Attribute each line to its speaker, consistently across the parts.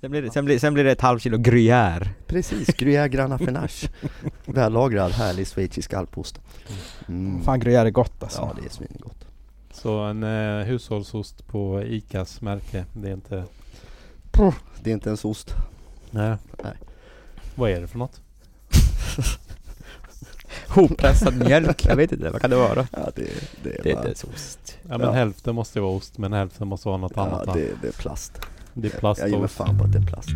Speaker 1: Sen blir, det, sen, blir, sen blir det ett halvt kilo gruyère.
Speaker 2: Precis, Gruyère Grana Fenache. Vällagrad, härlig schweizisk alpost. Mm.
Speaker 3: Fan gruyère är gott alltså.
Speaker 2: Ja, det är svingott.
Speaker 4: Så en eh, hushållsost på ICAs märke, det är inte...
Speaker 2: Det är inte ens ost.
Speaker 4: Nej.
Speaker 2: Nej.
Speaker 4: Vad är det för något?
Speaker 1: Hoppressad mjölk, jag vet inte, vad kan det vara?
Speaker 2: Ja, det, det är
Speaker 1: Det är
Speaker 2: bara-
Speaker 1: inte ens ost.
Speaker 4: Ja men
Speaker 2: Ja.
Speaker 4: hälften måste ju vara ost, men hälften måste vara något annat.
Speaker 2: ja,
Speaker 4: va?
Speaker 2: det, det är plast.
Speaker 4: det är plast
Speaker 2: Jag ger mig
Speaker 4: och
Speaker 2: fan på att det är plast.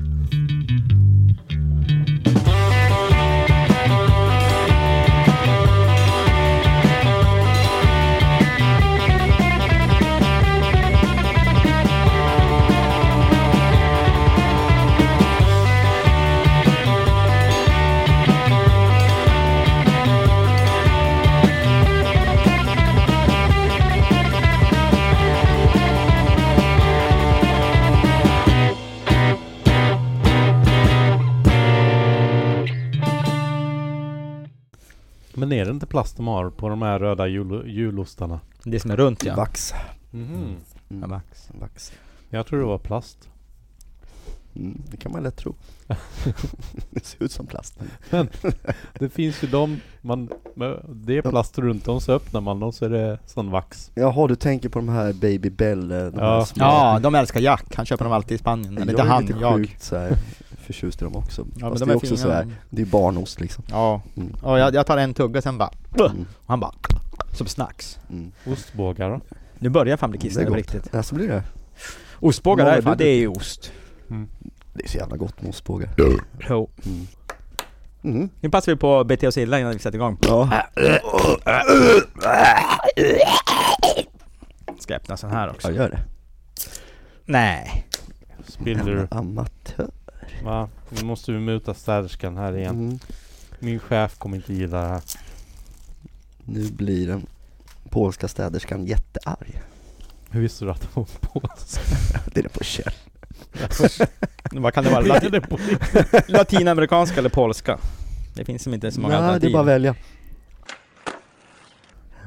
Speaker 4: Men är det inte plast de har på de här röda jul, julostarna?
Speaker 1: Det som är runt ja.
Speaker 2: Vax.
Speaker 4: Mhm.
Speaker 1: Ja, vax.
Speaker 2: Vax.
Speaker 4: Jag tror det var plast.
Speaker 2: Mm, det kan man lätt tro. det ser ut som plast.
Speaker 4: Det finns ju de, man, det är plast runt dem så öppnar man dem så är det sån vax.
Speaker 2: Jaha, du tänker på de här Baby Bell, eh, de här
Speaker 4: Ja.
Speaker 2: små.
Speaker 1: Ja, de älskar Jack. Han köper dem alltid i Spanien. Men inte
Speaker 2: jag är
Speaker 1: han,
Speaker 2: lite
Speaker 1: jag.
Speaker 2: sjukt så här, förtjust i dem
Speaker 1: Ja,
Speaker 2: också. Fast
Speaker 1: men de
Speaker 2: det är
Speaker 1: är
Speaker 2: också
Speaker 1: fina.
Speaker 2: så här, det är barnost liksom.
Speaker 1: Ja.
Speaker 2: Mm.
Speaker 1: ja jag, jag tar en tugga sen bara...
Speaker 2: Mm.
Speaker 1: Och han bara... Som snacks.
Speaker 2: Mm.
Speaker 4: Ostbågar då?
Speaker 1: Nu börjar jag fan bli
Speaker 2: Det är
Speaker 1: kissnödig på
Speaker 2: gott.
Speaker 1: riktigt.
Speaker 2: Ja, så blir det.
Speaker 1: Ostbågar
Speaker 2: Många
Speaker 1: är fan,
Speaker 2: blir
Speaker 1: det är ju ost.
Speaker 2: Det är så jävla gott med ostbågar.
Speaker 1: Jo.
Speaker 2: Mm. Mm.
Speaker 1: Nu passar vi på att bete oss illa innan vi sätter igång.
Speaker 2: Ja,
Speaker 1: Ska jag öppna sån här också?
Speaker 2: jag gör det.
Speaker 1: Nej.
Speaker 4: Spiller,
Speaker 2: Amatör.
Speaker 4: va? Nu måste vi muta städerskan här igen.
Speaker 2: Mm.
Speaker 4: Min chef kommer inte gilla det här.
Speaker 2: Nu blir den polska städerskan jättearg.
Speaker 4: Hur visste du att hon var på sig?
Speaker 2: Det är det på kärn.
Speaker 1: Vad kan det vara?
Speaker 4: Är
Speaker 1: Lati-
Speaker 4: det på riktigt?
Speaker 1: latinamerikanska eller polska? Det finns som inte så många
Speaker 2: Nej, det är bara att välja.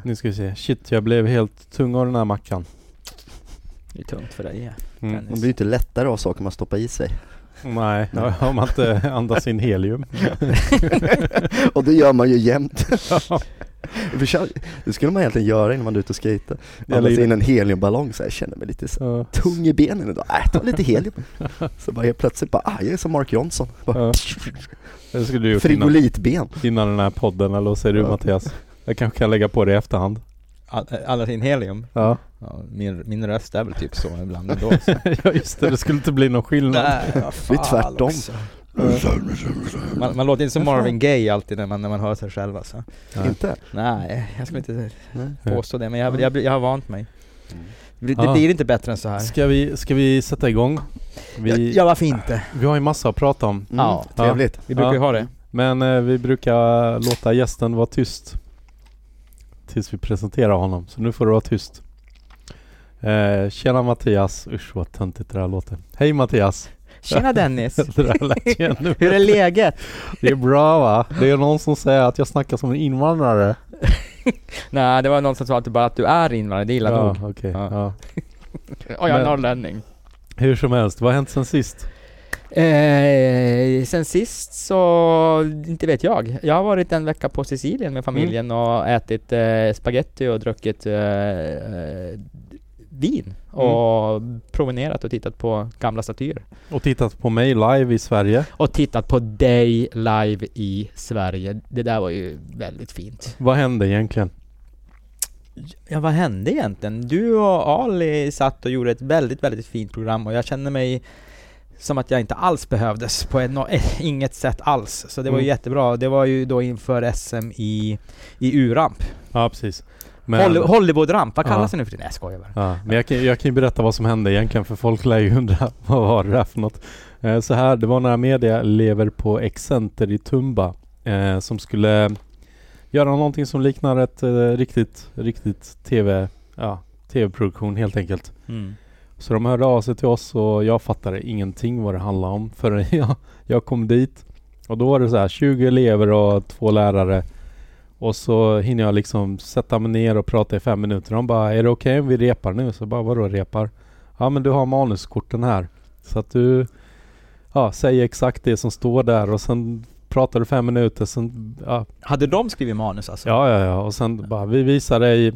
Speaker 4: Nu ska vi se. Shit, jag blev helt tung av den här mackan.
Speaker 1: Det är tungt för dig. ja.
Speaker 4: Mm.
Speaker 2: Man blir ju inte lättare av saker man stoppar i sig.
Speaker 4: Nej, om man inte andas in helium.
Speaker 2: Och det gör man ju jämt. Försök- Det skulle man egentligen göra innan man är ute och skejtar. Man
Speaker 4: Eller
Speaker 2: läser
Speaker 4: in-
Speaker 2: in en heliumballong så här, jag känner mig lite så
Speaker 4: Ja.
Speaker 2: tung i benen idag. Äh, ta lite helium. Så bara helt plötsligt bara, ah, jag är som Mark Johnson. Bara,
Speaker 4: Ja. Det skulle du gjort innan,
Speaker 2: frigolitben.
Speaker 4: innan den här podden, eller vad säger du
Speaker 2: Ja.
Speaker 4: Mattias? Jag kanske kan lägga på det i efterhand.
Speaker 1: All- Alla sin helium.
Speaker 4: Ja,
Speaker 1: Ja, min, min röst är väl typ så ibland ändå. så.
Speaker 4: ja just det. Det skulle inte bli någon skillnad.
Speaker 1: Nej, vad
Speaker 2: Det är
Speaker 1: fan
Speaker 2: tvärtom.
Speaker 1: också. Man, man låter inte som Marvin Gaye alltid när man, när man hör sig själv alltså.
Speaker 4: Nej.
Speaker 2: Inte?
Speaker 1: Nej, jag skulle inte
Speaker 2: Nej. Mm.
Speaker 1: påstå det men jag, jag, jag har vant mig. Det, det
Speaker 4: Ah.
Speaker 1: blir inte bättre än så här.
Speaker 4: Ska vi, ska vi sätta igång?
Speaker 1: Ja,
Speaker 4: Vi,
Speaker 1: ja, varför inte?
Speaker 4: vi har ju massa att prata om.
Speaker 2: Mm,
Speaker 1: Ja.
Speaker 2: Trevligt.
Speaker 1: Vi brukar ju
Speaker 4: Ja.
Speaker 1: ha det.
Speaker 4: Men eh, vi brukar låta gästen vara tyst tills vi presenterar honom. Så nu får du vara tyst. Eh, tjena Mattias. Usch vad töntigt det där låter. Hej Mattias.
Speaker 1: Tjena Dennis!
Speaker 4: Det där lät ju ännu
Speaker 1: Hur är läget?
Speaker 4: Det är bra va? Det är någon som säger att jag snackar som en invandrare.
Speaker 1: Nej, det var någon som sa att du bara att du är invandrare, det är illa
Speaker 4: ja,
Speaker 1: nog.
Speaker 4: okej,
Speaker 1: Ja.
Speaker 4: ja.
Speaker 1: Och jag är
Speaker 4: Men-
Speaker 1: norrlänning.
Speaker 4: Hur som helst, vad har hänt sen sist?
Speaker 1: Eh, sen sist så, inte vet jag. Jag har varit en vecka på Sicilien med familjen och ätit eh, spaghetti och druckit eh, eh, vin. Och promenerat och tittat på gamla statyer.
Speaker 4: Och tittat på mig live i Sverige.
Speaker 1: Och tittat på dig live i Sverige. Det där var ju väldigt fint.
Speaker 4: Vad hände egentligen?
Speaker 1: Ja, vad hände egentligen? Du och Ali satt och gjorde ett väldigt, väldigt fint program och jag kände mig som att jag inte alls behövdes på en, inget sätt alls. Så det var ju
Speaker 4: Mm.
Speaker 1: jättebra. Det var ju då inför SM i, i U-ramp.
Speaker 4: Ja, precis. Men,
Speaker 1: Holly, Hollywood-ramp, vad
Speaker 4: Ja.
Speaker 1: kallas det nu för tiden? Nej, jag skojar bara.
Speaker 4: Ja, men jag kan, jag kan ju berätta vad som hände egentligen för folk lär ju undra vad var det där för något. Eh, så här, det var några mediaelever på Excenter i Tumba eh, som skulle göra någonting som liknar ett eh, riktigt, riktigt TV, ja, TV-produktion helt enkelt. Så de hörde av sig till oss och jag fattade ingenting vad det handlade om förrän jag, jag kom dit. Och då var det så här 20 elever och två lärare. Och så hinner jag liksom sätta mig ner och prata i fem minuter. De bara, är det okej om vi repar nu? Så jag bara, vadå repar? Ja men du har manuskorten här. Så att du, ja, säger exakt det som står där och sen pratar du fem minuter, sen ja,
Speaker 1: Hade de skrivit manus alltså?
Speaker 4: Ja, ja, ja. Och sen bara, vi visar dig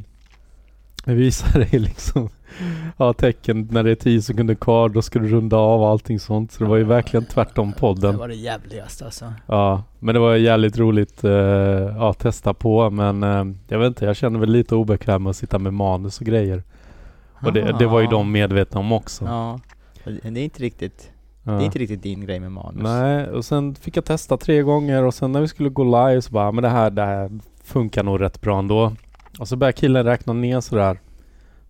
Speaker 4: vi visar dig liksom ja, tecken när det är 10 sekunder kvar, då ska du runda av och allting sånt. Så det var ju verkligen tvärtom
Speaker 1: Det
Speaker 4: podden.
Speaker 1: var det jävligaste alltså.
Speaker 4: Ja, men det var jävligt roligt eh, ja, att testa på. Men eh, jag vet inte, jag känner väl lite obekväm med att sitta med manus och grejer. Och det, det var ju de medvetna om också.
Speaker 1: Ah. Ja. Det är inte riktigt,
Speaker 4: Ja.
Speaker 1: det är inte riktigt din grej med manus.
Speaker 4: Nej, och sen fick jag testa tre gånger och sen när vi skulle gå live så bara, "Ah, men det här, det här funkar nog rätt bra ändå. Och så börjar killen räkna ner sådär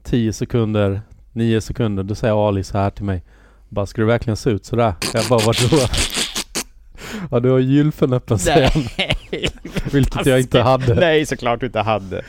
Speaker 4: 10 sekunder, 9 sekunder. Då säger Ali så här till mig. Bara, ska du verkligen se ut sådär? Jag bara, vadå? Ja, du har gylfen öppen säger han. Vilket jag inte hade.
Speaker 1: Alltså, Nej, såklart du inte hade.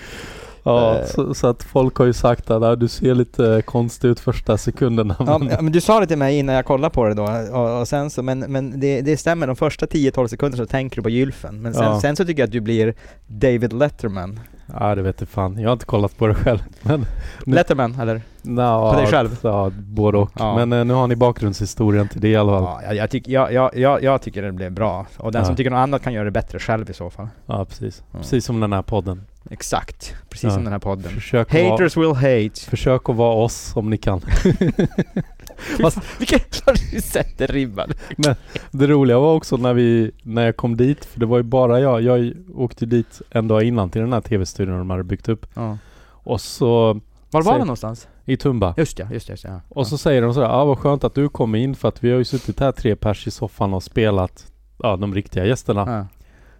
Speaker 4: Ja, så, så att folk har ju sagt att "Ah, du ser lite konstig ut första sekunderna.
Speaker 1: Ja,
Speaker 4: men-
Speaker 1: men- men du sa det till mig innan jag kollade på det då, och, och sen så, men, men det, det stämmer, de första 10-12 sekunderna så tänker du på gylfen, men sen,
Speaker 4: Ja.
Speaker 1: sen så tycker jag att du blir David Letterman.
Speaker 4: Ja, det vet jag fan. Jag har inte kollat på det själv. Men Nu-
Speaker 1: Letterman, eller?
Speaker 4: Nå,
Speaker 1: På dig själv?
Speaker 4: Ja, både och.
Speaker 1: Ja.
Speaker 4: Men eh, nu har ni bakgrundshistorien till det i alla fall. Ja,
Speaker 1: Ja, jag, jag, tyck, jag, jag, jag, jag tycker det blev bra, och den
Speaker 4: Ja.
Speaker 1: som tycker något annat kan göra det bättre själv i så fall.
Speaker 4: precis.
Speaker 1: Ja.
Speaker 4: Precis som den här podden.
Speaker 1: Exakt, precis
Speaker 4: Ja.
Speaker 1: som den här podden.
Speaker 4: Försök att, vara,
Speaker 1: Haters will hate.
Speaker 4: försök att vara oss om ni kan.
Speaker 1: Vilket, har du sätter ribban?
Speaker 4: Det roliga var också när, vi, när jag kom dit, för det var ju bara jag. Jag åkte dit en dag innan till den här tv-studion de hade byggt upp.
Speaker 1: Ja.
Speaker 4: Och så
Speaker 1: Var var
Speaker 4: Säg-
Speaker 1: den någonstans?
Speaker 4: i Tumba.
Speaker 1: Just det, just det. Just det ja.
Speaker 4: Och så säger de sådär, ja ah, vad skönt att du kom in för att vi har ju suttit här tre pers i soffan och spelat ja, de riktiga gästerna.
Speaker 1: ja. Ja.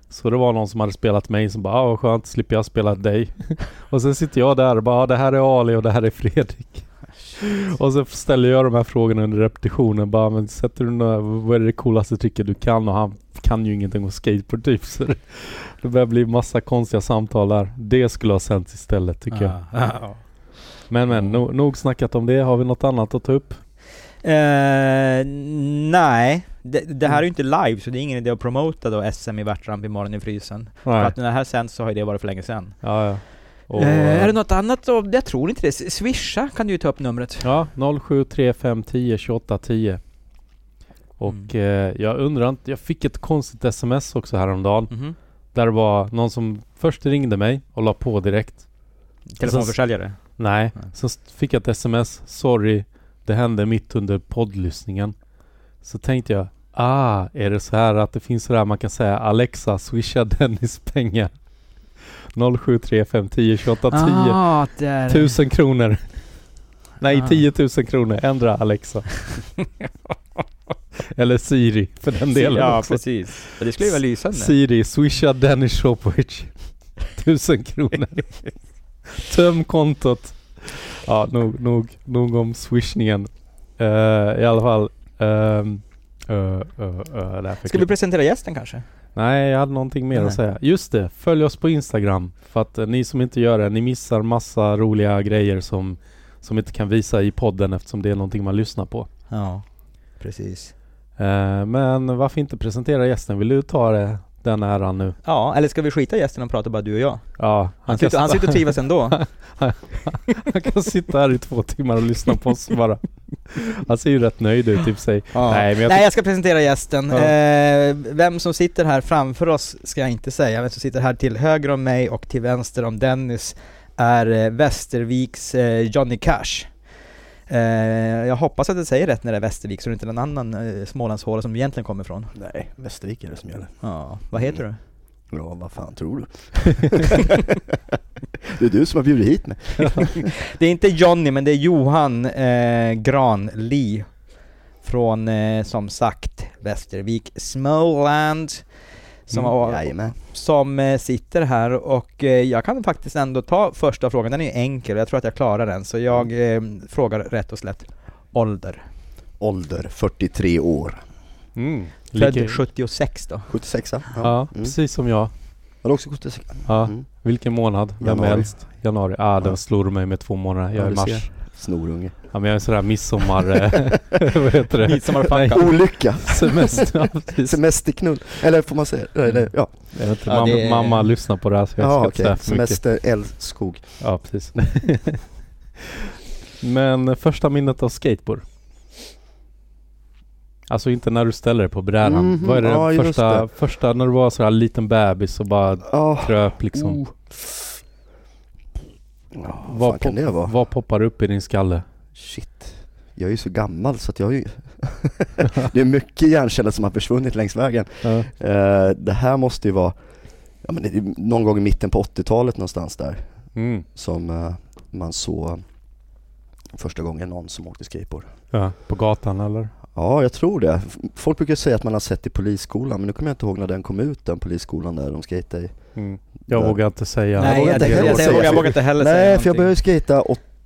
Speaker 4: Så det var någon som hade spelat mig som bara ah, vad skönt, slipper jag spela dig. och sen sitter jag där och bara ah, det här är Ali och det här är Fredrik. och så ställer jag de här frågorna under repetitionen bara men sätter du några, vad är det coolaste tricket du kan? Och han kan ju ingenting om skateboard typ. Så det- det börjar bli massa konstiga samtal där. Det skulle ha sänts istället tycker jag.
Speaker 1: Ja.
Speaker 4: Men men, no, nog snackat om det. Har vi något annat att ta upp?
Speaker 1: Eh, nej, det, det här är ju inte live så det är ingen idé att promota då SM i Värtramp imorgon i frysen. För
Speaker 4: Nej.
Speaker 1: att när det här sänds så har ju det varit för länge sedan.
Speaker 4: Ja, ja. Och,
Speaker 1: Eh, är det något annat då? Jag tror inte det. S- Swisha kan du ju ta upp numret.
Speaker 4: Ja, 073510 2810. Och
Speaker 1: Mm.
Speaker 4: eh, jag undrar inte, jag fick ett konstigt sms också häromdagen.
Speaker 1: Mhm.
Speaker 4: Där det var någon som först ringde mig och la på direkt.
Speaker 1: Alltså, Telefonförsäljare.
Speaker 4: Nej,
Speaker 1: Nej.
Speaker 4: sen s- fick jag ett sms. Sorry, det hände mitt under poddlyssningen. Så tänkte jag, ah, är det så här att det finns så där man kan säga Alexa, swisha Dennis pengar. 073510 2810.
Speaker 1: Ah, där.
Speaker 4: Tusen kronor. Nej,
Speaker 1: Ah.
Speaker 4: 10 000 kronor. Ändra Alexa. Eller Siri för den delen
Speaker 1: Ja,
Speaker 4: också.
Speaker 1: precis. Ja, Det skulle ju vara lysande.
Speaker 4: Siri, swisha Dennis Shopovic. 1000 kronor. Töm kontot. Ja, nog, nog, nog om swishningen. Eh, I alla fall. ehm, eh, eh, eh, där fick
Speaker 1: Ska
Speaker 4: jag-
Speaker 1: vi presentera gästen kanske?
Speaker 4: Nej, jag hade någonting mer
Speaker 1: Nej.
Speaker 4: att säga. Just det, följ oss på Instagram. För att eh, ni som inte gör det, ni missar massa roliga grejer som, som inte kan visa i podden eftersom det är någonting man lyssnar på.
Speaker 1: Ja, precis.
Speaker 4: Eh, men varför inte presentera gästen? Vill du ta det, den äran nu?
Speaker 1: Ja, eller ska vi skita i gästen och prata bara du och jag? Han,
Speaker 4: Ja, han kan,
Speaker 1: sitter, han sitter och trivs ändå.
Speaker 4: han kan sitta här i två timmar och lyssna på oss bara. Han ser ju rätt nöjd ut i och för sig.
Speaker 1: Ja.
Speaker 4: Nej, men jag
Speaker 1: Nej, jag ska presentera gästen.
Speaker 4: Ja.
Speaker 1: Eh, vem som sitter här framför oss ska jag inte säga. Vem som sitter här till höger om mig och till vänster om Dennis är eh, Västerviks eh, Johnny Cash. Eh, jag hoppas att jag säger rätt när det är Västervik så det är inte någon annan eh, Smålandshåla som du egentligen kommer ifrån.
Speaker 2: Nej, Västervik är det som gäller.
Speaker 1: Ja, vad heter du?
Speaker 2: Ja, vad fan tror du? det är du som har bjudit hit mig.
Speaker 1: Det är inte Johnny, men det är Johan eh, Granli från, eh, som sagt, Västervik, Småland. Som
Speaker 4: Mm,
Speaker 1: har
Speaker 2: Jajamän.
Speaker 1: som eh, sitter här och eh, jag kan faktiskt ändå ta första frågan, den är ju enkel och jag tror att jag klarar den så jag eh,
Speaker 2: Mm.
Speaker 1: frågar rätt och slätt ålder.
Speaker 2: Ålder 43 år.
Speaker 4: Mm,
Speaker 1: Född
Speaker 4: lika-
Speaker 1: 76 då.
Speaker 2: 76 Ja,
Speaker 4: Ja,
Speaker 2: Mm.
Speaker 4: precis som jag.
Speaker 2: Har du också 76
Speaker 4: Ja,
Speaker 2: Mm.
Speaker 4: vilken månad? Vem
Speaker 2: Januari.
Speaker 4: är äldst? Januari. Ah, den
Speaker 2: Ja.
Speaker 4: slår mig med två månader. Jag
Speaker 2: Ja,
Speaker 4: är
Speaker 2: du
Speaker 4: mars.
Speaker 2: ser. Snorunge.
Speaker 4: Ja men jag är sådär midsommar... eh, vad heter det?
Speaker 1: Midsommarfacka.
Speaker 4: Nej,
Speaker 2: Olycka!
Speaker 4: Semester, ja, precis.
Speaker 2: Semesterknull. Eller får man säga det? Eller, ja.
Speaker 4: Jag vet inte,
Speaker 1: Ja,
Speaker 4: mamma,
Speaker 1: det är-
Speaker 4: mamma lyssnar på det här så jag
Speaker 2: Ja,
Speaker 4: ska
Speaker 2: okej.
Speaker 4: inte säga för mycket.
Speaker 2: Semester, älskog.
Speaker 4: Ja precis. men första minnet av skateboard? Alltså inte när du ställer dig på brädan.
Speaker 2: Mhm,
Speaker 4: Vad är det
Speaker 2: ja, just
Speaker 4: första,
Speaker 2: det.
Speaker 4: första när du var sådär liten bebis och bara
Speaker 2: Ja.
Speaker 4: kröp liksom?
Speaker 2: Oh. Ja, vad
Speaker 4: vad,
Speaker 2: fan kan
Speaker 4: pop-
Speaker 2: det vara?
Speaker 4: vad poppar upp i din skalle?
Speaker 2: Shit. Jag är ju så gammal så att jag har ju... det är mycket hjärnceller som har försvunnit längs vägen.
Speaker 4: Ja.
Speaker 2: Eh, det här måste ju vara ja, men det är ju någon gång i mitten på 80-talet någonstans där
Speaker 4: Mm.
Speaker 2: som eh, man såg första gången någon som åkte skateboard.
Speaker 4: Ja, på gatan eller?
Speaker 2: Ja, jag tror det. F- Folk brukar säga att man har sett i polisskolan, men nu kommer jag inte ihåg när den kom ut, den polisskolan där de skejtade i.
Speaker 4: Mm. Jag
Speaker 2: Där.
Speaker 4: vågar inte säga.
Speaker 2: Nej, vågar inte
Speaker 1: jag,
Speaker 2: heller
Speaker 1: jag,
Speaker 2: säga.
Speaker 1: jag, jag vågar inte heller säga
Speaker 2: Nej, för jag
Speaker 1: någonting.
Speaker 2: började skejta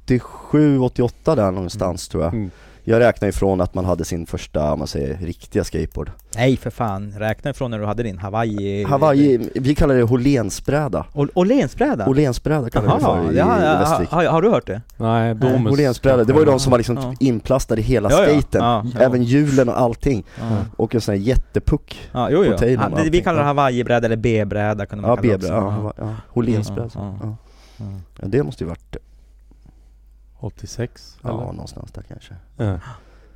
Speaker 2: 87, 88 där någonstans tror jag.
Speaker 4: Mm.
Speaker 2: Jag räknar ifrån att man hade sin första, om man säger, riktiga skateboard.
Speaker 1: Nej för fan, räkna ifrån när du hade din Hawaii...
Speaker 2: Hawaii, vi kallar det Holensbräda.
Speaker 1: Ål- Åhlénsbräda?
Speaker 2: Åhlénsbräda kallar vi det
Speaker 1: Jaha,
Speaker 2: för i,
Speaker 1: det har,
Speaker 2: i Västervik.
Speaker 1: har, har, har du hört det?
Speaker 4: Nej, Domus.
Speaker 2: Åhlénsbräda, det var ju de som var liksom
Speaker 1: Ja.
Speaker 2: typ inplastade i hela
Speaker 1: Ja, ja.
Speaker 2: skaten.
Speaker 1: Ja, ja.
Speaker 2: Även hjulen och allting.
Speaker 1: Ja.
Speaker 2: Och en sån här jättepuck.
Speaker 1: Ja, jo, jo.
Speaker 2: På Taylor
Speaker 1: Ja,
Speaker 2: och
Speaker 1: det, vi
Speaker 2: allting.
Speaker 1: kallar det
Speaker 2: Ja.
Speaker 1: Hawaii-bräda eller B-bräda kunde man
Speaker 2: Ja,
Speaker 1: kalla det
Speaker 2: bebra.
Speaker 1: också.
Speaker 2: Ja,
Speaker 1: Ja.
Speaker 2: Hava- ja. Åhlénsbräda.
Speaker 1: Ja,
Speaker 2: Ja.
Speaker 1: ja.
Speaker 2: Ja, det måste ju varit,
Speaker 4: 86?
Speaker 2: ja,
Speaker 4: eller?
Speaker 2: någonstans där kanske.
Speaker 4: Ja.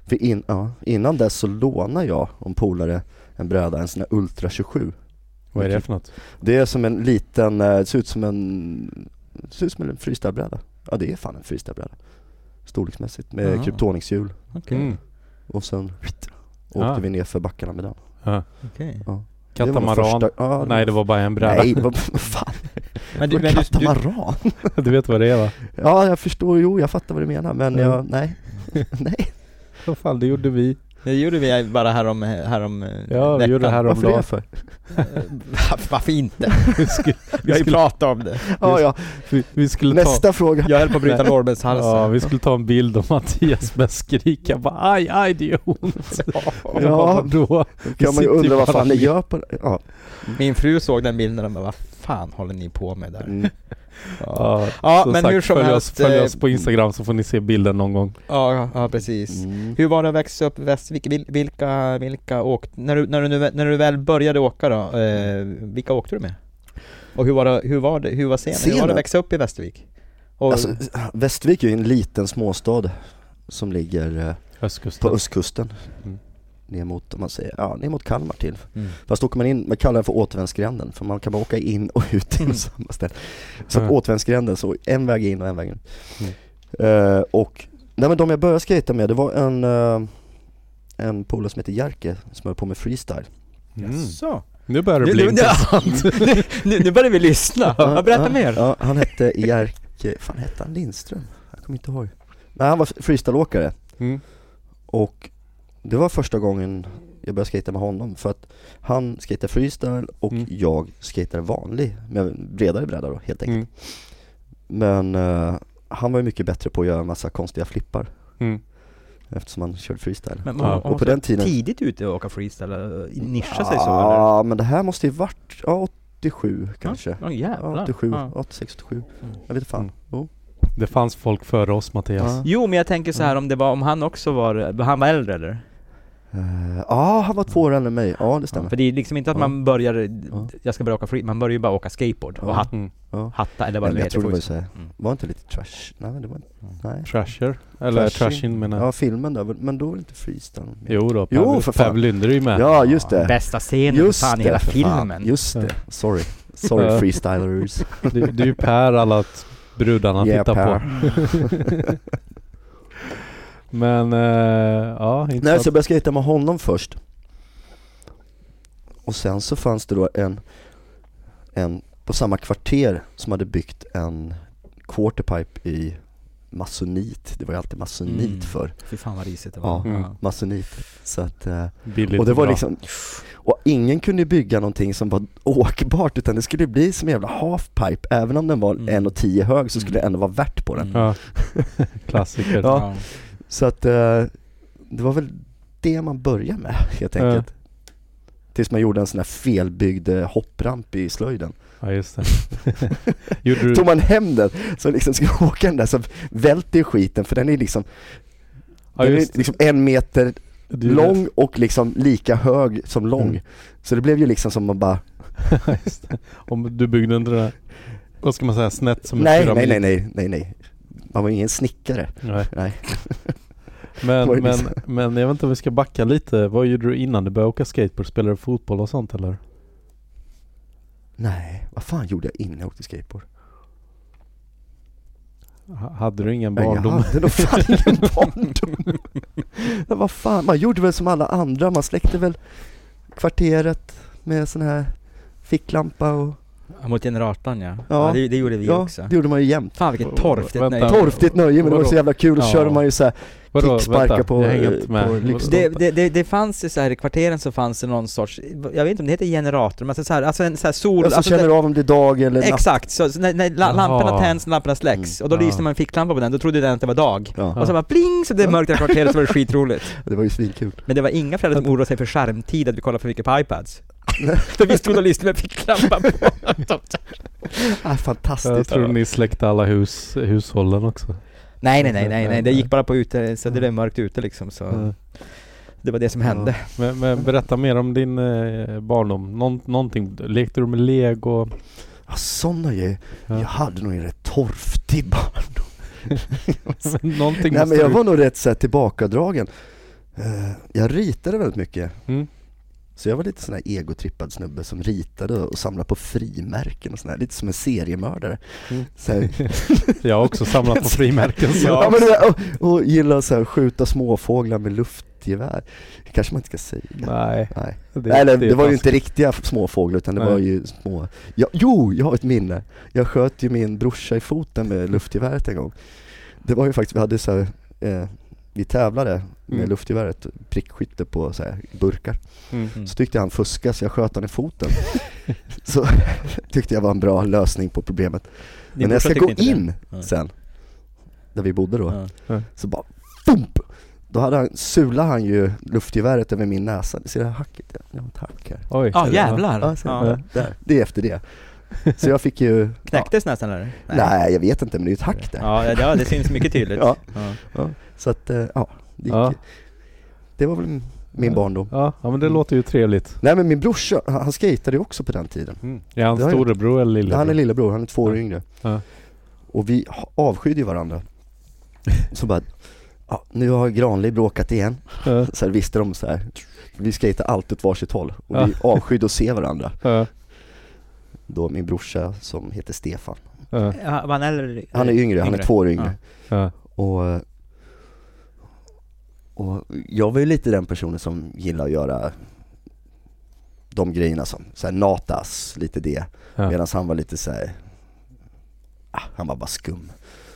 Speaker 2: För in, ja, innan dess så lånade jag och en polare en bräda, en sån här Ultra 27.
Speaker 4: Vad är det för något?
Speaker 2: Det är som en liten, eh, det ser ut som en, det ser ut som en freestylebräda. Ja det är fan en freestylebräda. Storleksmässigt med
Speaker 1: Ja.
Speaker 2: kryptoningshjul
Speaker 1: Okej,
Speaker 4: Mm.
Speaker 2: och sen skit, åkte
Speaker 4: Ah.
Speaker 2: vi ner för backarna med den.
Speaker 4: Ja.
Speaker 1: okej.
Speaker 2: Det var nog
Speaker 4: Katamaran?
Speaker 2: första- ja,
Speaker 4: Nej, det var bara en bräda.
Speaker 2: Nej, vad fan,
Speaker 1: Men
Speaker 2: det
Speaker 1: du,
Speaker 2: var
Speaker 1: men du, du,
Speaker 2: katamaran?
Speaker 4: Du vet vad det är va?
Speaker 2: Ja, jag förstår, jo jag fattar vad du menar men
Speaker 4: Mm.
Speaker 2: jag, nej. nej,
Speaker 4: Vad fan, det gjorde vi.
Speaker 1: det gjorde vi bara härom, härom
Speaker 4: Ja, vi gjorde det här om
Speaker 2: varför
Speaker 4: dagen.
Speaker 2: det för?
Speaker 1: eh, Varför inte?
Speaker 4: Vi skulle,
Speaker 1: Vi har ju pratat om det.
Speaker 2: Ja, ja.
Speaker 4: vi, vi skulle ta...
Speaker 2: Nästa fråga.
Speaker 1: Jag höll på att bryta lårbenshalsen.
Speaker 4: Ja, vi skulle ta en bild av Mattias med skrika bara aj, aj det gör ont. Och jag bara, Vadå? Vi
Speaker 2: Kan man ju
Speaker 4: sitter
Speaker 2: undra vad
Speaker 4: bara
Speaker 2: fan ni
Speaker 4: ner.
Speaker 2: gör på ja.
Speaker 1: Min fru såg den bilden och bara vad fan håller ni på med där?
Speaker 2: Mm.
Speaker 1: Ja,
Speaker 4: Ja,
Speaker 1: ja
Speaker 4: som
Speaker 1: men
Speaker 4: sagt,
Speaker 1: hur som
Speaker 4: följ
Speaker 1: helst.
Speaker 4: Oss, följ
Speaker 1: eh,
Speaker 4: oss på Instagram så får ni se bilden någon gång.
Speaker 1: Ja, ja precis.
Speaker 2: Mm.
Speaker 1: Hur var det att växa upp i Västervik? Vil- Vilka, vilka åkt, när, du, när, du, nu- när du väl började åka då, eh, vilka åkte du med? Och hur var det, hur var det, hur var scenen? Hur var det
Speaker 2: Scenen?
Speaker 1: att växa upp i Västervik? Och, Mm.
Speaker 2: Alltså, Västervik är ju en liten småstad som ligger eh, på
Speaker 4: Östkusten.
Speaker 2: östkusten.
Speaker 4: Mm.
Speaker 2: Ner mot, om man säger, ja ner mot Kalmar till.
Speaker 1: mm.
Speaker 2: Fast åker man in, man kallar den för återvändsgränden för man kan bara åka in och ut inom
Speaker 1: Mm.
Speaker 2: samma ställe. Så
Speaker 4: Ja.
Speaker 2: återvändsgränden, så en väg in och en väg ut.
Speaker 4: Mm.
Speaker 2: Eh, och, nej men de jag började skata med, det var en, eh, en polare som heter Jerker som höll på med freestyle.
Speaker 4: Mm.
Speaker 1: Så.
Speaker 4: Nu börjar det
Speaker 1: Nu,
Speaker 4: bli
Speaker 1: nu,
Speaker 4: intressant.
Speaker 1: nu, nu, nu börjar vi lyssna. Ja, berätta mer.
Speaker 2: Ja, han hette Jerker, fan hette han Lindström? Jag kommer inte ihåg. Nej han var freestyleåkare.
Speaker 4: Mm.
Speaker 2: Och det var första gången jag började skata med honom för att han skater freestyle och
Speaker 4: Mm.
Speaker 2: jag skater vanlig med en bredare bräda då helt enkelt.
Speaker 4: Mm.
Speaker 1: Mm.
Speaker 2: Men eh, han var ju mycket bättre på att göra en massa konstiga flippar
Speaker 4: Mm.
Speaker 2: eftersom han körde freestyle.
Speaker 1: Men
Speaker 4: Ja,
Speaker 1: man,
Speaker 2: och på den tiden...
Speaker 1: tidigt ute och åka freestyle, och nischa sig så eller?
Speaker 2: Ja, men det här måste ju varit ja, 87 kanske.
Speaker 1: Ja, jävlar.
Speaker 2: 87,
Speaker 1: Ja.
Speaker 2: 86, 87.
Speaker 1: Mm.
Speaker 2: Jag vet inte fan.
Speaker 4: Mm.
Speaker 2: Jo.
Speaker 4: Det fanns folk före oss Mattias.
Speaker 2: Ja.
Speaker 1: Jo men jag tänker så här om det var, om han också var, han var äldre eller?
Speaker 2: Eh, ja, han var två år äldre än mig. Ja, det stämmer.
Speaker 1: För det är liksom inte att man börjar,
Speaker 2: Ja.
Speaker 1: jag ska börja åka free, man börjar ju bara åka skateboard
Speaker 2: Ja.
Speaker 1: och hat,
Speaker 4: Mm.
Speaker 1: hatta eller vad det
Speaker 2: Nej, men
Speaker 1: nu
Speaker 2: jag
Speaker 1: heter.
Speaker 2: tror det var ju
Speaker 1: Får-
Speaker 2: såhär,
Speaker 1: Mm.
Speaker 2: var inte lite trash? Nej, men det var inte, nej.
Speaker 4: Trasher? Eller
Speaker 2: Trashin.
Speaker 4: Trashin menar jag.
Speaker 2: Ja, filmen där, men då var det inte freestyle.
Speaker 4: Jo då,
Speaker 2: Jo,
Speaker 4: Pav,
Speaker 2: för fan.
Speaker 4: Pav Lynder är ju med.
Speaker 2: Ja, just det.
Speaker 1: Bästa scenen
Speaker 2: Just
Speaker 1: fan i
Speaker 2: det,
Speaker 1: hela
Speaker 2: för
Speaker 1: filmen.
Speaker 2: fan. Just det. Sorry.
Speaker 4: Ja.
Speaker 2: Sorry freestylers.
Speaker 4: Det, det är ju Per alla t- brudarna
Speaker 2: Yeah,
Speaker 4: tittar
Speaker 2: Per.
Speaker 4: på.
Speaker 1: Mm,
Speaker 4: Men, eh, ja,
Speaker 2: Nej,
Speaker 4: intressant.
Speaker 2: så jag började skejta med honom först. Och sen så fanns det då en, en på samma kvarter som hade byggt en quarterpipe i masonit. Det var ju alltid masonit
Speaker 1: Mm.
Speaker 2: för
Speaker 1: Fy fan vad risigt det
Speaker 2: Ja.
Speaker 1: var.
Speaker 4: Mm.
Speaker 1: Ja.
Speaker 2: masonit. Så att, eh,
Speaker 4: Billigt
Speaker 2: och det var
Speaker 4: bra.
Speaker 2: liksom, och ingen kunde ju bygga någonting som var åkbart utan det skulle bli som en jävla halfpipe. Även om den var
Speaker 1: Mm.
Speaker 2: 1,10 hög så skulle det ändå vara värt på den.
Speaker 1: Mm.
Speaker 4: Ja. Klassiker.
Speaker 2: Ja. Så att eh, det var väl det man började med helt
Speaker 4: Ja.
Speaker 2: enkelt. Tills man gjorde en sån här felbyggd eh, hoppramp i slöjden.
Speaker 4: Ja, just det. Gjorde du...
Speaker 2: Tog man hem den, så liksom ska jag åka den där så välter ju skiten för den är liksom,
Speaker 4: Ja,
Speaker 2: den är
Speaker 4: just det.
Speaker 2: liksom en meter
Speaker 4: Du-
Speaker 2: lång och liksom lika hög som lång.
Speaker 4: Mm.
Speaker 2: Så det blev ju liksom som man bara,
Speaker 4: Just det. Om du byggde inte det där, vad ska man säga, snett som en
Speaker 2: nej,
Speaker 4: pyramid?
Speaker 2: nej, nej, nej, nej, nej. Man var ju ingen snickare.
Speaker 4: nej.
Speaker 2: Nej.
Speaker 4: Men,
Speaker 2: Vad är det liksom-
Speaker 4: men,
Speaker 2: som-
Speaker 4: men jag vet inte om vi ska backa lite. Vad gjorde du innan du började åka skateboard? Spelade du fotboll och sånt eller?
Speaker 2: Nej, vad fan gjorde jag innan jag åkte skateboard?
Speaker 4: H- hade du ingen
Speaker 2: Nej, jag
Speaker 4: barndom?
Speaker 2: hade nog fan ingen barndom. ja, vad fan, man gjorde väl som alla andra, man släckte väl kvarteret med sån här ficklampa och
Speaker 1: Mot generatorn ja.
Speaker 2: Ja.
Speaker 1: ja. det, det gjorde vi
Speaker 2: ja,
Speaker 1: också.
Speaker 2: det gjorde man ju jämt.
Speaker 1: Fan vilket torftigt
Speaker 4: Vänta.
Speaker 1: nöje.
Speaker 4: Torf-
Speaker 2: Torftigt nöje, men det var så jävla kul, och
Speaker 4: Ja.
Speaker 2: körde man ju så här kicksparkar på, eh,
Speaker 4: jag hänger inte
Speaker 2: på
Speaker 4: med. Liksom.
Speaker 2: lyx-
Speaker 1: Det, det, det, det fanns ju så här i kvarteren så fanns det någon sorts, jag vet inte om det heter generator, men alltså så här, alltså en så här sol...
Speaker 2: Alltså,
Speaker 1: alltså
Speaker 2: känner
Speaker 1: det,
Speaker 2: du av om det är dag eller natt.
Speaker 1: exakt, så, så när, när la-
Speaker 4: Jaha.
Speaker 1: lamporna tänds och lamporna släcks,
Speaker 2: Mm.
Speaker 1: och då
Speaker 4: Ja.
Speaker 1: lyste man en ficklampa på den, då trodde den att det var dag.
Speaker 2: Ja,
Speaker 1: Och så bara pling så blev det mörkt i kvarteret så var det skitroligt.
Speaker 2: det var ju svinkul.
Speaker 1: Men det var inga föräldrar som oroade sig för skärmtid, att vi kollade för mycket på iPads. För vi stod och lyssnade med ficklampan på.
Speaker 2: Ah,
Speaker 4: Jag
Speaker 2: fantastiskt.
Speaker 4: tror ni släckte alla hus, hushållen också.
Speaker 1: Nej nej nej nej, nej. det gick bara på ute, så det
Speaker 2: Mm.
Speaker 1: blev mörkt ute liksom så. Det var det som hände.
Speaker 4: Eh, Men, men berätta mer om din eh, barndom. Någon, någonting. Lekte du med lego?
Speaker 2: Ja, sådana grejer.
Speaker 4: Ja.
Speaker 2: Jag hade nog en rätt torftig barndom.
Speaker 4: någonting
Speaker 2: Nej
Speaker 4: måste
Speaker 2: men jag
Speaker 4: du-
Speaker 2: var nog rätt så här, tillbakadragen. Eh, Jag ritade väldigt mycket.
Speaker 4: Mm.
Speaker 2: Så jag var lite sån här egotrippad snubbe som ritade och samlade på frimärken och sån här, lite som en seriemördare.
Speaker 4: Mm.
Speaker 2: Så här,
Speaker 4: Jag har också samlat på frimärken. Så.
Speaker 2: ja, men, du vet, och, och gillar så här, skjuta småfåglar med luftgevär. kanske man inte ska säga.
Speaker 4: Nej.
Speaker 2: Nej.
Speaker 4: Det,
Speaker 2: Nej, Eller, det var ju
Speaker 4: taskigt.
Speaker 2: inte riktiga småfåglar utan det
Speaker 4: Nej.
Speaker 2: var ju små... Ja, jo, jag har ett minne! Jag sköt ju min brorsa i foten med luftgeväret en gång. Det var ju faktiskt, vi hade så här, eh, vi tävlade med
Speaker 4: Mm.
Speaker 2: luftgeväret, prickskytte på så här, burkar.
Speaker 4: Mm.
Speaker 2: Så tyckte jag han fuskade så jag sköt honom i foten. så tyckte jag var en bra lösning på problemet. Men när jag ska gå in
Speaker 1: Ja.
Speaker 2: sen, där vi bodde då,
Speaker 1: Ja.
Speaker 2: så bara FUMP! Då hade han, sulade han ju luftgeväret över min näsa, Ni ser det här hacket? Ja, Jag har ett hack här.
Speaker 4: Oj.
Speaker 3: Ah,
Speaker 1: Ja jävlar!
Speaker 2: Ja, så,
Speaker 1: Ja.
Speaker 2: Där. Det är efter det. Så jag fick ju...
Speaker 1: Knäcktes nästan eller?
Speaker 2: Ja, nej, jag vet inte men det är ju ett hack där.
Speaker 1: Ja, ja, ja, det syns mycket tydligt.
Speaker 2: Ja.
Speaker 1: ja.
Speaker 2: Så att, eh, ja. Det, gick,
Speaker 4: Ja.
Speaker 2: det var väl min- min barndom.
Speaker 4: Ja, ja, men
Speaker 2: Mm.
Speaker 4: det låter ju trevligt.
Speaker 2: Nej men min brorsa, han han skejtade ju också på den tiden.
Speaker 4: Är han
Speaker 2: Mm. Det har jag
Speaker 4: storebror eller lillebror?
Speaker 2: Han är lillebror, han är två år yngre.
Speaker 4: Ja.
Speaker 2: Och vi ha- avskydde ju varandra. Så bara, ja, nu har Granli bråkat igen.
Speaker 4: Ja,
Speaker 2: Så här visste de så här. vi skejtade alltid åt varsitt håll. Och
Speaker 4: Ja.
Speaker 2: vi avskydde att se varandra.
Speaker 4: ja,
Speaker 2: Då min brorsa som heter Stefan.
Speaker 4: ja,
Speaker 1: Ja, var han äldre?
Speaker 2: Han är yngre, han är två år yngre.
Speaker 1: Ja.
Speaker 4: ja.
Speaker 2: Och, och jag var ju lite den personen som gillar att göra de grejerna som, så här natas, lite det.
Speaker 4: Ja.
Speaker 2: Medan han var lite så här. Ah, han var bara skum.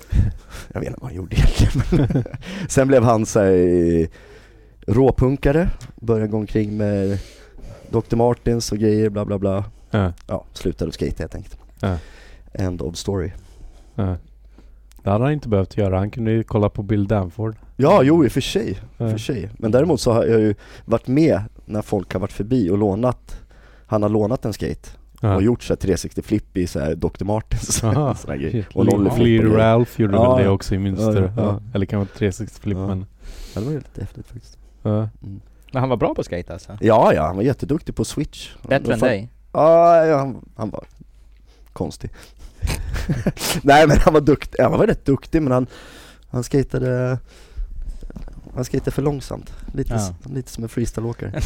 Speaker 2: Jag vet inte vad han gjorde egentligen. men- Sen blev han så här, eh, råpunkare, började gå omkring med Dr. Martins och grejer, bla bla bla.
Speaker 4: ja,
Speaker 2: Ja, slutade att skejta helt enkelt.
Speaker 4: Ja.
Speaker 2: End of story.
Speaker 4: ja. Det hade han inte behövt göra. Han kunde ju kolla på Bill Danford.
Speaker 2: Ja, jo i och för sig.
Speaker 4: Ja.
Speaker 2: för sig. Men däremot så har jag ju varit med när folk har varit förbi och lånat han har lånat en skate
Speaker 4: Ja.
Speaker 2: och gjort så här 360 flip i så här Dr. Martens
Speaker 4: Aha.
Speaker 2: sån här grej.
Speaker 4: Shit.
Speaker 2: Och
Speaker 4: Lee-
Speaker 2: Lolly
Speaker 4: Lee
Speaker 2: flip och grejer.
Speaker 4: Ralph gjorde
Speaker 2: Ja,
Speaker 4: väl det
Speaker 2: ja.
Speaker 4: också i Münster.
Speaker 2: Ja, ja, ja.
Speaker 4: Ja. Eller kanske 360 flip
Speaker 2: Ja.
Speaker 4: men...
Speaker 2: Ja, det var ju lite häftigt faktiskt.
Speaker 4: Ja.
Speaker 1: Men han var bra på skate alltså?
Speaker 2: Ja, ja, han var jätteduktig på switch.
Speaker 1: Bättre än
Speaker 2: Fan-
Speaker 1: dig?
Speaker 2: Ja, ja, han, han var konstig. Nej men han var duktig, han var rätt duktig men han, han skatade han skatade för långsamt, lite,
Speaker 1: Ja.
Speaker 2: s- lite som en freestyleåkare.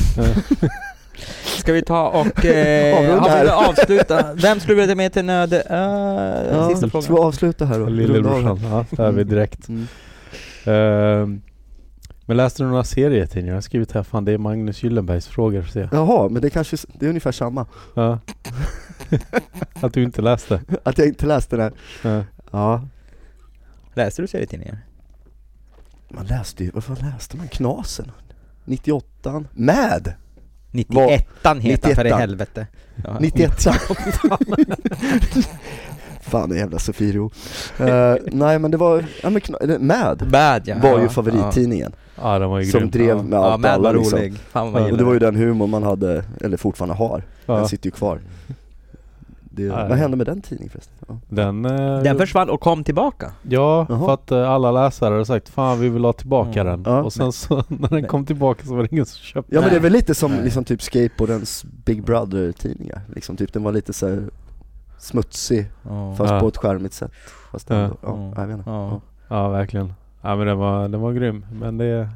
Speaker 1: Ska vi ta och eh,
Speaker 2: Avrunda
Speaker 1: har vi
Speaker 2: här.
Speaker 1: vill avsluta? Vem skulle du vilja med till nöd? eh, sista
Speaker 2: Ska vi
Speaker 1: frågan.
Speaker 2: avsluta här då? Runda av här.
Speaker 4: Lillebrorsan. Ja, där är vi direkt.
Speaker 2: Mm.
Speaker 4: Ehm, men läste du några serietidningar? Jag har skrivit här, fan det är Magnus Gyllenbergs frågor ser jag.
Speaker 2: Jaha, men det kanske, det är ungefär samma.
Speaker 4: Ja. Att du inte läste.
Speaker 2: Att jag inte läste den här.
Speaker 4: Ja.
Speaker 2: Ja.
Speaker 1: Läser du serietidningar?
Speaker 2: Man läste ju, varför läste man Knasen? 98 Mad!
Speaker 1: 91 heter han för i
Speaker 2: 91.
Speaker 1: helvete. Ja.
Speaker 2: 91 Fan, det är jävla Sofiero. Eh, nej men det var, ja, men kna, eller Mad
Speaker 1: Bad ja.
Speaker 2: var ju
Speaker 1: Ja,
Speaker 2: favorittidningen.
Speaker 4: ja, den var ju
Speaker 2: Som
Speaker 4: grym.
Speaker 2: drev med
Speaker 1: ja,
Speaker 2: allt och
Speaker 1: Mad
Speaker 2: alla
Speaker 1: var
Speaker 2: liksom.
Speaker 1: rolig. Fan vad man
Speaker 4: Ja,
Speaker 2: Och det
Speaker 1: gillar
Speaker 2: var ju den humor man hade, eller fortfarande har. Den
Speaker 4: Ja.
Speaker 2: sitter ju kvar. Det,
Speaker 4: Ja, ja.
Speaker 2: vad hände med den tidningen förresten? Ja.
Speaker 4: Den, eh,
Speaker 1: Den försvann och kom tillbaka.
Speaker 4: Ja,
Speaker 2: Jaha.
Speaker 4: för att eh, alla läsare hade sagt fan vi vill ha tillbaka
Speaker 1: Mm.
Speaker 4: den.
Speaker 2: Ja.
Speaker 4: Och sen så när den kom tillbaka så var det ingen som köpte
Speaker 2: Ja men
Speaker 1: Nej.
Speaker 2: det är väl lite som
Speaker 1: Nej.
Speaker 2: liksom typ skateboardens Big Brother tidningar, liksom typ den var lite så här smutsig
Speaker 1: Ja.
Speaker 2: fast
Speaker 4: Ja.
Speaker 2: på ett charmigt sätt. Fast
Speaker 4: Ja.
Speaker 2: ändå, ja.
Speaker 1: Mm.
Speaker 2: jag vet inte.
Speaker 1: Ja.
Speaker 4: Ja, verkligen. Ja men den var, den var grym. Men det är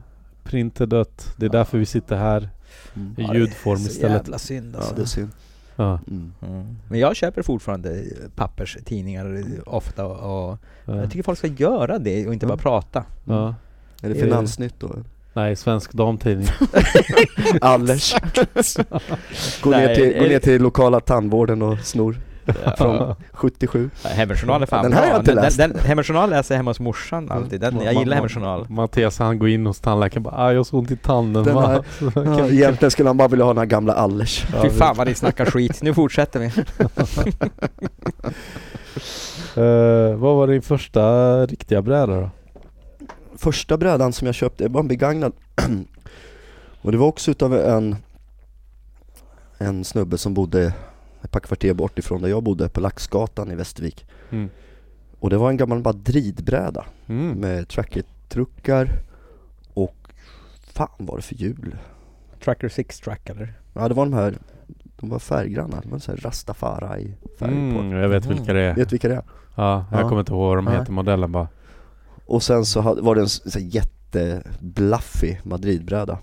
Speaker 4: print är dött. Det är
Speaker 1: Ja.
Speaker 4: därför vi sitter här
Speaker 2: Mm.
Speaker 4: i
Speaker 1: Ja, det är
Speaker 4: ljudform
Speaker 3: Så
Speaker 4: istället.
Speaker 3: jävla synd
Speaker 2: Ja,
Speaker 3: alltså.
Speaker 2: det är synd.
Speaker 4: Ja,
Speaker 2: Mm.
Speaker 1: Mm.
Speaker 3: Men jag köper fortfarande
Speaker 1: eh,
Speaker 3: papperstidningar ofta och
Speaker 4: ja,
Speaker 3: jag tycker folk ska göra det och inte
Speaker 4: Mm.
Speaker 3: bara prata.
Speaker 4: ja.
Speaker 2: Är det
Speaker 4: Är det-
Speaker 2: Finansnytt då?
Speaker 4: Nej, Svensk Damtidning.
Speaker 2: Allers. gå, ner
Speaker 1: Nej,
Speaker 2: till, gå
Speaker 1: är
Speaker 2: ner
Speaker 1: det-
Speaker 2: till lokala tandvården och snor från 77.
Speaker 1: Hemmajournal är fan
Speaker 2: Den här har jag
Speaker 1: bra.
Speaker 2: inte
Speaker 1: Den, den,
Speaker 2: läst.
Speaker 1: den, hemmajournal läser jag hemma hos morsan alltid. Den, jag
Speaker 4: Man-
Speaker 1: gillar
Speaker 4: man-
Speaker 1: hemmajournal.
Speaker 4: Mattias han går in hos tandläkaren och bara "Ah, jag har så ont i tanden.
Speaker 2: Den
Speaker 4: va?"
Speaker 2: här-
Speaker 4: Så kan
Speaker 2: Ja,
Speaker 4: vi-
Speaker 2: egentligen skulle han bara vilja ha den här gamla Allers.
Speaker 4: Ja,
Speaker 1: Fy
Speaker 4: vi-
Speaker 1: fan vad ni snackar skit. Nu fortsätter vi.
Speaker 4: Eh, vad var din första riktiga bräda då?
Speaker 2: Första brädan som jag köpte var en begagnad. och det var också utav en, en snubbe som bodde ett par kvarter bort ifrån där jag bodde, på Laxgatan i Västervik.
Speaker 4: Mm.
Speaker 2: Och det var en gammal madridbräda
Speaker 4: Mm.
Speaker 2: med tracketruckar och fan var det för hjul?
Speaker 3: Tracker 6-track eller?
Speaker 2: Ja det var de här, de var färggranna, det var så här rastafari färg
Speaker 4: Mm,
Speaker 2: på.
Speaker 4: jag vet vilka det är.
Speaker 2: Vet vilka det är?
Speaker 4: Ja, jag
Speaker 2: Ja.
Speaker 4: kommer inte ihåg vad de
Speaker 2: Nej.
Speaker 4: heter, modellen bara.
Speaker 2: Och sen så hade- var det en s- så här jätteblaffig madridbräda.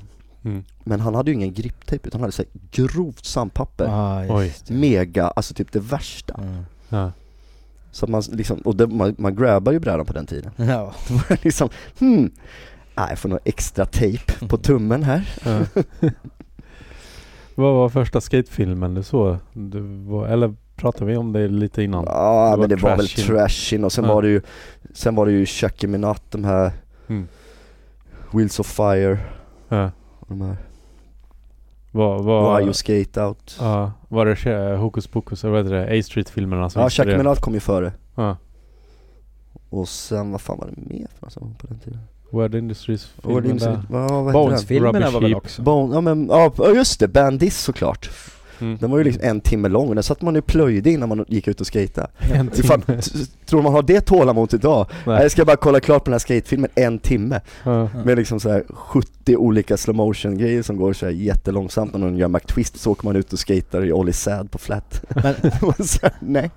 Speaker 4: Mm.
Speaker 2: Men han hade ju ingen griptejp utan han hade så här grovt sandpapper.
Speaker 3: Ah,
Speaker 4: Oj.
Speaker 2: Mega, alltså typ det värsta.
Speaker 3: Mm.
Speaker 4: Ja.
Speaker 2: Så att man s- liksom, och det, man, man grabbar ju brädan på den tiden.
Speaker 3: Ja.
Speaker 2: Då var det liksom, hmm, nej jag får nog extra tejp
Speaker 4: Mm.
Speaker 2: på tummen här.
Speaker 4: Ja. vad var första skatefilmen du såg? Du var, eller pratade vi om det lite innan?
Speaker 2: Ja
Speaker 4: Det var
Speaker 2: Ah, men det var väl
Speaker 4: trashin.
Speaker 2: trashin och sen
Speaker 4: Ja.
Speaker 2: var det ju, sen var det ju Chucky Minat, de här
Speaker 4: Mm.
Speaker 2: Wheels of Fire,
Speaker 4: Ja.
Speaker 2: och de här
Speaker 4: Var,
Speaker 2: Why
Speaker 4: var,
Speaker 2: You Skate Out.
Speaker 4: ja, var det Ch- Hokus Pokus, eller vad heter det? A-Street-filmerna som
Speaker 2: Ja,
Speaker 4: inspirerade?
Speaker 2: Chucky Minat kom ju före.
Speaker 4: Ja.
Speaker 2: Och sen, vad fan var det mer för något som var på den tiden?
Speaker 4: Word Industries-filmen
Speaker 2: Word Industry,
Speaker 4: där.
Speaker 2: vad, vad hette den?
Speaker 3: Bones-filmerna
Speaker 4: Rubbish
Speaker 3: var väl
Speaker 4: Heap.
Speaker 3: också?
Speaker 2: Bone, ja men, ja just det, Bandis såklart.
Speaker 4: Mm.
Speaker 2: Den var ju liksom en timme lång och den satt man ju och plöjde innan man gick ut och skejtade.
Speaker 4: en
Speaker 2: Ifall,
Speaker 4: timme.
Speaker 2: s- tror man har det tålamodet idag?
Speaker 4: Nej.
Speaker 2: Nej. Jag ska bara kolla klart på den här skatefilmen en timme
Speaker 4: Ja.
Speaker 2: med liksom så här 70 olika slow motion grejer som går så här jättelångsamt och någon gör McTwist så åker man ut och skater i Ollie Sad på flat.
Speaker 3: Men
Speaker 2: Och så här, Nej.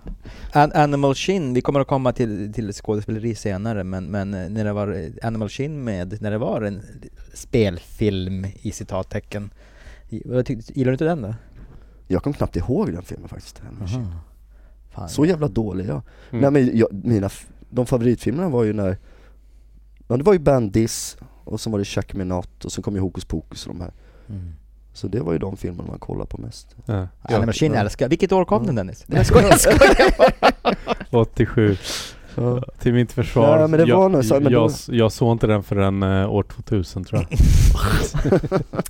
Speaker 3: An- Animal Shin, vi kommer att komma till, till skådespeleri senare, men, men eh, när det var eh, Animal Shin med, när det var en spelfilm i citattecken. I- vad tyck- Gillar du inte den då?
Speaker 2: Jag kom knappt ihåg den filmen faktiskt.
Speaker 3: Fan.
Speaker 2: Så jävla dålig jag.
Speaker 4: Mm.
Speaker 2: Nej men jag, mina, f- de favoritfilmerna var ju när, ja det var ju Bandis och sen var det Chuck Minot och sen kom ju Hokus Pokus och de här.
Speaker 3: Mm.
Speaker 2: Så det var ju de filmerna man kollade på mest.
Speaker 4: Ja.
Speaker 3: Animal Shin
Speaker 2: ja.
Speaker 3: älskar Vilket år kom
Speaker 2: Mm.
Speaker 3: den Dennis? Nej, jag skojar, jag skojar bara.
Speaker 4: 87.
Speaker 2: Ja.
Speaker 4: Till mitt försvar.
Speaker 2: Nej, men det
Speaker 4: jag,
Speaker 2: var nog så- men
Speaker 4: jag,
Speaker 2: då-
Speaker 4: jag såg inte den förrän eh, år 2000 tror jag.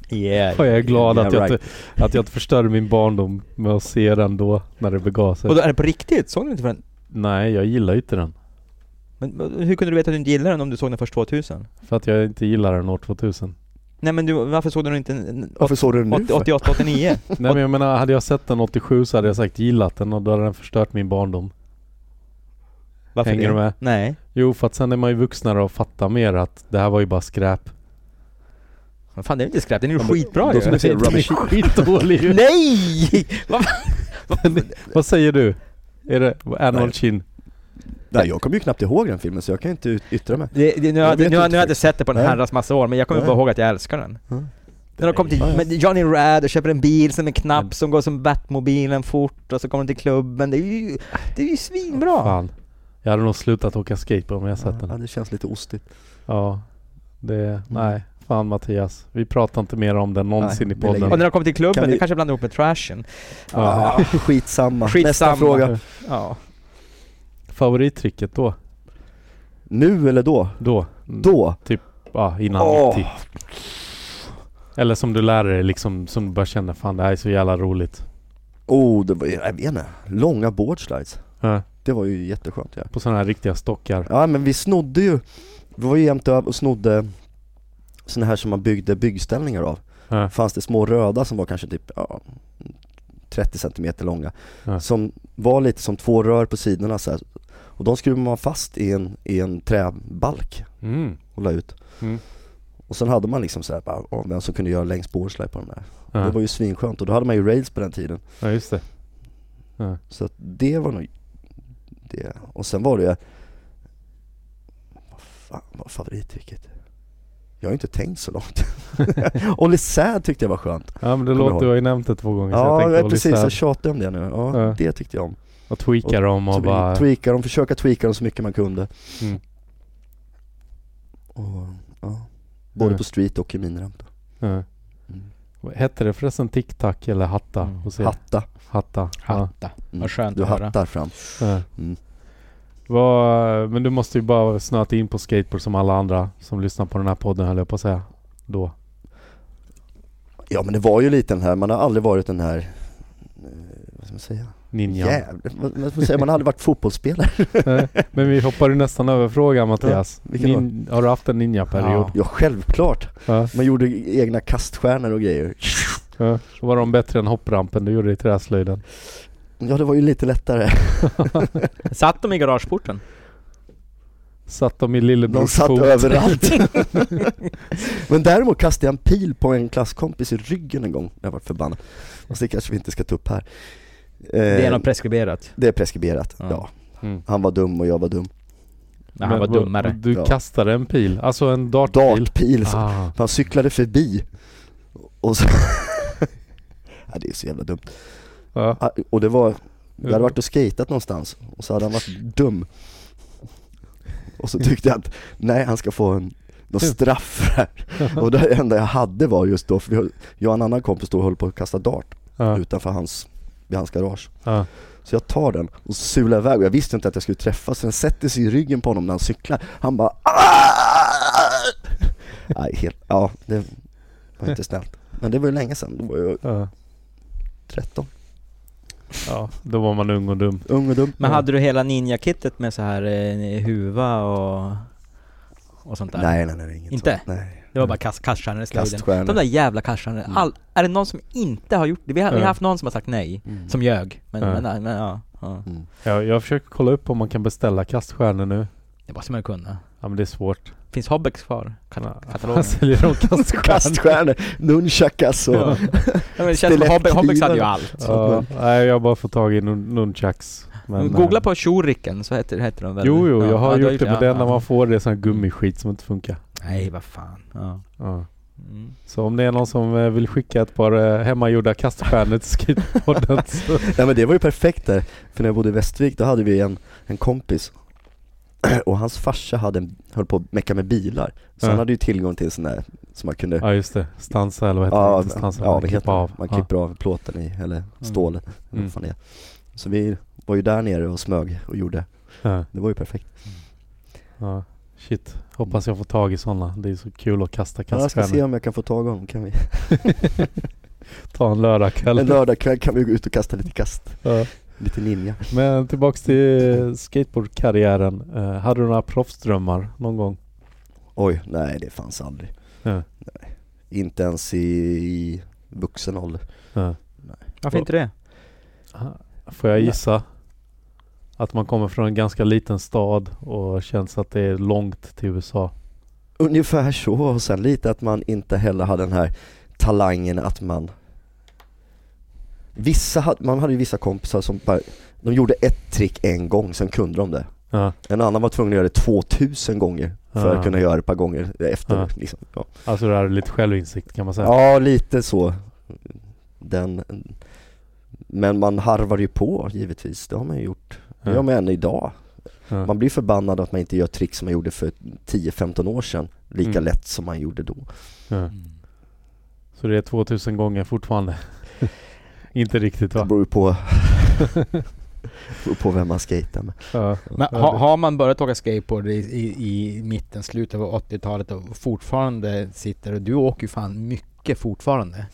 Speaker 3: yeah.
Speaker 4: Och jag är glad att,
Speaker 2: Yeah,
Speaker 4: jag inte, att jag inte förstörde min barndom med att se den då, när det begav sig.
Speaker 3: Och då är det på riktigt? Såg du inte för den?
Speaker 4: Nej, jag gillar ju inte den.
Speaker 3: Men vad- hur kunde du veta att du inte gillade den om du såg den först 2000?
Speaker 4: För att jag inte gillar den år 2000.
Speaker 3: Nej men du, varför såg du den inte en-
Speaker 2: Varför såg du den nu
Speaker 3: 80-
Speaker 2: för?
Speaker 3: 88, 89?
Speaker 4: Nej men jag menar, hade jag sett den 87 så hade jag sagt gillat den och då hade den förstört min barndom.
Speaker 3: Varför
Speaker 4: Hänger
Speaker 3: det?
Speaker 4: du med?
Speaker 3: Nej.
Speaker 4: Jo, för att sen är man ju vuxnare och fattar mer att det här var ju bara skräp.
Speaker 3: Men fan det är inte skräp, den är ju
Speaker 2: Ja, men-
Speaker 3: skitbra
Speaker 2: då
Speaker 3: ju.
Speaker 2: ska vi se
Speaker 4: Den är
Speaker 2: Rubbish.
Speaker 4: skitdålig ju.
Speaker 3: Nej!
Speaker 4: Vad säger du? Är det Animal
Speaker 2: Nej.
Speaker 4: Chin?
Speaker 2: Nej jag kommer ju knappt ihåg den filmen så jag kan ju inte ut- yttra mig.
Speaker 3: Det, det, nu, har-
Speaker 2: Jag vet
Speaker 3: nu, har-
Speaker 2: inte
Speaker 3: nu har jag inte sett det på en
Speaker 2: Nej.
Speaker 3: herrans massa år, men jag kommer
Speaker 2: Nej.
Speaker 3: bara ihåg att jag älskar den.
Speaker 2: Mm.
Speaker 3: Den har kommit till
Speaker 2: Ja, ja.
Speaker 3: men Johnny Rad och köper en bil som en knapp
Speaker 4: Mm.
Speaker 3: som går som Batmobilen fort och så kommer de till klubben. Det är ju, det är ju svinbra!
Speaker 4: Fan. Jag hade nog slutat åka skateboard om jag sett
Speaker 2: Ja,
Speaker 4: den.
Speaker 2: det känns lite ostigt.
Speaker 4: Ja. Det, nej. Fan Mattias. Vi pratar inte mer om den någonsin
Speaker 2: Nej, vi
Speaker 4: i
Speaker 2: lägger
Speaker 4: podden.
Speaker 3: Och när de kommer till klubben,
Speaker 2: Kan vi-
Speaker 3: det kanske blandar ihop med trashen.
Speaker 4: Ja.
Speaker 2: Ah, skitsamma.
Speaker 3: Skitsamma.
Speaker 2: Nästa fråga.
Speaker 3: Ja.
Speaker 4: Favorittricket då?
Speaker 2: Nu eller då?
Speaker 4: Då?
Speaker 2: Då?
Speaker 4: Ja, innan
Speaker 2: Åh.
Speaker 4: 90. Eller som du lär dig liksom, som du bara känner fan det här är så jävla roligt.
Speaker 2: Oh, det var, jag vet inte. Långa boardslides.
Speaker 4: Ja,
Speaker 2: Det var ju jätteskönt ja.
Speaker 4: på sådana här riktiga stockar.
Speaker 2: Ja men vi snodde ju, vi var ju jämt över och snodde såna här som man byggde byggställningar av.
Speaker 4: Ja.
Speaker 2: Fanns det små röda som var kanske typ ja, 30 cm långa.
Speaker 4: Ja.
Speaker 2: Som var lite som två rör på sidorna så här. Och de skruvade man fast i en, i en träbalk
Speaker 4: Mm.
Speaker 2: och la ut.
Speaker 4: Mm.
Speaker 2: Och sen hade man liksom så här, bara, ja, vem som kunde göra längst boardslide på de där. Det
Speaker 4: Ja.
Speaker 2: var ju svinskönt och då hade man ju rails på den tiden.
Speaker 4: ja, just det.
Speaker 2: Så att det var nog det. Och sen var det ju... Vad fan fan vad favorittricket? Jag har ju inte tänkt så långt. Olle Sad tyckte jag var skönt.
Speaker 4: Ja men det
Speaker 2: Kommer
Speaker 4: låter,
Speaker 2: ihåg.
Speaker 4: du har ju nämnt det två gånger så jag
Speaker 2: Ja,
Speaker 4: tänkte
Speaker 2: jag
Speaker 4: vara
Speaker 2: precis.
Speaker 4: lite
Speaker 2: Jag
Speaker 4: så
Speaker 2: tjatade om det nu. Ja,
Speaker 4: Ja.
Speaker 2: det tyckte jag om.
Speaker 4: här- och tweaka dem och
Speaker 2: Så
Speaker 4: bara...
Speaker 2: vi tweakade dem, försöka tweaka dem så mycket man kunde.
Speaker 4: Mm.
Speaker 2: Och, ja. Både
Speaker 4: Mm.
Speaker 2: på street och i min ramp.
Speaker 4: Ja.
Speaker 2: Mm.
Speaker 4: Vad Hette det förresten tic-tac eller hatta?
Speaker 3: Mm.
Speaker 4: Hos er?
Speaker 2: Hatta.
Speaker 4: hatta. Ja.
Speaker 3: Hatta.
Speaker 2: Mm.
Speaker 3: Vad skönt
Speaker 2: Du
Speaker 3: att höra.
Speaker 2: hattar fram.
Speaker 4: Ja.
Speaker 2: Mm.
Speaker 4: Vad- men du måste ju bara snöat in på skateboard som alla andra som lyssnar på den här podden höll jag på att säga. Då.
Speaker 2: Ja men det var ju lite den här, man har aldrig varit den här, eh, vad ska man säga?
Speaker 4: Ninja.
Speaker 2: Jävlar, vad, vad ska man säga? Man har aldrig varit fotbollsspelare.
Speaker 4: Nej, Men vi hoppar ju nästan över frågan Mattias.
Speaker 2: vilken då?
Speaker 4: Nin- har du haft en ninja-period?
Speaker 2: Ja självklart,
Speaker 4: Ja.
Speaker 2: man gjorde egna kaststjärnor och grejer.
Speaker 4: Ja. Var de bättre än hopprampen du gjorde i träslöjden?
Speaker 2: Ja det var ju lite lättare.
Speaker 3: Satt de i garageporten?
Speaker 4: Satt de i
Speaker 2: De
Speaker 4: lillebrors
Speaker 2: satt
Speaker 4: fot?
Speaker 2: överallt. men däremot kastade jag en pil på en klasskompis i ryggen en gång, jag var förbannad. Och det kanske vi inte ska ta upp här. Eh,
Speaker 3: Det är nog preskriberat.
Speaker 2: det är preskriberat, ja.
Speaker 3: Ja.
Speaker 4: Mm.
Speaker 2: Han var dum och jag var dum.
Speaker 3: När han
Speaker 4: Men
Speaker 3: var
Speaker 4: vad-
Speaker 3: dummare.
Speaker 4: Du
Speaker 2: Ja.
Speaker 4: kastade en pil, alltså en dartpil?
Speaker 2: Dartpil som
Speaker 4: Ah.
Speaker 2: Han cyklade förbi och så... ja, det är så jävla dumt.
Speaker 4: Ja.
Speaker 2: Ah, Och det var... Jag hade varit och skejtat någonstans och så hade han varit dum. Och så tyckte jag att, nej han ska få en någon straff för det här. Och det enda jag hade var just då, för vi höll, jag och en annan kompis då höll på att kasta dart
Speaker 4: Ja.
Speaker 2: utanför hans, vid hans garage.
Speaker 4: Ja.
Speaker 2: Så jag tar den och sular iväg och jag visste inte att jag skulle träffa så den sätter sig i ryggen på honom när han cyklar. Han bara "Ah!" Nej, helt, ja det var inte snällt. Men det var ju länge sedan, då var jag
Speaker 4: Ja.
Speaker 2: 13.
Speaker 4: ja, då var man ung och dum.
Speaker 2: Ung och dum.
Speaker 3: Men hade du hela ninja-kittet med så här eh, huva och, och sånt där?
Speaker 2: Nej, nej, nej, inget
Speaker 3: Inte?
Speaker 2: sånt. Nej.
Speaker 3: Det var bara kast, kaststjärnor i slöjden.
Speaker 2: Kaststjärnor.
Speaker 3: De där jävla kaststjärnorna.
Speaker 2: Mm.
Speaker 3: All, är det någon som inte har gjort det? Vi har, vi
Speaker 4: Ja.
Speaker 3: har haft någon som har sagt nej.
Speaker 2: Mm.
Speaker 3: Som ljög. Men,
Speaker 4: Ja.
Speaker 3: men, men, ja, ja.
Speaker 2: Mm.
Speaker 4: Ja, jag försöker kolla upp om man kan beställa kaststjärnor nu.
Speaker 3: Det måste man ju kunna.
Speaker 4: Ja men det är svårt.
Speaker 3: Finns Hobbex kvar? Kat-
Speaker 4: Ja,
Speaker 3: Katalogen?
Speaker 4: Man säljer de kaststjärnor.
Speaker 2: Kaststjärnor, nunchakas och...
Speaker 3: Ja. Ja, men det känns som Hobbe, Hobbex hade ju allt.
Speaker 4: Ja, nej, jag har bara fått tag i nun- nunchucks. Men,
Speaker 3: Mm, Googla
Speaker 4: eh,
Speaker 3: på shuriken så heter, heter de väl?
Speaker 4: Jo, jo,
Speaker 3: Ja,
Speaker 4: jag har
Speaker 3: ja, du
Speaker 4: gjort det, men det enda
Speaker 3: ja,
Speaker 4: man får det är sån här gummiskit som inte funkar.
Speaker 3: ja. Nej, vad fan. Ja.
Speaker 4: Ja.
Speaker 3: Mm.
Speaker 4: Så om det är någon som eh, vill skicka ett par eh, hemmagjorda kaststjärnor till skateboarden så...
Speaker 2: Nej men det var ju perfekt där, för när jag bodde i Västervik då hade vi en, en kompis och hans farsa hade en, höll på att mecka med bilar, så
Speaker 4: Ja.
Speaker 2: han hade ju tillgång till en sån där som man kunde
Speaker 4: Ja just det, stansa eller vad heter det?
Speaker 2: Ja,
Speaker 4: Inte Stansa,
Speaker 2: ja
Speaker 4: man
Speaker 2: det
Speaker 4: klipper
Speaker 2: heter av. Man
Speaker 4: Ja.
Speaker 2: klipper av plåten i, eller stålet, eller
Speaker 4: Mm.
Speaker 2: vad fan det är. Så vi var ju där nere och smög och gjorde,
Speaker 4: Ja.
Speaker 2: det var ju perfekt.
Speaker 4: Ja. Shit, hoppas jag får tag i sådana. Det är så kul att kasta
Speaker 2: Ja, jag ska se
Speaker 4: kaststjärnor.
Speaker 2: om jag kan få tag i honom, kan vi?
Speaker 4: Ta en lördagkväll.
Speaker 2: En lördagkväll kan vi gå ut och kasta lite kast,
Speaker 4: Ja.
Speaker 2: lite ninja.
Speaker 4: Men tillbaks till skateboardkarriären. Eh, hade du några proffsdrömmar någon gång?
Speaker 2: Oj, nej det fanns aldrig.
Speaker 4: Ja.
Speaker 2: Nej. Inte ens i, i vuxen ålder.
Speaker 4: Ja.
Speaker 3: Varför inte det?
Speaker 4: Får jag gissa? Att man kommer från en ganska liten stad och känns att det är långt till USA.
Speaker 2: Ungefär så, och sen lite att man inte heller hade den här talangen att man Vissa, hade- man hade ju vissa kompisar som bara, de gjorde ett trick en gång, sen kunde de det.
Speaker 4: Ja.
Speaker 2: En annan var tvungen att göra det 2000 gånger för
Speaker 4: Ja.
Speaker 2: att kunna göra det ett par gånger efter.
Speaker 4: Ja.
Speaker 2: Ja, liksom. ja.
Speaker 4: Alltså det här är lite självinsikt kan man säga.
Speaker 2: ja lite så. Den, men man harvar ju på givetvis, det har man ju gjort. Det
Speaker 4: Ja.
Speaker 2: gör man än idag.
Speaker 4: Ja.
Speaker 2: Man blir förbannad att man inte gör trick som man gjorde för 10-15 år sedan, lika
Speaker 4: Mm.
Speaker 2: lätt som man gjorde då.
Speaker 4: Ja.
Speaker 3: Mm.
Speaker 4: Så det är 2000 gånger fortfarande. Inte riktigt
Speaker 2: Det
Speaker 4: va?
Speaker 2: beror ju på, beror på vem man skejtar med.
Speaker 4: Ja.
Speaker 1: Men
Speaker 4: Ja,
Speaker 1: ha,
Speaker 4: det-
Speaker 1: har man börjat åka skateboard i, i, i mitten, slutet av 80-talet och fortfarande sitter och du åker ju fan mycket fortfarande.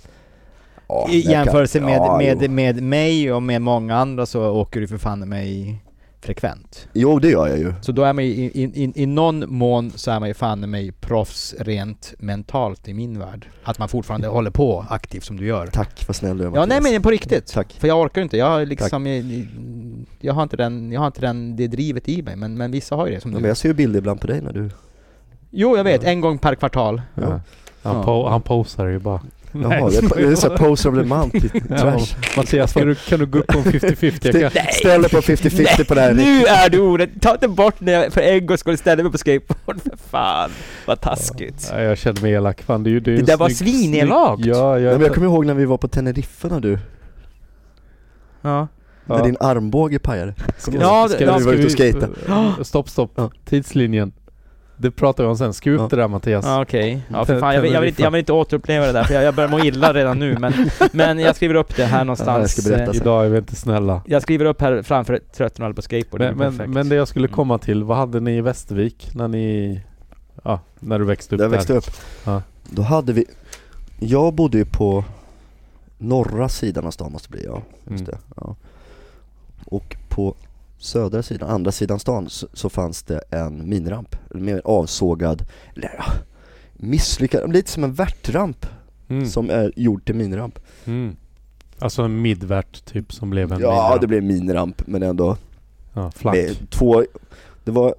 Speaker 2: Ja,
Speaker 1: I
Speaker 2: jag kan-
Speaker 1: jämförelse med,
Speaker 2: ja,
Speaker 1: med,
Speaker 2: jo.
Speaker 1: med mig och med många andra så åker du för fan mig frekvent.
Speaker 2: jo, det gör jag ju.
Speaker 1: Så då är man ju i, i, i, i någon mån så är man ju fan mig proffs rent mentalt i min värld. Att man fortfarande håller på aktivt som du gör.
Speaker 2: Tack, vad snäll du är
Speaker 1: Ja nej
Speaker 2: Mattias.
Speaker 1: men på riktigt.
Speaker 2: Tack.
Speaker 1: För jag orkar inte, jag har liksom, jag, jag har inte den, jag har inte den, det drivet i mig men, men vissa har ju det som
Speaker 2: Ja,
Speaker 1: du.
Speaker 2: men jag ser ju bilder ibland på dig när du...
Speaker 1: Jo jag vet, en gång per kvartal.
Speaker 4: Ja. Han, po- han posar ju bara.
Speaker 2: Jaha, det är, det är så här poser of the month i
Speaker 4: Ja,
Speaker 2: tvärs.
Speaker 4: Mattias, kan du, kan du gå upp på en 50-50? Jag kan-
Speaker 2: Stä- Ställ dig på 50-50 på det här.
Speaker 1: Nu är du ordet! Ta inte bort när jag för en gångs skull ställer mig på skateboard, för fan. Vad taskigt.
Speaker 4: Ja, jag känner mig elak. Fan, det är ju, det är ju
Speaker 1: Det
Speaker 4: en
Speaker 1: där var
Speaker 4: snygg- snygg-
Speaker 1: svinelakt.
Speaker 4: Ja,
Speaker 2: Nej,
Speaker 4: jag,
Speaker 2: men jag kommer ihåg när vi var på Teneriffa när du,
Speaker 1: Ja.
Speaker 2: när
Speaker 4: Ja.
Speaker 2: din armbåge pajade.
Speaker 4: Ska,
Speaker 1: Ja, det- ja.
Speaker 2: Vi var ute och skejtade.
Speaker 4: eh, Stopp, stopp.
Speaker 2: Ja.
Speaker 4: Tidslinjen. Det pratar vi om sen. Skjut
Speaker 2: Ja.
Speaker 4: det där Mattias.
Speaker 1: Ja, Okej, ja, för fan, jag, vill, jag, vill inte,
Speaker 4: Teneriffa.
Speaker 1: jag vill inte återuppleva det där för jag, jag börjar må illa redan nu men, men jag skriver upp det här någonstans.
Speaker 2: Ja, jag ska berätta
Speaker 1: Eh,
Speaker 2: sen.
Speaker 4: Idag är vi inte snälla.
Speaker 1: jag skriver upp här framför trötten och alla på skateboard,
Speaker 4: Men,
Speaker 1: det blir
Speaker 4: men,
Speaker 1: perfekt.
Speaker 4: men det jag skulle
Speaker 1: Mm.
Speaker 4: komma till, vad hade ni i Västervik när ni... Ja, när du växte upp
Speaker 2: Där jag växte upp.
Speaker 4: Ja.
Speaker 2: Då hade vi, jag bodde ju på norra sidan av stan måste det bli ja. Just
Speaker 4: Mm.
Speaker 2: det, ja. Och på södra sidan, andra sidan stan, så, så fanns det en minramp. Med avsågad, eller ja, misslyckad, lite som en värtramp
Speaker 4: Mm.
Speaker 2: som är gjord till minramp.
Speaker 4: Mm. Alltså en midvärt typ som blev en
Speaker 2: ja,
Speaker 4: midvärt.
Speaker 2: det blev en minramp men ändå
Speaker 4: ja, flack.
Speaker 2: med två, det var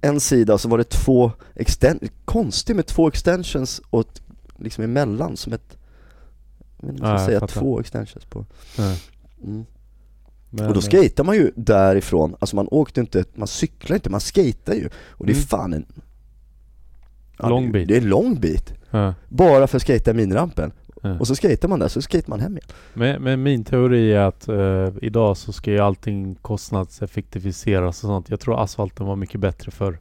Speaker 2: en sida och så var det två, exten- konstigt med två extensions och ett, liksom emellan som ett, jag vet inte vad
Speaker 4: Ja,
Speaker 2: jag
Speaker 4: jag
Speaker 2: ska säga,
Speaker 4: fattar.
Speaker 2: två extensions på.
Speaker 4: Ja.
Speaker 2: Mm.
Speaker 4: Men,
Speaker 2: Och då
Speaker 4: eh,
Speaker 2: skejtar man ju därifrån, alltså man åkte inte, man cyklar inte, man skejtar ju. Och det är
Speaker 4: Mm.
Speaker 2: fan en...
Speaker 4: Lång
Speaker 2: det,
Speaker 4: bit.
Speaker 2: Det är en lång bit.
Speaker 4: ja.
Speaker 2: Bara för att skejta minrampen.
Speaker 4: Ja.
Speaker 2: Och så skejtar man där, så skejtar man hem igen.
Speaker 4: Men, men min teori är att eh, idag så ska ju allting kostnadseffektiviseras och sånt. Jag tror asfalten var mycket bättre förr.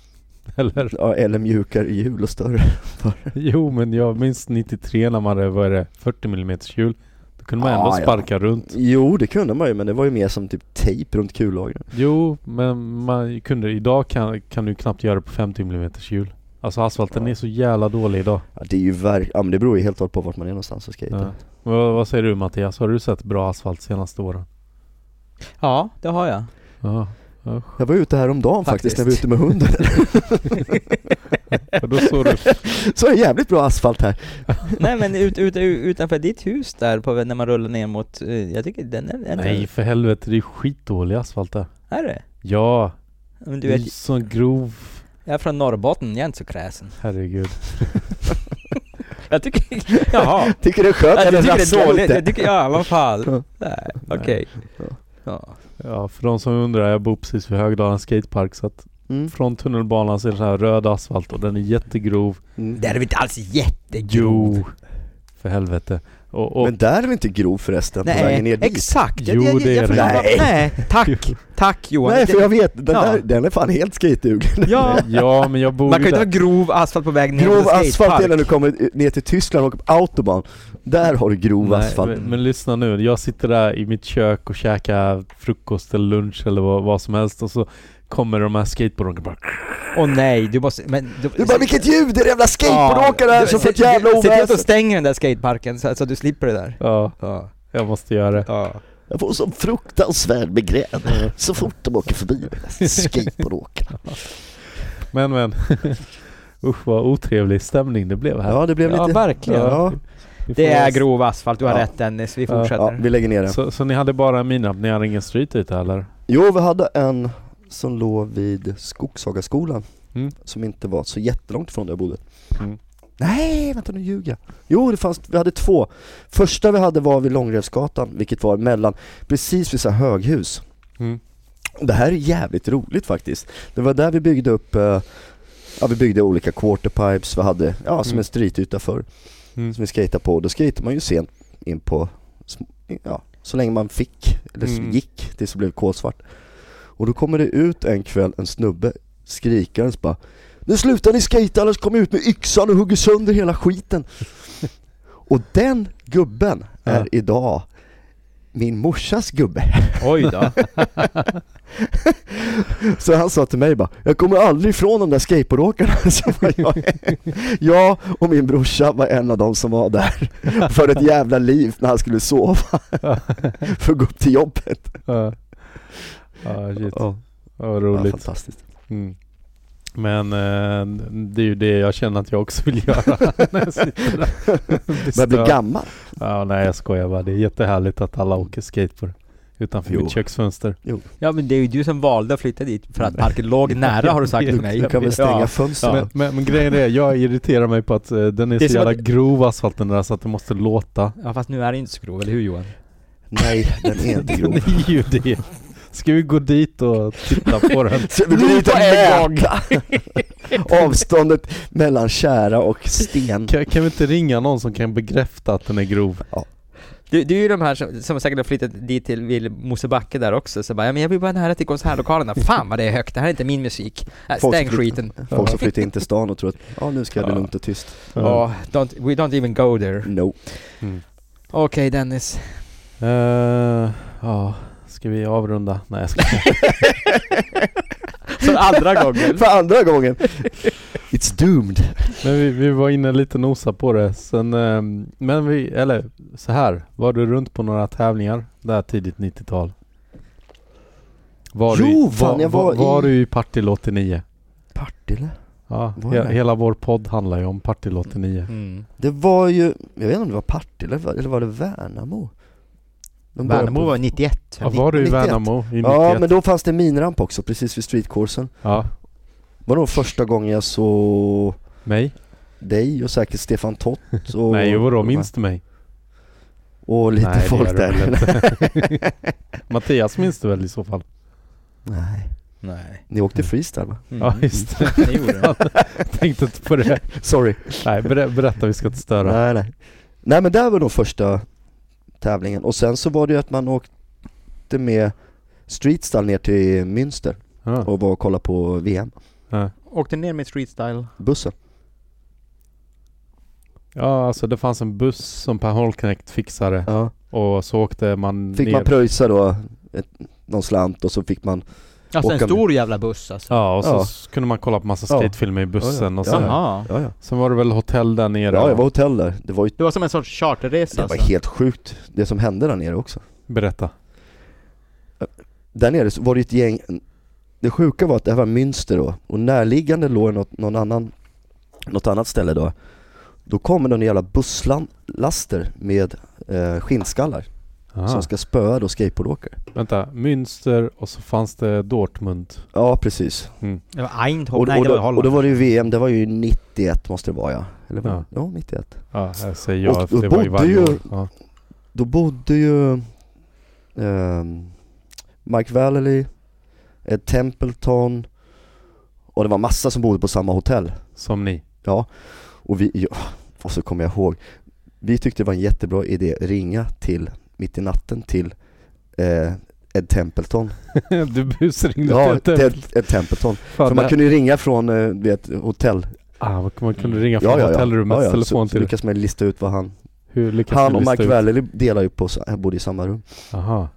Speaker 4: Eller?
Speaker 2: Ja, eller mjukare hjul och större.
Speaker 4: Jo, men jag minns 93 när man hade, vad är det, 40 mm hjul. Då kunde man
Speaker 2: Ah,
Speaker 4: ändå
Speaker 2: ja.
Speaker 4: sparka runt.
Speaker 2: Jo, det kunde man ju, men det var ju mer som typ tejp runt kullagren.
Speaker 4: Jo, men man kunde, idag kan, kan du knappt göra det på 50 mm hjul. Alltså asfalten
Speaker 2: Ja.
Speaker 4: är så jävla dålig idag.
Speaker 2: Ja, det är ju verk... ja, men det beror ju helt och hållet på vart man är någonstans och skejtar.
Speaker 4: Ja. Men Vad, vad säger du Mattias? Har du sett bra asfalt senaste åren?
Speaker 3: Ja, det har jag.
Speaker 4: Ja.
Speaker 2: Jag var ute häromdagen faktiskt,
Speaker 3: Faktiskt.
Speaker 2: när vi var ute med hunden.
Speaker 4: För Då såg du...
Speaker 2: så är det jävligt bra asfalt här.
Speaker 3: Nej men ut, ut, utanför ditt hus där, på, när man rullar ner mot, eh, jag tycker den är... Den
Speaker 4: Nej för helvete, det är skitdålig asfalt där.
Speaker 3: Är det?
Speaker 4: Ja,
Speaker 3: Men du
Speaker 4: det
Speaker 3: vet,
Speaker 4: är sån grov...
Speaker 3: jag är från Norrbotten, jag är inte så kräsen.
Speaker 4: Herregud.
Speaker 3: Jag tycker... Jaha.
Speaker 2: Tycker du det är skönt?
Speaker 3: Jag
Speaker 2: eller
Speaker 3: tycker det
Speaker 2: rasslar
Speaker 3: är dåligt,
Speaker 2: lite?
Speaker 3: jag tycker, ja i alla fall. Nej,
Speaker 4: Nej.
Speaker 3: Okej.
Speaker 2: Ja.
Speaker 3: Ja.
Speaker 4: Ja, för de som undrar, jag bor precis vid Högdalens skatepark så att
Speaker 2: Mm.
Speaker 4: från tunnelbanan ser det så här röd asfalt och den är jättegrov.
Speaker 2: Mm.
Speaker 3: Det är väl inte alls jättegrov?
Speaker 4: Jo! För helvete. Och, och
Speaker 2: Men där är väl inte grov förresten på vägen
Speaker 3: Nej,
Speaker 2: ner dit?
Speaker 3: exakt! Jag-
Speaker 4: Jo,
Speaker 3: jag-
Speaker 4: det
Speaker 3: jag
Speaker 4: är
Speaker 3: förstår
Speaker 2: det.
Speaker 3: vad-
Speaker 2: Nej.
Speaker 3: Nej, tack! Tack Johan!
Speaker 2: Nej för jag vet, den,
Speaker 3: Ja.
Speaker 2: där, den är fan helt skateduglig.
Speaker 3: Ja!
Speaker 4: ja, men jag bor
Speaker 3: Man kan ju inte ha
Speaker 4: där.
Speaker 3: grov asfalt på vägen ner
Speaker 2: Grov
Speaker 3: till
Speaker 2: asfalt
Speaker 3: skatepark.
Speaker 2: är när du kommer eh, ner till Tyskland och åker på autobahn. Där har du grov asfalt.
Speaker 4: men, men lyssna nu, jag sitter där i mitt kök och käkar frukost eller lunch eller vad, vad som helst och så kommer de här skateboardarna och bara
Speaker 3: Åh nej, du måste... Men,
Speaker 2: Du bara vilket ljud! Det är en jävla skateboardåkare här
Speaker 3: Ja,
Speaker 2: som
Speaker 3: se-
Speaker 2: får ett jävla
Speaker 3: Se till att du
Speaker 2: oväsen!
Speaker 3: stänger den där skateparken så, så att du slipper det där.
Speaker 4: Ja,
Speaker 3: Ja.
Speaker 4: jag måste göra det.
Speaker 3: ja.
Speaker 2: Jag får sån fruktansvärd migrän så fort de åker förbi skateboardåkarna.
Speaker 4: Men men. Usch vad otrevlig stämning det blev här.
Speaker 2: Ja det blev
Speaker 3: Ja,
Speaker 2: lite...
Speaker 3: verkligen.
Speaker 2: Ja,
Speaker 4: Vi får-
Speaker 3: Det är grov asfalt, du har
Speaker 2: Ja.
Speaker 3: rätt Dennis. Vi
Speaker 4: Ja.
Speaker 2: ja,
Speaker 3: fortsätter.
Speaker 2: vi lägger ner den.
Speaker 4: Så, så ni hade bara en minramp, ni hade ingen strytyta eller?
Speaker 2: Jo vi hade en som låg vid Skogshagaskolan
Speaker 4: Mm.
Speaker 2: som inte var så jättelångt från där jag bodde.
Speaker 4: Mm.
Speaker 2: Nej, vänta nu ljuger jag. Jo, det fanns, vi hade två. Första vi hade var vid Långrevsgatan, vilket var mellan, precis vid så här höghus.
Speaker 4: Mm.
Speaker 2: Det här är jävligt roligt faktiskt. Det var där vi byggde upp, eh, ja vi byggde olika quarterpipes, vi hade, ja som
Speaker 4: Mm.
Speaker 2: en streetyta förr,
Speaker 4: Mm.
Speaker 2: som vi skejtade på. Då skejtade man ju sent in på, sm- ja, så länge man fick, eller så
Speaker 4: Mm.
Speaker 2: gick, tills det blev kolsvart. Och då kommer det ut en kväll en snubbe skrikandes bara Nu slutar ni skejta annars kommer jag ut med yxan och hugger sönder hela skiten. och den gubben är
Speaker 4: Ja.
Speaker 2: idag min morsas gubbe.
Speaker 3: Oj då.
Speaker 2: Så han sa till mig bara, jag kommer aldrig ifrån de där skateboardåkarna som var jag. jag och min brorsa var en av de som var där för ett jävla liv när han skulle sova för att gå upp till jobbet.
Speaker 4: Ja, Ja, shit.
Speaker 2: Ja,
Speaker 4: Ja, vad
Speaker 2: ja,
Speaker 4: roligt.
Speaker 2: fantastiskt.
Speaker 4: Mm. Men eh, det är ju det jag känner att jag också vill göra när jag sitter där. Blir
Speaker 2: Börjar bli
Speaker 4: störd.
Speaker 2: gammal.
Speaker 4: Mm. Ja, nej jag skojar bara. Det är jättehärligt att alla åker skateboard. utanför
Speaker 2: Jo.
Speaker 4: mitt köksfönster.
Speaker 3: Ja men det är ju du som valde att flytta dit för att parken låg nära har du sagt till mig.
Speaker 2: Du kan väl stänga
Speaker 3: Ja.
Speaker 2: fönstren?
Speaker 4: Men, men, men grejen är, jag irriterar mig på att eh, den är,
Speaker 3: Det är
Speaker 4: så
Speaker 3: som
Speaker 4: jävla
Speaker 3: att-
Speaker 4: grov asfalten där så att det måste låta.
Speaker 3: Ja fast nu är det inte så grov, eller hur Johan?
Speaker 2: Nej, den är inte
Speaker 4: Den
Speaker 2: grov.
Speaker 4: är ju det. Ska vi gå dit och titta på den?
Speaker 2: Så vi går dit och mäta avståndet mellan kära och sten.
Speaker 4: Kan, kan vi inte ringa någon som kan bekräfta att den är grov?
Speaker 3: Du, du är ju de här som, som säkert har flyttat dit till vill Mosebacke där också, så bara ja, men jag vill bara nära till konsertlokalerna, fan vad det är högt, det här är inte min musik. Äh,
Speaker 2: Folk
Speaker 3: stäng
Speaker 2: som flyttar-
Speaker 3: skiten.
Speaker 2: Folk som flyttar in till stan och tror att ja nu ska jag bli lugnt och tyst.
Speaker 3: Ja, don't, we don't even go there. Okej
Speaker 2: No.
Speaker 3: Dennis.
Speaker 4: Mm. Eh, ja, ska vi avrunda? Nej jag ska
Speaker 3: Som andra gången.
Speaker 2: För andra gången! It's doomed!
Speaker 4: Men vi, vi var inne lite nosa på det. Sen, eh, men vi, eller så här. Var du runt på några tävlingar där tidigt 90-tal? Var
Speaker 2: Jo,
Speaker 4: du,
Speaker 2: fan, jag var
Speaker 4: var,
Speaker 2: i-
Speaker 4: var du i Partille 89?
Speaker 2: Partille?
Speaker 4: Ja,
Speaker 2: Var
Speaker 4: he,
Speaker 2: jag?
Speaker 4: hela vår podd handlar ju om Partille 89.
Speaker 3: Mm.
Speaker 2: Det var ju, jag vet inte om det var Partille eller var det Värnamo? De började
Speaker 3: Värnamo
Speaker 2: på-
Speaker 3: var 91.
Speaker 4: Ja, var du i
Speaker 2: 91?
Speaker 4: Värnamo i 91?
Speaker 2: Ja men då fanns det minramp också, precis vid streetcoursen.
Speaker 4: Ja,
Speaker 2: Var nog första gången jag såg
Speaker 4: mig?
Speaker 2: dig och säkert Stefan Tott och...
Speaker 4: Nej, vadå? Minns du mig?
Speaker 2: Och lite
Speaker 4: Nej, det
Speaker 2: folk
Speaker 4: gör du väl
Speaker 2: där.
Speaker 4: inte. Mattias minns du väl i så fall?
Speaker 2: Nej.
Speaker 3: Nej.
Speaker 2: Ni åkte freestyle va?
Speaker 3: Mm.
Speaker 4: Ja, just det.
Speaker 3: Det gjorde det.
Speaker 4: Tänkte inte på det.
Speaker 2: Sorry.
Speaker 4: Nej, ber- berätta, vi ska inte störa.
Speaker 2: Nej, nej. nej men där var nog första tävlingen och sen så var det ju att man åkte med Streetstyle ner till Münster
Speaker 4: Ja.
Speaker 2: och var och kollade på VM,
Speaker 4: Ja.
Speaker 3: Åkte ner med streetstyle.
Speaker 2: bussen.
Speaker 4: Ja, alltså det fanns en buss som Per Holknekt fixade
Speaker 2: Ja.
Speaker 4: och så åkte man
Speaker 2: Fick
Speaker 4: ner.
Speaker 2: man pröjsa då ett, någon slant och så fick man,
Speaker 3: Alltså en
Speaker 2: Åka med.
Speaker 3: stor jävla buss alltså.
Speaker 4: Ja, och så
Speaker 2: Ja.
Speaker 4: s- kunde man kolla på massa
Speaker 2: Ja.
Speaker 4: skatefilmer i bussen och
Speaker 2: Ja,
Speaker 4: så.
Speaker 2: ja.
Speaker 3: Jaha.
Speaker 2: ja ja,
Speaker 4: Sen var det väl hotell där nere.
Speaker 2: ja jag var hotell där, det var ju,
Speaker 3: Det var som en sorts
Speaker 2: det
Speaker 3: charterresa
Speaker 2: var
Speaker 3: alltså.
Speaker 2: helt sjukt det som hände där nere också.
Speaker 4: Berätta.
Speaker 2: Där nere så var det ett gäng, det sjuka var att det här var Münster då och närliggande låg något, någon annan, något annat ställe då. Då kommer någon jävla busslaster med eh, skinnskallar
Speaker 4: Aha.
Speaker 2: som ska spöa då skateboardåkare.
Speaker 4: Vänta, Münster och så fanns det Dortmund.
Speaker 2: Ja precis.
Speaker 3: Det var Eindhoven,
Speaker 2: Och,
Speaker 3: nej
Speaker 2: och,
Speaker 3: det var
Speaker 2: då, och
Speaker 3: Holland.
Speaker 2: då var det ju VM, det var ju 91 måste det vara ja. Eller var,
Speaker 4: Ja.
Speaker 2: ja. ja 91.
Speaker 4: Ja, här säger jag
Speaker 2: Och-
Speaker 4: för
Speaker 2: och
Speaker 4: det var ju
Speaker 2: bodde
Speaker 4: varje
Speaker 2: ju-
Speaker 4: år. Ja.
Speaker 2: Då bodde ju ehm, Mike Valley, eh, Templeton och det var massa som bodde på samma hotell.
Speaker 4: Som ni.
Speaker 2: Och vi, ja, och så kommer jag ihåg, vi tyckte det var en jättebra idé att ringa till, mitt i natten till eh, Ed Templeton.
Speaker 4: du busringde
Speaker 2: Ja,
Speaker 4: till hotell.
Speaker 2: Ted- Ed Templeton. För
Speaker 4: Fan, det-
Speaker 2: man kunde ju ringa från, eh, du vet, hotell.
Speaker 4: ah, man- man kunde ringa från hotellrummets
Speaker 2: Ja, ja.
Speaker 4: telefon
Speaker 2: så, så
Speaker 4: till...
Speaker 2: lyckas man lista ut vad han...
Speaker 4: hur lyckas
Speaker 2: Han
Speaker 4: du
Speaker 2: och
Speaker 4: lista
Speaker 2: Mike
Speaker 4: ut?
Speaker 2: Valley delar ju på, sa- bodde i samma rum.
Speaker 4: Aha.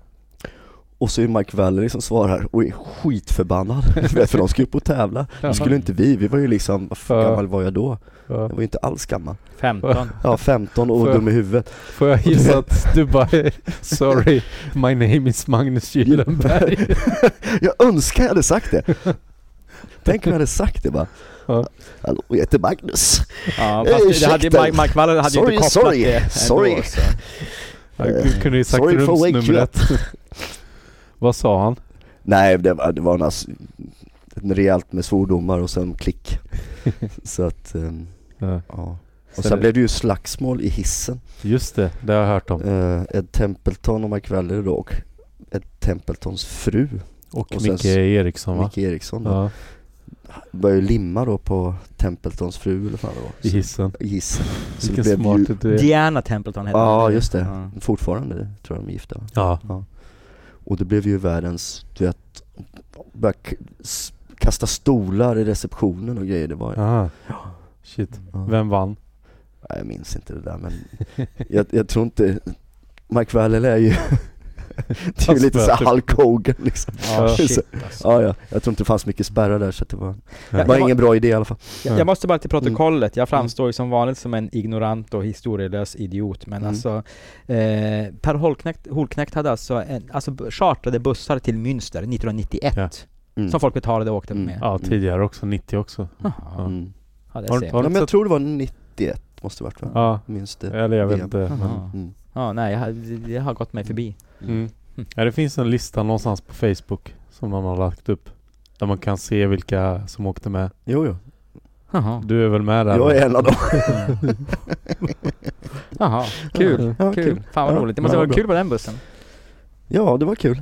Speaker 2: Och så är Mike Valley som svarar och är skitförbannad. Du vet, för de skulle upp och tävla.
Speaker 4: Ja.
Speaker 2: Det skulle inte vi, vi var ju liksom, vad fan
Speaker 4: Ja.
Speaker 2: gammal var jag då?
Speaker 4: Ja.
Speaker 2: Jag var ju inte alls gammal.
Speaker 3: 15.
Speaker 2: Ja, 15 och
Speaker 4: Får jag-
Speaker 2: dum i huvudet.
Speaker 4: Får jag gissa att du bara Sorry, my name is Magnus Gyllenberg.
Speaker 2: Jag önskar jag hade sagt det. Tänk om jag hade sagt det bara.
Speaker 4: Ja.
Speaker 2: Hallå, jag heter Magnus.
Speaker 3: Ja,
Speaker 2: Eh,
Speaker 3: fast det
Speaker 2: ursäkta.
Speaker 3: hade, Mike, Mike Waller hade ju
Speaker 2: Sorry,
Speaker 3: inte kopplat
Speaker 2: sorry,
Speaker 3: det ändå,
Speaker 2: sorry.
Speaker 3: så.
Speaker 4: Ja, Du kunde ju sagt
Speaker 2: Sorry for wake you
Speaker 4: rumsnumret. Vad sa han?
Speaker 2: Nej, det var, det var en, ass- en rejält med svordomar och sen klick. Så att, ehm,
Speaker 4: Ja,
Speaker 2: ja.
Speaker 4: Så
Speaker 2: Och sen
Speaker 4: det-
Speaker 2: blev det ju slagsmål i hissen.
Speaker 4: Just det, det har jag hört om.
Speaker 2: Eh, Ed Templeton och Mike Valley då och Ed Templetons fru,
Speaker 4: Och,
Speaker 2: och sen
Speaker 4: Micke
Speaker 2: s-
Speaker 4: Eriksson va?
Speaker 2: Micke Eriksson då.
Speaker 4: Ja,
Speaker 2: började ju limma då på Templetons fru eller vad fan
Speaker 4: I
Speaker 2: det var.
Speaker 4: hissen.
Speaker 2: I hissen. Så
Speaker 4: Vilken
Speaker 2: det blev
Speaker 4: smart
Speaker 2: ju-
Speaker 4: du är.
Speaker 3: Diana Templeton hette
Speaker 2: Ja,
Speaker 3: hon.
Speaker 2: just det.
Speaker 3: Ja.
Speaker 2: Fortfarande tror jag de är gifta. va?
Speaker 4: Ja,
Speaker 2: Och det blev ju världens, du vet, började k- s- kasta stolar i receptionen och grejer. Det var,
Speaker 4: aha. Ah, Shit.
Speaker 2: ja.
Speaker 4: Vem vann?
Speaker 2: Nej, jag minns inte det där men jag, jag tror inte, Mike Valley är ju det är ju lite
Speaker 4: spöter.
Speaker 2: såhär Hulk Hogan liksom.
Speaker 3: Ja,
Speaker 4: Ja.
Speaker 3: shit alltså.
Speaker 2: Ja, ja, jag tror inte det fanns mycket spärrar där så att det var, det
Speaker 3: Jag-
Speaker 2: var
Speaker 3: jag-
Speaker 2: ingen bra idé i alla fall.
Speaker 4: Ja.
Speaker 3: Jag, jag måste bara
Speaker 2: Mm.
Speaker 3: till protokollet, jag framstår ju som vanligt som en ignorant och historielös idiot men
Speaker 2: Mm.
Speaker 3: alltså eh, Per Holknekt, Holknekt hade alltså, en, alltså b- chartrade bussar till Münster 1991
Speaker 4: Ja.
Speaker 2: Mm.
Speaker 3: som folk betalade och åkte
Speaker 2: Mm.
Speaker 3: med.
Speaker 4: Ja, tidigare också. 90 också.
Speaker 3: Jaha,
Speaker 2: Mm.
Speaker 3: ja, det
Speaker 4: Har-
Speaker 3: ser
Speaker 4: har-
Speaker 3: man.
Speaker 2: Ja, men jag
Speaker 4: sett-
Speaker 2: tror det var 91 måste det varit va?
Speaker 4: Ja,
Speaker 2: Minns det.
Speaker 4: eller jag vet
Speaker 2: VM.
Speaker 4: inte. Men,
Speaker 3: Jaha.
Speaker 2: Mm.
Speaker 3: Ja, nej, jag, har- det har gått mig förbi.
Speaker 4: mm. Ja, det finns en lista någonstans på Facebook som de har lagt upp. Där man kan se vilka som åkte med.
Speaker 2: Jo, jo.
Speaker 1: Jaha,
Speaker 4: Du är väl med där?
Speaker 2: Jag är en av dem.
Speaker 1: Jaha. kul.
Speaker 2: Ja,
Speaker 1: Kul. Fan vad
Speaker 2: Ja,
Speaker 1: roligt. Det måste
Speaker 4: ja,
Speaker 1: vara
Speaker 4: bra.
Speaker 1: kul på den bussen.
Speaker 2: Ja, det var kul.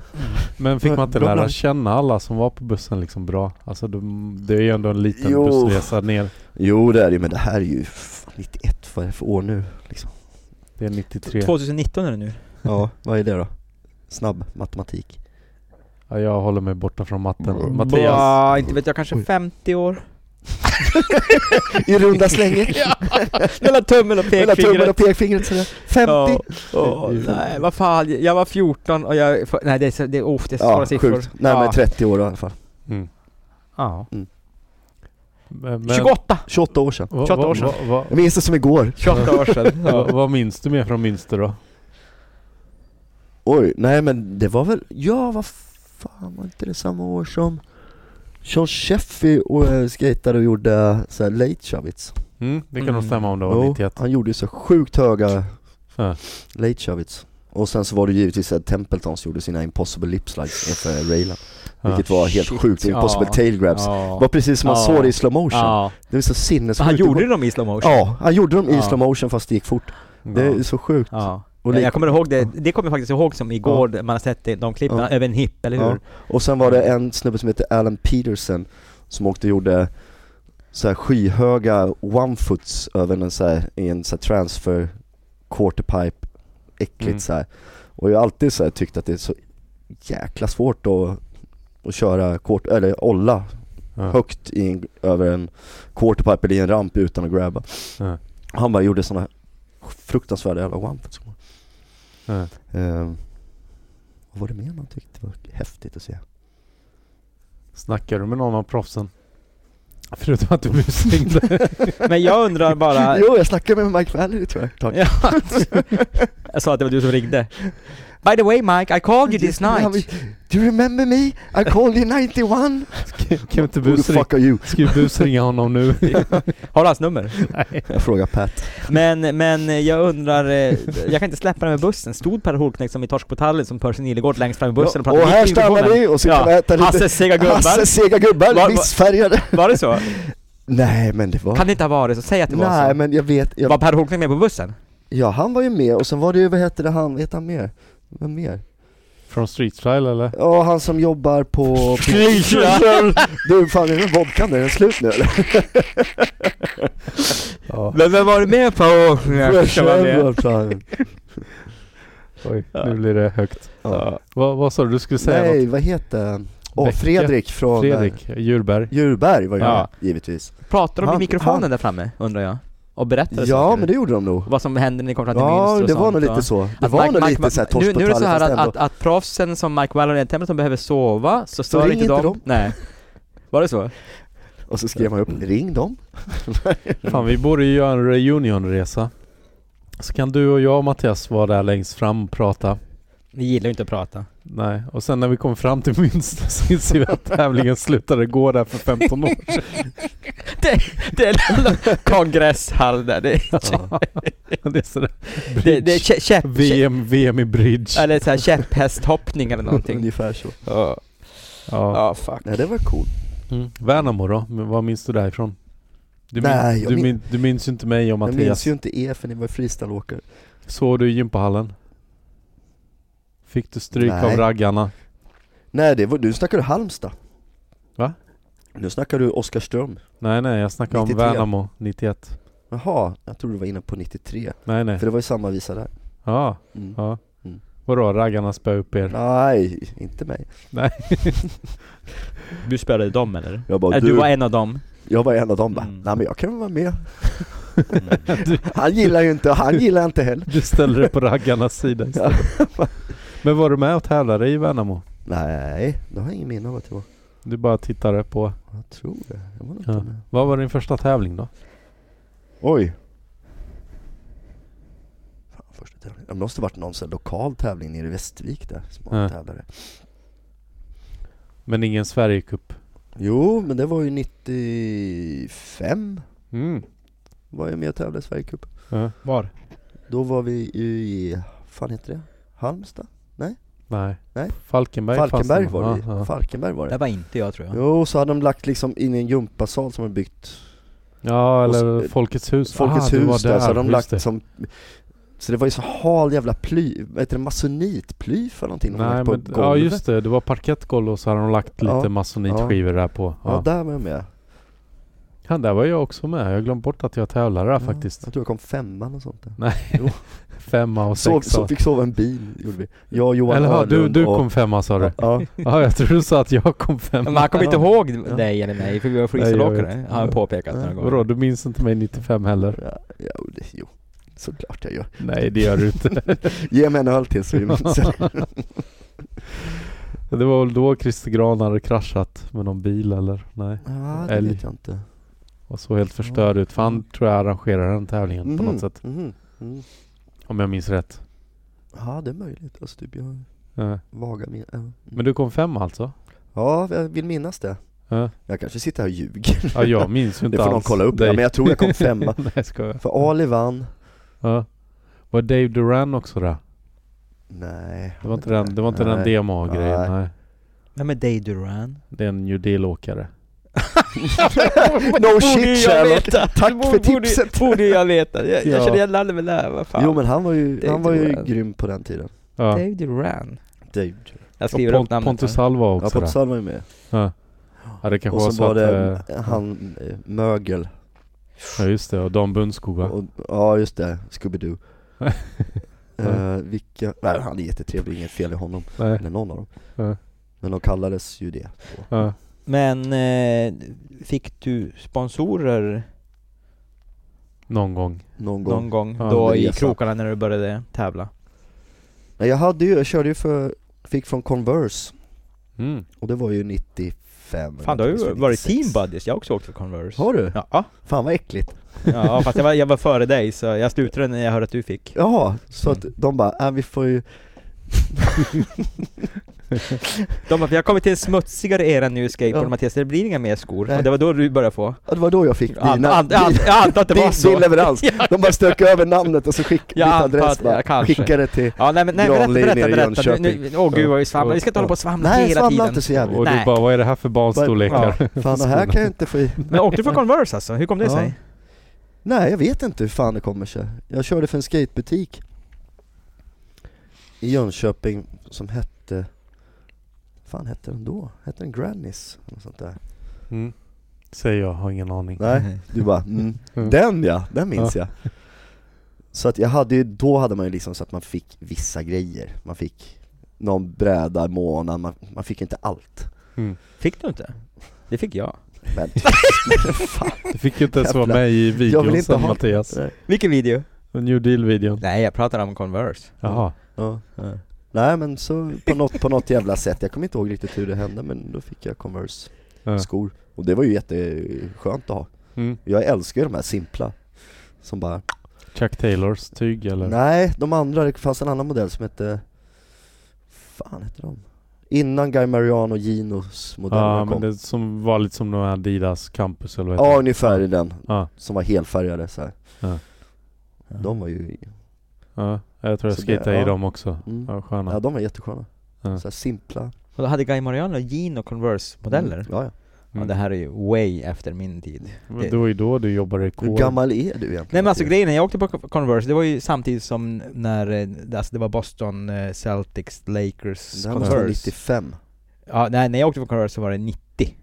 Speaker 4: Men fick man inte
Speaker 2: Bra
Speaker 4: lära
Speaker 2: blank.
Speaker 4: känna alla som var på bussen liksom bra? Alltså de, det är ju ändå en liten
Speaker 2: Jo.
Speaker 4: bussresa ner.
Speaker 2: Jo, det är det men det här är ju fan, 91, vad är det för år nu? Liksom.
Speaker 4: Det är 93.
Speaker 3: 2019 är det nu.
Speaker 2: Ja, vad är det då? Snabb matematik.
Speaker 4: Ja, jag håller mig borta från matten. Mattias.
Speaker 3: Mattias. inte vet jag, kanske 50 år.
Speaker 2: I runda slänget.
Speaker 3: Mellan tummen och
Speaker 2: Mellan tummen
Speaker 3: pekfingret.
Speaker 2: och pekfingret sådär. 50!
Speaker 3: Ja. Åh, nej, vad fan. Jag var 14 och jag... Nej, det är, så- det är, oh, det är så svåra
Speaker 2: Ja,
Speaker 3: siffror.
Speaker 2: sjukt. Nej men 30 år i alla fall.
Speaker 4: Mm.
Speaker 1: Ja.
Speaker 4: Men, men-
Speaker 3: 28!
Speaker 2: 28 år sedan.
Speaker 4: vad-
Speaker 1: 28 år sedan.
Speaker 4: Vad, vad,
Speaker 2: Jag minns det som igår.
Speaker 1: 28 år sedan.
Speaker 4: vad, vad minns du mer från Münster då?
Speaker 2: Oj, nej men det var väl, ja vad fan var inte det samma år som Sean Sheffy och eh, skatade och gjorde eh, såhär late shovits?
Speaker 4: Mm, det kan nog
Speaker 1: Mm.
Speaker 4: stämma om det var
Speaker 2: Jo,
Speaker 4: 91.
Speaker 2: han gjorde ju så sjukt höga
Speaker 4: Ja.
Speaker 2: late shovits Och sen så var det givetvis att Templeton som gjorde sina impossible lipslides inför railen
Speaker 4: Ja.
Speaker 2: Vilket var helt
Speaker 3: Shit,
Speaker 2: sjukt, impossible
Speaker 3: ja.
Speaker 2: tail grabs Det var
Speaker 1: Ja.
Speaker 2: precis som man
Speaker 1: Ja.
Speaker 2: såg det i slow motion
Speaker 1: Ja.
Speaker 2: Det var så sinnessjukt
Speaker 3: Han
Speaker 2: Det
Speaker 3: gjorde
Speaker 2: går-
Speaker 3: dem i slow motion.
Speaker 2: Ja, han gjorde dem i
Speaker 1: Ja.
Speaker 2: slow motion fast det gick fort Det är så sjukt
Speaker 3: Ja.
Speaker 2: och,
Speaker 3: Ja,
Speaker 2: lik-
Speaker 3: jag kommer ihåg det, det kommer jag faktiskt ihåg som igår, man har sett det, de klippen,
Speaker 2: Ja.
Speaker 3: över en hipp, eller hur?
Speaker 2: Ja. och sen var det en snubbe som heter Alan Peterson Som åkte och gjorde så här skyhöga one-foots över en så här, i en så här transfer quarterpipe Äckligt
Speaker 4: Mm.
Speaker 2: så här. Och jag har alltid så här tyckt att det är så jäkla svårt att, att köra quarter, eller olla
Speaker 4: Ja.
Speaker 2: högt i en, över en quarterpipe eller i en ramp utan att grabba.
Speaker 4: Ja.
Speaker 2: Han bara gjorde sådana fruktansvärda jävla one-foots.
Speaker 4: Ja.
Speaker 2: Ehm, vad var det mer man tyckte var häftigt att se?
Speaker 4: Snackar du med någon av proffsen? Förutom att du blev stängd.
Speaker 3: Men jag undrar bara,
Speaker 2: Jo, jag snackade med Mike Valerie tror jag. Tack.
Speaker 3: Ja. jag sa att det var du som ringde. By the way Mike, I called you this
Speaker 2: Han
Speaker 3: night.
Speaker 2: bara, Do you remember me? I called you 91!
Speaker 4: kan inte
Speaker 2: Who the
Speaker 4: busringa,
Speaker 2: fuck are you?
Speaker 4: ska vi busringa honom nu?
Speaker 3: Har du hans nummer?
Speaker 2: Jag frågar Pat.
Speaker 3: Men, men jag undrar, eh, jag kan inte släppa den med bussen. Stod Per Holknekt som i Torsk på tallen som Percy Nilegård längst fram i bussen och
Speaker 2: och
Speaker 3: pratade
Speaker 2: här
Speaker 3: mitt i mikrofonen?
Speaker 2: stannar vi och så kan
Speaker 3: Ja.
Speaker 2: vi äta lite
Speaker 3: Hasses sega gubbar,
Speaker 2: Hasses sega
Speaker 3: Va- va-
Speaker 2: gubbar, missfärgade.
Speaker 3: var det så?
Speaker 2: Nej men det var...
Speaker 3: Kan det inte ha varit så? Säg att det var
Speaker 2: Nej
Speaker 3: så.
Speaker 2: men jag vet, jag
Speaker 3: Var Per Holknekt med på bussen?
Speaker 2: Ja, han var ju med och sen var det ju, vad hette det han, vad hette han mer? Vem mer?
Speaker 4: Från Street Style eller?
Speaker 2: Ja, han som jobbar på... du, fan är den vodkan, är den slut nu eller?
Speaker 4: Ja.
Speaker 3: Men vem var du med på? Jag
Speaker 2: fan.
Speaker 4: Oj, nu blir det högt.
Speaker 2: Ja.
Speaker 4: Vad, vad sa du? Du skulle säga något?
Speaker 2: Nej, vad heter han? Åh,
Speaker 4: Bäcke.
Speaker 2: Fredrik från...
Speaker 4: Fredrik Djurberg.
Speaker 2: eh, Djurberg var ju
Speaker 3: Ja.
Speaker 2: med, givetvis.
Speaker 3: Pratar de i
Speaker 2: Han-
Speaker 3: mikrofonen
Speaker 2: han-
Speaker 3: där framme, undrar jag? Och berättar
Speaker 2: Ja,
Speaker 3: saker?
Speaker 2: men det gjorde de nog.
Speaker 3: Vad som händer när ni kom fram till Münster
Speaker 2: Ja,
Speaker 3: och
Speaker 2: det var
Speaker 3: sånt,
Speaker 2: nog
Speaker 3: va?
Speaker 2: lite så. Det
Speaker 3: Att
Speaker 2: var
Speaker 3: Mike-
Speaker 2: nog
Speaker 3: Mike-
Speaker 2: lite såhär
Speaker 3: nu, nu är det så här att, att,
Speaker 2: ändå.
Speaker 3: att proffsen som Mike Wallon och Templeton behöver sova, så stör
Speaker 2: ring
Speaker 3: inte
Speaker 2: inte
Speaker 3: dem.
Speaker 2: dem.
Speaker 3: Nej. Var det så?
Speaker 2: Och så skrev man
Speaker 3: Mm.
Speaker 2: upp, ring dem.
Speaker 4: Fan, vi borde ju göra en reunionresa. Så kan du och jag och Mattias vara där längst fram och prata.
Speaker 3: Ni gillar ju inte att prata.
Speaker 4: Nej, och sen när vi kommer fram till Münster så inser vi att tävlingen slutade gå där för 15 år sedan.
Speaker 3: Det är en kongresshall där, det,
Speaker 4: Det är sådär.
Speaker 3: det, det är kä- käpp... käpp-
Speaker 4: VM, VM i bridge.
Speaker 3: Eller såhär käpphästhoppning eller någonting.
Speaker 2: Ungefär så.
Speaker 3: Ja,
Speaker 4: Ja.
Speaker 3: ja fuck.
Speaker 2: Nej, det var coolt.
Speaker 4: Mm. Värnamo då? Men Vad minns du därifrån? Du, min,
Speaker 2: Nej, jag
Speaker 4: du,
Speaker 2: min-
Speaker 4: min, du minns ju inte mig och
Speaker 2: Jag minns
Speaker 4: Mattias.
Speaker 2: ju inte er för ni var freestyleåkare.
Speaker 4: Såg du i gympahallen? Fick du stryk
Speaker 2: Nej.
Speaker 4: av raggarna?
Speaker 2: Nej, det var, nu snackar du Halmstad.
Speaker 4: Va?
Speaker 2: Nu snackar du Oskarström.
Speaker 4: Nej nej, jag snackar om
Speaker 2: 93.
Speaker 4: Värnamo 91.
Speaker 2: Jaha, jag tror du var inne på 93.
Speaker 4: Nej nej.
Speaker 2: För det var ju samma visa där.
Speaker 4: Ja,
Speaker 2: Mm.
Speaker 4: ja.
Speaker 2: Mm.
Speaker 4: Vadå, raggarna spöade upp er?
Speaker 2: Nej, inte mig.
Speaker 3: Du spelade dem eller?
Speaker 2: Jag bara,
Speaker 3: Eller
Speaker 2: du,
Speaker 3: Äh, du var en av dem?
Speaker 2: jag var en av dem bara,
Speaker 3: Mm.
Speaker 2: nej men jag kan väl vara med. Han gillar ju inte, och han gillar inte heller.
Speaker 4: Du ställde dig på raggarnas sida istället. Men var du med och tävlade i Värnamo?
Speaker 2: Nej, det har jag ingen minne av att jag var.
Speaker 4: Du bara tittade på...
Speaker 2: Jag tror det, jag var nog
Speaker 4: Ja.
Speaker 2: inte med.
Speaker 4: Vad var din första tävling då?
Speaker 2: Oj. Fan, första tävlingen. Det måste varit någon sån här lokal tävling nere i Västervik där, som
Speaker 4: Ja.
Speaker 2: man tävlade.
Speaker 4: Men ingen Sverigecup?
Speaker 2: Jo, men det var ju 95,
Speaker 4: Mm.
Speaker 2: var jag med och tävlade i Sverigecup.
Speaker 4: Ja.
Speaker 3: Var?
Speaker 2: Då var vi i, fan heter det? Halmstad?
Speaker 4: Nej.
Speaker 2: Nej.
Speaker 4: Falkenberg fanns
Speaker 2: Falkenberg
Speaker 4: det
Speaker 2: var det
Speaker 4: Ja, ja.
Speaker 2: Falkenberg var
Speaker 3: Det
Speaker 2: det.
Speaker 3: var inte jag tror jag.
Speaker 2: Jo, så hade de lagt liksom in i en gympasal som de byggt
Speaker 4: ja
Speaker 2: Och så-
Speaker 4: eller Folkets hus.
Speaker 2: Folkets
Speaker 4: Ah, du var
Speaker 2: hus där, så hade de
Speaker 4: just
Speaker 2: lagt
Speaker 4: det.
Speaker 2: som Så det var ju så hal jävla ply, vad heter det, masonitply för någonting de
Speaker 4: Nej,
Speaker 2: lagt på
Speaker 4: men,
Speaker 2: golvet
Speaker 4: ja just det, det var parkettgolv och så hade de lagt lite
Speaker 2: Ja,
Speaker 4: masonitskivor där på.
Speaker 2: Ja,
Speaker 4: Ja.
Speaker 2: där var jag med
Speaker 4: Ja, där var jag också med. Jag glömde bort att jag tävlade där
Speaker 2: ja,
Speaker 4: faktiskt.
Speaker 2: Jag tror jag kom femman och sånt där
Speaker 4: Femma och
Speaker 2: Såg,
Speaker 4: sexa.
Speaker 2: så fick sova en bil, gjorde vi Jag och Johan
Speaker 4: eller ja, du,
Speaker 2: Öhrlund
Speaker 4: du
Speaker 2: och,
Speaker 4: kom femma sa du?
Speaker 2: Ja,
Speaker 4: Ja, jag tror du sa att jag kom femma.
Speaker 3: Men han kommer inte
Speaker 2: Ja.
Speaker 3: ihåg
Speaker 2: Ja.
Speaker 3: dig eller mig för vi var
Speaker 4: Nej, jag
Speaker 3: freestyleåkare.
Speaker 4: vet.
Speaker 3: Har han påpekat
Speaker 2: Ja.
Speaker 3: några gånger.
Speaker 4: Vadå, du minns inte mig 95 heller?
Speaker 2: ja, ja, det- jo Såklart jag gör.
Speaker 4: Nej, det gör du inte.
Speaker 2: Ge mig en öl till så vi minns det.
Speaker 4: det var väl då Christer Gran hade kraschat med någon bil eller? Nej.
Speaker 2: Ja, det
Speaker 4: Älg.
Speaker 2: vet jag inte.
Speaker 4: Och så helt förstörd ut. För han tror jag arrangerade den tävlingen på
Speaker 2: Mhm,
Speaker 4: något sätt.
Speaker 2: mhm, mm.
Speaker 4: Om jag minns rätt.
Speaker 2: Ja, det är möjligt. Alltså typ jag
Speaker 4: Ja.
Speaker 2: vaga min... ja. Mm.
Speaker 4: Men du kom femma alltså?
Speaker 2: Ja, jag vill minnas det.
Speaker 4: Ja.
Speaker 2: Jag kanske sitter här och ljuger.
Speaker 4: Ja, jag minns ju inte
Speaker 2: Det får någon
Speaker 4: alls
Speaker 2: kolla upp.
Speaker 4: dig.
Speaker 2: Ja, men jag tror jag kom femma.
Speaker 4: Nej, jag skojar.
Speaker 2: För Ali vann.
Speaker 4: Ja. Var Dave Duran också där?
Speaker 2: Nej.
Speaker 4: Det var inte den, det var inte den
Speaker 2: Nej.
Speaker 4: demo-grejen?
Speaker 2: Nej.
Speaker 4: Nej.
Speaker 3: Vem är Dave Duran?
Speaker 4: Det är en New Deal-åkare.
Speaker 2: No shit Sherlock.
Speaker 3: veta!
Speaker 2: Tack för tipset!
Speaker 3: Borde jag leta? Jag, jag
Speaker 4: Ja.
Speaker 3: känner igen landet med det vad fan.
Speaker 2: Jo men han var ju,
Speaker 3: Det är
Speaker 2: han var ju
Speaker 3: inte bra.
Speaker 2: grym på den tiden.
Speaker 4: Ja.
Speaker 3: Dave Duran.
Speaker 2: Dave.
Speaker 3: Jag
Speaker 4: Och
Speaker 3: skriver upp
Speaker 4: Pont-
Speaker 3: namnet.
Speaker 4: Pontus Alva
Speaker 2: Ja,
Speaker 4: också
Speaker 2: Pontus
Speaker 4: där.
Speaker 2: Alm var ju med.
Speaker 4: Ja. ja, det kanske
Speaker 2: Och
Speaker 4: var
Speaker 2: så
Speaker 4: så
Speaker 2: var
Speaker 4: att... eh,
Speaker 2: det han, eh, Mögel.
Speaker 4: Ja just det, och Dan Bundskog va?
Speaker 2: Och, ja just det, Scooby-Doo. Eh, vilka, nej han är jättetrevlig, inget fel i honom.
Speaker 4: Nej.
Speaker 2: Eller någon av dem.
Speaker 4: Ja.
Speaker 2: Men de kallades ju det.
Speaker 4: Ja.
Speaker 3: Men eh, fick du sponsorer
Speaker 4: Någon gång.
Speaker 2: Någon gång.
Speaker 3: någon gång
Speaker 4: Ja,
Speaker 3: då
Speaker 2: det är
Speaker 3: i
Speaker 2: sant.
Speaker 3: krokarna när du började tävla?
Speaker 2: Nej, jag hade ju, jag körde ju för, fick från Converse.
Speaker 4: Mm.
Speaker 2: Och det var ju 95.
Speaker 3: Fan du har ju
Speaker 2: eller
Speaker 3: varit
Speaker 2: 96.
Speaker 3: team buddies, jag har också åkt för Converse.
Speaker 2: Har du?
Speaker 3: Ja,
Speaker 2: Fan vad äckligt.
Speaker 3: ja fast jag var, jag var före dig så jag slutade när jag hörde att du fick.
Speaker 2: Jaha, så att
Speaker 3: Mm.
Speaker 2: de bara, äh, vi får ju
Speaker 3: De bara, vi har kommit till en smutsigare era nu skateboard
Speaker 2: Ja.
Speaker 3: Mattias, det blir inga mer skor.
Speaker 2: Nej.
Speaker 3: Och det var då du började få.
Speaker 2: Ja, det var då jag fick
Speaker 3: Jag
Speaker 2: dina,
Speaker 3: antar an, an, jag antar att det
Speaker 2: din,
Speaker 3: var så.
Speaker 2: din leverans.
Speaker 3: Ja.
Speaker 2: De bara strök över namnet och så skickade
Speaker 3: Jag
Speaker 2: ditt
Speaker 3: antar
Speaker 2: adress
Speaker 3: att- ja,
Speaker 2: bara,
Speaker 3: kanske.
Speaker 2: skickade till...
Speaker 3: Ja nej men nej,
Speaker 2: Granli
Speaker 3: berätta,
Speaker 2: nere i
Speaker 3: berätta, berätta. Nu- nu-
Speaker 2: Jönköping.
Speaker 3: Åh gud vad vi svamlar, vi ska inte hålla på och svamla
Speaker 2: Nej,
Speaker 3: hela
Speaker 2: svamla
Speaker 3: tiden.
Speaker 2: inte så jävligt.
Speaker 4: Och
Speaker 3: Nej.
Speaker 4: du bara, vad är det här för barnstorlekar?
Speaker 2: Fan det här kan jag inte få i.
Speaker 3: Men åkte du för Converse alltså? Hur kom det
Speaker 2: Ja.
Speaker 3: sig?
Speaker 2: Nej jag vet inte hur fan det kommer sig. Jag körde för en skatebutik i Jönköping som hette... fan hette den då? Hette den Grannis? Eller något sånt där.
Speaker 4: Mm. Säger jag, har ingen aning.
Speaker 2: Nej, du bara mm. Den ja, den minns jag. Så att jag hade ju, då hade man ju liksom så att man fick vissa grejer. Man fick någon bräda i månaden, man, man fick inte allt.
Speaker 3: Fick du inte? Det fick jag.
Speaker 2: Men fan.
Speaker 4: Du fick ju inte ens vara
Speaker 2: Jävlar.
Speaker 4: med i
Speaker 2: Jag vill
Speaker 4: videon
Speaker 2: inte
Speaker 4: sen
Speaker 2: ha-
Speaker 4: Mattias.
Speaker 2: Nej.
Speaker 3: Vilken video?
Speaker 4: New Deal-videon.
Speaker 3: Nej, jag pratar om Converse.
Speaker 4: Jaha.
Speaker 2: Ja. Nej men så på något, på något jävla sätt, jag kommer inte ihåg riktigt hur det hände men då fick jag Converse-skor
Speaker 4: Ja.
Speaker 2: Och det var ju jätteskönt att ha
Speaker 4: Mm.
Speaker 2: Jag älskar ju de här simpla Som bara,
Speaker 4: Chuck Taylors tyg eller?
Speaker 2: nej de andra, det fanns en annan modell som hette fan hette de? Innan Guy Mariano Ginos modellerna
Speaker 4: Ja, men
Speaker 2: kom
Speaker 4: det som var lite som de här Adidas Campus eller vad heter
Speaker 2: Ja
Speaker 4: det?
Speaker 2: ungefär i den,
Speaker 4: Ja.
Speaker 2: som var helfärgade så här.
Speaker 4: Ja.
Speaker 2: De var ju, mm.
Speaker 4: Ja, jag tror jag
Speaker 2: Så det-
Speaker 4: skejtade i
Speaker 2: ja.
Speaker 4: dem också.
Speaker 2: Mm.
Speaker 4: Ja,
Speaker 2: ja
Speaker 4: sköna.
Speaker 2: de var jättesköna
Speaker 4: Ja.
Speaker 2: så här simpla
Speaker 3: Och då hade Guy Mariano jean och Converse-modeller?
Speaker 2: Mm, Ja, ja.
Speaker 3: Ja,
Speaker 4: Mm.
Speaker 3: det här är ju way efter min tid.
Speaker 4: Men det var ju då du jobbade i
Speaker 2: Hur
Speaker 4: kår.
Speaker 2: gammal är du egentligen?
Speaker 3: Nej men alltså grejen är, jag åkte på Converse, det var ju samtidigt som när, eh, alltså det var Boston eh, Celtics, Lakers,
Speaker 2: Det här måste vara
Speaker 3: Converse.
Speaker 2: 95
Speaker 3: Ja, nej, när jag åkte på Converse så var det 90.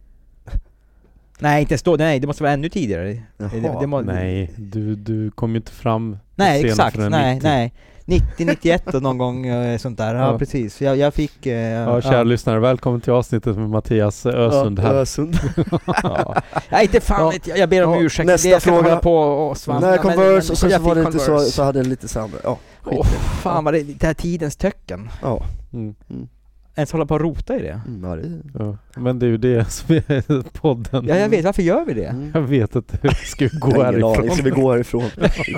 Speaker 3: Nej, inte ens då, nej det måste vara ännu tidigare.
Speaker 2: Jaha.
Speaker 3: Det- det må-
Speaker 4: Nej, du, du kom ju inte fram
Speaker 3: Nej
Speaker 4: senare
Speaker 3: exakt,
Speaker 4: förrän
Speaker 3: nej,
Speaker 4: 90.
Speaker 3: nej. 90, 91 och någon gång eh, sånt där. Ja,
Speaker 4: Ja.
Speaker 3: precis. Så Jag, jag fick... eh,
Speaker 4: Ja, kära lyssnare, välkommen till avsnittet med Mattias Ösund
Speaker 2: Ja,
Speaker 4: här.
Speaker 2: Ösund
Speaker 4: Ja.
Speaker 3: Nej inte fan
Speaker 2: Ja.
Speaker 3: vet jag, jag ber om
Speaker 2: Ja,
Speaker 3: ursäkt,
Speaker 2: nästa
Speaker 3: det jag ska
Speaker 2: fråga.
Speaker 3: inte hålla på och svamla
Speaker 2: Nej,
Speaker 3: men-
Speaker 2: Converse
Speaker 3: men
Speaker 2: och sen så
Speaker 3: jag
Speaker 2: var det
Speaker 3: fick
Speaker 2: inte så,
Speaker 3: Converse.
Speaker 2: så hade det lite samma, ja skit
Speaker 3: Åh fan vad det, det här tidens töcken.
Speaker 2: Ja,
Speaker 4: Mm,
Speaker 3: Ens hålla på och rota i det.
Speaker 2: mm, ja, det,
Speaker 4: ja. Men det är ju det som är podden.
Speaker 3: Ja jag vet, varför gör vi det?
Speaker 2: mm.
Speaker 4: Jag vet inte hur vi ska
Speaker 2: Jag
Speaker 4: gå
Speaker 2: har ingen aning. Ska vi
Speaker 4: härifrån.
Speaker 2: gå härifrån?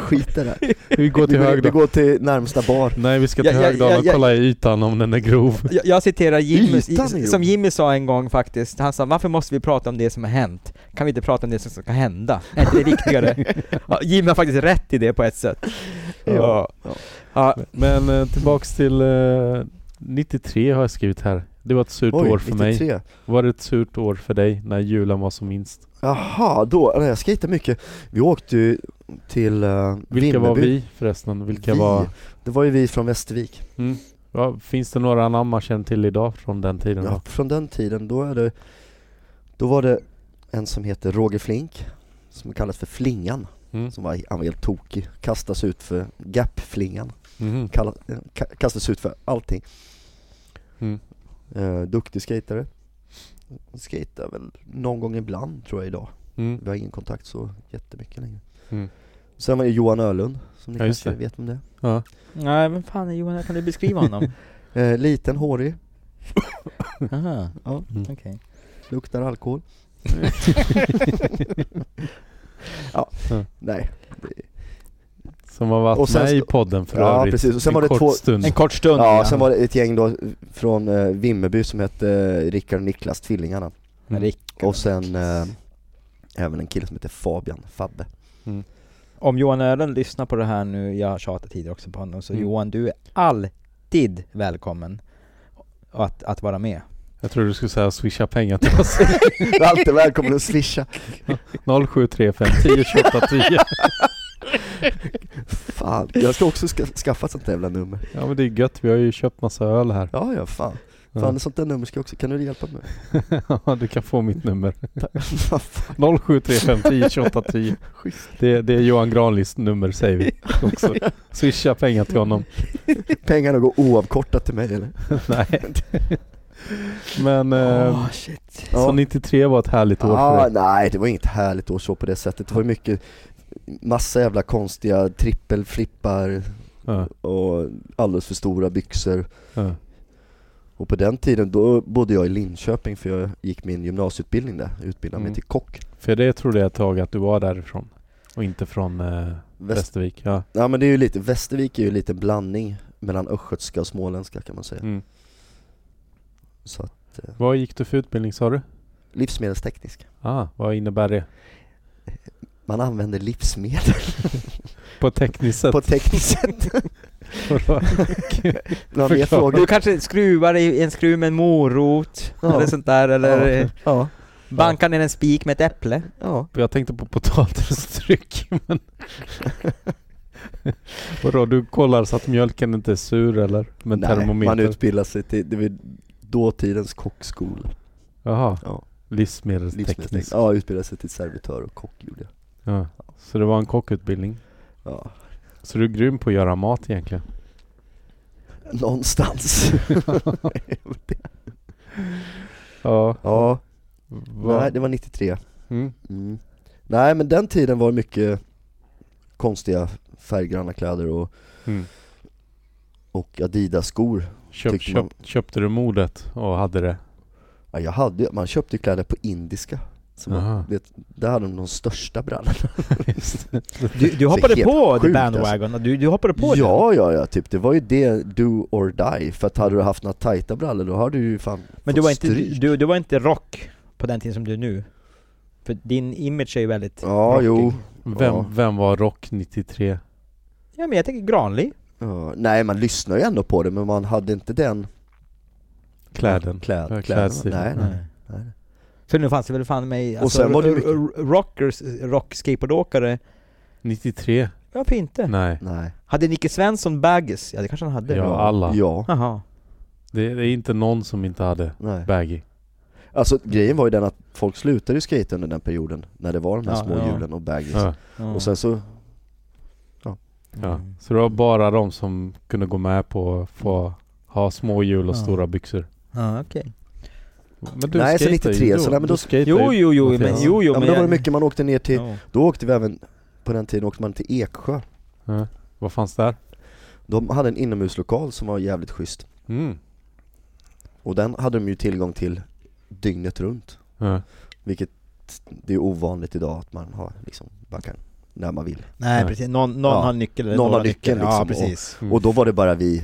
Speaker 2: Skit i det här.
Speaker 4: Vi går
Speaker 2: Vi
Speaker 4: till
Speaker 2: går, vi
Speaker 4: Högdalen.
Speaker 2: går till närmsta bar
Speaker 4: Nej, vi ska
Speaker 3: Ja,
Speaker 4: till
Speaker 3: ja, ja,
Speaker 4: Högdalen och
Speaker 3: ja.
Speaker 4: kolla i ytan om den är grov.
Speaker 3: Jag, jag citerar Jimmy,
Speaker 2: Ytan är ju-
Speaker 3: som Jimmy sa en gång faktiskt, han sa varför måste vi prata om det som har hänt? Kan vi inte prata om det som ska hända? Är inte det viktigare? ja, Jimmy har faktiskt rätt i det på ett sätt.
Speaker 2: Ja.
Speaker 3: Ja.
Speaker 2: Ja.
Speaker 3: Ja.
Speaker 4: Men eh, tillbaks till eh, 93 har jag skrivit här. Det var ett surt år för mig. Var det ett surt år för dig när julen var som minst?
Speaker 2: Jaha, då, nej, jag skejtade mycket. Vi åkte ju till uh,
Speaker 4: Vilka var vi förresten? Vilka
Speaker 2: Vi.
Speaker 4: var...
Speaker 2: Det var ju vi från Västervik.
Speaker 4: Mm. Ja, finns det några namn man känner till idag från den tiden?
Speaker 2: Ja,
Speaker 4: då?
Speaker 2: från den tiden, då, är det, då var det en som heter Roger Flink, som kallas för Flingan,
Speaker 4: Mm.
Speaker 2: som var, han var helt tokig. Kastas ut för Gap-flingan.
Speaker 4: Mhm.
Speaker 2: Kalla, eh, ka- kastas ut för allting.
Speaker 4: Mm.
Speaker 2: Eh, duktig skatare. Skejtar väl någon gång ibland tror jag idag.
Speaker 4: Mm.
Speaker 2: Vi har ingen kontakt så jättemycket längre.
Speaker 4: Mm.
Speaker 2: Sen var det Johan Ölund, som ni
Speaker 4: Ja, just
Speaker 2: kanske
Speaker 4: det.
Speaker 2: vet om det
Speaker 4: Ja.
Speaker 1: Nej, vem fan är Johan? Kan du beskriva honom?
Speaker 2: är. Eh, liten, hårig,
Speaker 1: Aha,
Speaker 2: ja,
Speaker 4: Mm.
Speaker 1: okej.
Speaker 2: luktar alkohol. ja,
Speaker 4: Ja.
Speaker 2: nej.
Speaker 4: Som har varit
Speaker 2: Och sen
Speaker 4: med i
Speaker 2: sk-
Speaker 4: podden för
Speaker 2: Ja,
Speaker 4: övrigt.
Speaker 2: precis. Och sen
Speaker 4: en
Speaker 2: var det
Speaker 4: kort
Speaker 2: två-
Speaker 4: stund.
Speaker 1: En kort stund.
Speaker 2: Ja, sen var det ett gäng då från eh, Vimmerby som hette eh, Rickard och Niklas, tvillingarna.
Speaker 4: Mm.
Speaker 2: Och sen eh, även en kille som heter Fabian, Fabbe.
Speaker 3: Om Johan Ören lyssnar på det här nu, jag har tjatat tidigare också på honom, så
Speaker 4: Mm.
Speaker 3: Johan du är alltid välkommen att, att vara med.
Speaker 4: Jag tror du skulle säga swisha pengar till oss.
Speaker 2: Du är alltid välkommen att swisha.
Speaker 4: 0735 10 28 10.
Speaker 2: Fan, jag ska också ska, skaffa ett sånt jävla nummer.
Speaker 4: Ja men det är gött, vi har ju köpt massa öl här.
Speaker 2: Ja, ja, fan. Fan, ett sånt där nummer ska jag också, kan du hjälpa mig?
Speaker 4: Ja, du kan få mitt nummer.
Speaker 2: Vad fan,
Speaker 4: 0735 10 28 10.
Speaker 2: schysst.
Speaker 4: Det, det är Johan Granlis nummer säger vi också. Swisha pengar till honom.
Speaker 2: Pengarna går oavkortat till mig eller?
Speaker 4: Nej. Men eh,
Speaker 3: Ehm,
Speaker 1: shit.
Speaker 4: så 93 var ett härligt år för
Speaker 2: ah,
Speaker 4: dig.
Speaker 2: nej, det var inget härligt år så på det sättet. Det var ju mycket, massa jävla konstiga trippelflippar
Speaker 4: Ja,
Speaker 2: och alldeles för stora byxor.
Speaker 4: ja.
Speaker 2: Och på den tiden, då bodde jag i Linköping för jag gick min gymnasieutbildning där, utbildade
Speaker 4: Mm.
Speaker 2: mig till kock.
Speaker 4: För det trodde jag ett tag att du var därifrån. Och inte från eh,
Speaker 2: Väst-
Speaker 4: Västervik. Ja.
Speaker 2: ja men det är ju lite, Västervik är ju lite en blandning mellan östgötska och småländska kan man säga.
Speaker 4: Mm.
Speaker 2: Så att,
Speaker 4: Vad gick du för utbildning sa du?
Speaker 2: livsmedelsteknisk.
Speaker 4: Ah, vad innebär det?
Speaker 2: Man använder livsmedel
Speaker 4: På tekniskt sätt?
Speaker 2: på ett tekniskt sätt. Man
Speaker 4: Förklara.
Speaker 2: vet frågor.
Speaker 1: Du kanske skruvar i en skruv med en morot,
Speaker 2: Ja.
Speaker 1: eller sånt där, eller eh,
Speaker 2: Ja,
Speaker 1: bankar ner en spik med ett äpple.
Speaker 2: ja.
Speaker 4: jag tänkte på potatistryck men... Vadå, du kollar så att mjölken inte är sur eller? Med en termometer?
Speaker 2: man utbildar sig till, det var dåtidens kockskola.
Speaker 4: Jaha,
Speaker 2: Ja,
Speaker 4: livsmedelsteknisk.
Speaker 2: livsmedelsteknisk. Ja, utbildar sig till servitör och kock gjorde jag.
Speaker 4: Ja. Så det var en kockutbildning.
Speaker 2: Ja,
Speaker 4: Så du är grym på att göra mat egentligen?
Speaker 2: någonstans.
Speaker 4: Ja.
Speaker 2: ja,
Speaker 4: Va?
Speaker 2: nej det var 93.
Speaker 4: Mm.
Speaker 2: Mm. Nej men den tiden var det mycket konstiga färggranna kläder och,
Speaker 4: Mm.
Speaker 2: och Adidas-skor.
Speaker 4: Köp,
Speaker 2: Tyckte man-
Speaker 4: köp, köpte du modet och hade det?
Speaker 2: Ja, jag hade, man köpte ju kläder på indiska. Så
Speaker 4: Aha.
Speaker 2: man, vet, där hade de de största brallorna.
Speaker 4: Just det.
Speaker 3: Du, du
Speaker 2: hoppade
Speaker 3: hoppade
Speaker 2: helt på
Speaker 3: på
Speaker 2: the
Speaker 3: the
Speaker 2: sjukt, bandwagon,
Speaker 3: bandwagon, du, du hoppade på
Speaker 2: Ja, ja, ja, typ det var ju det do or die. För att hade du haft några tajta brallor då hade du ju fan
Speaker 3: Men
Speaker 2: fått
Speaker 3: du var, inte,
Speaker 2: stryk.
Speaker 3: du, du var inte rock på den tiden som du är nu? För din image är ju väldigt
Speaker 2: Ja,
Speaker 3: rockig.
Speaker 2: jo.
Speaker 4: Vem,
Speaker 2: Ja.
Speaker 4: vem var Rock 93?
Speaker 3: Ja men jag tänker Granli,
Speaker 2: Ja, nej, man lyssnar ju ändå på det men man hade inte den
Speaker 4: Kläden?
Speaker 2: Kläd,
Speaker 4: Ja,
Speaker 2: kläderna.
Speaker 4: klädstilen.
Speaker 2: Nej, nej. nej.
Speaker 3: För nu fanns det väl fan mig,
Speaker 2: Mm.
Speaker 3: alltså,
Speaker 2: Och sen var det mycket-
Speaker 3: r- r- rockers, rockskateboardåkare,
Speaker 4: 93?
Speaker 3: varför inte?
Speaker 4: Nej.
Speaker 2: nej.
Speaker 3: Hade Nicke Svensson baggies? Ja det kanske han hade?
Speaker 4: Ja, alla.
Speaker 2: Ja,
Speaker 3: Jaha.
Speaker 4: Det, det är inte någon som inte hade
Speaker 2: nej.
Speaker 4: baggy.
Speaker 2: Alltså grejen var ju den att folk slutade ju skate under den perioden när det var de här
Speaker 3: Ja,
Speaker 2: små
Speaker 3: ja.
Speaker 2: hjulen och baggies.
Speaker 4: Ja,
Speaker 3: Ja.
Speaker 2: Och sen så,
Speaker 4: ja.
Speaker 3: Mm.
Speaker 4: Så det var bara de som kunde gå med på att få ha små hjul och
Speaker 3: Ja.
Speaker 4: stora byxor.
Speaker 3: Ja, okej.
Speaker 4: Men
Speaker 2: Nej, så
Speaker 4: skatar ju
Speaker 2: 93, så nej, men då-
Speaker 4: Du skatar ju.
Speaker 3: Jo, jo, jo,
Speaker 4: Mattias.
Speaker 3: men jo, jo,
Speaker 2: ja men
Speaker 3: men
Speaker 2: då var det
Speaker 3: jag-
Speaker 2: mycket man åkte ner till,
Speaker 3: Ja.
Speaker 2: då åkte vi även, på den tiden åkte man till Eksjö.
Speaker 4: Ja. Vad fanns där?
Speaker 2: De hade en inomhuslokal som var jävligt schysst.
Speaker 4: Mm.
Speaker 2: Och den hade de ju tillgång till dygnet runt.
Speaker 4: Ja.
Speaker 2: Vilket, det är ovanligt idag att man har liksom, bara kan, när man vill.
Speaker 3: Nej
Speaker 4: Nej.
Speaker 3: precis, någon, någon
Speaker 2: Ja.
Speaker 3: har nyckel eller
Speaker 2: Någon har
Speaker 3: några
Speaker 2: nyckeln,
Speaker 3: Ja
Speaker 2: liksom, och-
Speaker 3: precis.
Speaker 4: Mm.
Speaker 2: Och då var det bara vi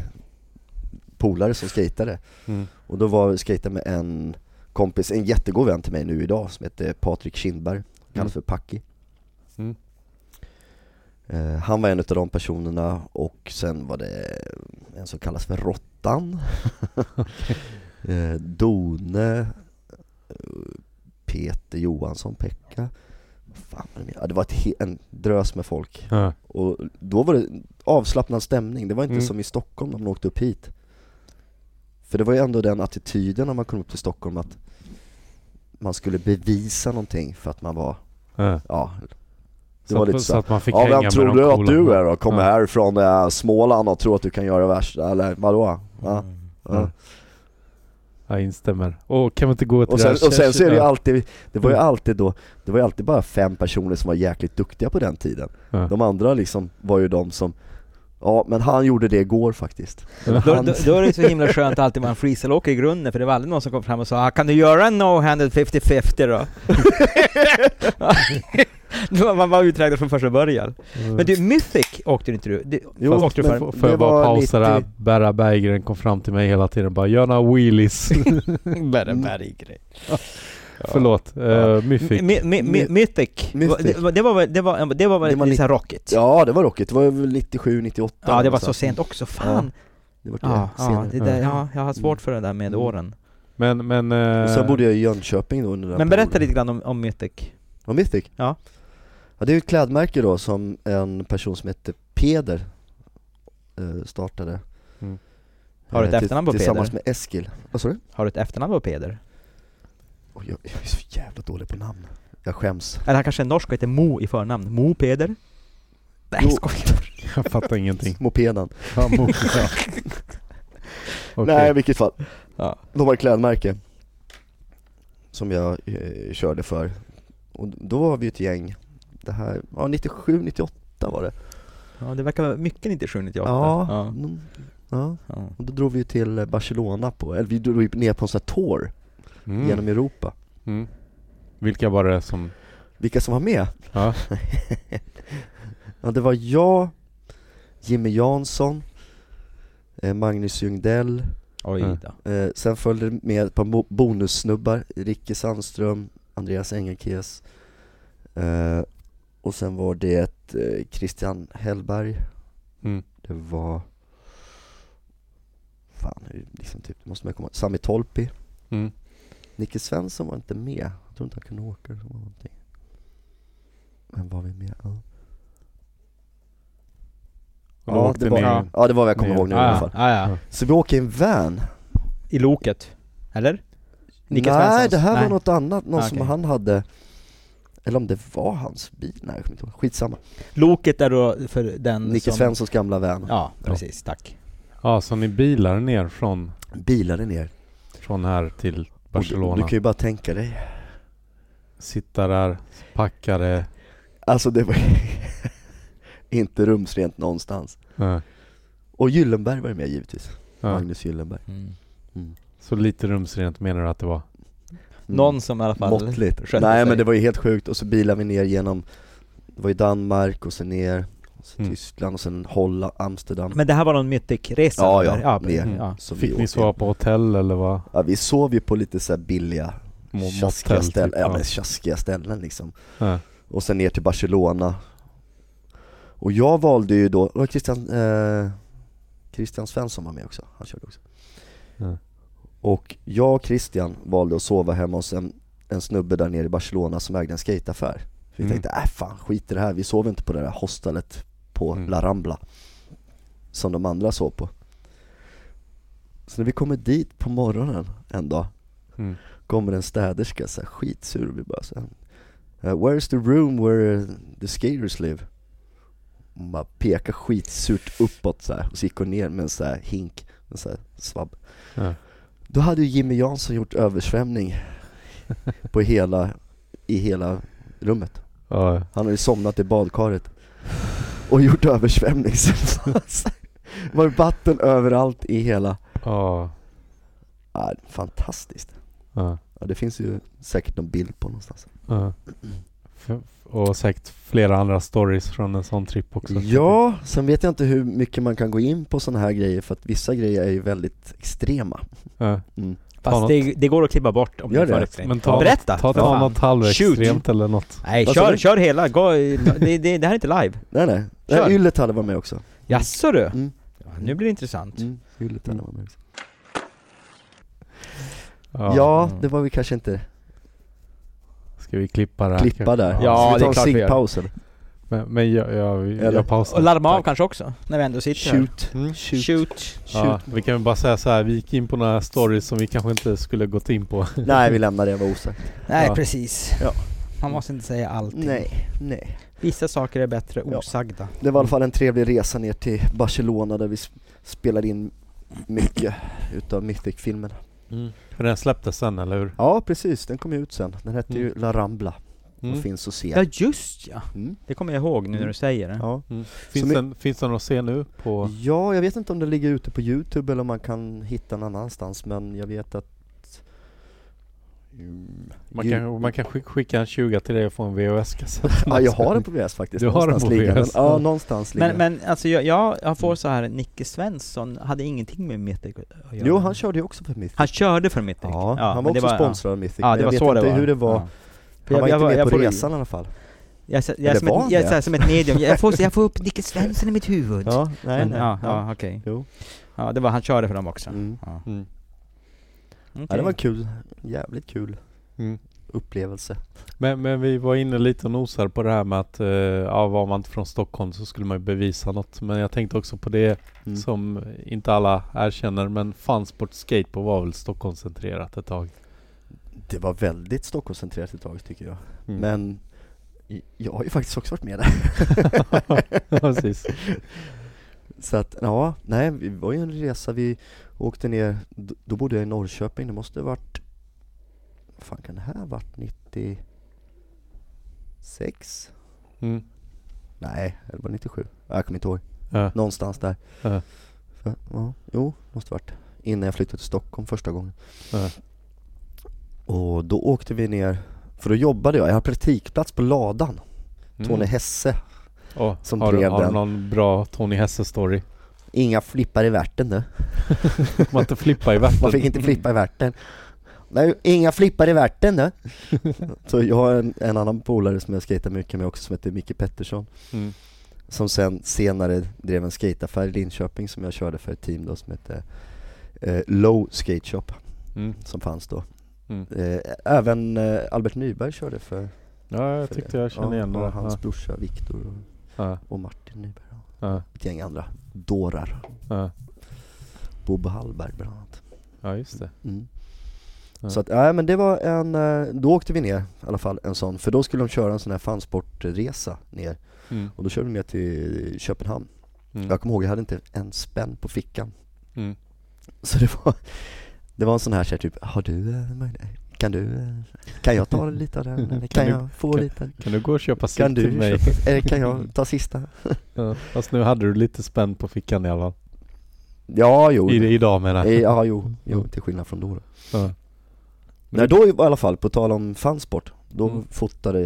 Speaker 2: polare som skatade.
Speaker 4: Mm.
Speaker 2: Och då var skejtade med en kompis, en jättegod vän till mig nu idag som heter Patrik Kindberg, kallas för Packi.
Speaker 4: Mm.
Speaker 2: Eh, Han var en av de personerna och sen var det en som kallas för Råttan Eh, Done eh, Peter Johansson, Pekka Vad Fan, var det mer? Ja, det var ett, he- en drös med folk
Speaker 4: Ja.
Speaker 2: och då var det avslappnad stämning, det var inte
Speaker 4: Mm.
Speaker 2: som i Stockholm när man åkte upp hit För det var ju ändå den attityden när man kom upp till Stockholm att man skulle bevisa någonting för att man var,
Speaker 4: Ja.
Speaker 2: ja,
Speaker 4: Så,
Speaker 2: var
Speaker 4: att-
Speaker 2: lite
Speaker 4: så,
Speaker 2: så här,
Speaker 4: att man fick
Speaker 2: ja
Speaker 4: hänga
Speaker 2: vem
Speaker 4: med
Speaker 2: tror
Speaker 4: de
Speaker 2: du att
Speaker 4: coola.
Speaker 2: du är då? Kommer
Speaker 4: Ja.
Speaker 2: härifrån äh, Småland och tror att du kan göra värsta, eller vadå? Ja,
Speaker 3: Mm.
Speaker 2: ja.
Speaker 4: Jag instämmer. Och kan vi inte gå till
Speaker 2: Och
Speaker 4: det
Speaker 2: sen,
Speaker 4: här Mm.
Speaker 2: och sen så är det ju
Speaker 4: Ja.
Speaker 2: alltid, det var ju alltid då, det var ju alltid bara fem personer som var jäkligt duktiga på den tiden
Speaker 4: Ja.
Speaker 2: De andra liksom var ju de som, ja men han gjorde det igår faktiskt
Speaker 3: Då,
Speaker 2: Han-
Speaker 3: då, då är det så himla skönt att alltid vara en freestyleåkare i grunden, för det var aldrig någon som kom fram och sa ah, ”Kan du göra en no-handed 50-50 då?” Det var- Man var uträknad från första början.
Speaker 4: Mm.
Speaker 3: Men du, Mythic åkte inte du? Det,
Speaker 2: Jo,
Speaker 3: fast åkte du
Speaker 2: men-
Speaker 3: för?
Speaker 4: Får
Speaker 2: Det
Speaker 4: jag bara
Speaker 2: var
Speaker 4: pausa
Speaker 2: 90
Speaker 4: där? Berra Berggren kom fram till mig hela tiden bara ”Gör några wheelies”.
Speaker 3: Bättre
Speaker 2: Mm.
Speaker 3: berggrej.
Speaker 4: Förlåt, uh,
Speaker 2: Mm.
Speaker 4: Mythic.
Speaker 3: Mi- mi- mi- Mythic,
Speaker 2: Mythic.
Speaker 3: Det, var- det var väl- det var, det var väl
Speaker 2: Det var
Speaker 3: lite såhär rockigt? Ja,
Speaker 2: Ja det var rockigt, det var väl 97, 98
Speaker 3: det var så
Speaker 2: någonstans.
Speaker 3: sent också, fan!
Speaker 2: Det var det
Speaker 3: Ja, ja,
Speaker 2: senare.
Speaker 3: det där, ja jag har svårt för det där med
Speaker 2: Mm.
Speaker 3: åren.
Speaker 4: Men, men... eh,
Speaker 2: Och sen bodde jag i Jönköping då under den
Speaker 3: Men berätta
Speaker 2: perioden.
Speaker 3: lite grann om, om Mythic.
Speaker 2: Om Mythic?
Speaker 3: Ja.
Speaker 2: ja det är ju ett klädmärke då som en person som heter Peder eh, startade
Speaker 4: Mm.
Speaker 3: Har du ett
Speaker 2: Eh, till-
Speaker 3: efternamn på Peder?
Speaker 2: Tillsammans med Eskil, vad sa du?
Speaker 3: Har du ett efternamn på Peder?
Speaker 2: Oj, jag jag är så jävla dålig på namn, jag skäms
Speaker 3: Eller han kanske är norsk och heter Mo i förnamn? Mo Peder? Nej,
Speaker 2: Jo.
Speaker 3: skojar.
Speaker 4: Jag fattar ingenting.
Speaker 2: Mopeden
Speaker 4: Ja, mo- ja. Okej.
Speaker 2: Nej i vilket fall,
Speaker 3: Ja.
Speaker 2: de har ett klädmärke Som jag eh, körde för Och då var vi ett gäng Det här, ja 97, 98 var det
Speaker 3: ja, det verkar vara mycket 97, 98.
Speaker 2: Ja,
Speaker 3: ja.
Speaker 2: mm, ja.
Speaker 3: ja.
Speaker 2: Och då drog vi till eh, Barcelona på, eller vi drog ju ner på en sån här tour
Speaker 4: Mm.
Speaker 2: genom Europa
Speaker 4: Mm. Vilka var det som...
Speaker 2: Vilka som var med?
Speaker 4: Ja.
Speaker 2: ja, det var jag, Jimmy Jansson, eh, Magnus Ljungdell,
Speaker 3: Oj
Speaker 4: Mm.
Speaker 3: då.
Speaker 2: eh, sen följde det med ett par bo- bonussnubbar, Ricke Sandström, Andreas Engelkes eh, och sen var det eh, Christian Hellberg,
Speaker 4: Mm.
Speaker 2: det var Fan, hur- liksom typ, det måste man komma Sami Tolpi,
Speaker 4: Mm.
Speaker 2: Nicke Svensson var inte med, jag tror inte han kunde åka eller någonting Men var vi med? Ja.
Speaker 4: Och då
Speaker 2: ja,
Speaker 4: åkte
Speaker 2: det var,
Speaker 4: ni...
Speaker 2: ja. ja det var vad jag kommer
Speaker 4: ner.
Speaker 2: ihåg nu i
Speaker 4: Ah,
Speaker 2: alla fall Mm.
Speaker 3: Ja, ja.
Speaker 2: Så vi åker i en van
Speaker 3: I loket? Eller? Nicke
Speaker 2: Nej
Speaker 3: Svenssons?
Speaker 2: det här
Speaker 3: Nej.
Speaker 2: var något annat, någon
Speaker 3: Ah,
Speaker 2: som
Speaker 3: okej.
Speaker 2: han hade Eller om det var hans bil, nej jag kommer inte ihåg, skitsamma
Speaker 3: Loket är då för den
Speaker 2: Nicke
Speaker 3: Mm, som...
Speaker 2: Svenssons gamla van,
Speaker 3: Ja, precis. Tack.
Speaker 4: Ja, så ni bilar ner från,
Speaker 2: bilade ner
Speaker 4: från här till
Speaker 2: Och du- Du
Speaker 4: Barcelona?
Speaker 2: kan ju bara tänka dig
Speaker 4: Sitta där, packa det...
Speaker 2: Alltså det var inte rumsrent någonstans
Speaker 4: Ja.
Speaker 2: Och Gyllenberg var ju med givetvis,
Speaker 4: Ja.
Speaker 2: Magnus Gyllenberg
Speaker 4: Mm. Så lite rumsrent menar du att det var?
Speaker 2: Mm.
Speaker 3: Någon som i alla fall...
Speaker 2: Måttligt.
Speaker 3: skötte
Speaker 2: Nej
Speaker 3: sig.
Speaker 2: men det var ju helt sjukt och så bilade vi ner genom, det var ju Danmark och sen ner, och sen
Speaker 4: Mm.
Speaker 2: Tyskland och sen Holland, Amsterdam
Speaker 3: Men det här var någon Mythic-resa?
Speaker 2: Ja,
Speaker 3: eller?
Speaker 2: ja.
Speaker 3: ja, precis.
Speaker 4: Mm.
Speaker 3: ja.
Speaker 2: som vi
Speaker 4: Fick ni
Speaker 2: åkte.
Speaker 4: sova på hotell eller vad?
Speaker 2: Ja vi sov ju på lite så här billiga,
Speaker 4: Mo-
Speaker 2: tjaskiga
Speaker 4: motell, typ,
Speaker 2: ställen, ja
Speaker 4: ja.
Speaker 2: men tjaskiga ställen liksom
Speaker 4: Ja.
Speaker 2: Och sen ner till Barcelona Och jag valde ju då, och Christian, eh, Christian Svensson var med också, han körde också
Speaker 4: Ja.
Speaker 2: Och jag och Christian valde att sova hemma hos en, en snubbe där nere i Barcelona som ägde en skateaffär Vi
Speaker 4: Mm.
Speaker 2: tänkte, äh fan skit i det här, vi sover inte på det där hostelet på
Speaker 4: Mm.
Speaker 2: La Rambla Som de andra sov på Så när vi kommer dit på morgonen en dag
Speaker 4: Mm.
Speaker 2: kommer en städerska så här, skitsur och vi bara såhär Where's the room where the skaters live? Hon bara pekar skitsurt uppåt så här, och så gick hon ner med en så här hink, en så här svabb
Speaker 4: Ja.
Speaker 2: Då hade ju Jimmy Jansson gjort översvämning på hela, i hela rummet
Speaker 4: Ja.
Speaker 2: Han hade ju somnat i badkaret och gjort översvämning så det var så här- det var ju vatten överallt i hela,
Speaker 4: Ja.
Speaker 2: ah, fantastiskt!
Speaker 4: Ja.
Speaker 2: Ja, det finns ju säkert någon bild på någonstans
Speaker 4: Ja. F- Och säkert flera andra stories från en sån trip också.
Speaker 2: Ja, sen vet jag inte hur mycket man kan gå in på sådana här grejer för att vissa grejer är ju väldigt extrema
Speaker 4: Ja.
Speaker 2: mm.
Speaker 3: Fast
Speaker 4: Ta något.
Speaker 3: Fast det, det går att klippa bort om
Speaker 2: Gör
Speaker 3: det är
Speaker 2: det.
Speaker 3: för extremt.
Speaker 4: Men ta,
Speaker 3: Berätta!
Speaker 4: ta,
Speaker 3: för
Speaker 4: ta
Speaker 3: fan.
Speaker 4: något halvextremt eller något.
Speaker 3: Nej,
Speaker 2: Vad sa
Speaker 3: kör,
Speaker 2: du?
Speaker 3: kör hela. Gå, det, det, det här är inte live.
Speaker 2: Nej nej,
Speaker 3: Kör.
Speaker 2: Nej, Yllet hade varit med också
Speaker 3: Jaså du?
Speaker 2: Mm.
Speaker 3: Ja, nu blir det intressant.
Speaker 2: mm. Yllet hade varit med också
Speaker 4: Ja.
Speaker 2: Ja, det var vi kanske inte
Speaker 4: Ska vi klippa det här?
Speaker 2: klippa där
Speaker 1: Ja,
Speaker 2: Ska
Speaker 1: det är
Speaker 2: vi ta
Speaker 1: klart
Speaker 2: en
Speaker 1: vi gör.
Speaker 2: ciggpaus eller?
Speaker 4: Men, men jag, jag, jag,
Speaker 2: Eller-
Speaker 4: pausar.
Speaker 3: Och larma av kanske också, när vi ändå sitter här.
Speaker 2: Shoot. Shoot.
Speaker 3: Shoot.
Speaker 4: Ja, vi kan väl bara säga så här, vi gick in på några stories som vi kanske inte skulle gått in på.
Speaker 2: Nej vi lämnar det, jag var osagt
Speaker 3: Nej,
Speaker 4: Ja.
Speaker 3: precis.
Speaker 2: Ja.
Speaker 3: Man måste inte säga allting.
Speaker 2: Nej, nej
Speaker 3: Vissa saker är bättre
Speaker 2: Ja.
Speaker 3: osagda.
Speaker 2: Det var i alla fall en trevlig resa ner till Barcelona där vi sp- spelade in mycket utav Mythic-filmen
Speaker 4: För den släpptes sen, eller hur?
Speaker 2: Ja precis, den kom ju ut sen, den hette ju
Speaker 4: Mm.
Speaker 2: La Rambla
Speaker 4: Mm.
Speaker 2: och finns att se
Speaker 3: Ja, just ja.
Speaker 2: Mm.
Speaker 3: Det kommer jag ihåg nu när du säger det.
Speaker 2: Ja. Som
Speaker 4: Mm. Finns,
Speaker 2: i-
Speaker 4: den, finns den att se nu på...
Speaker 2: ja, jag vet inte om den ligger ute på youtube eller om man kan hitta den annanstans men jag vet att Mm.
Speaker 4: Man
Speaker 2: Ju-
Speaker 4: kan, man kan skick- skicka en 20 till dig och få en VHS-kassett.
Speaker 2: Ja, jag har den på VHS faktiskt,
Speaker 4: Du har den
Speaker 2: någonstans
Speaker 4: på
Speaker 2: ligger den.
Speaker 4: VHS.
Speaker 2: Ja, någonstans ligger
Speaker 3: Men,
Speaker 2: den.
Speaker 3: men alltså jag, jag jag får så här, Nicke Svensson hade ingenting med Mythic att göra.
Speaker 2: Jo, han körde ju också för Mythic
Speaker 3: Han körde för Mythic.
Speaker 2: Ja, han var
Speaker 3: men det
Speaker 2: också sponsrad av Mythic,
Speaker 3: Ja,
Speaker 2: men
Speaker 3: det
Speaker 2: jag
Speaker 3: var
Speaker 2: vet
Speaker 3: så
Speaker 2: inte
Speaker 3: det var.
Speaker 2: hur det var
Speaker 3: Ja.
Speaker 2: Han var
Speaker 3: jag-
Speaker 2: inte
Speaker 3: jag-
Speaker 2: med
Speaker 3: jag
Speaker 2: på
Speaker 3: får-
Speaker 2: resan i alla fall
Speaker 3: Jag, jag, jag,
Speaker 2: Eller
Speaker 3: är som
Speaker 2: var
Speaker 3: ett,
Speaker 2: han
Speaker 3: jag,
Speaker 2: det?
Speaker 3: är som ett medium, jag får, jag får upp Nicke Svensson i mitt huvud.
Speaker 2: Ja, nej,
Speaker 3: Men,
Speaker 2: nej.
Speaker 3: ja, ja okej.
Speaker 2: Jo.
Speaker 3: Ja, det var, han körde för dem också.
Speaker 2: Mm.
Speaker 3: Ja.
Speaker 4: Mm.
Speaker 3: Okej.
Speaker 2: Ja, det var kul, jävligt kul
Speaker 4: Mm.
Speaker 2: upplevelse
Speaker 4: Men, men vi var inne lite och nosade på det här med att eh, ja, var man inte från Stockholm så skulle man ju bevisa något. Men jag tänkte också på det
Speaker 2: Mm.
Speaker 4: som inte alla erkänner, men fansport skateboard var väl Stockholmscentrerat ett tag?
Speaker 2: Det var väldigt Stockholmscentrerat ett tag tycker jag,
Speaker 4: Mm.
Speaker 2: men i- jag har ju faktiskt också varit med där
Speaker 4: Ja, Precis.
Speaker 2: Så att, ja, nej, vi var ju en resa, vi åkte ner, d- då bodde jag i Norrköping, det måste ha varit, vad fan kan det här ha varit, 96?
Speaker 4: Mm.
Speaker 2: Nej, det var 97, jag kommer inte ihåg,
Speaker 4: Ja.
Speaker 2: någonstans där
Speaker 4: Ja.
Speaker 2: Så, ja, Jo, måste ha varit, innan jag flyttade till Stockholm första gången
Speaker 4: Ja.
Speaker 2: Och då åkte vi ner, för då jobbade jag, jag hade praktikplats på Ladan,
Speaker 4: Mm.
Speaker 2: Tony Hesse
Speaker 4: Åh,
Speaker 2: som
Speaker 4: har, du,
Speaker 2: drev
Speaker 4: har du
Speaker 2: den.
Speaker 4: någon bra Tony Hesse-story?
Speaker 2: Inga flippar i värten nu
Speaker 4: Man inte flippa i vatten.
Speaker 2: Man fick inte flippa i värten. Nej, inga flippar i värten nu. Så jag har en, en annan polare som jag skejtar mycket med också som heter Micke Pettersson.
Speaker 4: Mm.
Speaker 2: Som sen senare drev en skateaffär i Linköping som jag körde för ett team då som hette eh, Low Skate Shop
Speaker 4: Mm.
Speaker 2: som fanns då.
Speaker 4: Mm.
Speaker 2: Eh, även eh, Albert Nyberg körde för,
Speaker 4: Ja, jag
Speaker 2: för
Speaker 4: tyckte jag kände
Speaker 2: ja,
Speaker 4: igen det.
Speaker 2: och hans
Speaker 4: Ja,
Speaker 2: brorsa Viktor och,
Speaker 4: ja,
Speaker 2: och Martin Nyberg och
Speaker 4: ja,
Speaker 2: ett gäng andra dårar.
Speaker 4: ja.
Speaker 2: Bob Hallberg bland annat.
Speaker 4: ja, just det.
Speaker 2: Mm.
Speaker 4: Ja.
Speaker 2: Så att, nej men det var en, eh, då åkte vi ner i alla fall en sån, för då skulle de köra en sån här fansportresa ner
Speaker 4: Mm.
Speaker 2: och då körde vi ner till Köpenhamn.
Speaker 4: Mm.
Speaker 2: Jag kommer ihåg, jag hade inte en spänn på fickan.
Speaker 4: Mm.
Speaker 2: Så det var, det var en sån här så här, typ, har du eh, möjlighet? Kan du, eh, kan jag ta lite av den? Eller kan,
Speaker 4: Kan du-
Speaker 2: jag få
Speaker 4: kan-
Speaker 2: lite?
Speaker 4: Kan du gå och köpa sitt
Speaker 2: Kan
Speaker 4: till
Speaker 2: du
Speaker 4: mig?
Speaker 2: köpa, eller kan jag ta sista?
Speaker 4: Ja. Fast nu hade du lite spänn på fickan i alla fall.
Speaker 2: Ja, jo.
Speaker 4: I, idag menar
Speaker 2: Eh,
Speaker 4: jag.
Speaker 2: Ja, jo,
Speaker 4: Mm.
Speaker 2: jo, till skillnad från då. då.
Speaker 4: Ja. Men
Speaker 2: Nej då i alla fall, på tal om fansport, då
Speaker 4: Mm.
Speaker 2: fotade,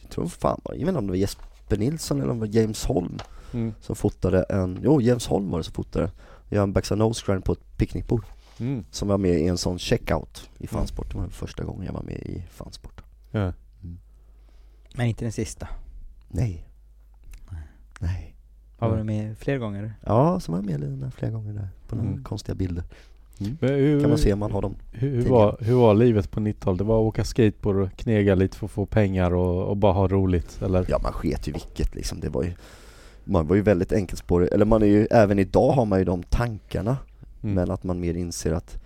Speaker 2: jag tror fan, jag vet inte om det var Jesper Nilsson eller om det var James Holm
Speaker 4: Mm.
Speaker 2: som fotade en, jo James Holm var det som fotade, jag en backside nose grind på ett picknickbord
Speaker 4: Mm.
Speaker 2: som var med i en sån checkout i fansport, det var första gången jag var med i fansport.
Speaker 4: Ja.
Speaker 3: Men inte den sista.
Speaker 2: Nej. Nej.
Speaker 3: Har
Speaker 4: Mm.
Speaker 3: varit med fler gånger.
Speaker 2: Ja, så var jag med Lina flera gånger där på några
Speaker 4: Mm.
Speaker 2: konstiga bilder.
Speaker 4: Men hur,
Speaker 2: Kan man se om man har dem.
Speaker 4: hur, hur, var, hur var livet på 90-talet? Det var att åka skateboard och knega lite för att få pengar och, och bara ha roligt, eller?
Speaker 2: Ja man sket ju vilket liksom, det var ju Man var ju väldigt enkelspårig, eller man är ju, även idag har man ju de tankarna
Speaker 4: Mm.
Speaker 2: Men att man mer inser att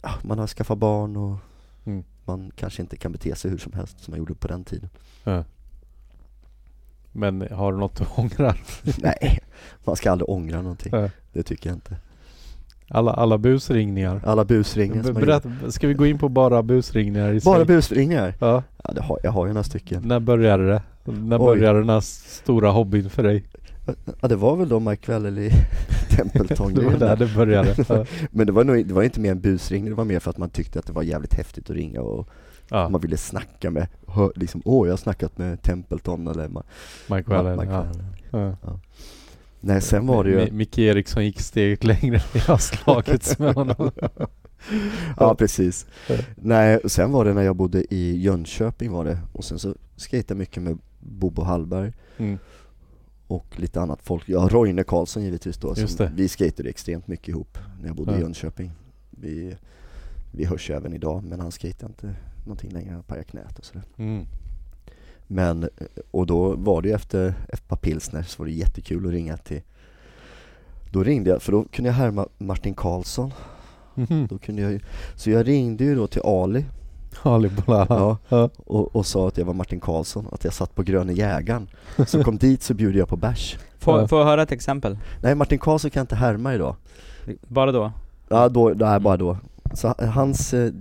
Speaker 2: ah, man har skaffat barn och
Speaker 4: Mm.
Speaker 2: man kanske inte kan bete sig hur som helst som man gjorde på den tiden
Speaker 4: Men har du något du ångrar?
Speaker 2: Nej, man ska aldrig ångra någonting,
Speaker 4: Ja.
Speaker 2: det tycker jag inte
Speaker 4: Alla, alla busringningar?
Speaker 2: Alla busringningar som man gjorde.
Speaker 4: Berätta, ska vi gå in på bara busringningar i sig?
Speaker 2: Bara busringningar?
Speaker 4: Ja.
Speaker 2: Ja, det har, jag har ju några stycken
Speaker 4: När började det? När
Speaker 2: Oj.
Speaker 4: började den här stora hobbyn för dig?
Speaker 2: Ja det var väl då Mike Vallely, Templeton
Speaker 4: Det var där det började. Ja.
Speaker 2: Men det var, nog, det var inte mer en busringning, det var mer för att man tyckte att det var jävligt häftigt att ringa och
Speaker 4: Ja.
Speaker 2: man ville snacka med, hör, liksom, åh jag har snackat med Templeton eller Ma-
Speaker 4: Mike
Speaker 2: Ma-
Speaker 4: Wallen.
Speaker 2: Mike
Speaker 4: Ja.
Speaker 2: Fallon.
Speaker 4: Ja.
Speaker 2: Nej sen var det
Speaker 4: Mi-
Speaker 2: ju,
Speaker 4: Micke Eriksson gick steget längre när jag har slagits med honom.
Speaker 2: ja precis. Nej, och sen var det när jag bodde i Jönköping var det, och sen så skejtade jag mycket med Bobo Hallberg
Speaker 4: Mm.
Speaker 2: och lite annat folk. Ja, Roine Karlsson givetvis då.
Speaker 4: Just
Speaker 2: Som,
Speaker 4: det.
Speaker 2: vi skatade extremt mycket ihop när jag bodde i
Speaker 4: Ja.
Speaker 2: Jönköping. Vi, vi hörs ju även idag, men han skejtade inte någonting längre, han pajade knät och sådär.
Speaker 4: Mm.
Speaker 2: Men, eh, och då var det ju efter ett par pilsner så var det jättekul att ringa till Då ringde jag, för då kunde jag härma Martin Karlsson
Speaker 4: Mhm.
Speaker 2: då kunde jag ju, Så jag ringde ju då till Ali
Speaker 4: Ali Bolala.
Speaker 2: Ja.
Speaker 4: Ja.
Speaker 2: och, och sa att jag var Martin Karlsson, att jag satt på Gröne Jägaren Så kom dit så bjuder jag på bärs
Speaker 4: Ja.
Speaker 1: Får, får jag höra ett exempel?
Speaker 2: Nej Martin Karlsson kan jag inte härma idag
Speaker 1: Bara då?
Speaker 2: Ja, då, nej bara då så hans, eh,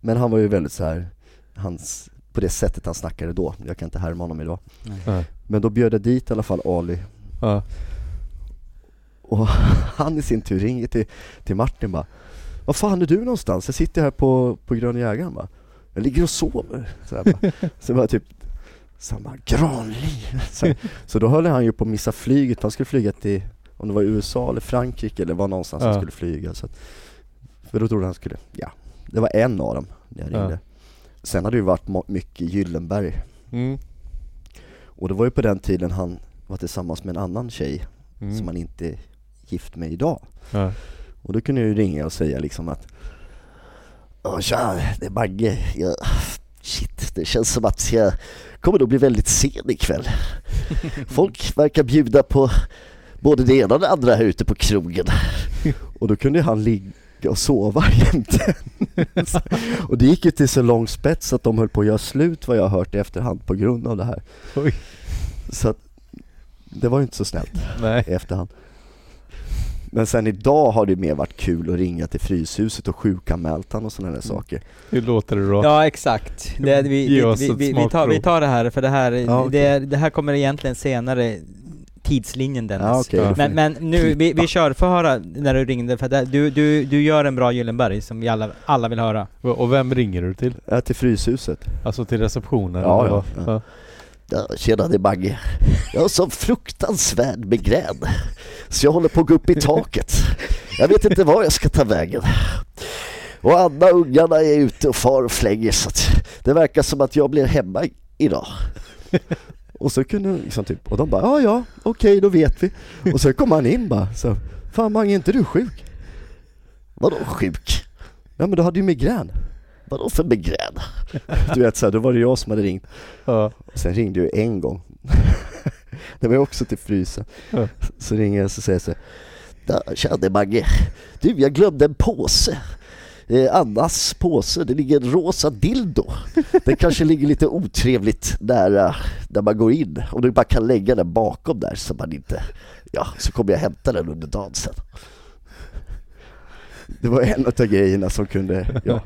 Speaker 2: Men han var ju väldigt så här hans, på det sättet han snackade då, jag kan inte härma honom idag
Speaker 4: Ja.
Speaker 2: Men då bjöd jag dit i alla fall Ali
Speaker 4: Ja.
Speaker 2: Och han i sin tur ringer till, till Martin bara Vad fan är du någonstans? Jag sitter här på, på Gröna Jägaren bara Jag ligger och sover Så, här, bara. så bara typ Så han bara Granli så, här. så då höll han ju på att missa flyget, han skulle flyga till Om det var USA eller Frankrike eller var någonstans
Speaker 4: Ja.
Speaker 2: han skulle flyga så att, För då trodde han skulle, ja Det var en av dem när jag
Speaker 4: Ja.
Speaker 2: ringde Sen hade det ju varit mo- mycket i Gyllenberg
Speaker 4: Mm.
Speaker 2: Och det var ju på den tiden han var tillsammans med en annan tjej
Speaker 4: Mm.
Speaker 2: som han inte är gift med idag
Speaker 4: Ja.
Speaker 2: och då kunde jag ju ringa och säga liksom att "Ja, Tja, det är Bagge. Jag, shit, det känns som att jag kommer nog bli väldigt sen ikväll. Folk verkar bjuda på både det ena och det andra här ute på krogen. Och då kunde han ligga och sova jämte. och det gick ju till så lång spets att de höll på att göra slut vad jag har hört i efterhand på grund av det här.
Speaker 4: Oj.
Speaker 2: Så att, det var ju inte så snällt
Speaker 4: Nej.
Speaker 2: i efterhand. Men sen idag har det mer varit kul att ringa till Fryshuset och sjukanmält han och sådana där saker.
Speaker 4: Hur låter det då?
Speaker 1: Ja, exakt. Det, vi,
Speaker 4: Ge
Speaker 1: vi,
Speaker 4: oss
Speaker 1: vi,
Speaker 4: ett
Speaker 1: vi, vi, tar,
Speaker 4: smakprov.
Speaker 1: vi tar det här, för det här,
Speaker 2: Ja, okej.
Speaker 1: det, är- det här kommer egentligen senare, tidslinjen Dennis.
Speaker 2: Ja, okej.
Speaker 4: Ja.
Speaker 1: Men, men nu, vi, vi kör, få höra när du ringde, för det, du, du, du gör en bra Gyllenberg som vi alla, alla vill höra.
Speaker 4: Och och vem ringer du till?
Speaker 2: Ja, till Fryshuset.
Speaker 4: Alltså till receptionen?
Speaker 2: Ja,
Speaker 4: eller
Speaker 2: ja,
Speaker 4: vad?
Speaker 2: Ja, tjena, det är Bagge. Jag har sån fruktansvärd migrän. Så jag håller på att gå upp i taket. Jag vet inte var jag ska ta vägen. Och Anna och ungarna är ute och far och flänger så att det verkar som att jag blir hemma i- idag. Och så kunde de liksom typ, och de bara ja ja, okej då vet vi. Och så kom han in bara så, Fan Mange, är inte du sjuk? Vadå sjuk? Ja men du hade ju migrän. Vadå för migrän? Du vet så här, då var det jag som hade ringt
Speaker 4: Ja.
Speaker 2: Sen ringde jag en gång. det var ju också till frysen.
Speaker 4: Ja.
Speaker 2: Så ringer jag och så säger jag så här, "Ja, Tja, det är Bagge. Du, jag glömde en påse. Eh, Annas påse, det ligger en rosa dildo. Den kanske ligger lite otrevligt nära där man går in. Om du bara kan lägga den bakom där så man inte... Ja, så kommer jag hämta den under dagen sen. Det var en av grejerna som kunde... Ja,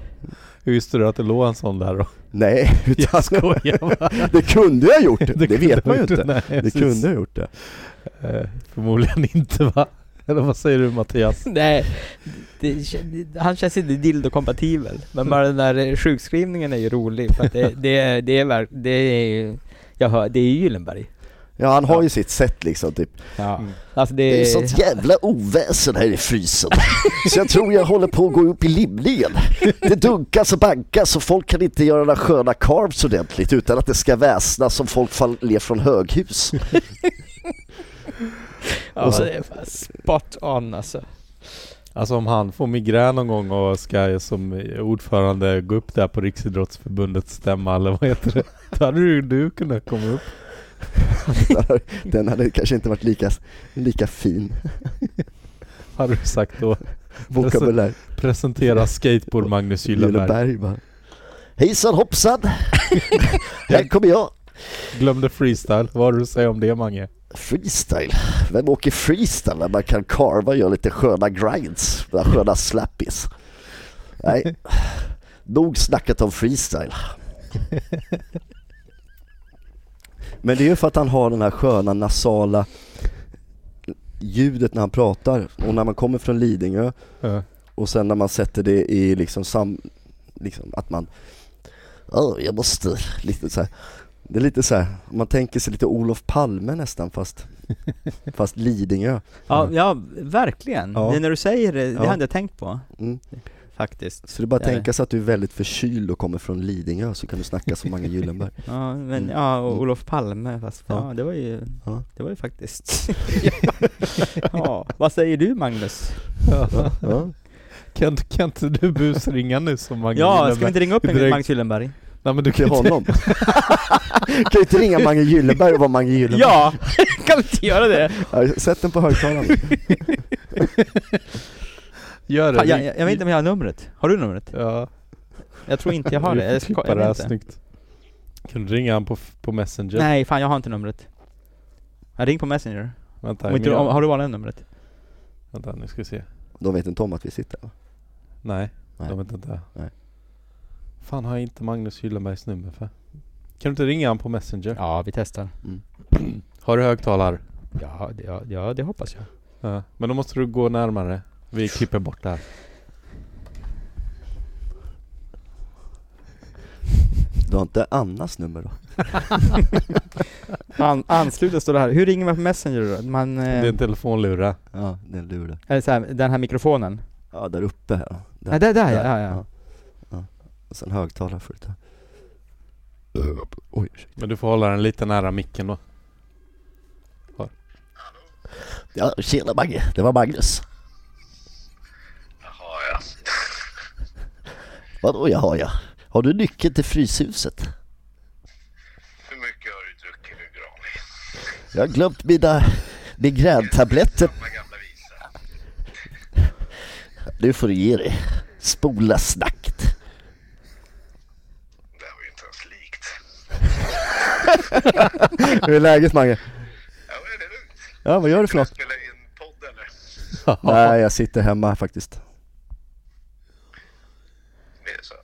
Speaker 4: Hur visste du att det låg en sån där då?
Speaker 2: nej, utan,
Speaker 4: skojar bara.
Speaker 2: det kunde jag ha gjort.
Speaker 4: Det
Speaker 2: Det,
Speaker 4: kunde
Speaker 2: vet man ju
Speaker 4: du-
Speaker 2: inte.
Speaker 4: nej,
Speaker 2: Det
Speaker 4: precis.
Speaker 2: kunde jag ha gjort det.
Speaker 4: Eh, Förmodligen inte va? Eller vad säger du Mattias?
Speaker 1: Nej, det, han känns inte dildo-kompatibel. Men bara den där eh, sjukskrivningen är ju rolig, för att det, det, det är verk, det är ju, jag hör, det är ju Gyllenberg.
Speaker 2: Ja han har ju sitt sätt liksom typ.
Speaker 1: Ja.
Speaker 3: Mm.
Speaker 1: Alltså det,
Speaker 2: Det är ju
Speaker 3: Eh.
Speaker 2: sånt jävla oväsen här i frysen. Så jag tror jag håller på att gå upp i limningen. Det dunkas och bankas och folk kan inte göra några sköna carves ordentligt utan att det ska väsnas som folk faller från höghus.
Speaker 1: ja, det är fan spot on alltså.
Speaker 4: Alltså om han får migrän någon gång och ska som ordförande gå upp där på Riksidrottsförbundets stämma eller vad heter det? Då hade ju du kunnat komma upp.
Speaker 2: Den hade kanske inte varit lika, lika fin
Speaker 4: Hade du sagt då.
Speaker 2: vokabulär.
Speaker 4: Presentera skateboard Magnus Gyllenberg.
Speaker 2: Gyllenberg bara. Hejsan hoppsan! här kommer jag.
Speaker 4: Glömde freestyle. Vad har du att säga om det Mange?
Speaker 2: Freestyle? Vem åker freestyle när man kan karva och göra lite sköna grinds? Några sköna slappies? Nej, nog snackat om freestyle. Men det är ju för att han har den här sköna nasala ljudet när han pratar och när man kommer från Lidingö
Speaker 4: Ja.
Speaker 2: och sen när man sätter det i liksom sam... Liksom att man... Oh, jag måste... Lite så här. Det är lite så här. man tänker sig lite Olof Palme nästan fast... Fast Lidingö.
Speaker 1: Ja, ja verkligen.
Speaker 2: Mm. Ja.
Speaker 1: Det när du säger det, det
Speaker 2: Ja.
Speaker 1: hade jag tänkt på.
Speaker 2: Mm.
Speaker 5: faktiskt.
Speaker 2: Så det är bara att
Speaker 3: Ja, det-
Speaker 2: tänka sig att du är väldigt förkyld och kommer från Lidingö så kan du snacka som Mange Gyllenberg
Speaker 3: Ja, men
Speaker 2: Mm.
Speaker 3: ja, och
Speaker 2: Mm.
Speaker 3: Olof Palme fast
Speaker 2: Ja.
Speaker 3: ja, det var ju,
Speaker 2: Ja.
Speaker 3: det var ju faktiskt Ja, vad säger du Magnus?
Speaker 2: ja.
Speaker 4: Kan, inte- kan inte du busringa nu som Mange
Speaker 3: Ja, ska vi
Speaker 4: Gyllenberg?
Speaker 3: inte ringa upp
Speaker 4: Vi
Speaker 3: en
Speaker 4: direkt-
Speaker 3: Magnus Gyllenberg?
Speaker 4: Nej men du kan
Speaker 2: Till
Speaker 4: ju inte...
Speaker 2: honom Kan ju inte ringa Mange Gyllenberg och vara Mange Gyllenberg
Speaker 3: Ja! kan vi inte göra det?
Speaker 2: Ja, Sätt den på högtalaren
Speaker 4: Gör det.
Speaker 3: Fan, jag, jag, jag vet inte om jag har numret. Har du numret?
Speaker 4: Ja.
Speaker 3: Jag tror inte jag har
Speaker 4: Vi
Speaker 3: det.
Speaker 4: får
Speaker 3: Jag,
Speaker 4: klippa
Speaker 3: ska, jag
Speaker 4: det här
Speaker 3: vet inte.
Speaker 4: snyggt. Kan du ringa han på, f- på Messenger?
Speaker 3: Nej, fan jag har inte numret. Jag ring på Messenger.
Speaker 4: Vänta,
Speaker 3: Om inte,
Speaker 4: men
Speaker 3: du-
Speaker 4: jag-
Speaker 3: om, har du bara det numret?
Speaker 4: Vänta nu ska vi se.
Speaker 2: De vet inte om att vi sitter va?
Speaker 4: Nej,
Speaker 2: Nej.
Speaker 4: de vet inte.
Speaker 2: Nej.
Speaker 4: Fan har jag inte Magnus Gyllenbergs nummer för? Kan du inte ringa han på Messenger?
Speaker 3: Ja, vi testar.
Speaker 4: Har du högtalare?
Speaker 3: Ja, det, ja, ja, det hoppas jag.
Speaker 4: Ja. Men då måste du gå närmare. Vi klipper bort det här.
Speaker 2: Du har inte Annas nummer då?
Speaker 3: An, ansluten står det här. Hur ringer man på Messenger då? Man, eh,
Speaker 4: Det är en telefonlura.
Speaker 2: Ja, det är en lur där
Speaker 3: eller så här, den här mikrofonen?
Speaker 2: Ja, där uppe här ja.
Speaker 3: Nej, där, där, ja, ja, ja.
Speaker 2: Ja. Och sen högtalare får du ta Oj, ursäkta.
Speaker 4: Men du får hålla den lite nära micken
Speaker 3: Mm.
Speaker 4: då.
Speaker 2: Ja, tjena Mange, det var Magnus
Speaker 6: Jaha ja.
Speaker 2: Vadå jaha ja? Har du nyckeln till Fryshuset?
Speaker 6: Hur mycket har du druckit nu Granis?
Speaker 2: Jag har glömt mina migräntabletter.
Speaker 6: Gamla gamla visa.
Speaker 2: Nu får du ge dig. Spola snacket.
Speaker 6: Det här var ju inte ens likt.
Speaker 2: Hur är läget Mange?
Speaker 6: Ja, men det är lugnt.
Speaker 2: Ja, vad gör du för något?
Speaker 6: Spela in podd eller?
Speaker 2: Nej, jag sitter hemma faktiskt.
Speaker 6: Det är så.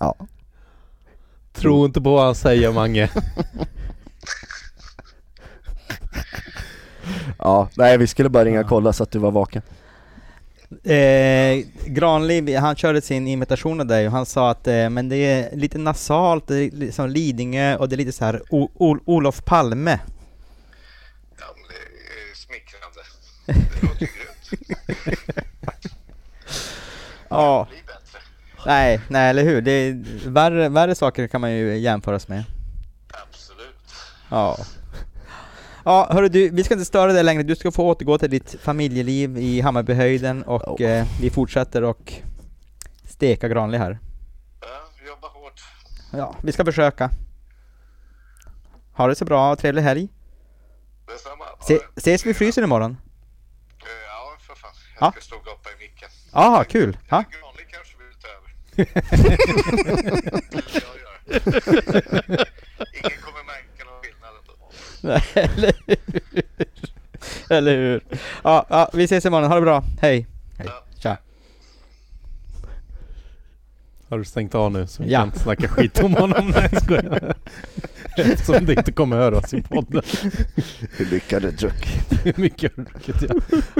Speaker 2: Ja.
Speaker 4: Tro inte på vad han säger Mange.
Speaker 2: Ja, nej vi skulle bara ringa och kolla så att du var vaken.
Speaker 3: Eh, Granliv, han körde sin imitation av dig och han sa att eh, men det är lite nasalt, det är liksom Lidingö och det är lite så här o- o- Olof Palme.
Speaker 6: Ja, men det är smickrande. Det låter ju grymt.
Speaker 3: Ja,
Speaker 6: Bli bättre.
Speaker 3: nej, nej eller hur? Det är, värre, värre saker kan man ju jämföras med.
Speaker 6: Absolut.
Speaker 3: Ja. Ja, hörru du, vi ska inte störa dig längre. Du ska få återgå till ditt familjeliv i Hammarbyhöjden och
Speaker 2: Ja.
Speaker 3: eh, vi fortsätter och steka Granli här.
Speaker 6: Ja, vi jobbar hårt.
Speaker 3: Ja, vi ska försöka. Ha det så bra och trevlig helg.
Speaker 6: Detsamma. Ha
Speaker 3: Se,
Speaker 6: det.
Speaker 3: ses vi i frysen imorgon?
Speaker 6: Eh, Ja, för fan.
Speaker 3: Ja.
Speaker 6: Jag ska stå och gapa i micken.
Speaker 3: Jaha, kul! Ja.
Speaker 6: Granli kanske vill ta över. Det vill jag göra. Ingen kommer märka någon skillnad ändå.
Speaker 3: Nej, Eller hur? Eller hur? Ja, ja, vi ses imorgon. Ha det bra. Hej! Hej.
Speaker 6: Ja.
Speaker 3: Tja!
Speaker 4: Har du stängt av nu så vi
Speaker 3: Ja.
Speaker 4: kan inte snacka skit om honom? Nej jag skojar. Eftersom det inte kommer höras i podden.
Speaker 2: Hur mycket har du druckit?
Speaker 4: Hur mycket har du druckit? Ja.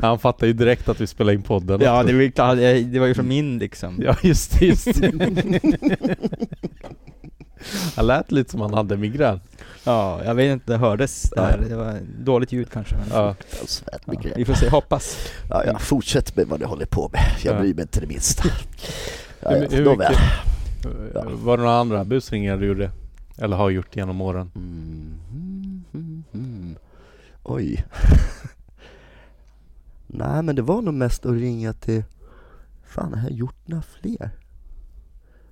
Speaker 4: Han fattar ju direkt att vi spelar in podden.
Speaker 3: Ja, det var ju klart. Det det var ju från min liksom.
Speaker 4: Ja just det, just det. Han lät lite som han hade migrän.
Speaker 3: Ja, jag vet inte. Det hördes där. Det var dåligt ljud kanske. Men
Speaker 4: Ja.
Speaker 2: En svett
Speaker 3: ja,
Speaker 2: migrän.
Speaker 3: vi får se. Hoppas.
Speaker 2: Ja, ja, fortsätt med vad du håller på med. Jag
Speaker 4: Ja.
Speaker 2: bryr mig inte det minsta. Ja,
Speaker 4: Hur-
Speaker 2: ja,
Speaker 4: hur
Speaker 2: nåväl.
Speaker 4: Eh,
Speaker 2: Ja.
Speaker 4: Var det några andra busringar du gjorde? Eller har gjort genom åren?
Speaker 2: Mm, mm, mm, mm. Oj. Nej men det var nog mest att ringa till... Fan har jag gjort några fler?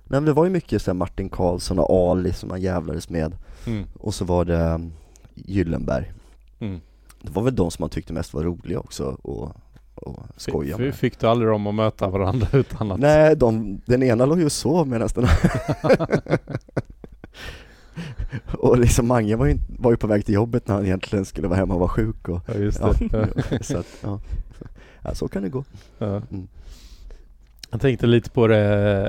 Speaker 2: Nej men det var ju mycket så här Martin Karlsson och Ali som han jävlades med
Speaker 4: Mm.
Speaker 2: Och så var det mm, Gyllenberg
Speaker 4: Mm.
Speaker 2: Det var väl de som man tyckte mest var roliga också och, och skoja
Speaker 4: Fick,
Speaker 2: med
Speaker 4: fick du aldrig dem att möta varandra utan att...
Speaker 2: Nej, de, den ena låg ju och sov medan den Och liksom Mange var ju, inte- var ju på väg till jobbet när han egentligen skulle vara hemma och vara sjuk och
Speaker 4: Ja, just
Speaker 2: ja,
Speaker 4: det. Ja.
Speaker 2: så att, ja. ja, så kan det gå.
Speaker 4: Ja.
Speaker 2: Mm.
Speaker 4: Jag tänkte lite på det,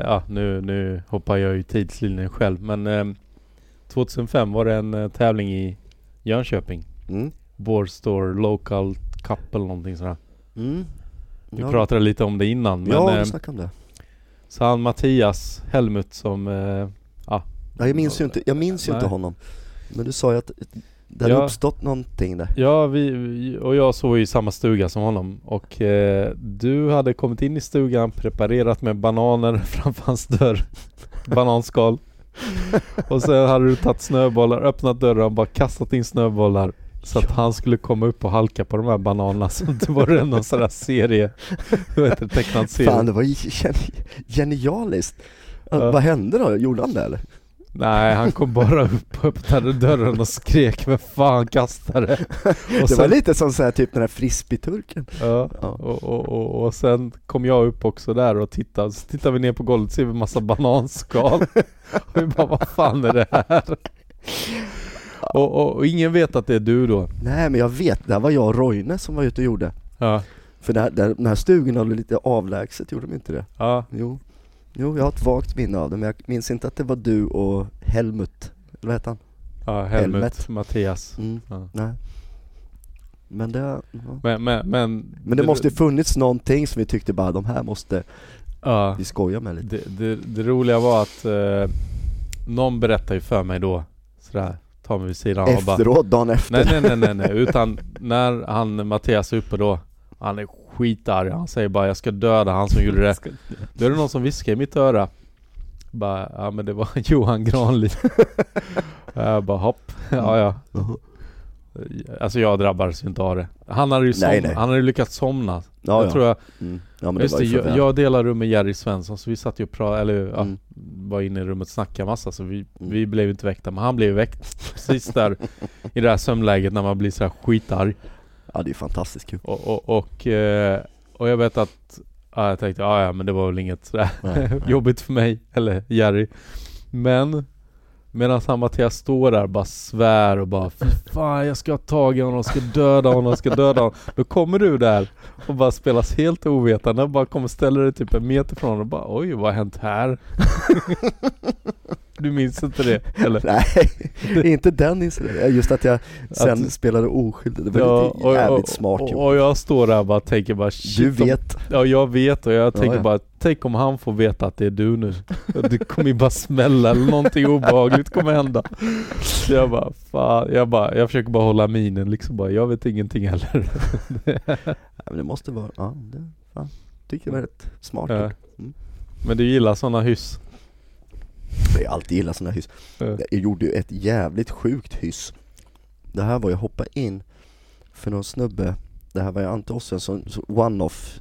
Speaker 4: ja, nu, nu hoppar jag ju tidslinjen själv men eh, 2005 var det en eh, tävling i Jönköping.
Speaker 2: Mm.
Speaker 4: Boardstore Local Cup eller någonting sådär.
Speaker 2: Mm.
Speaker 4: Vi
Speaker 2: ja,
Speaker 4: pratade lite om det innan men
Speaker 2: Ja,
Speaker 4: eh,
Speaker 2: vi snackade om det.
Speaker 4: så han Mattias Helmut som eh,
Speaker 2: Ja, jag minns ju inte, jag minns ju inte
Speaker 4: Nej.
Speaker 2: honom. Men du sa ju att Det hade
Speaker 4: Ja.
Speaker 2: uppstått någonting där.
Speaker 4: Ja, vi, vi- och jag sov i samma stuga som honom och eh, du hade kommit in i stugan preparerat med bananer framför hans dörr. Bananskal. och sen hade du tagit snöbollar, öppnat dörren och bara kastat in snöbollar. Så att han skulle komma upp och halka på de här bananerna som det var någon sån där serie, vad heter det, tecknad serie.
Speaker 2: Fan, det var ju geni- genialiskt. Alltså,
Speaker 4: Ja.
Speaker 2: Vad hände då? Gjorde han det eller?
Speaker 4: Nej, han kom bara upp och öppnade dörren och skrek Vem fan kastar det? Och
Speaker 2: det var
Speaker 4: sen-
Speaker 2: lite som så här, typ den här frisbeeturken.
Speaker 4: Ja,
Speaker 2: Ja.
Speaker 4: och, och, och, och sen kom jag upp också där och tittade, så tittar vi ner på golvet ser vi massa bananskal. och vi bara, vad fan är det här? Och, och, och ingen vet att det är du då.
Speaker 2: Nej men jag vet, det här var jag och Roine som var ute och gjorde.
Speaker 4: Ja.
Speaker 2: För den här, den här stugan var lite avlägset, gjorde de inte det?
Speaker 4: Ja,
Speaker 2: Jo. Jo, jag har ett vagt minne av det, men jag minns inte att det var du och Helmut, eller vad hette han?
Speaker 4: ja Helmut,
Speaker 2: Helmet.
Speaker 4: Mattias.
Speaker 2: Mm.
Speaker 4: Ja.
Speaker 2: Nej. Men det, ja.
Speaker 4: Men, men, men,
Speaker 2: men det måste ju funnits någonting som vi tyckte bara, de här måste
Speaker 4: ja.
Speaker 2: vi skoja med lite.
Speaker 4: Det, det, det roliga var att eh, någon berättade ju för mig då, sådär, ta mig vid sidan och bara
Speaker 2: Efteråt, dagen efter.
Speaker 4: Nej nej nej nej, nej. utan när han Mattias är uppe då Han är skitarg, han säger bara 'Jag ska döda han som gjorde det' Då är det någon som viskar i mitt öra Bara, ja men det var Johan Granlid Jag bara hopp, ja ja Alltså jag drabbades ju inte av det Han hade ju, som,
Speaker 2: Nej, nej.
Speaker 4: Han hade ju lyckats somna
Speaker 2: ja,
Speaker 4: Jag
Speaker 2: ja.
Speaker 4: tror jag,
Speaker 2: Mm. ja, men det
Speaker 4: just
Speaker 2: var
Speaker 4: det,
Speaker 2: ju för
Speaker 4: jag,
Speaker 2: väl.
Speaker 4: jag delar rum med Jerry Svensson så vi satt ju och pratade, eller ja,
Speaker 2: Mm.
Speaker 4: var inne i rummet och snackade massa så vi,
Speaker 2: Mm.
Speaker 4: vi blev inte väckta men han blev väckt precis där i det här sömnläget när man blir så här skitarg
Speaker 2: Ja, det är fantastiskt kul.
Speaker 4: och, och, och, eh, och jag vet att ja, jag tänkte ja, ja men det var väl inget sådär
Speaker 2: Nej, nej.
Speaker 4: jobbigt för mig eller Jerry Men medan han Mattias står där och bara svär och bara "Fy fan jag ska ha tag i honom, jag ska döda honom, jag ska döda honom Då kommer du där och bara spelas helt ovetande och bara kommer och ställer dig typ en meter från honom och bara oj vad har hänt här? du minns inte det? Eller?
Speaker 2: Nej, inte den incidenten. Just att jag sen
Speaker 4: Att-
Speaker 2: spelade oskyldig. Det var lite jävligt smart
Speaker 4: och,
Speaker 2: gjort.
Speaker 4: och jag står där och bara tänker bara shit,
Speaker 2: Du
Speaker 4: om-
Speaker 2: vet.
Speaker 4: Ja jag vet och jag tänker
Speaker 2: ja.
Speaker 4: bara, tänk om han får veta att det är du nu. Det kommer ju bara smälla eller någonting obehagligt kommer hända. Så jag bara, fan. Jag, bara, jag försöker bara hålla minen liksom bara, jag vet ingenting heller.
Speaker 2: Ja, men det måste vara, ja, det, fan. Tycker det var rätt smart
Speaker 4: Ja.
Speaker 2: gjort. Mm.
Speaker 4: Men du gillar sådana hyss?
Speaker 2: Jag har alltid gillat sådana hyss.
Speaker 4: Ja.
Speaker 2: Jag gjorde ju ett jävligt sjukt hyss. Det här var, jag hoppade in för någon snubbe, det här var ju Ante Ossensson, så one-off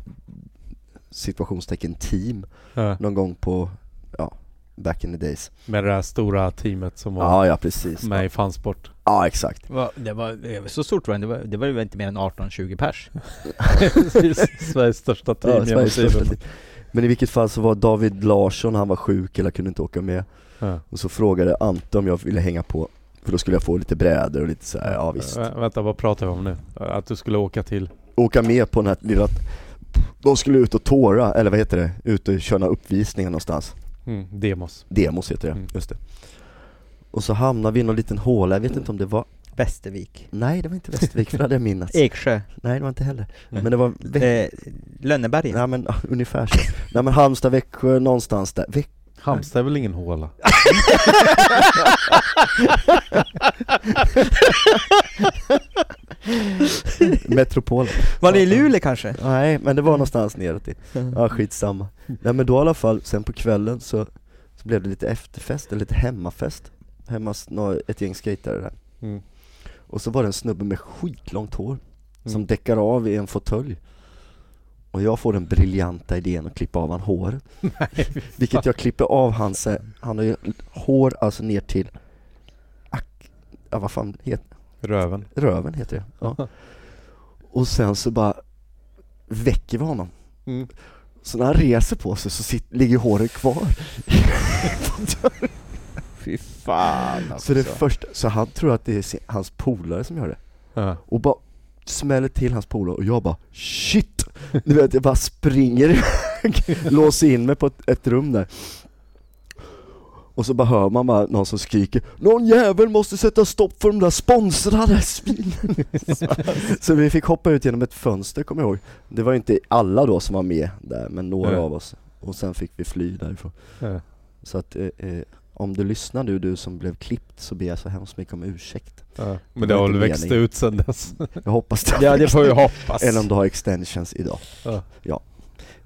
Speaker 2: situationstecken team
Speaker 4: Ja.
Speaker 2: någon gång på, ja, back in the days.
Speaker 4: Med det här stora teamet som var
Speaker 2: Ja, ja precis.
Speaker 4: med i fansport.
Speaker 2: Ja, exakt.
Speaker 3: Va- Det var, det var så stort var det, det var, det var ju inte mer än 18-20 pers.
Speaker 4: Sveriges största
Speaker 2: Ja,
Speaker 4: team genom
Speaker 2: Sveriges största
Speaker 4: tiden.
Speaker 2: team. Men i vilket fall så var David Larsson, han var sjuk eller kunde inte åka med
Speaker 4: Ja.
Speaker 2: Och så frågade Ante om jag ville hänga på För då skulle jag få lite brädor och lite så här, ja visst
Speaker 4: Vä- Vänta, vad pratar vi om nu? Att du skulle åka till?
Speaker 2: Åka med på den här lilla De skulle ut och tåra, eller vad heter det? Ut och köra uppvisningar någonstans
Speaker 4: Mm, demos.
Speaker 2: Demos heter det,
Speaker 4: Mm.
Speaker 2: just det Och så hamnade vi i någon liten håla, jag vet inte om det var
Speaker 3: Västervik.
Speaker 2: Nej det var inte Västervik, för det hade jag minnats
Speaker 3: Eksjö.
Speaker 2: Nej det var inte heller
Speaker 4: Nej.
Speaker 2: Men det var Vä-
Speaker 3: Eh, Lönneberga.
Speaker 2: Nej men ja, ungefär så Nej men Halmstad, Växjö, någonstans där Växjö
Speaker 4: Halmstad är väl ingen håla?
Speaker 2: Metropolen
Speaker 3: Var det i Luleå kanske?
Speaker 2: Nej, men det var någonstans neråt i. Ja, skitsamma. Nej men då i alla fall, sen på kvällen så, så blev det lite efterfest, eller lite hemmafest. Hemma hos nå- ett gäng skejtare där.
Speaker 4: Mm.
Speaker 2: Och så var det en snubbe med skitlångt hår, som
Speaker 4: Mm.
Speaker 2: däckar av i en fåtölj. Och jag får den briljanta idén att klippa av han håret. Vilket jag klipper av hans, eh, han har ju hår alltså ner till, ack, ja vad fan heter
Speaker 4: Röven.
Speaker 2: Röven heter det, ja. Och sen så bara väcker vi honom.
Speaker 4: Mm.
Speaker 2: Så när han reser på sig så sit, ligger håret kvar.
Speaker 3: Fy fan alltså.
Speaker 2: Så, det första, så han tror att det är sin- hans polare som gör det.
Speaker 4: Ja.
Speaker 2: Och bara smäller till hans polare och jag bara shit! Du vet, jag bara springer iväg, låser in mig på ett, ett rum där. Och så bara hör man bara någon som skriker Någon jävel måste sätta stopp för de där sponsrade svinen! så vi fick hoppa ut genom ett fönster kommer jag ihåg. Det var ju inte alla då som var med där, men några
Speaker 4: Ja.
Speaker 2: av oss. Och sen fick vi fly därifrån.
Speaker 4: Ja.
Speaker 2: Så att, eh, eh, Om du lyssnar nu, du som blev klippt, så ber jag så hemskt mycket om ursäkt.
Speaker 4: Ja, men det har väl
Speaker 2: inte
Speaker 4: växt
Speaker 2: mening.
Speaker 4: ut sedan dess.
Speaker 2: Jag hoppas det.
Speaker 4: Ja, det får vi hoppas.
Speaker 2: Eller om du har extensions idag.
Speaker 4: Ja.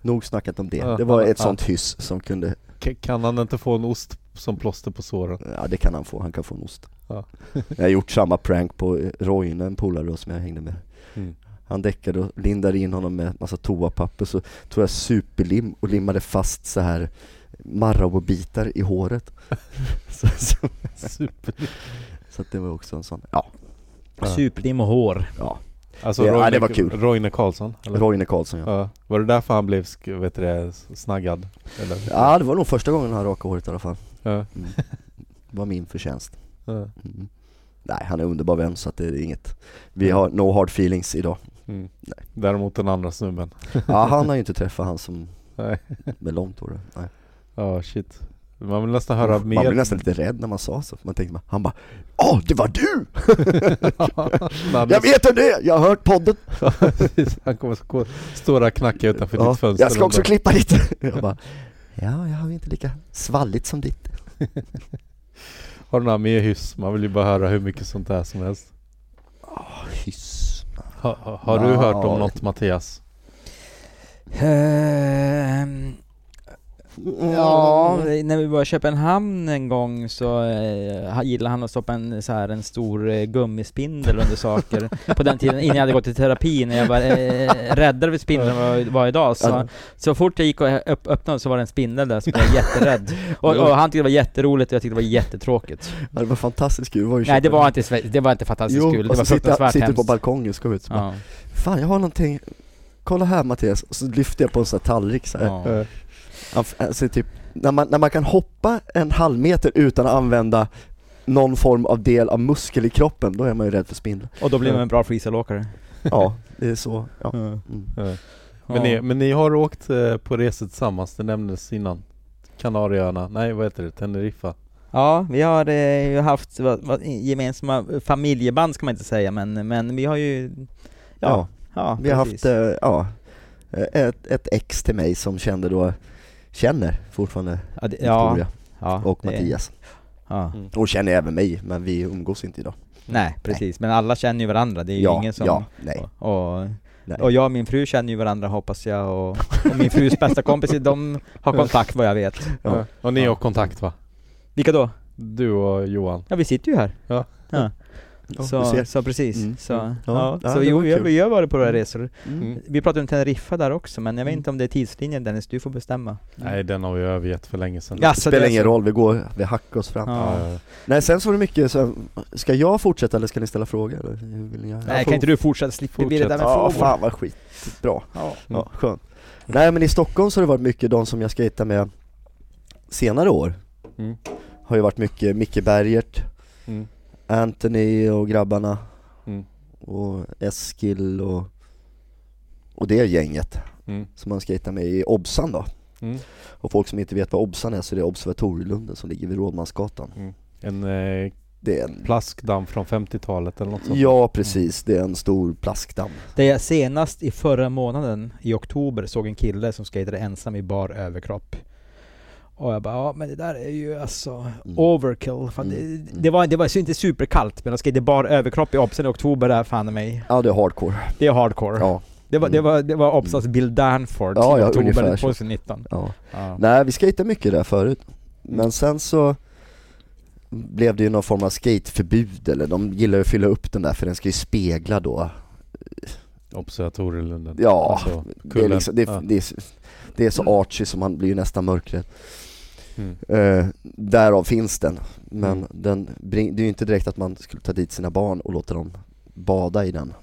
Speaker 2: Nog snackat om det.
Speaker 4: Ja.
Speaker 2: Det var ett
Speaker 4: Ja.
Speaker 2: sånt hyss som kunde,
Speaker 4: K- Kan han inte få en ost som plåster på såren?
Speaker 2: ja det kan han få, han kan få en ost.
Speaker 4: Ja.
Speaker 2: jag har gjort samma prank på eh, Roine, en polare då, som jag hängde med.
Speaker 4: Mm.
Speaker 2: Han däckade och lindade in honom med massa toapapper, så tog jag superlim och limmade fast så här Marabou-bitar i håret. så, så,
Speaker 4: Super.
Speaker 2: så att det var också en sån, ja,
Speaker 4: Ja.
Speaker 3: Superlim och hår.
Speaker 2: ja.
Speaker 4: Alltså
Speaker 2: Ja,
Speaker 4: Roine,
Speaker 2: det var kul.
Speaker 4: Roine Karlsson? Eller?
Speaker 2: Roine Karlsson ja.
Speaker 4: Ja. Var det därför han blev sk- vet du det, snaggad? Eller?
Speaker 2: Ja, det var nog första gången han rakade håret i alla fall.
Speaker 4: Ja.
Speaker 2: Mm. Det var min förtjänst.
Speaker 4: Ja.
Speaker 2: Mm. Nej, han är underbar vän så att det är inget, vi har no hard feelings idag.
Speaker 4: Mm. Däremot den andra snubben.
Speaker 2: Ja, han har ju inte träffat han som
Speaker 4: Nej.
Speaker 2: med långt hår. Nej.
Speaker 4: Ja, shit. Man vill nästan höra
Speaker 2: man
Speaker 4: mer.
Speaker 2: blev nästan lite rädd när man sa så, man tänkte bara, han bara Åh, det var du!
Speaker 4: Man-
Speaker 2: Jag vet hur det är! Jag har hört podden!
Speaker 4: Ja, precis. han kommer att gå- stå där och knacka utanför
Speaker 2: Ja,
Speaker 4: ditt fönster.
Speaker 2: jag ska också
Speaker 4: och bara,
Speaker 2: klippa lite! Jag bara, ja, jag har ju inte lika svalligt som ditt.
Speaker 4: Har du några mer hyss? Man vill ju bara höra hur mycket sånt där som helst.
Speaker 2: Hyss.
Speaker 4: Ha, ha, har du
Speaker 2: Ja,
Speaker 4: hört
Speaker 2: jag
Speaker 4: om
Speaker 2: vet
Speaker 4: något Mattias?
Speaker 3: Ehm, Ja, när vi var i Köpenhamn en gång så eh, ha- gillade han att stoppa en, så här, en stor eh, gummispindel under saker. På den tiden, innan jag hade gått i terapi, när jag var eh, räddare vid spindeln än vad jag var idag. Så, så fort jag gick och öpp, öppnade så var det en spindel där, så blev jag jätterädd. Och, och han tyckte det var jätteroligt och jag tyckte det var jättetråkigt.
Speaker 2: Ja, det var fantastiskt kul, det var ju
Speaker 3: Nej, det var inte, sve- det var inte fantastiskt
Speaker 2: jo,
Speaker 3: kul, det
Speaker 2: och
Speaker 3: var
Speaker 2: så sitter,
Speaker 3: fruktansvärt
Speaker 2: sitter du på
Speaker 3: hemskt.
Speaker 2: balkongen ska ut så bara,
Speaker 3: Ja,
Speaker 2: Fan, jag har någonting Kolla här Mattias, och så lyfter jag på en sån här tallrik så här.
Speaker 3: ja.
Speaker 2: Ja, f- Alltså typ, när man, när man kan hoppa en halv meter utan att använda någon form av del av muskel i kroppen, då är man ju rädd för spindlar.
Speaker 3: Och då blir man en bra freestyleåkare.
Speaker 2: Ja, det är så. Ja.
Speaker 3: Mm.
Speaker 2: Mm.
Speaker 4: Men, ni, men ni har åkt eh, på resor tillsammans, det nämndes innan. Kanarieöarna, nej vad heter det? Teneriffa?
Speaker 3: Ja, vi har eh, ju haft va, va, gemensamma familjeband ska man inte säga, men, men vi har ju...
Speaker 2: Ja,
Speaker 3: Ja, ja
Speaker 2: vi har
Speaker 3: precis.
Speaker 2: haft, eh, ja, eh, ett, ett ex till mig som kände då, känner fortfarande
Speaker 3: ja, det, ja,
Speaker 2: Victoria
Speaker 3: ja,
Speaker 2: och
Speaker 3: det-
Speaker 2: Mattias.
Speaker 3: Ja.
Speaker 2: Hon känner även mig, men vi umgås inte idag.
Speaker 3: Nej, precis. Men alla känner ju varandra, det är ju
Speaker 2: ja,
Speaker 3: ingen som...
Speaker 2: ja, nej.
Speaker 3: Och,
Speaker 2: Nej.
Speaker 3: och jag och min fru känner ju varandra hoppas jag, och, och min frus bästa kompis, de har kontakt vad jag vet.
Speaker 2: Ja.
Speaker 4: Ja. Och ni har kontakt va?
Speaker 3: Vilka då?
Speaker 4: Du och Johan?
Speaker 3: Ja, vi sitter ju här.
Speaker 4: Ja.
Speaker 2: Ja, du
Speaker 3: Så,
Speaker 2: ser.
Speaker 3: så precis.
Speaker 2: Mm.
Speaker 3: Så,
Speaker 2: Mm. Ja,
Speaker 3: ja.
Speaker 2: ja,
Speaker 3: så
Speaker 2: det
Speaker 3: jo,
Speaker 2: var
Speaker 3: vi, har-
Speaker 2: kul.
Speaker 3: vi har varit på våra resor.
Speaker 2: Mm.
Speaker 4: Mm.
Speaker 3: Vi pratade om Teneriffa där också, men jag vet
Speaker 2: Mm.
Speaker 3: inte om det är tidslinjen Dennis, du får bestämma.
Speaker 4: Nej den har vi övergett för länge sedan.
Speaker 3: Jaså, det
Speaker 2: Spelar
Speaker 3: är
Speaker 2: ingen
Speaker 3: så.
Speaker 2: roll, vi går, vi hackar oss fram.
Speaker 3: Ja.
Speaker 4: Ja.
Speaker 2: Nej sen så var det mycket så här, ska jag fortsätta eller ska ni ställa frågor? Eller hur vill ni göra?
Speaker 3: Nej, kan inte du fortsätta slippa bli det där med
Speaker 2: Ja,
Speaker 3: frågor?
Speaker 2: fan vad skitbra.
Speaker 4: Mm.
Speaker 3: Ja.
Speaker 2: Ja, skönt. Nej men i Stockholm så har det varit mycket de som jag skejtat med senare år.
Speaker 4: Mm.
Speaker 2: Har ju varit mycket Micke Bergert,
Speaker 4: Mm.
Speaker 2: Anthony och grabbarna
Speaker 4: Mm.
Speaker 2: och Eskil och, och det gänget
Speaker 4: Mm.
Speaker 2: som man skejtar med i Obsan då.
Speaker 4: Mm.
Speaker 2: Och folk som inte vet vad Obsan är så det är Observatorielunden som ligger vid Rådmansgatan.
Speaker 4: En eh,
Speaker 2: Det är en,
Speaker 4: plaskdamm från 50-talet eller något sånt?
Speaker 2: ja precis, det är en stor plaskdamm.
Speaker 3: Det jag senast i förra månaden, i oktober, såg en kille som skatade ensam i bar överkropp. Och jag bara, ja men det där är ju alltså
Speaker 2: Mm.
Speaker 3: overkill. Fan,
Speaker 2: Mm.
Speaker 3: det, det, var, det var så inte superkallt, men att skata i bar överkropp i Opsen i oktober, där fan i mig.
Speaker 2: Ja det är hardcore.
Speaker 3: Det är hardcore.
Speaker 2: Ja. Mm.
Speaker 3: Det var, det var, det var Opsas Bill Danford
Speaker 2: Ja,
Speaker 3: i
Speaker 2: ja,
Speaker 3: oktober
Speaker 2: ungefär så.
Speaker 3: 2019.
Speaker 2: ja.
Speaker 3: Ja.
Speaker 2: Nej, vi skejtade mycket där förut. Men sen så blev det ju någon form av skateförbud eller de gillar ju att fylla upp den där för den ska ju spegla då.
Speaker 4: Observatorielunden?
Speaker 2: Ja,
Speaker 4: Alltså,
Speaker 2: det, är
Speaker 4: kullen.
Speaker 2: liksom, det, är-
Speaker 4: Ja.
Speaker 2: det, är, det är så archy som man blir ju nästan mörkrädd.
Speaker 4: Mm.
Speaker 2: Eh, därav finns den. Men
Speaker 4: Mm.
Speaker 2: den, bring- det är ju inte direkt att man skulle ta dit sina barn och låta dem bada i den.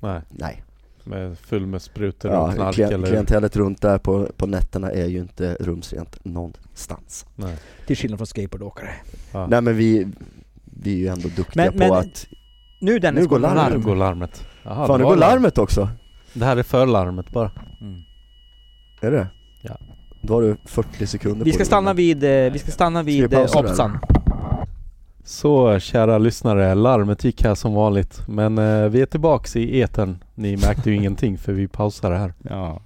Speaker 4: Nej,
Speaker 2: Nej.
Speaker 4: med full med sprutor och
Speaker 2: Ja,
Speaker 4: knark
Speaker 2: klient,
Speaker 4: eller?
Speaker 2: klientellet runt där på, på nätterna är ju inte rumsrent någonstans.
Speaker 4: Nej.
Speaker 3: Till skillnad från skateboardåkare.
Speaker 4: Ja.
Speaker 2: Nej men vi, vi är ju ändå duktiga
Speaker 3: Men-
Speaker 2: på
Speaker 3: men-
Speaker 2: att...
Speaker 3: Nu Dennis
Speaker 2: Nu går
Speaker 3: det
Speaker 2: larm.
Speaker 4: Nu går larmet. Jaha,
Speaker 2: Fan
Speaker 4: det
Speaker 2: nu
Speaker 4: var
Speaker 2: går larmet också!
Speaker 4: Det här är för larmet bara.
Speaker 3: Mm.
Speaker 2: Är det
Speaker 4: Ja.
Speaker 2: Då har du 40 sekunder
Speaker 3: Vi
Speaker 2: på
Speaker 3: ska
Speaker 2: dig.
Speaker 3: stanna vid, eh, vi ska stanna
Speaker 2: vi
Speaker 3: vid
Speaker 2: pausa
Speaker 3: eh,
Speaker 2: där?
Speaker 3: Opsan.
Speaker 4: Så kära lyssnare, larmet gick här som vanligt. Men eh, vi är tillbaks i etern. Ni märkte ju ingenting för vi pausade här.
Speaker 3: Ja.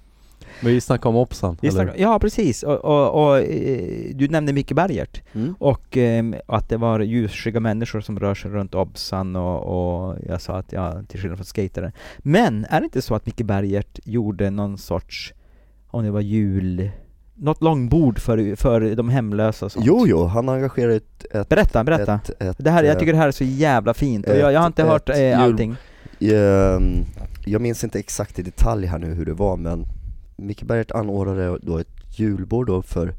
Speaker 4: Men vi snackade om Opsan.
Speaker 3: Vi
Speaker 4: eller?
Speaker 3: snackar- Ja, precis. Och, och, och, eh, du nämnde Micke Bergert
Speaker 2: Mm.
Speaker 3: och ehm, att det var ljusskygga människor som rör sig runt Obsan och, och jag sa att ja, till skillnad från skatare. Men är det inte så att Micke Bergert gjorde någon sorts, om det var jul, något långbord för, för de hemlösa och sånt?
Speaker 2: Jo, jo, han engagerar ett... ett
Speaker 3: Berätta, berätta.
Speaker 2: Ett, ett,
Speaker 3: det här, jag
Speaker 2: eh,
Speaker 3: tycker det här är så jävla fint och
Speaker 2: ett-
Speaker 3: jag, jag har inte
Speaker 2: ett
Speaker 3: hört
Speaker 2: jul-
Speaker 3: eh, allting.
Speaker 2: Ehm, Jag minns inte exakt i detalj här nu hur det var men Micke Bergert anordnade då ett julbord då för,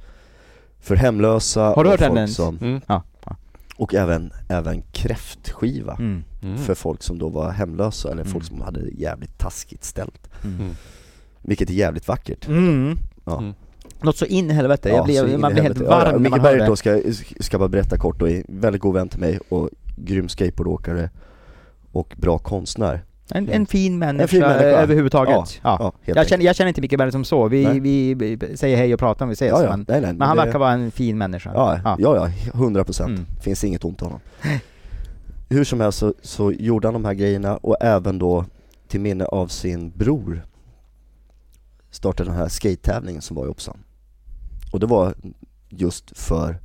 Speaker 2: för hemlösa
Speaker 3: Har du
Speaker 2: och
Speaker 3: hört
Speaker 2: folk
Speaker 3: den?
Speaker 2: som,
Speaker 4: Mm.
Speaker 3: Ja. ja.
Speaker 2: Och även, även kräftskiva
Speaker 3: Mm.
Speaker 4: Mm.
Speaker 2: för folk som då var hemlösa eller folk
Speaker 3: Mm.
Speaker 2: som hade det jävligt taskigt ställt
Speaker 3: Mm.
Speaker 4: Mm.
Speaker 2: Vilket är jävligt vackert
Speaker 3: Mm.
Speaker 2: Ja.
Speaker 4: Mm.
Speaker 3: Något så in i helvete,
Speaker 2: Ja,
Speaker 3: jag
Speaker 2: så in i
Speaker 3: blev, man blir helt
Speaker 2: helvete. Ja,
Speaker 3: varm när man
Speaker 2: Micke
Speaker 3: hör
Speaker 2: Bergert
Speaker 3: det.
Speaker 2: då ska, ska bara berätta kort och är en väldigt god vän till mig och grym skateboardåkare och bra konstnär
Speaker 3: En, en fin människa,
Speaker 2: En fin människa.
Speaker 3: eh, överhuvudtaget. Ja.
Speaker 2: helt
Speaker 3: Jag,
Speaker 2: enkelt.
Speaker 3: känner, jag känner inte Micke Berg som så, vi,
Speaker 2: Nej.
Speaker 3: vi b- säger hej och pratar om vi ses
Speaker 2: ja, ja.
Speaker 3: Men,
Speaker 2: Nej, nej,
Speaker 3: men han
Speaker 2: det-
Speaker 3: verkar vara en fin människa.
Speaker 2: Ja, ja,
Speaker 3: Ja.
Speaker 2: ja, hundra procent.
Speaker 3: Mm.
Speaker 2: Finns inget ont om honom. Hur som helst så, så gjorde han de här grejerna och även då till minne av sin bror startade den här skate-tävlingen som var i Opsan. Och det var just för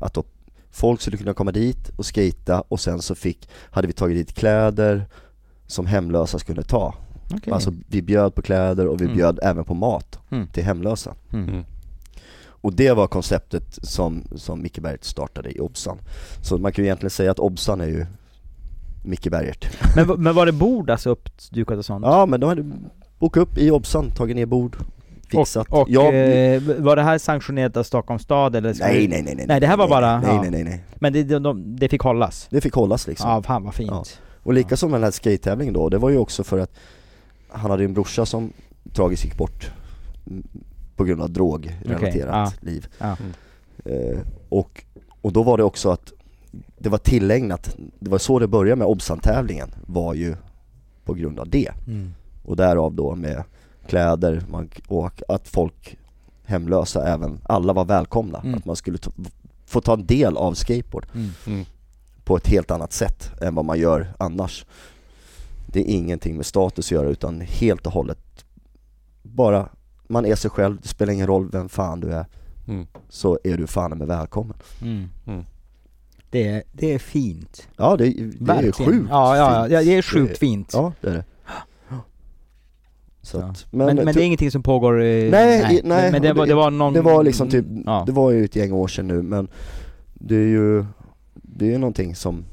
Speaker 2: att då folk skulle kunna komma dit och skata och sen så fick, hade vi tagit dit kläder som hemlösa skulle ta.
Speaker 3: Okej.
Speaker 2: Alltså vi bjöd på kläder och vi
Speaker 3: Mm.
Speaker 2: bjöd även på mat
Speaker 3: Mm.
Speaker 2: till hemlösa.
Speaker 3: Mm.
Speaker 4: Mm.
Speaker 2: Och det var konceptet som, som Micke Bergert startade i Obsan. Så man kan ju egentligen säga att Obsan är ju Micke Bergert.
Speaker 3: Men, v- men var det bord alltså uppdukat och sånt?
Speaker 2: Ja men de hade bokat upp i Obsan, tagit ner bord, fixat.
Speaker 3: Och, och
Speaker 2: ja,
Speaker 3: eh, var det här sanktionerat av Stockholms stad eller? skulle-
Speaker 2: nej, nej, nej, nej.
Speaker 3: nej, det här var bara-
Speaker 2: Nej,
Speaker 3: ja.
Speaker 2: nej, nej, nej.
Speaker 3: Men det, de, de, det fick hållas?
Speaker 2: Det fick hållas liksom.
Speaker 3: Ja, fan vad fint.
Speaker 2: Ja. Och likaså med den här skate-tävlingen då, det var ju också för att han hade ju en brorsa som tragiskt gick bort mm, på grund av drogrelaterat liv.
Speaker 3: Ja.
Speaker 2: Eh, och, och då var det också att det var tillägnat, det var så det började med Obsan-tävlingen, var ju på grund av det.
Speaker 3: Mm.
Speaker 2: Och därav då med kläder man, och att folk hemlösa även, alla var välkomna.
Speaker 3: Mm.
Speaker 2: Att man skulle ta, få ta en del av skateboard
Speaker 3: Mm.
Speaker 4: Mm.
Speaker 2: på ett helt annat sätt än vad man gör annars. Det är ingenting med status att göra utan helt och hållet bara man är sig själv, det spelar ingen roll vem fan du är,
Speaker 4: Mm.
Speaker 2: så är du fan med välkommen.
Speaker 3: Mm.
Speaker 4: Mm.
Speaker 3: Det, är- det är fint.
Speaker 2: Ja det, det är
Speaker 3: Verkligen.
Speaker 2: sjukt
Speaker 3: ja, ja, ja, det är sjukt
Speaker 2: Det-
Speaker 3: fint.
Speaker 2: Ja det är det. Så att,
Speaker 3: men, men, det är ingenting som pågår... Nej,
Speaker 2: typ nej,
Speaker 3: men, men det,
Speaker 2: och
Speaker 3: var,
Speaker 2: det-
Speaker 3: det var någon...
Speaker 2: Det var liksom typ,
Speaker 3: Ja.
Speaker 2: det var ju ett gäng år sedan nu men det är ju, det är ju någonting som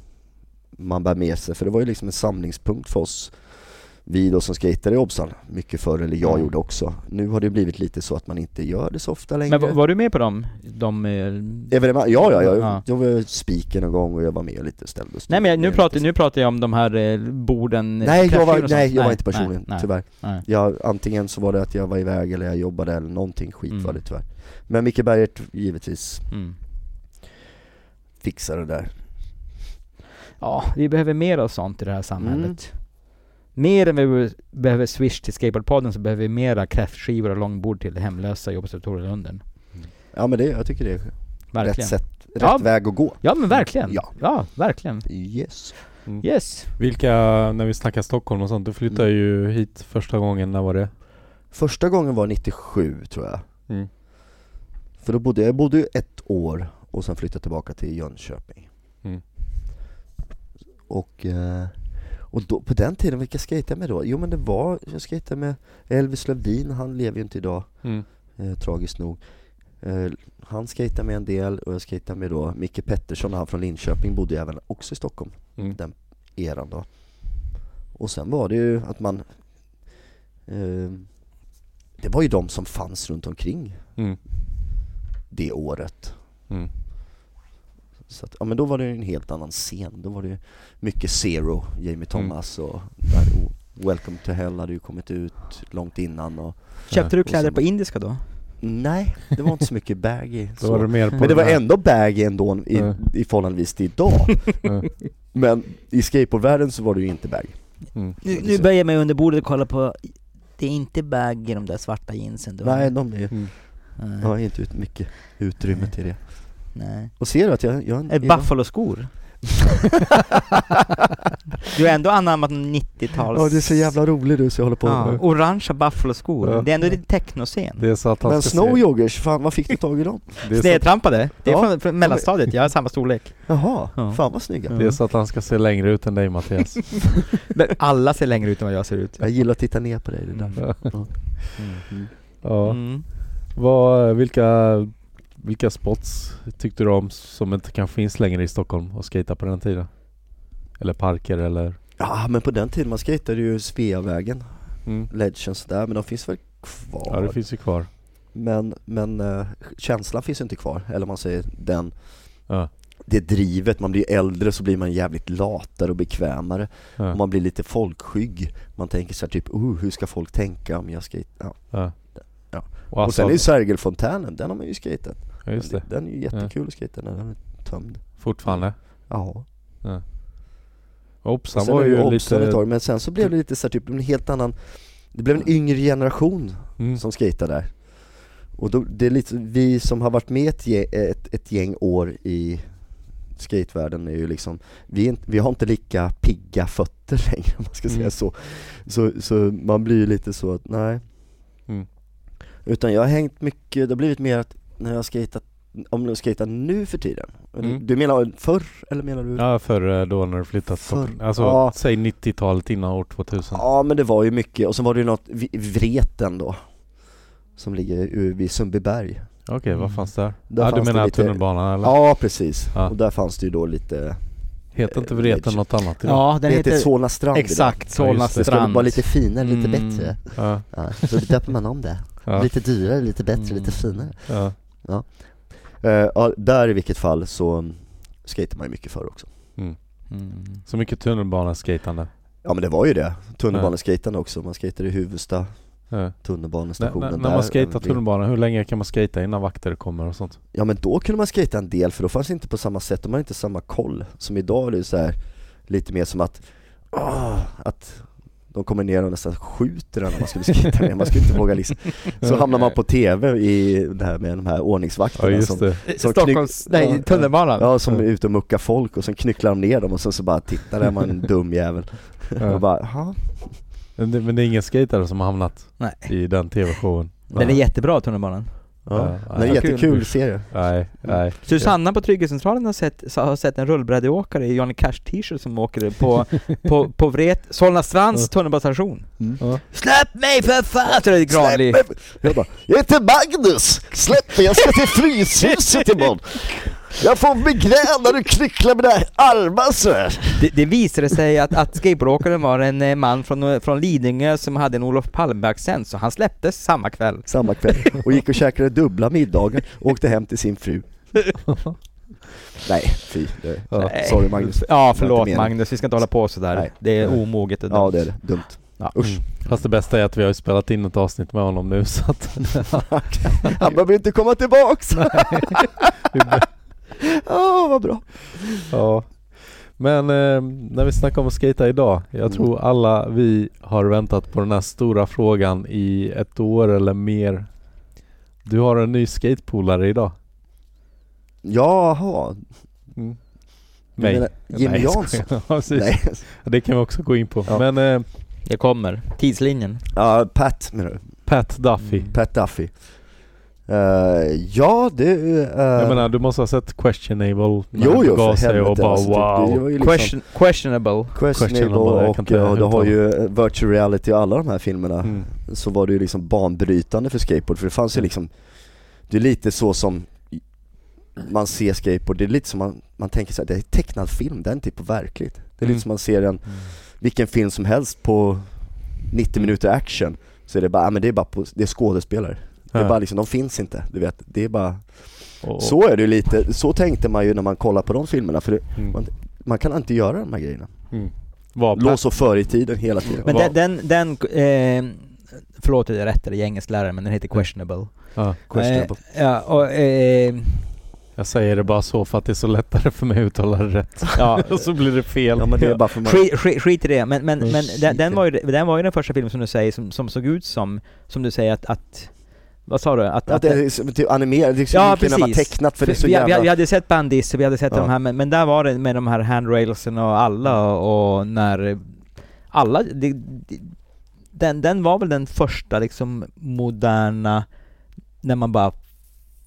Speaker 2: man bär med sig för det var ju liksom en samlingspunkt för oss vi då som skejtade i Obsan, mycket förr, eller jag
Speaker 3: Mm.
Speaker 2: gjorde också. Nu har det blivit lite så att man inte gör det så ofta längre.
Speaker 3: Men var, var du med på dem? De... eh,
Speaker 2: Evenemang, ja, ja, jag,
Speaker 3: Ja.
Speaker 2: jag var spiken en gång och jag var med lite och ställde och styrde
Speaker 3: Nej men jag, nu,
Speaker 2: med
Speaker 3: pratar,
Speaker 2: lite.
Speaker 3: nu pratar jag om de här eh, borden...
Speaker 2: Nej jag
Speaker 3: kräftskivor
Speaker 2: var,
Speaker 3: och sånt.
Speaker 2: nej, jag var inte personligen,
Speaker 3: nej,
Speaker 2: tyvärr.
Speaker 3: nej.
Speaker 2: Jag, antingen så var det att jag var iväg eller jag jobbade eller någonting skit
Speaker 3: Mm.
Speaker 2: var det tyvärr. Men Micke Bergert givetvis
Speaker 3: Mm.
Speaker 2: fixar det där.
Speaker 3: Ja, vi behöver mer av sånt i det här samhället.
Speaker 2: Mm.
Speaker 3: Mer än vi behöver swish till skateboardpodden så behöver vi mera kräftskivor och långbord till hemlösa i Observatorielunden.
Speaker 2: Ja men det, jag tycker det är rätt
Speaker 3: Verkligen.
Speaker 2: sätt, rätt
Speaker 3: Ja.
Speaker 2: väg att gå.
Speaker 3: Ja men verkligen.
Speaker 2: Ja.
Speaker 3: ja, verkligen.
Speaker 2: Yes.
Speaker 3: Yes.
Speaker 4: Vilka, när vi snackar Stockholm och sånt, du flyttade ju hit första gången, när var det?
Speaker 2: Första gången var 97 tror jag.
Speaker 4: Mm.
Speaker 2: För då bodde jag, jag bodde ju ett år och sen flyttade jag tillbaka till Jönköping.
Speaker 4: Mm.
Speaker 2: Och, eh, och då, på den tiden, vilka skejtade jag med då? Jo men det var, jag skejtade med Elvis Lövin, han lever ju inte idag,
Speaker 4: Mm.
Speaker 2: eh, tragiskt nog. Eh, han skejtade med en del och jag skejtade med då Micke Pettersson, han från Linköping, bodde ju även också i Stockholm.
Speaker 4: Mm.
Speaker 2: eran då. Och sen var det ju att man eh, Det var ju de som fanns runt omkring
Speaker 4: Mm.
Speaker 2: det året.
Speaker 4: Mm.
Speaker 2: Så att, ja men då var det ju en helt annan scen. Då var det ju mycket Zero,
Speaker 4: Mm.
Speaker 2: Jamie Thomas och där, och Welcome to Hell hade ju kommit ut långt innan och
Speaker 3: Köpte du
Speaker 2: Och
Speaker 3: kläder
Speaker 2: sen-
Speaker 3: på indiska då?
Speaker 2: Nej, det var inte så mycket baggy.
Speaker 4: Då
Speaker 2: Så.
Speaker 4: var det Mm. mer på
Speaker 2: Men det
Speaker 4: den
Speaker 2: var
Speaker 4: här-
Speaker 2: ändå baggy ändå i,
Speaker 4: Ja.
Speaker 2: i förhållandevis till idag.
Speaker 4: Ja.
Speaker 2: Men i skateboardvärlden så var det ju inte baggy.
Speaker 4: Mm.
Speaker 2: Nu- nu
Speaker 3: böjer jag mig under bordet och kollar på... Det är inte bag i de där svarta jeansen
Speaker 2: Nej, de är,
Speaker 4: Mm.
Speaker 2: jag har inte ut mycket utrymme till det.
Speaker 3: Nej.
Speaker 2: Och ser du att jag, jag
Speaker 3: Ett
Speaker 2: jag-
Speaker 3: Buffalo-skor? Du har ändå anammat 90-tals...
Speaker 2: Ja, du är så jävla rolig du så jag håller på
Speaker 3: Ja, orangea Buffalo-skor.
Speaker 4: Ja.
Speaker 3: Det är ändå din technoscen.
Speaker 4: Det är så att han
Speaker 2: Men
Speaker 4: ska se-
Speaker 2: Snow Joggers, fan vad fick du tag i dem?
Speaker 4: det är så-
Speaker 3: Snedtrampade. Det är
Speaker 2: Ja.
Speaker 3: från, från mellanstadiet, jag har samma storlek.
Speaker 2: Jaha,
Speaker 3: Ja.
Speaker 2: fan vad snygga.
Speaker 4: Det är så att han ska se längre ut än dig Mattias.
Speaker 3: Men alla ser längre ut än vad jag ser ut.
Speaker 2: Jag gillar att titta ner på dig, det där.
Speaker 3: Mm.
Speaker 4: ja.
Speaker 3: Mm.
Speaker 4: Vad, vilka, vilka spots tyckte du om som inte kanske finns längre i Stockholm och skejta på den tiden? Eller parker eller?
Speaker 2: Ja men på den tiden, man skejtade ju Sveavägen,
Speaker 4: Mm.
Speaker 2: Legends där, men de finns väl kvar?
Speaker 4: Ja det finns ju kvar.
Speaker 2: Men, men eh, känslan finns ju inte kvar, eller om man säger den
Speaker 4: Ja.
Speaker 2: Det drivet, man blir äldre så blir man jävligt latare och bekvämare
Speaker 4: Ja.
Speaker 2: och Man blir lite folkskygg Man tänker så här typ, oh, hur ska folk tänka om jag skejtar? Ja.
Speaker 4: ja.
Speaker 2: Ja.
Speaker 4: Och,
Speaker 2: Och sen är ju
Speaker 4: Assad-
Speaker 2: Sergelfontänen, den har man ju skejtat
Speaker 4: ja, just det.
Speaker 2: Den är ju jättekul att skejta när den är tömd
Speaker 4: Fortfarande.
Speaker 2: Ja,
Speaker 4: Obsan
Speaker 2: och sen
Speaker 4: var
Speaker 2: var
Speaker 4: ju
Speaker 2: det lite... ett
Speaker 4: lite...
Speaker 2: tag, men sen så blev det lite så här, typ en helt annan Det blev en yngre generation
Speaker 4: Mm.
Speaker 2: som skejtar där. Och då, det är lite, vi som har varit med ett, ge- ett, ett gäng år i skatevärlden är ju liksom, vi, är, inte- vi har inte lika pigga fötter längre om man ska säga
Speaker 4: Mm.
Speaker 2: så. så. Så man blir ju lite så att, nej.
Speaker 4: Mm.
Speaker 2: Utan jag har hängt mycket, det har blivit mer att när jag skejtat, om jag skejtar nu för tiden.
Speaker 4: Mm.
Speaker 2: Du menar förr, eller menar du?
Speaker 4: Ja förr eh, då när du flyttat till
Speaker 2: Förr.
Speaker 4: Stockholm. Alltså
Speaker 2: Ja.
Speaker 4: säg 90-talet innan år 2000.
Speaker 2: Ja men det var ju mycket, och sen var det ju något, V- Vreten då, som ligger u- vid Sundbyberg.
Speaker 4: Okej vad fanns där?
Speaker 2: Där
Speaker 4: ja, du
Speaker 2: fanns det
Speaker 4: menar
Speaker 2: lite-
Speaker 4: tunnelbanan eller?
Speaker 2: Ja precis,
Speaker 4: Ja.
Speaker 2: och där fanns det ju då lite
Speaker 4: Heter inte Vreten
Speaker 2: Eh,
Speaker 4: något annat idag?
Speaker 3: Ja, den
Speaker 2: Det heter
Speaker 3: heter...
Speaker 2: Solna strand idag.
Speaker 3: Exakt, Solna
Speaker 4: just det.
Speaker 2: Det ska
Speaker 3: strand.
Speaker 2: vara lite finare, lite
Speaker 3: Mm.
Speaker 2: bättre
Speaker 4: Ja.
Speaker 2: ja, Så döper man om det,
Speaker 4: Ja.
Speaker 2: lite dyrare, lite bättre,
Speaker 3: Mm.
Speaker 2: lite finare
Speaker 4: Ja.
Speaker 2: Eh, ja, Där i vilket fall så skejtade man ju mycket förr också
Speaker 3: Mm.
Speaker 4: Så mycket tunnelbaneskejtande.
Speaker 2: Ja men det var ju det, tunnelbaneskejtande också, man skejtade i Huvudsta,
Speaker 4: Ja. När,
Speaker 2: tunnelbanestationen
Speaker 4: när,
Speaker 2: där
Speaker 4: när man skejtar
Speaker 2: Men det-
Speaker 4: tunnelbanan, hur länge kan man skejta innan vakter kommer och sånt?
Speaker 2: Ja men då kunde man skejta en del för då fanns det inte på samma sätt, de hade inte samma koll Som idag är det ju så här lite mer som att, ah, att de kommer ner och nästan skjuter en när man skulle skejta med, man skulle inte våga liksom Så hamnar man på TV i det här med de här ordningsvakterna som Som
Speaker 4: det.
Speaker 3: Eh,
Speaker 2: knyck-
Speaker 3: Stockholms... Nej,
Speaker 2: Ja,
Speaker 3: tunnelbanan.
Speaker 2: Ja, som är ute och muckar folk och sen knycklar de ner dem och sen så bara tittar där man en dum jävel
Speaker 4: Ja.
Speaker 2: och bara, "Jaha."
Speaker 4: Men det, men det är ingen skater som har hamnat
Speaker 3: Nej.
Speaker 4: i den tv-showen?
Speaker 3: Den är jättebra, tunnelbanan.
Speaker 2: ja.
Speaker 4: Ja,
Speaker 2: Det är
Speaker 4: ja.
Speaker 2: en jättekul serie
Speaker 4: Nej,
Speaker 2: Mm.
Speaker 4: nej.
Speaker 3: Susanna på Trygghetscentralen har sett, sa- har sett en rullbrädeåkare i Johnny Cash t-shirt som åker på, på, på Vret, Solna strands tunnelbanestation.
Speaker 4: Ja.
Speaker 3: Släpp mig för fan! Så det är Granli.
Speaker 2: Släpp mig! Jag bara, jag heter Magnus! Släpp mig, jag ska till Fryshuset imorgon! Jag får migrän när du knycklar mina armar såhär!
Speaker 3: Det, det visade sig att, att skateboardåkaren var en eh, man från, från Lidingö som hade en Olof Palme-accent, så han släpptes samma kväll.
Speaker 2: Samma kväll, och gick och käkade dubbla middagar och åkte hem till sin fru Nej, fy. Det,
Speaker 4: Ja.
Speaker 3: Nej.
Speaker 2: Sorry Magnus
Speaker 3: Ja,
Speaker 2: Det var
Speaker 3: förlåt
Speaker 2: inte meningen.
Speaker 3: Magnus, vi ska inte hålla på sådär.
Speaker 2: Nej.
Speaker 3: Det är omoget och dumt.
Speaker 2: Ja det är det, dumt
Speaker 3: Ja.
Speaker 2: Usch.
Speaker 4: Fast det bästa är att vi har ju spelat in ett avsnitt med honom nu så att
Speaker 2: Han behöver inte komma tillbaks! Åh, vad bra!
Speaker 4: Ja. Men eh, när vi snackar om att skata idag, jag
Speaker 2: Mm.
Speaker 4: tror alla vi har väntat på den här stora frågan i ett år eller mer. Du har en ny skatepolare idag.
Speaker 2: Jaha, du
Speaker 4: Mig.
Speaker 2: menar Jimmy
Speaker 4: Nej, jag
Speaker 2: Jansson?
Speaker 4: skojar. ja, precis.
Speaker 2: Nej,
Speaker 4: Det kan vi också gå in på.
Speaker 2: Ja.
Speaker 4: Men eh,
Speaker 3: Det kommer. Tidslinjen.
Speaker 2: ja Pat menar du?
Speaker 4: Pat Duffy.
Speaker 3: Mm.
Speaker 2: Pat Duffy Eh, Ja det... Uh,
Speaker 4: Jag menar du måste ha sett Questionable när
Speaker 2: Jo,
Speaker 4: han
Speaker 2: jo,
Speaker 4: gav
Speaker 2: för
Speaker 4: sig och
Speaker 2: helvete,
Speaker 4: bara
Speaker 2: alltså, typ, det
Speaker 4: wow.
Speaker 2: var ju liksom
Speaker 3: Question, questionable.
Speaker 2: questionable
Speaker 4: questionable, jag kan
Speaker 2: och
Speaker 4: inte
Speaker 2: eh, du har
Speaker 4: uttala.
Speaker 2: ju eh, virtual reality och alla de här filmerna
Speaker 4: Mm.
Speaker 2: så var det ju liksom banbrytande för skateboard för det fanns ju liksom Det är lite så som man ser skateboard, det är lite som man, man tänker så här, det är tecknad film, det är inte på verkligt Det är
Speaker 4: Mm.
Speaker 2: lite som man ser en, vilken film som helst på 90 minuter action Så är det bara, ah, men det är bara på, det är skådespelare Det är
Speaker 4: Ja.
Speaker 2: bara liksom, de finns inte, du vet, det är bara
Speaker 4: Och,
Speaker 2: Så är det ju lite, så tänkte man ju när man kollar på de filmerna för det,
Speaker 4: mm.
Speaker 2: man kan inte göra de här grejerna
Speaker 4: Var Pat-
Speaker 2: Lås och för i tiden hela tiden
Speaker 3: Men
Speaker 4: Vad-
Speaker 3: den, den, den eh, förlåt att jag rättade i engelskläraren, men den heter questionable.
Speaker 4: ja.
Speaker 2: Questionable.
Speaker 3: Eh, ja, och, eh,
Speaker 4: Jag säger det bara så för att det är så lättare för mig att uttala det rätt.
Speaker 3: ja,
Speaker 4: Och så blir det fel.
Speaker 2: Ja men det är bara för man,
Speaker 3: skit, skit, skit i det, men, men,
Speaker 2: Mm.
Speaker 3: men den,
Speaker 2: Skit i
Speaker 3: den, var ju, den var ju den första filmen som du säger som, som såg ut som, som du säger att, att Vad sa du? Att,
Speaker 2: Att det är som typ animerat, det skulle
Speaker 3: Ja,
Speaker 2: ja, kunna vara
Speaker 3: precis.
Speaker 2: tecknat för det är så
Speaker 3: vi, vi, vi
Speaker 2: jävla...
Speaker 3: hade sett Bandis, vi hade sett
Speaker 2: Ja.
Speaker 3: de här, men, men där var det med de här handrailsen och alla och, och när alla, det, det, den, den var väl den första liksom moderna, när man bara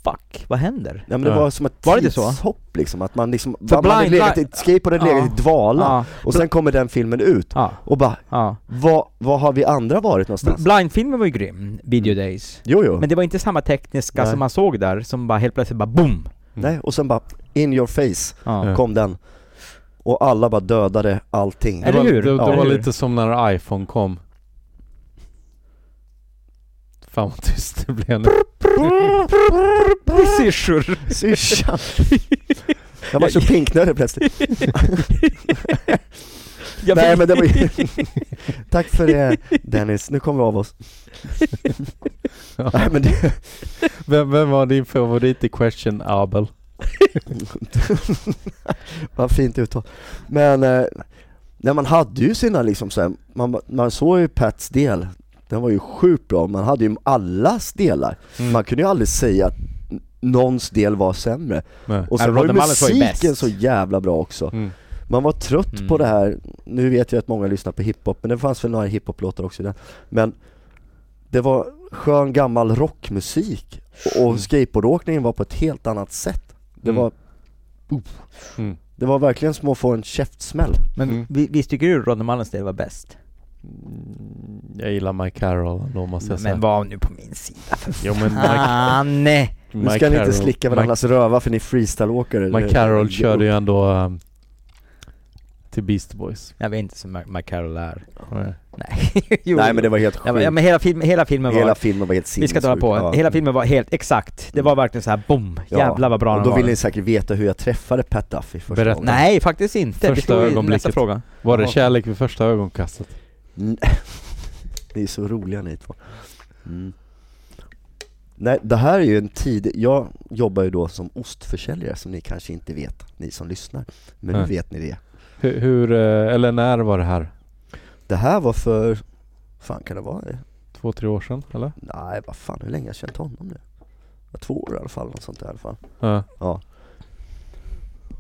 Speaker 3: fuck, vad händer?
Speaker 2: Ja, men det
Speaker 4: Ja.
Speaker 2: var som ett
Speaker 3: Var det inte så?
Speaker 2: tidshopp liksom, att man liksom,
Speaker 3: För
Speaker 2: man hade
Speaker 3: Blind
Speaker 2: legat i,
Speaker 3: Li-
Speaker 2: skateboarden hade legat i dvala,
Speaker 3: Ja,
Speaker 2: och sen kommer den filmen ut
Speaker 3: ja,
Speaker 2: och bara,
Speaker 3: ja.
Speaker 2: vad, vad har vi andra varit någonstans?
Speaker 3: Blindfilmen var ju grym, Video
Speaker 2: Mm.
Speaker 3: Days.
Speaker 2: jo, jo.
Speaker 3: Men det var inte samma tekniska
Speaker 2: Nej.
Speaker 3: som man såg där, som bara helt plötsligt bara boom!
Speaker 2: Nej, och sen bara, in your face
Speaker 3: Ja.
Speaker 4: Ja.
Speaker 2: kom den. Och alla bara dödade allting.
Speaker 3: Eller
Speaker 4: det var,
Speaker 3: hur?
Speaker 4: Det, det
Speaker 3: Ja.
Speaker 4: var
Speaker 3: Eller hur?
Speaker 4: lite som när iPhone kom. Fan vad tyst det blev nu.
Speaker 3: Syrsor!
Speaker 2: Syrsan! Jag var så pinknödig plötsligt.
Speaker 3: Jag
Speaker 2: Nej men det var ju... Tack för det Dennis, nu kommer vi av oss.
Speaker 4: Ja.
Speaker 2: Nej men det...
Speaker 4: Vem, vem var din favorit i Question Abel?
Speaker 2: Vad fint uttal. Men, eh, nej, man hade ju sina liksom så här, man, man såg ju Pats del, den var ju sjukt bra, man hade ju allas delar.
Speaker 3: Mm.
Speaker 2: Man kunde ju aldrig säga att n- någons del var sämre.
Speaker 4: Nej.
Speaker 2: Och sen
Speaker 3: Nej,
Speaker 2: var ju
Speaker 3: Rodney Mullen var ju
Speaker 2: musiken
Speaker 3: bäst.
Speaker 2: så jävla bra också.
Speaker 4: Mm.
Speaker 2: Man var trött
Speaker 3: Mm.
Speaker 2: på det här, nu vet jag att många lyssnar på hiphop, men det fanns väl några hiphop-låtar också i den. Men det var skön gammal rockmusik och och skateboardåkningen var på ett helt annat sätt. Det
Speaker 4: Mm.
Speaker 2: var, oh.
Speaker 4: Mm.
Speaker 2: det var verkligen som att få en käftsmäll.
Speaker 3: Men
Speaker 4: Mm.
Speaker 3: vi- visst tycker du Rodney Mullens del var bäst?
Speaker 4: Mm, Jag gillar Mike Carroll då måste jag säga.
Speaker 3: Men Ah. var nu på min sida för
Speaker 4: Jo, men Mike-
Speaker 3: fan! Nej.
Speaker 2: nu ska ni inte slicka varandras röva för ni är freestyleåkare.
Speaker 4: Mike,
Speaker 2: Det-
Speaker 4: Mike Carroll körde ju ändå um, till Beast Boys.
Speaker 3: Jag vet inte som Ma- Mike Carroll är.
Speaker 4: Nej.
Speaker 3: Nej, jo.
Speaker 2: Nej men det var helt
Speaker 3: Ja, men, ja,
Speaker 2: sjukt.
Speaker 3: men hela, film, hela filmen var...
Speaker 2: Hela filmen var helt
Speaker 3: vi ska inte hålla på.
Speaker 2: sinnessjuk. Ja. Mm.
Speaker 3: Hela filmen var helt exakt. Det var verkligen så här boom!
Speaker 2: Ja.
Speaker 3: Jävlar vad bra
Speaker 2: Och
Speaker 3: den
Speaker 2: då
Speaker 3: var.
Speaker 2: vill ni säkert veta hur jag träffade Pat Duffy första
Speaker 4: Berätta.
Speaker 2: gången.
Speaker 3: Nej, faktiskt inte.
Speaker 4: Första
Speaker 3: vi slår ju nästa
Speaker 4: ögonblicket.
Speaker 3: fråga.
Speaker 4: Var det
Speaker 2: Ja.
Speaker 4: kärlek vid första ögonkastet?
Speaker 2: Ni är så roliga ni två. Mm. Nej, det här är ju en tid, jag jobbar ju då som ostförsäljare som ni kanske inte vet, ni som lyssnar. Men nu
Speaker 4: Nej.
Speaker 2: vet ni det.
Speaker 4: Hur, hur, eh, eller när var det här?
Speaker 2: Det här var för, fan kan det vara det?
Speaker 4: Två, tre år sedan eller?
Speaker 2: Nej, vad fan, hur länge har jag känt honom nu? Det var Två år i alla fall, något sånt där i alla fall.
Speaker 4: Ja.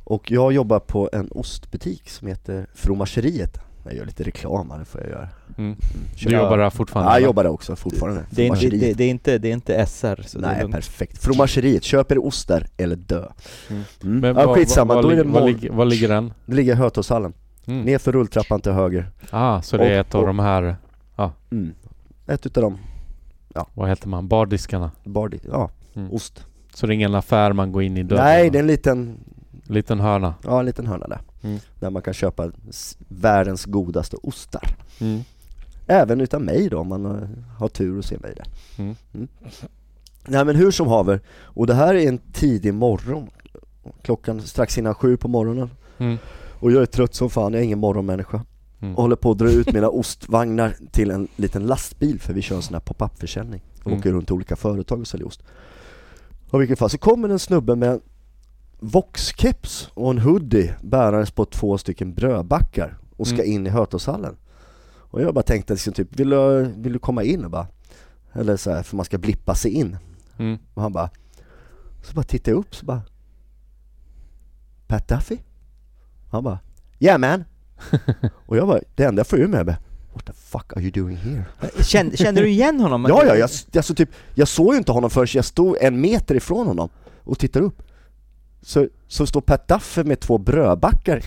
Speaker 2: Och jag jobbar på en ostbutik som heter Fromageriet. Jag gör lite reklam här, det får jag göra.
Speaker 4: Mm.
Speaker 2: Kör
Speaker 4: Du
Speaker 2: jag-
Speaker 4: jobbar där
Speaker 2: Ja,
Speaker 4: fortfarande?
Speaker 2: jag
Speaker 4: va?
Speaker 2: jobbar där också fortfarande.
Speaker 3: Det är, inte,
Speaker 2: Fromageriet.
Speaker 3: det, det, är inte, det är inte SR, så det är
Speaker 2: Nej,
Speaker 3: lugnt.
Speaker 2: perfekt. Fromageriet, köp er ost där eller dö.
Speaker 4: Mm.
Speaker 2: Mm.
Speaker 4: Men
Speaker 2: ja,
Speaker 4: var-
Speaker 2: skitsamma,
Speaker 4: var-
Speaker 2: då
Speaker 4: var
Speaker 2: är det
Speaker 4: lig- var,
Speaker 2: mål...
Speaker 4: lig- var ligger den?
Speaker 2: Det ligger i Hötorgshallen.
Speaker 4: Mm.
Speaker 2: Nerför rulltrappan till höger.
Speaker 4: Ah, så det är ett av
Speaker 2: Och-
Speaker 4: de här,
Speaker 2: Ett utav dem,
Speaker 4: vad heter man, bardiskarna?
Speaker 2: Bardi, ja,
Speaker 4: Mm.
Speaker 2: ost.
Speaker 4: Så det är ingen affär man går in i dörren?
Speaker 2: Nej, det är en liten,
Speaker 4: Liten hörna?
Speaker 2: ja, en liten hörna där.
Speaker 4: Mm.
Speaker 2: Där man kan köpa s- världens godaste ostar.
Speaker 4: Mm.
Speaker 2: Även utan mig då, om man eh, har tur och ser mig där.
Speaker 4: Mm.
Speaker 2: Mm. Nej men hur som haver, och det här är en tidig morgon. Klockan strax innan sju på morgonen.
Speaker 4: Mm.
Speaker 2: Och jag är trött som fan, jag är ingen morgonmänniska.
Speaker 4: Mm.
Speaker 2: och håller på att dra ut mina ostvagnar till en liten lastbil för vi kör en sån här pop-up försäljning och
Speaker 4: Mm.
Speaker 2: åker runt till olika företag och säljer ost. Och i vilket fall så kommer en snubbe med en Vox-keps och en hoodie bärandes på två stycken brödbackar och ska
Speaker 4: Mm.
Speaker 2: in i Hötorgshallen. Och jag bara tänkte liksom typ, vill du, vill du komma in? Och bara, eller så här, för man ska blippa sig in.
Speaker 4: Mm.
Speaker 2: Och han bara, så bara tittade jag upp så bara, Pat Duffy? Han bara, yeah man! och jag bara, det enda jag får ur mig är bara, What the fuck are you doing here?
Speaker 3: Kände, kände du igen honom?
Speaker 2: Ja, ja, jag, alltså typ, jag såg ju inte honom förrän jag stod en meter ifrån honom och tittar upp. Så, så står Pat Duffy med två brödbackar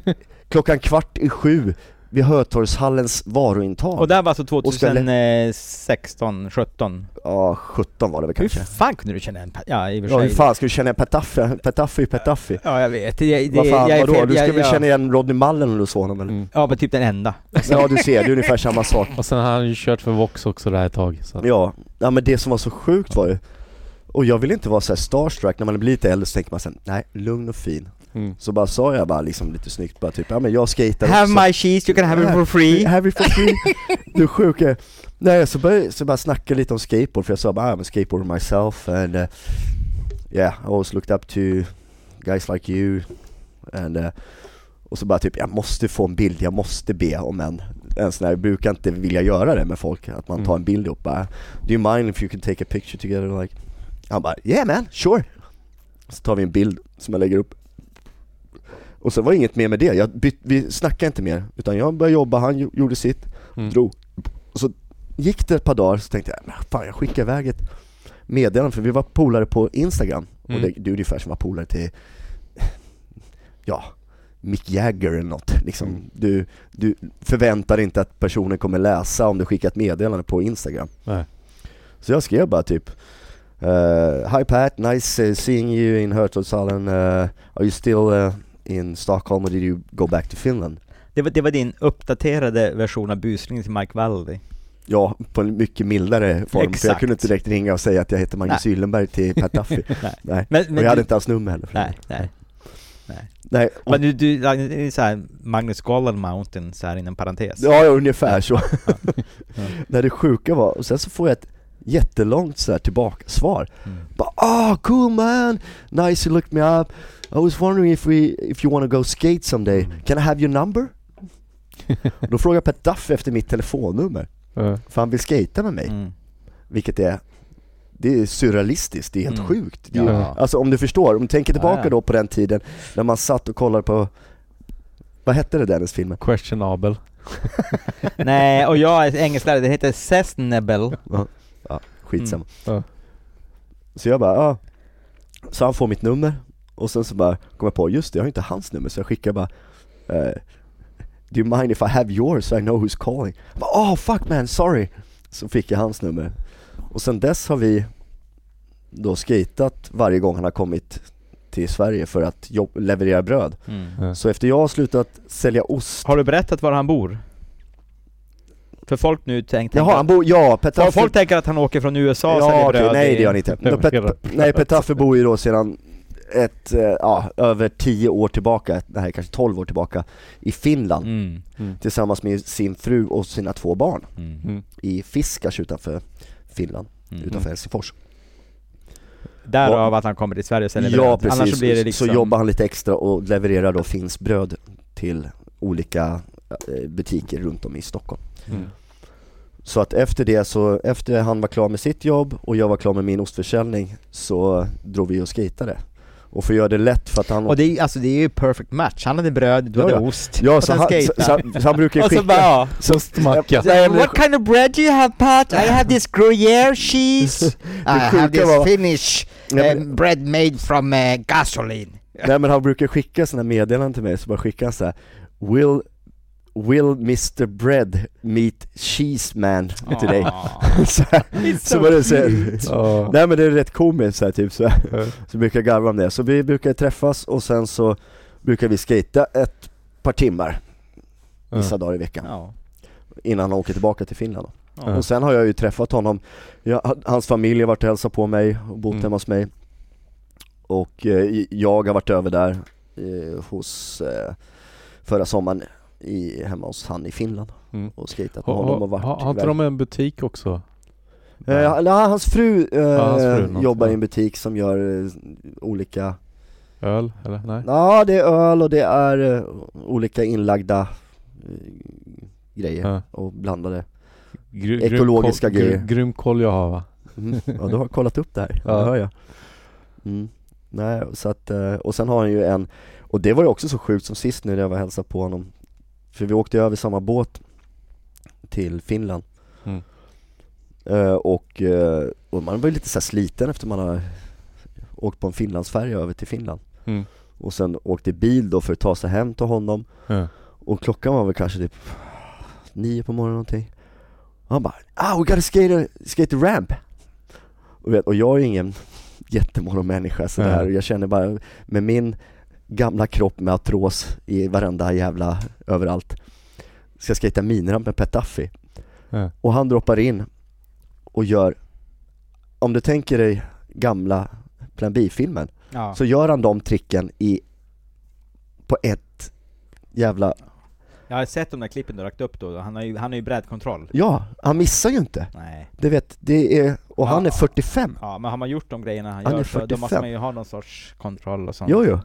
Speaker 2: klockan kvart i sju vid Hötorgshallens varuintag.
Speaker 3: Och där var alltså
Speaker 2: Och ska lä-
Speaker 3: 2016, 17?
Speaker 2: Ja, 17 var det väl
Speaker 3: Hur
Speaker 2: kanske.
Speaker 3: fan kunde du känna en... pa- Ja, i och för
Speaker 2: Ja, hur
Speaker 3: sig.
Speaker 2: fan ska du känna Pat Duffy? Pat Duffy är Pat Duffy.
Speaker 3: Ja, jag vet. Jag, det,
Speaker 2: Vad fan,
Speaker 3: jag är
Speaker 2: vadå?
Speaker 3: fel-
Speaker 2: du ska
Speaker 3: jag-
Speaker 2: väl
Speaker 3: jag-
Speaker 2: känna igen Rodney Mullen om du såg honom eller?
Speaker 4: Mm.
Speaker 3: Ja, men typ den enda.
Speaker 2: Ja du ser, det är ungefär samma sak.
Speaker 4: Och sen har han ju kört för Vox också där ett tag. Så att,
Speaker 2: Ja, ja men det som var så sjukt var ju, och jag vill inte vara så här starstruck, när man blir lite äldre så tänker man sen, nej, lugn och fin.
Speaker 4: mm.
Speaker 2: Så bara sa jag bara liksom lite snyggt bara typ, ja men jag skejtar också.
Speaker 3: Have my cheese, you can have it for free.
Speaker 2: Have it for free. du sjuke. Nej så började så bara snacka lite om skateboard, för jag sa bara, I'm a skateboarder myself and uh, yeah, I always looked up to guys like eh, you and uh, och så bara typ, jag måste få en bild, jag måste be om en en sån här, jag brukar inte vilja göra det med folk, att man
Speaker 4: Mm.
Speaker 2: tar en bild ihop bara Do you mind if you can take a picture together? Like, han bara yeah man, sure! Så tar vi en bild som jag lägger upp Och sen var det inget mer med det, jag byt, vi snackade inte mer utan jag började jobba, han gjo- gjorde sitt,
Speaker 4: Mm.
Speaker 2: drog Och så gick det ett par dagar så tänkte jag, "Men fan jag skickar iväg ett meddelande för vi var polare på Instagram
Speaker 4: Mm.
Speaker 2: och det, du är ungefär som var polare till, ja, Mick Jagger eller något liksom.
Speaker 4: Mm.
Speaker 2: du, du förväntar dig inte att personen kommer läsa om du skickar ett meddelande på Instagram
Speaker 4: Nej.
Speaker 2: Så jag skrev bara typ eh, Hi Pat, nice eh, seeing you in Hertogshallen, Eh, are you still eh, in Stockholm or did you go back to Finland?
Speaker 3: Det var, det var din uppdaterade version av busringen till Mike Valdi.
Speaker 2: Ja, på en mycket mildare form, för jag
Speaker 3: Exakt.
Speaker 2: kunde inte direkt ringa och säga att jag heter Magnus Gyllenberg till Pat Duffy
Speaker 3: Nej.
Speaker 2: Nej,
Speaker 3: Men,
Speaker 2: och jag hade
Speaker 3: du-
Speaker 2: inte hans nummer heller
Speaker 3: Nej, nej.
Speaker 2: Nej, och,
Speaker 3: Men du, du, det är så här Magnus Golden Mountain så här inom parentes.
Speaker 2: Ja, ja ungefär så. När det sjuka var, och sen så får jag ett jättelångt så här tillbaka svar.
Speaker 3: Mm.
Speaker 2: Bara ah cool man, nice you looked me up. I was wondering if we, if you wanna go skate someday,
Speaker 3: Mm.
Speaker 2: can I have your number? Då frågar Pat Duff efter mitt telefonnummer,
Speaker 4: Eh,
Speaker 2: för han vill skata med mig.
Speaker 3: Mm.
Speaker 2: Vilket är, det är surrealistiskt, det är helt
Speaker 3: Mm.
Speaker 2: sjukt. Det är,
Speaker 4: Ja.
Speaker 2: Alltså om du förstår, om du tänker tillbaka
Speaker 3: Ja, ja.
Speaker 2: då på den tiden när man satt och kollade på, vad hette det Dennis-filmen?
Speaker 4: questionable.
Speaker 3: Nej, och jag är engelsklärare, det heter Sesnebel.
Speaker 2: Skitsamma.
Speaker 3: Mm.
Speaker 4: Ja.
Speaker 2: Så jag bara, ja. Så han får mitt nummer, och sen så bara kom jag på, just det jag har ju inte hans nummer, så jag skickar bara eh, Do you mind if I have yours so I know who's calling? Jag bara, oh fuck man, sorry! Så fick jag hans nummer. Och sen dess har vi då skatat varje gång han har kommit till Sverige för att jobb- leverera bröd.
Speaker 3: Mm.
Speaker 4: Eh,
Speaker 2: Så efter jag har slutat sälja ost
Speaker 3: Har du berättat var han bor? För folk nu tänkte...
Speaker 2: Jaha, han bor, ja, Petter
Speaker 3: folk, folk tänker att han åker från USA och
Speaker 2: Ja,
Speaker 3: säljer
Speaker 2: okej,
Speaker 3: bröd
Speaker 2: nej
Speaker 3: i-
Speaker 2: det gör han inte.
Speaker 4: Det är
Speaker 2: Pet,
Speaker 4: flera
Speaker 2: Pet- nej, Petaffe bor ju då sedan ett, eh, ja, över tio år tillbaka, nej kanske 12 år tillbaka, i Finland
Speaker 3: Mm.
Speaker 2: tillsammans med sin fru och sina två barn
Speaker 3: Mm.
Speaker 4: Mm.
Speaker 2: i Fiskars utanför Finland,
Speaker 3: Mm.
Speaker 2: utanför Helsingfors.
Speaker 3: Därav att han kommer till Sverige och säljer
Speaker 2: Ja
Speaker 3: bröd. Annars
Speaker 2: precis,
Speaker 3: så blir det liksom...
Speaker 2: så jobbar han lite extra och levererar då finskt bröd till olika eh, butiker runt om i Stockholm.
Speaker 4: Mm.
Speaker 2: Så att efter det så, efter han var klar med sitt jobb och jag var klar med min ostförsäljning så drog vi och skejtade. Och för att göra det lätt för att han...
Speaker 3: Och det är, ju- alltså, det är ju perfect match. Han hade bröd, du hade
Speaker 2: Ja, ja.
Speaker 3: ost.
Speaker 2: ja,
Speaker 3: och
Speaker 2: så
Speaker 3: sen
Speaker 2: han, så,
Speaker 3: skejta.
Speaker 2: så, han- så han brukar ju
Speaker 3: Och så bara,
Speaker 2: skicka...
Speaker 3: ja.
Speaker 2: Så,
Speaker 4: Ostmacka.
Speaker 2: Nej, men det-
Speaker 3: What kind of bread do you have Pat? I have this Gruyere cheese. I have
Speaker 2: sjuka
Speaker 3: this
Speaker 2: var-
Speaker 3: Finnish
Speaker 2: nej,
Speaker 3: eh,
Speaker 2: men,
Speaker 3: bread made from eh, gasoline.
Speaker 2: nej men han brukar skicka sådana meddelanden till mig, så bara skickar han så här, Will, will Mr Bread meet Cheese Man till dig? så här, så var det så här,
Speaker 4: Ja.
Speaker 2: Nej men det är rätt komiskt så här, typ så här.
Speaker 4: Eh,
Speaker 2: Så brukar jag garva om det. Så vi brukar träffas och sen så brukar vi skata ett par timmar vissa dagar i veckan
Speaker 3: Ja.
Speaker 2: innan han åker tillbaka till Finland. Då.
Speaker 4: Ja.
Speaker 2: Och sen har jag ju träffat honom, jag, hans familj har varit och hälsat på mig och bott
Speaker 4: Mm.
Speaker 2: hemma hos mig. Och eh, jag har varit över där eh, hos, eh, förra sommaren i, hemma hos han i Finland
Speaker 4: Mm.
Speaker 2: och skatat med
Speaker 4: Har
Speaker 2: honom och
Speaker 4: har-
Speaker 2: varit
Speaker 4: har inte
Speaker 2: iväg.
Speaker 4: de en butik också?
Speaker 2: Eh, eller hans fru, eh,
Speaker 4: hans fru, något,
Speaker 2: jobbar i
Speaker 4: ja.
Speaker 2: en butik som gör eh, olika
Speaker 4: Öl, eller? Nej?
Speaker 2: Ja, det är öl och det är eh, olika inlagda eh, grejer
Speaker 4: Ja.
Speaker 2: och blandade.
Speaker 4: Gr- grym
Speaker 2: Ekologiska
Speaker 4: koll- gr-
Speaker 2: grejer.
Speaker 4: Grym koll jag har va?
Speaker 2: Mm. Ja, du har kollat upp det här,
Speaker 4: Ja.
Speaker 2: det hör jag. Mm. Nej, så att, eh, och sen har han ju en, och det var ju också så sjukt som sist nu när jag var och hälsade på honom, för vi åkte ju över samma båt till Finland.
Speaker 4: Mm.
Speaker 2: Eh, och, eh, och man var ju lite så här sliten efter man har åkt på en Finlandsfärja över till Finland.
Speaker 4: Mm.
Speaker 2: Och sen åkte bil då för att ta sig hem till honom
Speaker 4: Ja.
Speaker 2: Och klockan var väl kanske typ nio på morgonen någonting Och han bara ah we gotta skate, skate the ramp och, vet, och jag är ju ingen jättemorgonmänniska sådär,
Speaker 4: Nej.
Speaker 2: jag känner bara med min gamla kropp med artros i varenda jävla, överallt Ska skejta miniramp med Petaffi
Speaker 4: Ja.
Speaker 2: Och han droppar in och gör, om du tänker dig gamla Plan B-filmen
Speaker 3: Ja.
Speaker 2: så gör han de tricken i, på ett jävla
Speaker 3: Jag har sett de där klippen du lagt upp då, han har ju, han har ju brädkontroll.
Speaker 2: Ja, han missar ju inte.
Speaker 3: Nej.
Speaker 2: Du vet, det är, och han
Speaker 3: Ja.
Speaker 2: är 45.
Speaker 3: Ja, men har man gjort de grejerna han,
Speaker 2: Han är
Speaker 3: gör så, då
Speaker 2: 45.
Speaker 3: måste man ju ha någon sorts kontroll och sånt.
Speaker 2: Jo, jo.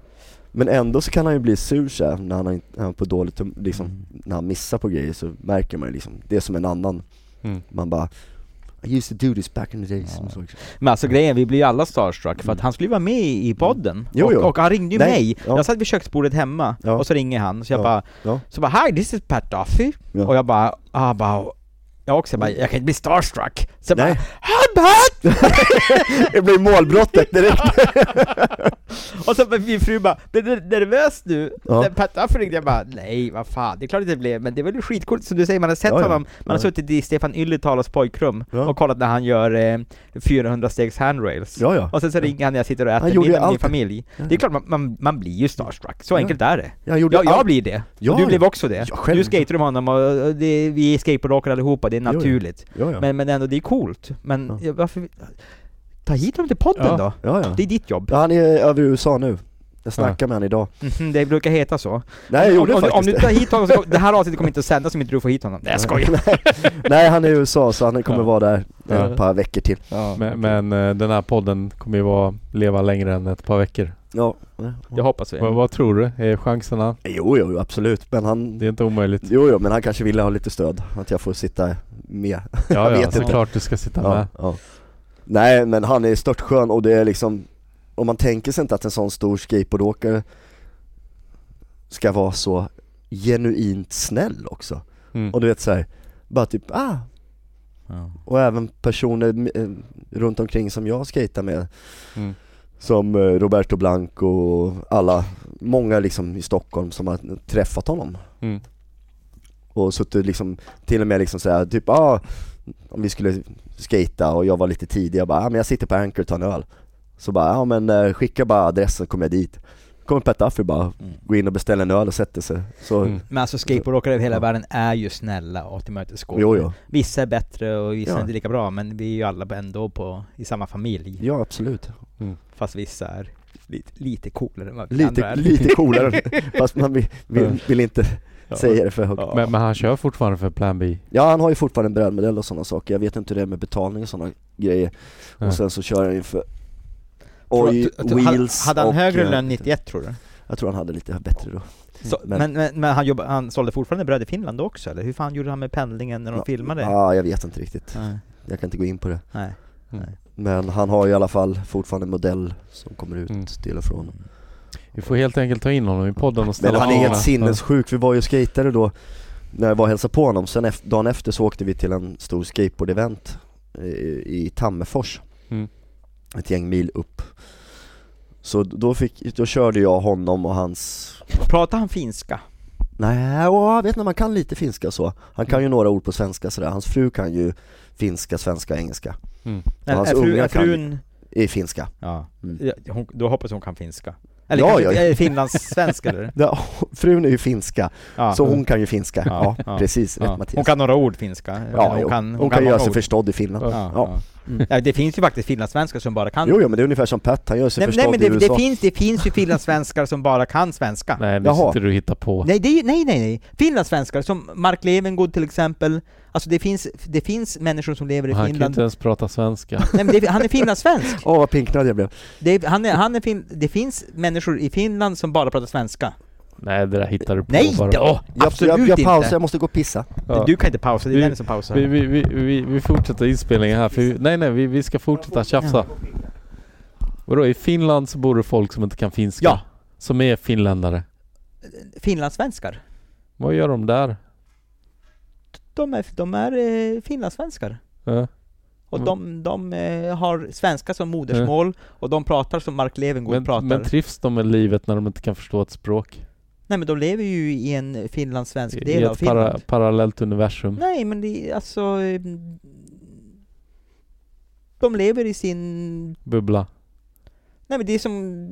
Speaker 2: Men ändå så kan han ju bli sur så här, när han, har- när han på dåligt hum- liksom,
Speaker 3: Mm.
Speaker 2: när han missar på grejer så märker man ju liksom, det är som en annan,
Speaker 4: Mm.
Speaker 2: man bara I used to do this back in the days.
Speaker 3: Ja.
Speaker 2: Så också.
Speaker 3: Men alltså grejen, vi blir ju alla starstruck för att
Speaker 2: Mm.
Speaker 3: han skulle ju vara med i podden.
Speaker 2: Jo,
Speaker 3: och,
Speaker 2: jo.
Speaker 3: och han ringde ju
Speaker 2: Nej,
Speaker 3: mig.
Speaker 2: ja.
Speaker 3: Jag satt vid köksbordet hemma,
Speaker 2: Ja.
Speaker 3: och så ringer han, så jag
Speaker 2: Ja,
Speaker 3: bara,
Speaker 2: ja.
Speaker 3: så bara 'Hi, this is Pat Duffy'
Speaker 2: Ja.
Speaker 3: och jag bara, ah, han bara, jag också, jag bara, jag kan inte bli starstruck. Så bara,
Speaker 2: Nej.
Speaker 3: Hi Pat!
Speaker 2: Det blir målbrottet direkt!
Speaker 3: Och så min fru bara, blir du nervös nu?
Speaker 2: Ja.
Speaker 3: När Pat Duffy ringde, jag bara, nej vad fan, det är klart det inte blev, men det var ju skitcoolt som du säger, man har sett
Speaker 2: Ja, ja.
Speaker 3: honom, man har
Speaker 2: Ja.
Speaker 3: suttit i Stefan Ylletalas pojkrum
Speaker 2: Ja.
Speaker 3: och kollat när han gör eh, 400 stegs handrails.
Speaker 2: Ja, ja.
Speaker 3: Och sen så ringer han när jag sitter och
Speaker 2: Han
Speaker 3: äter
Speaker 2: gjorde
Speaker 3: middag
Speaker 2: ju
Speaker 3: med min
Speaker 2: allt.
Speaker 3: familj. Det är klart, man, man, man blir ju starstruck, så
Speaker 2: Ja.
Speaker 3: enkelt är det.
Speaker 2: Jag gjorde
Speaker 3: Jag, jag
Speaker 2: allt.
Speaker 3: blir det.
Speaker 2: Ja,
Speaker 3: och du
Speaker 2: ja.
Speaker 3: blev också det.
Speaker 2: Ja, själv.
Speaker 3: du skater med honom och och det, vi är skateboardåkare allihopa, det är
Speaker 2: ja.
Speaker 3: naturligt.
Speaker 2: Ja, ja.
Speaker 3: Men, men ändå, det är coolt. Men
Speaker 2: Ja.
Speaker 3: ja. varför... Ta hit honom till podden
Speaker 4: Ja.
Speaker 3: då!
Speaker 2: ja, ja.
Speaker 3: Det är ditt jobb.
Speaker 2: Ja, Han är över i USA nu. Jag snackade med honom idag.
Speaker 3: Mhm, det brukar heta så.
Speaker 2: Nej, jag
Speaker 3: om,
Speaker 2: gjorde
Speaker 3: om,
Speaker 2: faktiskt
Speaker 3: om du
Speaker 2: det.
Speaker 3: tar hit honom, så, det här avsnittet kommer inte att sändas om inte du får hit honom. Nej jag skojar!
Speaker 2: Nej, han är i USA så han kommer
Speaker 4: Ja.
Speaker 2: vara där eh,
Speaker 4: Ja.
Speaker 2: ett par veckor till.
Speaker 3: Ja.
Speaker 4: Men, men eh, den här podden kommer ju vara, leva längre än ett par veckor.
Speaker 2: Ja.
Speaker 3: Jag hoppas vi.
Speaker 4: Vad, vad tror du? Är chanserna?
Speaker 2: Jo, jo, absolut. Men han...
Speaker 4: Det är inte omöjligt.
Speaker 2: Jo, jo, men han kanske ville ha lite stöd. Att jag får sitta med.
Speaker 4: Ja,
Speaker 2: vet
Speaker 4: ja,
Speaker 2: inte.
Speaker 4: såklart du ska sitta
Speaker 2: Ja,
Speaker 4: med.
Speaker 2: ja. Nej, men han är störtskön och det är liksom... Om man tänker sig inte att en sån stor skateboardåkare ska vara så genuint snäll också.
Speaker 4: Mm.
Speaker 2: Och du vet såhär, bara typ ah,
Speaker 3: Ja.
Speaker 2: och även personer eh, runt omkring som jag skejtar med
Speaker 4: Mm.
Speaker 2: Som eh, Roberto Blanco och alla, många liksom i Stockholm som har träffat honom
Speaker 4: Mm.
Speaker 2: och suttit liksom, till och med liksom såhär, typ ah, om vi skulle skata och jag var lite tidig, jag bara ah, men jag sitter på Anchor och tar en öl Så bara, ja ah, men eh, skicka bara adressen kommer jag dit Kommer Pat Duffy bara, gå in och beställa en öl och sätter sig, så
Speaker 4: Mm.
Speaker 3: Men alltså skateboardåkare över hela
Speaker 2: Ja.
Speaker 3: världen är ju snälla och tillmötesgående.
Speaker 2: jo jo,
Speaker 3: Vissa är bättre och vissa
Speaker 2: Ja.
Speaker 3: är inte lika bra, men vi är ju alla ändå på, i samma familj.
Speaker 2: ja absolut
Speaker 3: Fast vissa är lite, lite coolare än vad vi andra
Speaker 2: Lite,
Speaker 3: är.
Speaker 2: lite coolare, fast man vill, vill, vill inte
Speaker 4: Ja.
Speaker 2: säga det för högt
Speaker 3: Ja.
Speaker 4: Men, men han kör fortfarande för Plan B.
Speaker 2: Ja han har ju fortfarande en brädmodell och sådana saker, jag vet inte hur det är med betalning och sådana grejer
Speaker 4: Ja.
Speaker 2: Och sen så kör han ju för
Speaker 3: Tror-
Speaker 2: Oj,
Speaker 3: tror- tror-
Speaker 2: wheels
Speaker 3: Hade han
Speaker 2: och,
Speaker 3: högre
Speaker 2: eh,
Speaker 3: lön 91 tror du?
Speaker 2: Jag tror han hade lite bättre då
Speaker 3: Så,
Speaker 2: Men-
Speaker 3: men, men, men, han, jobba, han sålde fortfarande bröd i Finland också eller? Hur fan gjorde han med pendlingen när de filmade?
Speaker 2: Ja ah, jag vet inte riktigt,
Speaker 3: Nej.
Speaker 2: jag kan inte gå in på det
Speaker 3: Nej.
Speaker 2: Men han har ju i alla fall fortfarande en modell som kommer ut
Speaker 4: Mm.
Speaker 2: till och från
Speaker 4: Vi får helt enkelt ta in honom i podden och
Speaker 2: Men
Speaker 4: ställa
Speaker 2: han är
Speaker 4: frågorna.
Speaker 2: helt sinnessjuk, vi var ju skatare då när jag var och hälsade på honom, sen ef- dagen efter så åkte vi till en stor skateboard-event i, i Tammerfors
Speaker 4: Mm.
Speaker 2: Ett gäng mil upp Så då, fick, då körde jag honom och hans
Speaker 3: Pratar han finska?
Speaker 2: Nej, åh, jag vet inte, man kan lite finska så Han
Speaker 4: Mm.
Speaker 2: kan ju några ord på svenska sådär, hans fru kan ju finska, svenska, engelska
Speaker 3: Nej,
Speaker 2: hans
Speaker 3: är fru,
Speaker 2: unga
Speaker 3: är
Speaker 2: kan-
Speaker 3: frun...
Speaker 2: I finska
Speaker 3: Ja.
Speaker 2: Mm.
Speaker 3: Ja, Hon, då hoppas jag hon kan finska. Eller
Speaker 2: Ja,
Speaker 3: ja, kanske
Speaker 2: ja.
Speaker 3: är det finlandssvenska eller?
Speaker 2: ja, Frun är ju finska,
Speaker 3: Ja.
Speaker 2: så hon kan ju finska, ja,
Speaker 3: Ja, ja.
Speaker 2: precis,
Speaker 3: ja.
Speaker 2: rätt Mattias
Speaker 3: Hon kan några ord finska.
Speaker 2: Ja, jo. hon kan göra
Speaker 3: många
Speaker 2: sig
Speaker 3: ord.
Speaker 2: förstådd i Finland
Speaker 3: Ja,
Speaker 2: Ja.
Speaker 3: ja. Ja, det finns ju faktiskt finlandssvenskar som bara kan
Speaker 2: Jo, jo men det är ungefär som Pat, han gör sig
Speaker 3: Nej,
Speaker 2: förstådd
Speaker 3: nej men
Speaker 2: i
Speaker 3: det,
Speaker 2: USA
Speaker 3: det, finns, det finns ju finlandssvenskar som bara kan svenska. Nej,
Speaker 4: Nej, nu
Speaker 2: Jaha.
Speaker 4: sitter du och hittar på.
Speaker 3: det är, ju- nej, nej, nej. Finlandssvenskar, som Mark Levengood till exempel. Alltså det finns, det finns människor som lever i
Speaker 4: han kan ju
Speaker 3: Finland.
Speaker 4: inte ens prata svenska.
Speaker 3: Nej, men det, han är finlandssvensk.
Speaker 2: Åh vad pinknödig jag blev
Speaker 3: Det, är, han är, han är fin, det finns människor i Finland som bara pratar svenska.
Speaker 4: Nej, det där hittar du på
Speaker 3: Nej
Speaker 4: bara.
Speaker 3: då!
Speaker 2: jag,
Speaker 3: Absolut
Speaker 2: jag, jag pausar,
Speaker 3: inte!
Speaker 2: jag måste gå och pissa
Speaker 4: Ja.
Speaker 3: Du kan inte pausa, det är
Speaker 4: Vi-
Speaker 3: Dennis som pausar.
Speaker 4: Vi, vi, vi, vi, vi fortsätter inspelningen här, för vi, nej nej, vi, vi ska fortsätta tjafsa. Vadå, i Finland så bor det folk som inte kan finska?
Speaker 3: Ja.
Speaker 4: Som är finländare.
Speaker 3: Finlandssvenskar.
Speaker 4: Vad gör de där?
Speaker 3: De är, de är eh, finlandssvenskar.
Speaker 4: Ja.
Speaker 3: Och
Speaker 4: Mm.
Speaker 3: de, de eh, har svenska som modersmål, och de pratar som Mark Levengood pratar.
Speaker 4: Men, men trivs de med livet när de inte kan förstå ett språk?
Speaker 3: Nej men de lever ju i en finlandssvensk
Speaker 4: I
Speaker 3: del av
Speaker 4: ett
Speaker 3: Finland.
Speaker 4: para, parallellt universum?
Speaker 3: Nej men det, alltså... eh, De lever i sin...
Speaker 4: Bubbla?
Speaker 3: Nej men det är som...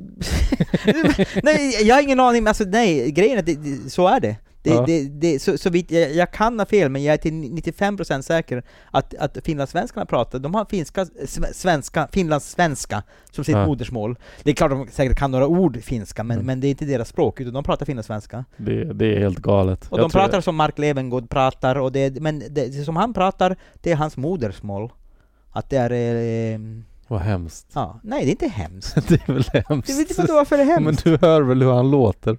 Speaker 3: nej jag har ingen aning, men alltså nej, grejen är att det, det, så är det. Det,
Speaker 4: Ja.
Speaker 3: det, det, så, så vitt, jag, jag kan ha fel, men jag är till 95% säker att, att finlandssvenskarna pratar, de har finska, sve- svenska, finlandssvenska som sitt
Speaker 4: Ja. Mm.
Speaker 3: modersmål. Det är klart de säkert kan några ord finska, men, men det är inte deras språk, utan de pratar finlandssvenska.
Speaker 4: Det, det är helt galet.
Speaker 3: Och
Speaker 4: Jag
Speaker 3: de
Speaker 4: tror-
Speaker 3: pratar som Mark Levengood pratar, och det, men det, det som han pratar, det är hans modersmål. Att det är... Eh,
Speaker 4: Vad hemskt.
Speaker 3: ja, nej, det är inte hemskt.
Speaker 4: det är väl hemskt?
Speaker 3: Det vet inte varför det är
Speaker 4: Men
Speaker 3: hemskt.
Speaker 4: du hör väl hur han låter?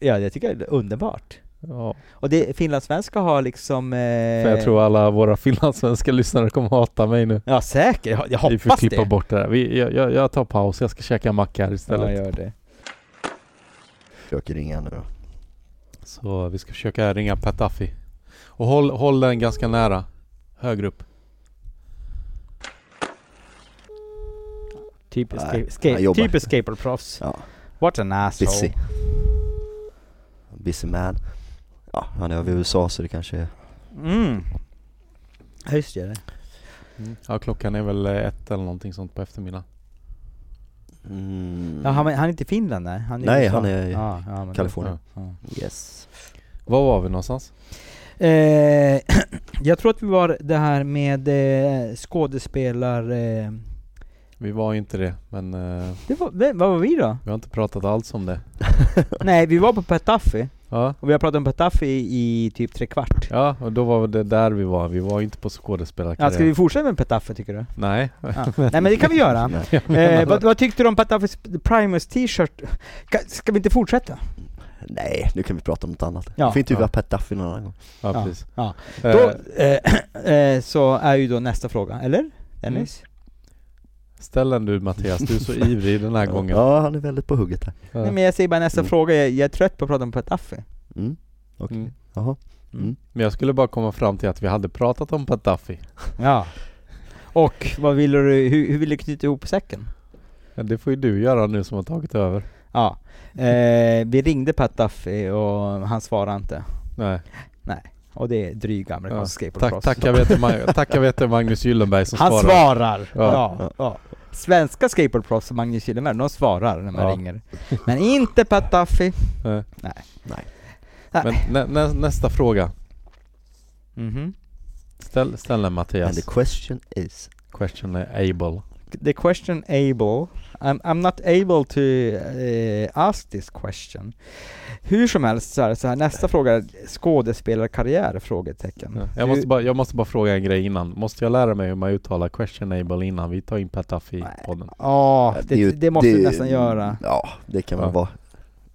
Speaker 3: Ja, jag tycker det är underbart.
Speaker 4: Ja.
Speaker 3: Och det, finlandssvenska har liksom... Eh,
Speaker 4: För jag tror alla våra finlandssvenska lyssnare kommer hata mig nu.
Speaker 3: Ja, säkert. Jag, jag
Speaker 4: Vi får
Speaker 3: hoppas
Speaker 4: klippa
Speaker 3: det.
Speaker 4: bort det här. Vi, jag, jag, jag tar paus, jag ska käka en macka här istället.
Speaker 3: Ja, gör det.
Speaker 2: Försöker ringa nu då.
Speaker 4: Så vi ska försöka ringa Patafi. Och håll, håll den ganska nära. Högre upp.
Speaker 3: Typiskt
Speaker 2: Nej,
Speaker 3: ska- ska-
Speaker 2: jag jobbar.
Speaker 3: typiskt skateboardproffs.
Speaker 2: Ja,
Speaker 3: What an asshole.
Speaker 2: busy. Busy man. Ja, han är över i USA så det kanske är...
Speaker 3: Mm. Ja, just det. Mm.
Speaker 4: Ja, klockan är väl eh, ett eller någonting sånt på eftermiddagen.
Speaker 2: Mm,
Speaker 3: Ja,
Speaker 4: Mm.
Speaker 3: han, han är inte i Finland nej? Han är i
Speaker 2: Nej,
Speaker 3: USA.
Speaker 2: han är i
Speaker 3: ja, ja, men-
Speaker 2: Kalifornien.
Speaker 3: ja.
Speaker 2: Yes.
Speaker 4: Var var vi någonstans?
Speaker 3: Eh, jag tror att vi var det här med eh, skådespelar... Eh,
Speaker 4: Vi var ju inte det, men eh,
Speaker 3: det var, vem- vad var vi då?
Speaker 4: vi har inte pratat alls om det.
Speaker 3: Nej, vi var på Petafi.
Speaker 4: Ja,
Speaker 3: Och vi har pratat om Petafi i, i typ tre kvart.
Speaker 4: ja och då var det där vi var. Vi var ju inte på
Speaker 3: Ja, ska
Speaker 4: skådespelarkarriär.
Speaker 3: vi fortsätta med Petafi tycker du?
Speaker 4: Nej.
Speaker 3: Ja. Nej men det kan vi göra. Eh, vad, vad tyckte du om Patafis Primus t-shirt? Ska, ska vi inte fortsätta?
Speaker 2: Nej, nu kan vi prata om något annat.
Speaker 3: Ja.
Speaker 2: Ja. Får intervjua
Speaker 4: Ja.
Speaker 2: Pat Duffy någon annan gång.
Speaker 4: Ja,
Speaker 3: Ja.
Speaker 4: precis.
Speaker 3: Ja.
Speaker 4: Eh,
Speaker 3: Då eh, eh, så är ju då nästa fråga, eller? Dennis?
Speaker 4: Ställ den du Mattias, du är så ivrig den här gången.
Speaker 2: Ja, han är väldigt på hugget här.
Speaker 4: Ja.
Speaker 3: Nej men jag säger bara nästa
Speaker 2: Mm.
Speaker 3: fråga, jag, jag är trött på att prata om Patafi.
Speaker 2: Mm. Okej.
Speaker 4: Mm.
Speaker 2: Jaha.
Speaker 4: Men jag skulle bara komma fram till att vi hade pratat om Gaddafi.
Speaker 3: Ja. Och vad vill du, hur, hur vill du knyta ihop säcken?
Speaker 4: Ja, Det får ju du göra nu som har tagit över.
Speaker 3: Ja. Eh, vi ringde Patafi och han svarade inte.
Speaker 4: Nej.
Speaker 3: Och det är dryg amerikansk ja.
Speaker 4: Tack, tacka vet Ma- tacka vet du Magnus Gyllenberg som
Speaker 3: Han
Speaker 4: svarar.
Speaker 3: svarar!
Speaker 4: Ja.
Speaker 3: Ja. Ja. Svenska skateboardproffs som Magnus Gyllenberg, de svarar när man
Speaker 4: Ja.
Speaker 3: ringer. Men inte Patafi.
Speaker 4: Nej.
Speaker 3: Nej.
Speaker 2: Nej.
Speaker 4: Men nä, nä, nästa fråga.
Speaker 3: Mhm.
Speaker 4: Ställ, ställ den
Speaker 2: And
Speaker 4: Mattias.
Speaker 2: the question is...
Speaker 4: Question är able.
Speaker 3: the question able, I'm, I'm not able to eh, ask this question. Hur som helst, så här, så här, nästa fråga är skådespelarkarriär?
Speaker 2: Mm.
Speaker 3: Frågetecken.
Speaker 4: Ja. Jag,
Speaker 3: Hur-
Speaker 4: måste bara, jag måste bara fråga en grej innan. Måste jag lära mig hur man uttalar question able innan vi tar in Gaddafi i
Speaker 3: Nej.
Speaker 4: podden?
Speaker 3: Ja, det,
Speaker 2: är ju-
Speaker 3: det, måste du nästan göra.
Speaker 2: uh, Ja, det kan man
Speaker 4: Ja.
Speaker 2: vara.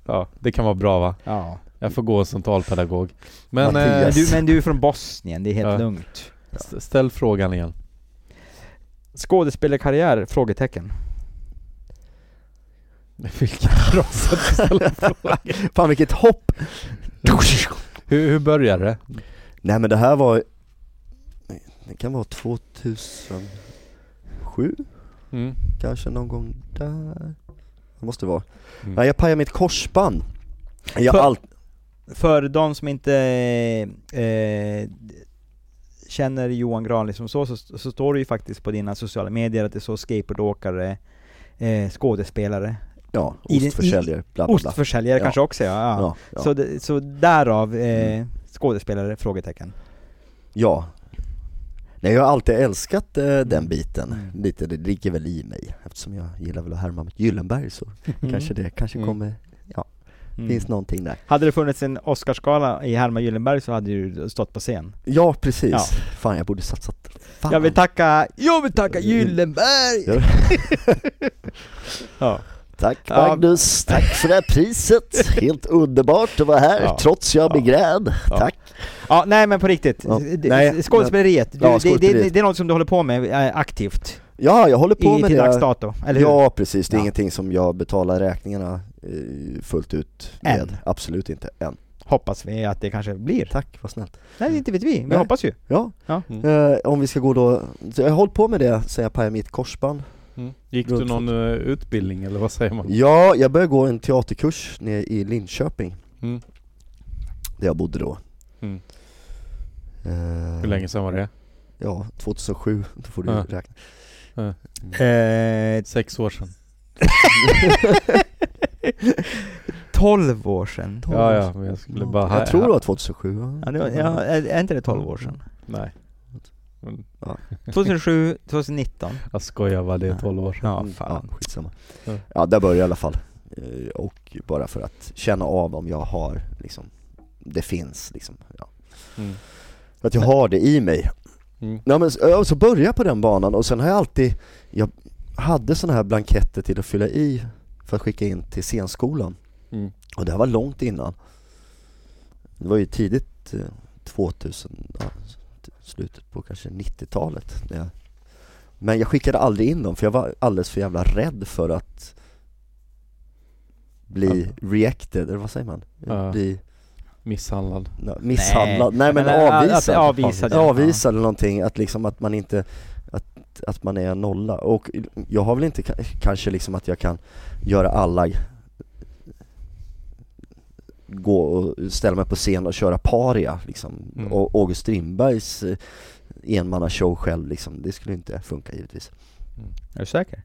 Speaker 4: Ja, det kan vara bra va?
Speaker 3: Ja.
Speaker 4: Jag får gå som talpedagog. Men
Speaker 2: Mm. Mattias.
Speaker 4: eh,
Speaker 3: Men, du, men du är från Bosnien, det är helt
Speaker 4: Ja.
Speaker 3: lugnt.
Speaker 4: st- ställ frågan igen.
Speaker 3: Skådespelarkarriär? Frågetecken.
Speaker 4: Vilket bra sätt att ställa frågan.
Speaker 2: Fan vilket hopp!
Speaker 4: Hur, hur börjar det?
Speaker 2: Nej men det här var... Det kan vara 2007
Speaker 4: Mm.
Speaker 2: kanske någon gång där. Det måste vara.
Speaker 4: Mm.
Speaker 2: Nej jag pajade mitt korsband. Jag
Speaker 3: För-
Speaker 2: har allt...
Speaker 3: För de som inte eh, känner Johan Granli som så, så, så står det ju faktiskt på dina sociala medier att det är så skateboardåkare, eh, skådespelare,
Speaker 2: Ja,
Speaker 3: i den- i-
Speaker 2: ostförsäljare, bla bla bla.
Speaker 3: Ostförsäljare
Speaker 2: Ja.
Speaker 3: kanske också ja. ja.
Speaker 2: Ja, ja. Mm.
Speaker 3: Så, det, så därav eh, skådespelare? Frågetecken.
Speaker 2: Ja. Nej jag har alltid älskat eh, den biten,
Speaker 3: Mm.
Speaker 2: lite, det ligger väl i mig eftersom jag gillar väl att härma mitt Gyllenberg så kanske det, kanske
Speaker 4: Mm.
Speaker 2: kommer,
Speaker 3: Mm.
Speaker 2: finns någonting där
Speaker 3: Hade det funnits en Oscarsgala i Herman Gyllenberg så hade du stått på scen.
Speaker 2: Ja precis,
Speaker 3: Ja.
Speaker 2: fan jag borde satsat, fan Mm.
Speaker 3: Jag vill tacka, jag vill tacka Gyllenberg! ja.
Speaker 2: Tack
Speaker 3: Ja.
Speaker 2: Magnus, tack för det här priset. Helt underbart att vara här
Speaker 3: Ja.
Speaker 2: trots jag blir
Speaker 3: Ja.
Speaker 2: gräd.
Speaker 3: Ja.
Speaker 2: Tack.
Speaker 3: ja, nej men på riktigt.
Speaker 2: Ja.
Speaker 3: Det-
Speaker 2: Nej,
Speaker 3: skådespeleriet, du,
Speaker 2: Ja,
Speaker 3: det, det, det,
Speaker 2: skådespeleriet.
Speaker 3: är något som du håller på med eh, aktivt
Speaker 2: Ja, jag håller på
Speaker 3: i,
Speaker 2: med
Speaker 3: till dags
Speaker 2: det.
Speaker 3: dato, eller hur?
Speaker 2: Ja precis, det är
Speaker 3: Ja.
Speaker 2: ingenting som jag betalar räkningarna eh, fullt ut med.
Speaker 3: Än.
Speaker 2: Absolut inte, än.
Speaker 3: Hoppas vi att det kanske blir.
Speaker 2: Tack, vad snällt.
Speaker 3: Nej, inte vet vi, vi
Speaker 2: Nej.
Speaker 3: hoppas ju.
Speaker 2: Ja,
Speaker 3: Ja.
Speaker 2: eh, om vi ska gå då, så jag har hållit på med det sen jag pajade mitt korsband.
Speaker 4: Mm. Gick du någon eh, utbildning eller vad säger
Speaker 3: Mm.
Speaker 4: man?
Speaker 2: Ja, jag började gå en teaterkurs nere i Linköping,
Speaker 4: Mm.
Speaker 2: där jag bodde då.
Speaker 4: Mm.
Speaker 2: Eh,
Speaker 4: Hur länge sedan var det?
Speaker 2: Ja, 2007, då får du
Speaker 4: Ja.
Speaker 2: räkna.
Speaker 3: Eh,
Speaker 4: Sex år sedan.
Speaker 3: 12 år sedan.
Speaker 4: Ja, ja, men jag skulle bara...
Speaker 2: Jag tror det var 2007 va?
Speaker 3: Ja, det var, ja, är är inte det 12 år sedan?
Speaker 4: Nej. Men
Speaker 3: 2007, 2019.
Speaker 4: jag skojar bara, det är 12 år sedan.
Speaker 3: Ja,
Speaker 2: Mm,
Speaker 3: fan.
Speaker 2: Ja, skitsamma.
Speaker 4: Ja.
Speaker 2: Ja, där börjar jag i alla fall. Eh, Och bara för att känna av om jag har, liksom, det finns liksom. Ja.
Speaker 4: Mm.
Speaker 2: Att jag har det i mig.
Speaker 4: Mm.
Speaker 2: Ja, men, så- ja, så började jag på den banan och sen har jag alltid, jag hade sådana här blanketter till att fylla i för att skicka in till scenskolan.
Speaker 4: Mm.
Speaker 2: Och det här var långt innan. Det var ju tidigt eh, 2000, ja, t- slutet på kanske 90-talet. när jag- Men jag skickade aldrig in dem för jag var alldeles för jävla rädd för att bli reacted, eller vad säger man?
Speaker 4: Ja.
Speaker 2: Bli
Speaker 4: Misshandlad.
Speaker 2: na, misshandlad, nej, men avvisad.
Speaker 3: Att, avvisad, ja.
Speaker 2: avvisad eller någonting, att liksom att man inte att, att man är en nolla. Och jag har väl inte ka- kanske liksom att jag kan göra alla gå och ställa mig på scen och köra paria liksom.
Speaker 4: Mm.
Speaker 2: Och August Strindbergs eh, enmannashow själv liksom, det skulle inte funka givetvis.
Speaker 3: Är du säker?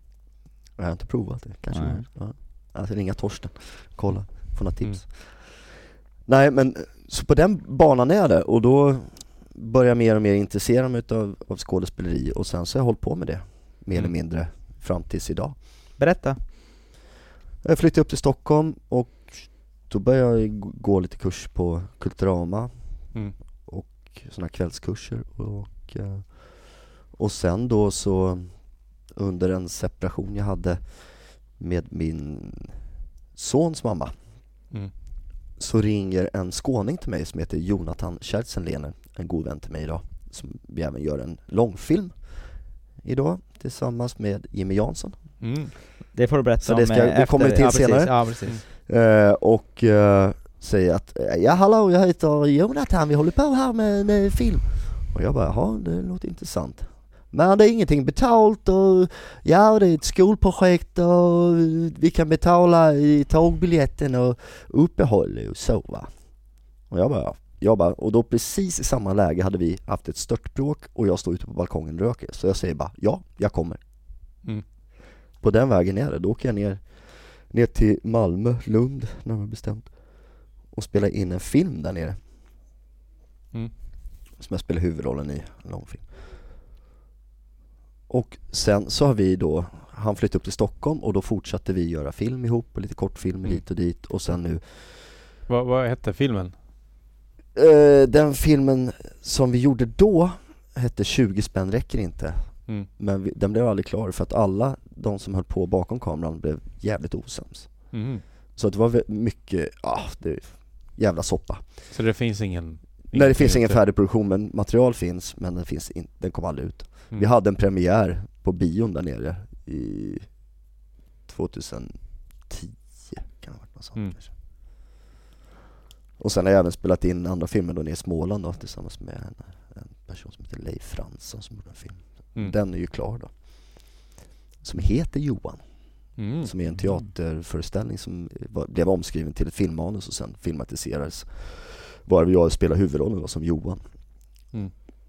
Speaker 2: Jag har inte provat det kanske.
Speaker 3: Nej.
Speaker 2: Ja. Alltså ringa Torsten, kolla, få några tips. Nej men, så på den banan är det och då börjar jag mer och mer intressera mig utav, av skådespeleri och sen så har jag hållit på med det, mer eller
Speaker 4: Mm.
Speaker 2: mindre, fram tills idag.
Speaker 3: Berätta.
Speaker 2: Jag flyttade upp till Stockholm och då började jag g- gå lite kurs på Kulturama
Speaker 4: Mm.
Speaker 2: och sådana kvällskurser och, eh, och sen då så under en separation jag hade med min sons mamma
Speaker 4: Mm.
Speaker 2: så ringer en skåning till mig som heter Jonathan Kärtzenlener, en god vän till mig idag, som vi även gör en långfilm idag tillsammans med Jimmy Jansson.
Speaker 4: Mm.
Speaker 3: Det får du berätta
Speaker 2: Så det ska-
Speaker 3: om, eh,
Speaker 2: det kommer till
Speaker 3: ja, precis,
Speaker 2: senare.
Speaker 3: Ja, precis.
Speaker 2: Eh, och eh, säger att eh, ja hallå jag heter Jonathan, vi håller på här med en eh, film. Och jag bara, jaha det låter intressant. Men det är ingenting betalt och ja det är ett skolprojekt och eh, vi kan betala i tågbiljetten och uppehåll och så va. Och jag bara, jag bara, och då precis i samma läge hade vi haft ett störtbråk och jag står ute på balkongen och röker. Så jag säger bara, ja jag kommer.
Speaker 4: Mm.
Speaker 2: På den vägen är det, då åker jag ner ner till Malmö, Lund närmare bestämt och spela in en film där nere
Speaker 4: Mm.
Speaker 2: som jag spelar huvudrollen i, en långfilm. Och sen så har vi då, han flyttade upp till Stockholm och då fortsatte vi göra film ihop och lite kortfilmer
Speaker 4: Mm.
Speaker 2: hit och dit och sen nu
Speaker 4: Vad, vad hette filmen?
Speaker 2: eh, Den filmen som vi gjorde då hette 20 spänn räcker inte
Speaker 4: Mm.
Speaker 2: men vi, den blev aldrig klar för att alla de som höll på bakom kameran blev jävligt osams.
Speaker 4: Mhm.
Speaker 2: Så det var vä- mycket, ah, det, jävla soppa.
Speaker 4: Så det finns ingen...
Speaker 2: Nej det finns ingen
Speaker 4: ute?
Speaker 2: färdig produktion men material finns men den, finns in, den kom aldrig ut.
Speaker 4: Mm.
Speaker 2: Vi hade en premiär på bion där nere i 2010 kan det ha varit något sånt
Speaker 4: Mm.
Speaker 2: kanske. Och sen har jag även spelat in andra filmer då nere i Småland då, tillsammans med en, en person som heter Leif Fransson som gjorde en film.
Speaker 4: Mm.
Speaker 2: Den är ju klar då. Som heter Johan,
Speaker 4: Mm.
Speaker 2: som är en teaterföreställning som var, blev omskriven till ett filmmanus och sen filmatiserades. Varav jag spelar huvudrollen då, som Johan.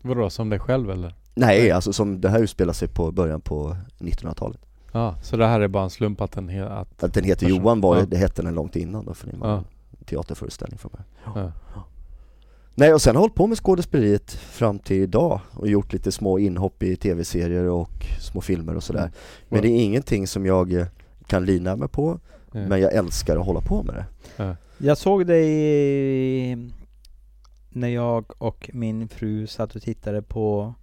Speaker 4: Vadå, som dig själv eller?
Speaker 2: Nej, alltså som det här utspelar sig på början på 1900-talet.
Speaker 4: Ja, så det här är bara en slump att den... He- att,
Speaker 2: Att den heter
Speaker 4: Person-
Speaker 2: Johan var ju,
Speaker 4: ja.
Speaker 2: det hette den långt innan då för det var
Speaker 4: Ja.
Speaker 2: en teaterföreställning från början.
Speaker 4: ja. Eh.
Speaker 2: Nej, och sen har jag hållit på med skådespeleriet fram till idag och gjort lite små inhopp i tv-serier och små filmer och sådär.
Speaker 4: Mm.
Speaker 2: Men det är ingenting som jag eh, kan lina mig på,
Speaker 4: Ja.
Speaker 2: men jag älskar att hålla på med det.
Speaker 3: Jag såg dig i- när jag och min fru satt och tittade på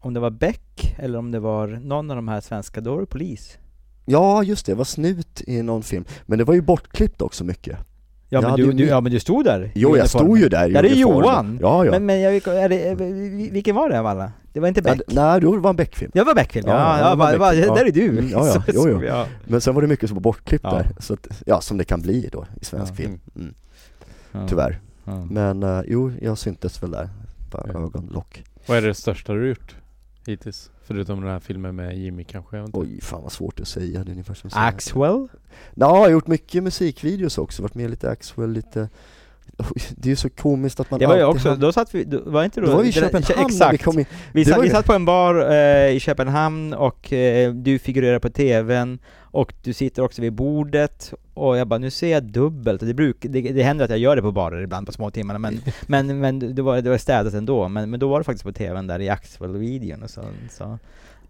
Speaker 3: om det var Beck eller om det var någon av de här svenska, då var det polis.
Speaker 2: Ja, just det, jag var snut i någon film. Men det var ju bortklippt också mycket.
Speaker 3: Ja,
Speaker 2: Jag
Speaker 3: men
Speaker 2: hade
Speaker 3: du,
Speaker 2: ju
Speaker 3: du,
Speaker 2: mitt-
Speaker 3: ja men du stod där. i
Speaker 2: Jo, jag
Speaker 3: uniformen.
Speaker 2: stod ju där i
Speaker 3: Ja, det är
Speaker 2: uniformen.
Speaker 3: Johan.
Speaker 2: Ja, ja.
Speaker 3: Men, men jag, vet- är det, är det- vilken var det av alla? Det var inte
Speaker 2: Ja,
Speaker 3: Beck?
Speaker 2: d- Nej, då var det en Beck-film.
Speaker 3: Jag var Beckfilm, ja, ja,
Speaker 2: Ja,
Speaker 3: ja,
Speaker 2: jag var
Speaker 3: bara- bara-
Speaker 2: Beckfilm,
Speaker 3: där är du!
Speaker 2: Mm, ja, ja,
Speaker 3: Så-
Speaker 2: jo,
Speaker 3: så-
Speaker 2: jo.
Speaker 3: ja.
Speaker 2: Men sen var det mycket som var bortklippt
Speaker 4: Ja.
Speaker 2: där, så att, ja, som det kan bli då i svensk
Speaker 4: Ja.
Speaker 2: film, mm, tyvärr. Men eh, jo, jag syntes väl där, bara
Speaker 4: Ja.
Speaker 2: ögonlock.
Speaker 4: Vad är det största du gjort hittills? Förutom den här filmen med Jimmy kanske? Jag vet inte.
Speaker 2: Oj, fan vad svårt att säga, det är ungefär som att säga-
Speaker 3: Axwell?
Speaker 2: Ja, jag har gjort mycket musikvideos också, varit med i lite Axwell, lite, Det är ju så komiskt att man
Speaker 3: Det var ju
Speaker 2: alltid
Speaker 3: också,
Speaker 2: hamnar-
Speaker 3: då satt vi, då, var inte då...
Speaker 2: Då var vi i
Speaker 3: det där-
Speaker 2: Köpenhamn när vi
Speaker 3: Exakt!
Speaker 2: kom in.
Speaker 3: Vi,
Speaker 2: Det
Speaker 3: satt,
Speaker 2: var
Speaker 3: vi
Speaker 2: ju-
Speaker 3: satt på en bar eh, i Köpenhamn och eh, du figurerar på TVn och du sitter också vid bordet och jag bara, nu ser jag dubbelt. Och Det, bruk, det, det händer att jag gör det på barer ibland på småtimmarna men, men, men det, var, det var städat ändå. Men, men då var det faktiskt på TVn där i Axwell-videon och så. så.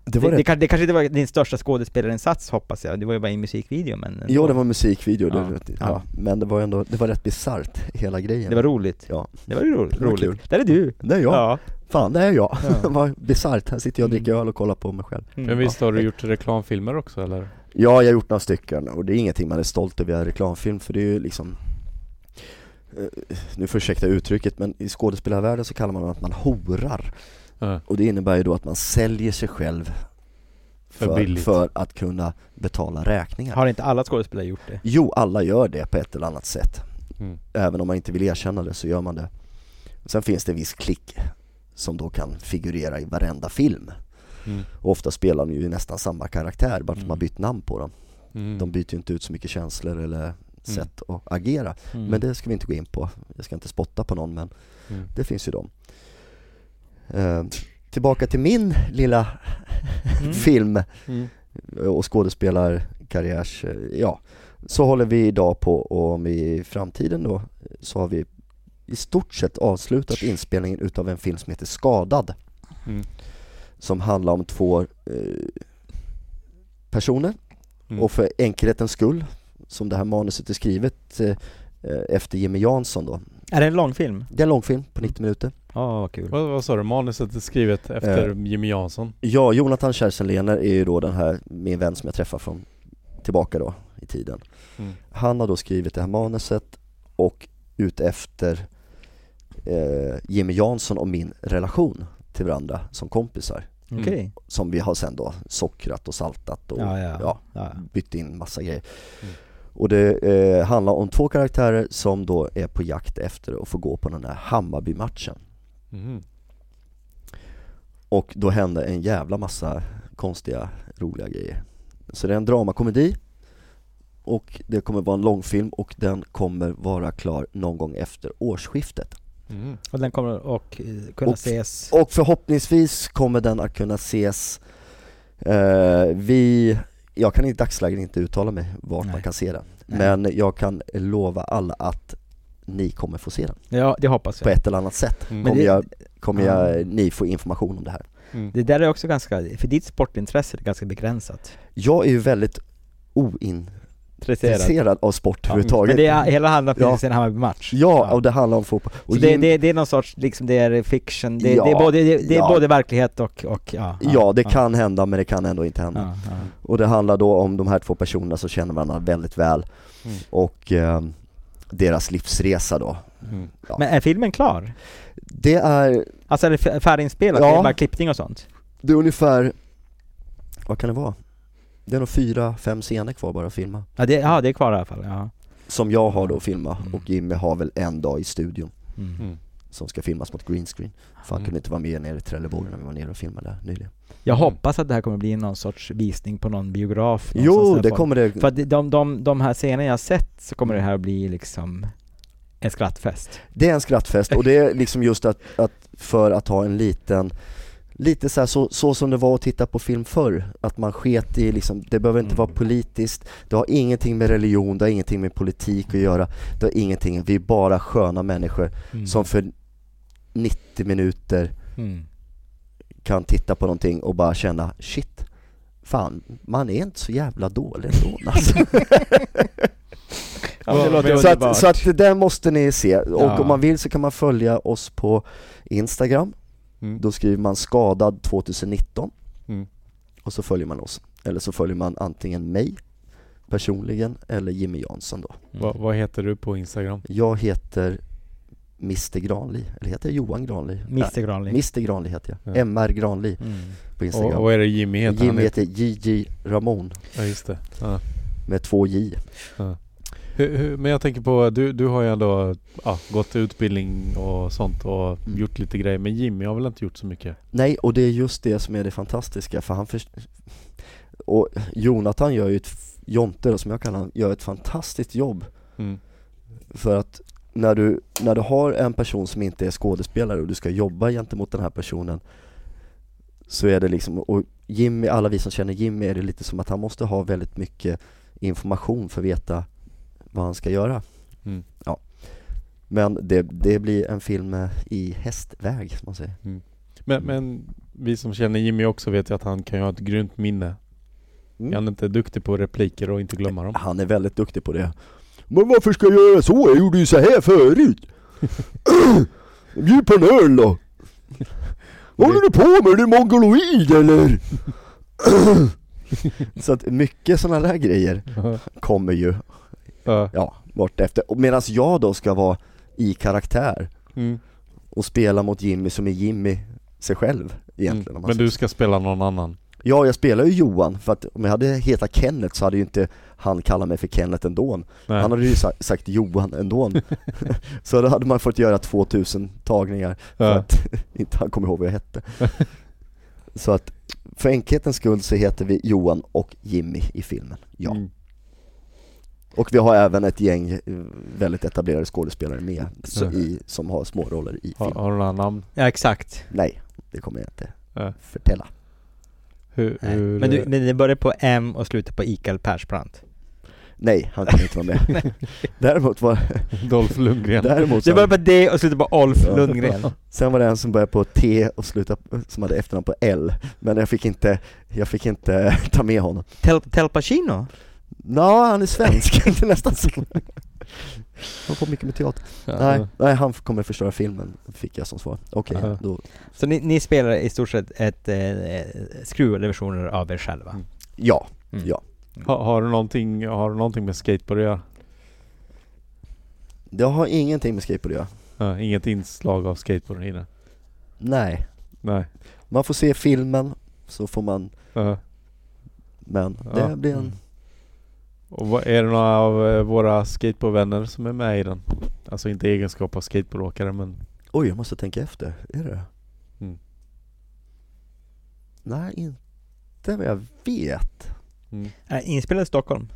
Speaker 2: Det
Speaker 3: Det,
Speaker 2: var
Speaker 3: det,
Speaker 2: det,
Speaker 3: kan- det kanske inte var din största skådespelarinsats hoppas jag, det var ju bara i musikvideon men...
Speaker 2: jo det var en musikvideo,
Speaker 3: Ja.
Speaker 2: det, ja.
Speaker 3: Ja.
Speaker 2: men det var ändå, det var rätt bisarrt hela grejen
Speaker 3: Det var roligt.
Speaker 2: Ja.
Speaker 3: Det var ju roligt.
Speaker 2: Det var kul.
Speaker 3: roligt. Där är du!
Speaker 2: Det är jag, fan det är jag,
Speaker 3: Ja.
Speaker 2: vad bisarrt, här sitter jag och dricker öl och kollar på mig själv
Speaker 3: Mm.
Speaker 4: Men visst har du gjort reklamfilmer också eller?
Speaker 2: Ja, jag har gjort några stycken och det är ingenting man är stolt över i en reklamfilm för det är ju liksom eh, nu får ursäkta uttrycket men i skådespelarvärlden så kallar man det att man horar
Speaker 4: Ja.
Speaker 2: och det innebär ju då att man säljer sig själv
Speaker 4: För billigt.
Speaker 2: för att kunna betala räkningar.
Speaker 3: Har inte alla skådespelare gjort det?
Speaker 2: Jo, alla gör det på ett eller annat sätt.
Speaker 4: Mm.
Speaker 2: Även om man inte vill erkänna det så gör man det. Sen finns det en viss klick som då kan figurera i varenda film.
Speaker 4: Mm.
Speaker 2: Och ofta spelar de ju nästan samma karaktär, bara att de har
Speaker 4: Mm.
Speaker 2: bytt namn på dem.
Speaker 4: Mm.
Speaker 2: De byter ju inte ut så mycket känslor eller sätt att agera.
Speaker 4: Mm.
Speaker 2: Men det ska vi inte gå in på. Jag ska inte spotta på någon men
Speaker 4: Mm.
Speaker 2: det finns ju dem. Eh, tillbaka till min lilla film
Speaker 4: Mm.
Speaker 2: och skådespelarkarriärs, eh, ja. Så håller vi idag på och om i framtiden då så har vi i stort sett avslutat inspelningen utav en film som heter Skadad.
Speaker 4: Mm.
Speaker 2: Som handlar om två eh, personer
Speaker 4: Mm.
Speaker 2: och för enkelhetens skull, som det här manuset är skrivet eh, eh, efter Jimmy Jansson då.
Speaker 3: Är det en långfilm?
Speaker 2: Det är en långfilm på 90 minuter.
Speaker 3: Ja, vad kul.
Speaker 4: Vad, vad sa du? Manuset är skrivet efter
Speaker 2: Eh.
Speaker 4: Jimmy Jansson?
Speaker 2: Ja, Jonathan Kärsenlener är ju då den här, min vän som jag träffar från tillbaka då i tiden.
Speaker 4: Mm.
Speaker 2: Han har då skrivit det här manuset och utefter eh, Jimmy Jansson och min relation till varandra som kompisar.
Speaker 3: Okej.
Speaker 2: Som vi har sen då sockrat och saltat och
Speaker 3: Ja, ja.
Speaker 2: ja,
Speaker 3: Ja.
Speaker 2: bytt in massa grejer.
Speaker 4: Mm.
Speaker 2: Och det eh, handlar om två karaktärer som då är på jakt efter att få gå på den här Hammarby-matchen.
Speaker 4: Mm.
Speaker 2: Och då hände en jävla massa konstiga, roliga grejer. Så det är en dramakomedi och det kommer vara en långfilm och den kommer vara klar någon gång efter årsskiftet.
Speaker 4: Mm.
Speaker 3: Och den kommer att eh, kunna
Speaker 2: Och-
Speaker 3: ses...
Speaker 2: Och förhoppningsvis kommer den att kunna ses, eh, vi, jag kan i dagsläget inte uttala mig vart
Speaker 3: Nej.
Speaker 2: man kan se den.
Speaker 3: Nej.
Speaker 2: Men jag kan lova alla att ni kommer få se den
Speaker 3: Ja, det hoppas
Speaker 2: på
Speaker 3: jag.
Speaker 2: ett eller annat sätt.
Speaker 4: Mm.
Speaker 3: Men
Speaker 2: Kommer,
Speaker 3: det-
Speaker 2: jag, kommer
Speaker 3: Ja.
Speaker 2: jag, ni få information om det här.
Speaker 4: Mm.
Speaker 3: Det där är också ganska... För ditt sportintresse är ganska begränsat.
Speaker 2: Jag är ju väldigt ointresserad av sport överhuvudtaget.
Speaker 3: Men det är, hela handlar
Speaker 2: Ja.
Speaker 3: om en Hammarby-match.
Speaker 2: Ja, och det handlar om fotboll. Och
Speaker 3: Så det,
Speaker 2: Jim-
Speaker 3: det, det är någon sorts, liksom det är fiction, det,
Speaker 2: Ja.
Speaker 3: det är, både, det, det är
Speaker 2: Ja.
Speaker 3: både verklighet och, och ja.
Speaker 2: ja, det kan hända men det kan ändå inte hända.
Speaker 3: Ja, ja.
Speaker 2: Och det handlar då om de här två personerna som känner varandra väldigt väl
Speaker 4: Mm.
Speaker 2: och ehm, deras livsresa då.
Speaker 4: Mm.
Speaker 2: Ja.
Speaker 3: Men är filmen klar?
Speaker 2: Det är,
Speaker 3: Alltså är det f- färdiginspelat?
Speaker 2: Ja.
Speaker 3: Är det bara klippning och sånt?
Speaker 2: det är ungefär, vad kan det vara? Det är nog fyra, fem scener kvar bara att filma.
Speaker 3: Ja, det, ja, det är kvar i alla fall, ja.
Speaker 2: Som jag har då att filma
Speaker 3: Mm.
Speaker 2: och Jimmy har väl en dag i studion
Speaker 3: Mm.
Speaker 4: Mm.
Speaker 2: som ska filmas mot green screen. För han
Speaker 4: Mm.
Speaker 2: kunde inte vara med nere i Trelleborg när vi var nere och filmade där nyligen.
Speaker 3: Jag
Speaker 4: Mm.
Speaker 3: hoppas att det här kommer bli någon sorts visning på någon biograf någonstans
Speaker 2: Jo,
Speaker 3: där
Speaker 2: det
Speaker 3: folk-
Speaker 2: kommer det.
Speaker 3: För att de, de, de här scenerna jag har sett så kommer det här bli liksom en skrattfest.
Speaker 2: Det är en skrattfest och det är liksom just att, att för att ha en liten Lite så, här, så, så som det var att titta på film förr, att man sket i liksom, det behöver inte
Speaker 4: Mm.
Speaker 2: vara politiskt, det har ingenting med religion, det har ingenting med politik att göra, det har ingenting, vi är bara sköna människor som för 90 minuter
Speaker 3: Mm.
Speaker 2: kan titta på någonting och bara känna shit, fan, man är inte så jävla dålig ändå alltså.
Speaker 3: Ja, men det låter
Speaker 2: Så
Speaker 3: underbart.
Speaker 2: att, så att det där måste ni se, och
Speaker 4: Ja.
Speaker 2: om man vill så kan man följa oss på Instagram
Speaker 4: Mm.
Speaker 2: Då skriver man skadad 2019
Speaker 4: Mm.
Speaker 2: och så följer man oss. Eller så följer man antingen mig personligen eller Jimmy Jansson då.
Speaker 4: Vad- vad heter du på Instagram?
Speaker 2: Jag heter Mr Granli, eller heter jag Johan Granli?
Speaker 3: Mr Granli.
Speaker 2: Nej, Mr Granli heter jag.
Speaker 4: Ja.
Speaker 2: MR Granli
Speaker 3: Mm.
Speaker 2: på
Speaker 4: Och,
Speaker 2: Instagram.
Speaker 4: och är det Jimmy heter han?
Speaker 2: Jimmy
Speaker 4: inte?
Speaker 2: heter JJ Ramon
Speaker 4: Ja just det. Ja.
Speaker 2: med två J.
Speaker 4: Hur, hur, men jag tänker på, du, du har ju ändå ja, gått utbildning och sånt och
Speaker 2: Mm.
Speaker 4: gjort lite grejer. Men Jimmy har väl inte gjort så mycket?
Speaker 2: Nej, och det är just det som är det fantastiska för han först... Och Jonathan gör ju ett, f- Jonte då, som jag kallar honom, gör ett fantastiskt jobb
Speaker 4: Mm.
Speaker 2: För att när du, när du har en person som inte är skådespelare och du ska jobba gentemot den här personen så är det liksom, och Jimmy, alla vi som känner Jimmy är det lite som att han måste ha väldigt mycket information för att veta vad han ska göra.
Speaker 4: Mm.
Speaker 2: Ja. Men det, det blir en film eh, i hästväg, som man säger.
Speaker 4: Men, men vi som känner Jimmy också vet ju att han kan ju ha ett grymt minne.
Speaker 2: Mm.
Speaker 4: Är han inte duktig på repliker och inte glömma dem?
Speaker 2: Han är väldigt duktig på det. Men varför ska jag göra så? Jag gjorde ju så här förut. Bjud på en öl då. Vad håller du på med? Är du mongoloid eller? så att mycket sådana där grejer kommer ju,
Speaker 4: Ja.
Speaker 2: ja, bort efter. Och Medan jag då ska vara i karaktär
Speaker 4: Mm.
Speaker 2: och spela mot Jimmy som är Jimmy sig själv egentligen.
Speaker 4: Mm.
Speaker 2: om man
Speaker 4: Men
Speaker 2: säger
Speaker 4: du
Speaker 2: så.
Speaker 4: ska spela någon annan?
Speaker 2: Ja, jag spelar ju Johan för att om jag hade hetat Kenneth så hade ju inte han kallat mig för Kenneth ändå.
Speaker 4: Nej.
Speaker 2: Han hade ju sa- sagt Johan ändå. så då hade man fått göra 2000 tagningar för
Speaker 4: Ja.
Speaker 2: att inte han kom ihåg vad jag hette. så att för enkelhetens skull så heter vi Johan och Jimmy i filmen. Ja.
Speaker 4: Mm.
Speaker 2: Och vi har även ett gäng eh, väldigt etablerade skådespelare med så
Speaker 4: Ja.
Speaker 2: i, som har småroller i
Speaker 4: Har,
Speaker 2: filmen.
Speaker 4: har du några namn?
Speaker 3: Ja, exakt.
Speaker 2: Nej, det kommer jag inte
Speaker 4: Ja.
Speaker 2: förtälla.
Speaker 4: Hur,
Speaker 3: Nej.
Speaker 4: hur,
Speaker 3: Men, du, men det börjar på M och slutar på Ikael Persbrandt.
Speaker 2: Nej, han kommer inte vara med. däremot var,
Speaker 4: eh, Dolph Lundgren?
Speaker 2: däremot
Speaker 3: Det
Speaker 2: sen,
Speaker 3: börjar på D och slutar på Olf
Speaker 2: Ja.
Speaker 3: Lundgren.
Speaker 2: sen var det en som började på T och slutade, som hade efternamn på L. Men jag fick inte, jag fick inte ta med honom.
Speaker 3: Tel, Tel Pacino?
Speaker 2: Nå, han är svensk, det är nästan så. Han har på mycket med teater.
Speaker 4: Ja.
Speaker 2: Nej, nej, han kommer förstöra filmen, fick jag som svar. Okej,
Speaker 4: Ja.
Speaker 2: då.
Speaker 3: Så ni, ni spelar i stort sett ett, eh, skruvade versioner av er själva?
Speaker 2: Ja,
Speaker 3: Mm.
Speaker 2: ja.
Speaker 4: Ha, har, du någonting, har du någonting med skateboard att göra?
Speaker 2: Det har ingenting med skateboard att göra.
Speaker 4: Ja, inget inslag av skateboard i det?
Speaker 2: Nej.
Speaker 4: Nej.
Speaker 2: Man får se filmen, så får man,
Speaker 4: Ja.
Speaker 2: men
Speaker 4: Ja.
Speaker 2: det blir en...
Speaker 4: Och vad, är det några av eh, våra skateboardvänner som är med i den? Alltså inte i egenskap av skateboardåkare men...
Speaker 2: Oj, jag måste tänka efter. Är det
Speaker 4: Mm.
Speaker 2: Nej, inte vad jag vet.
Speaker 4: Mm.
Speaker 3: Nej, Inspelad i Stockholm?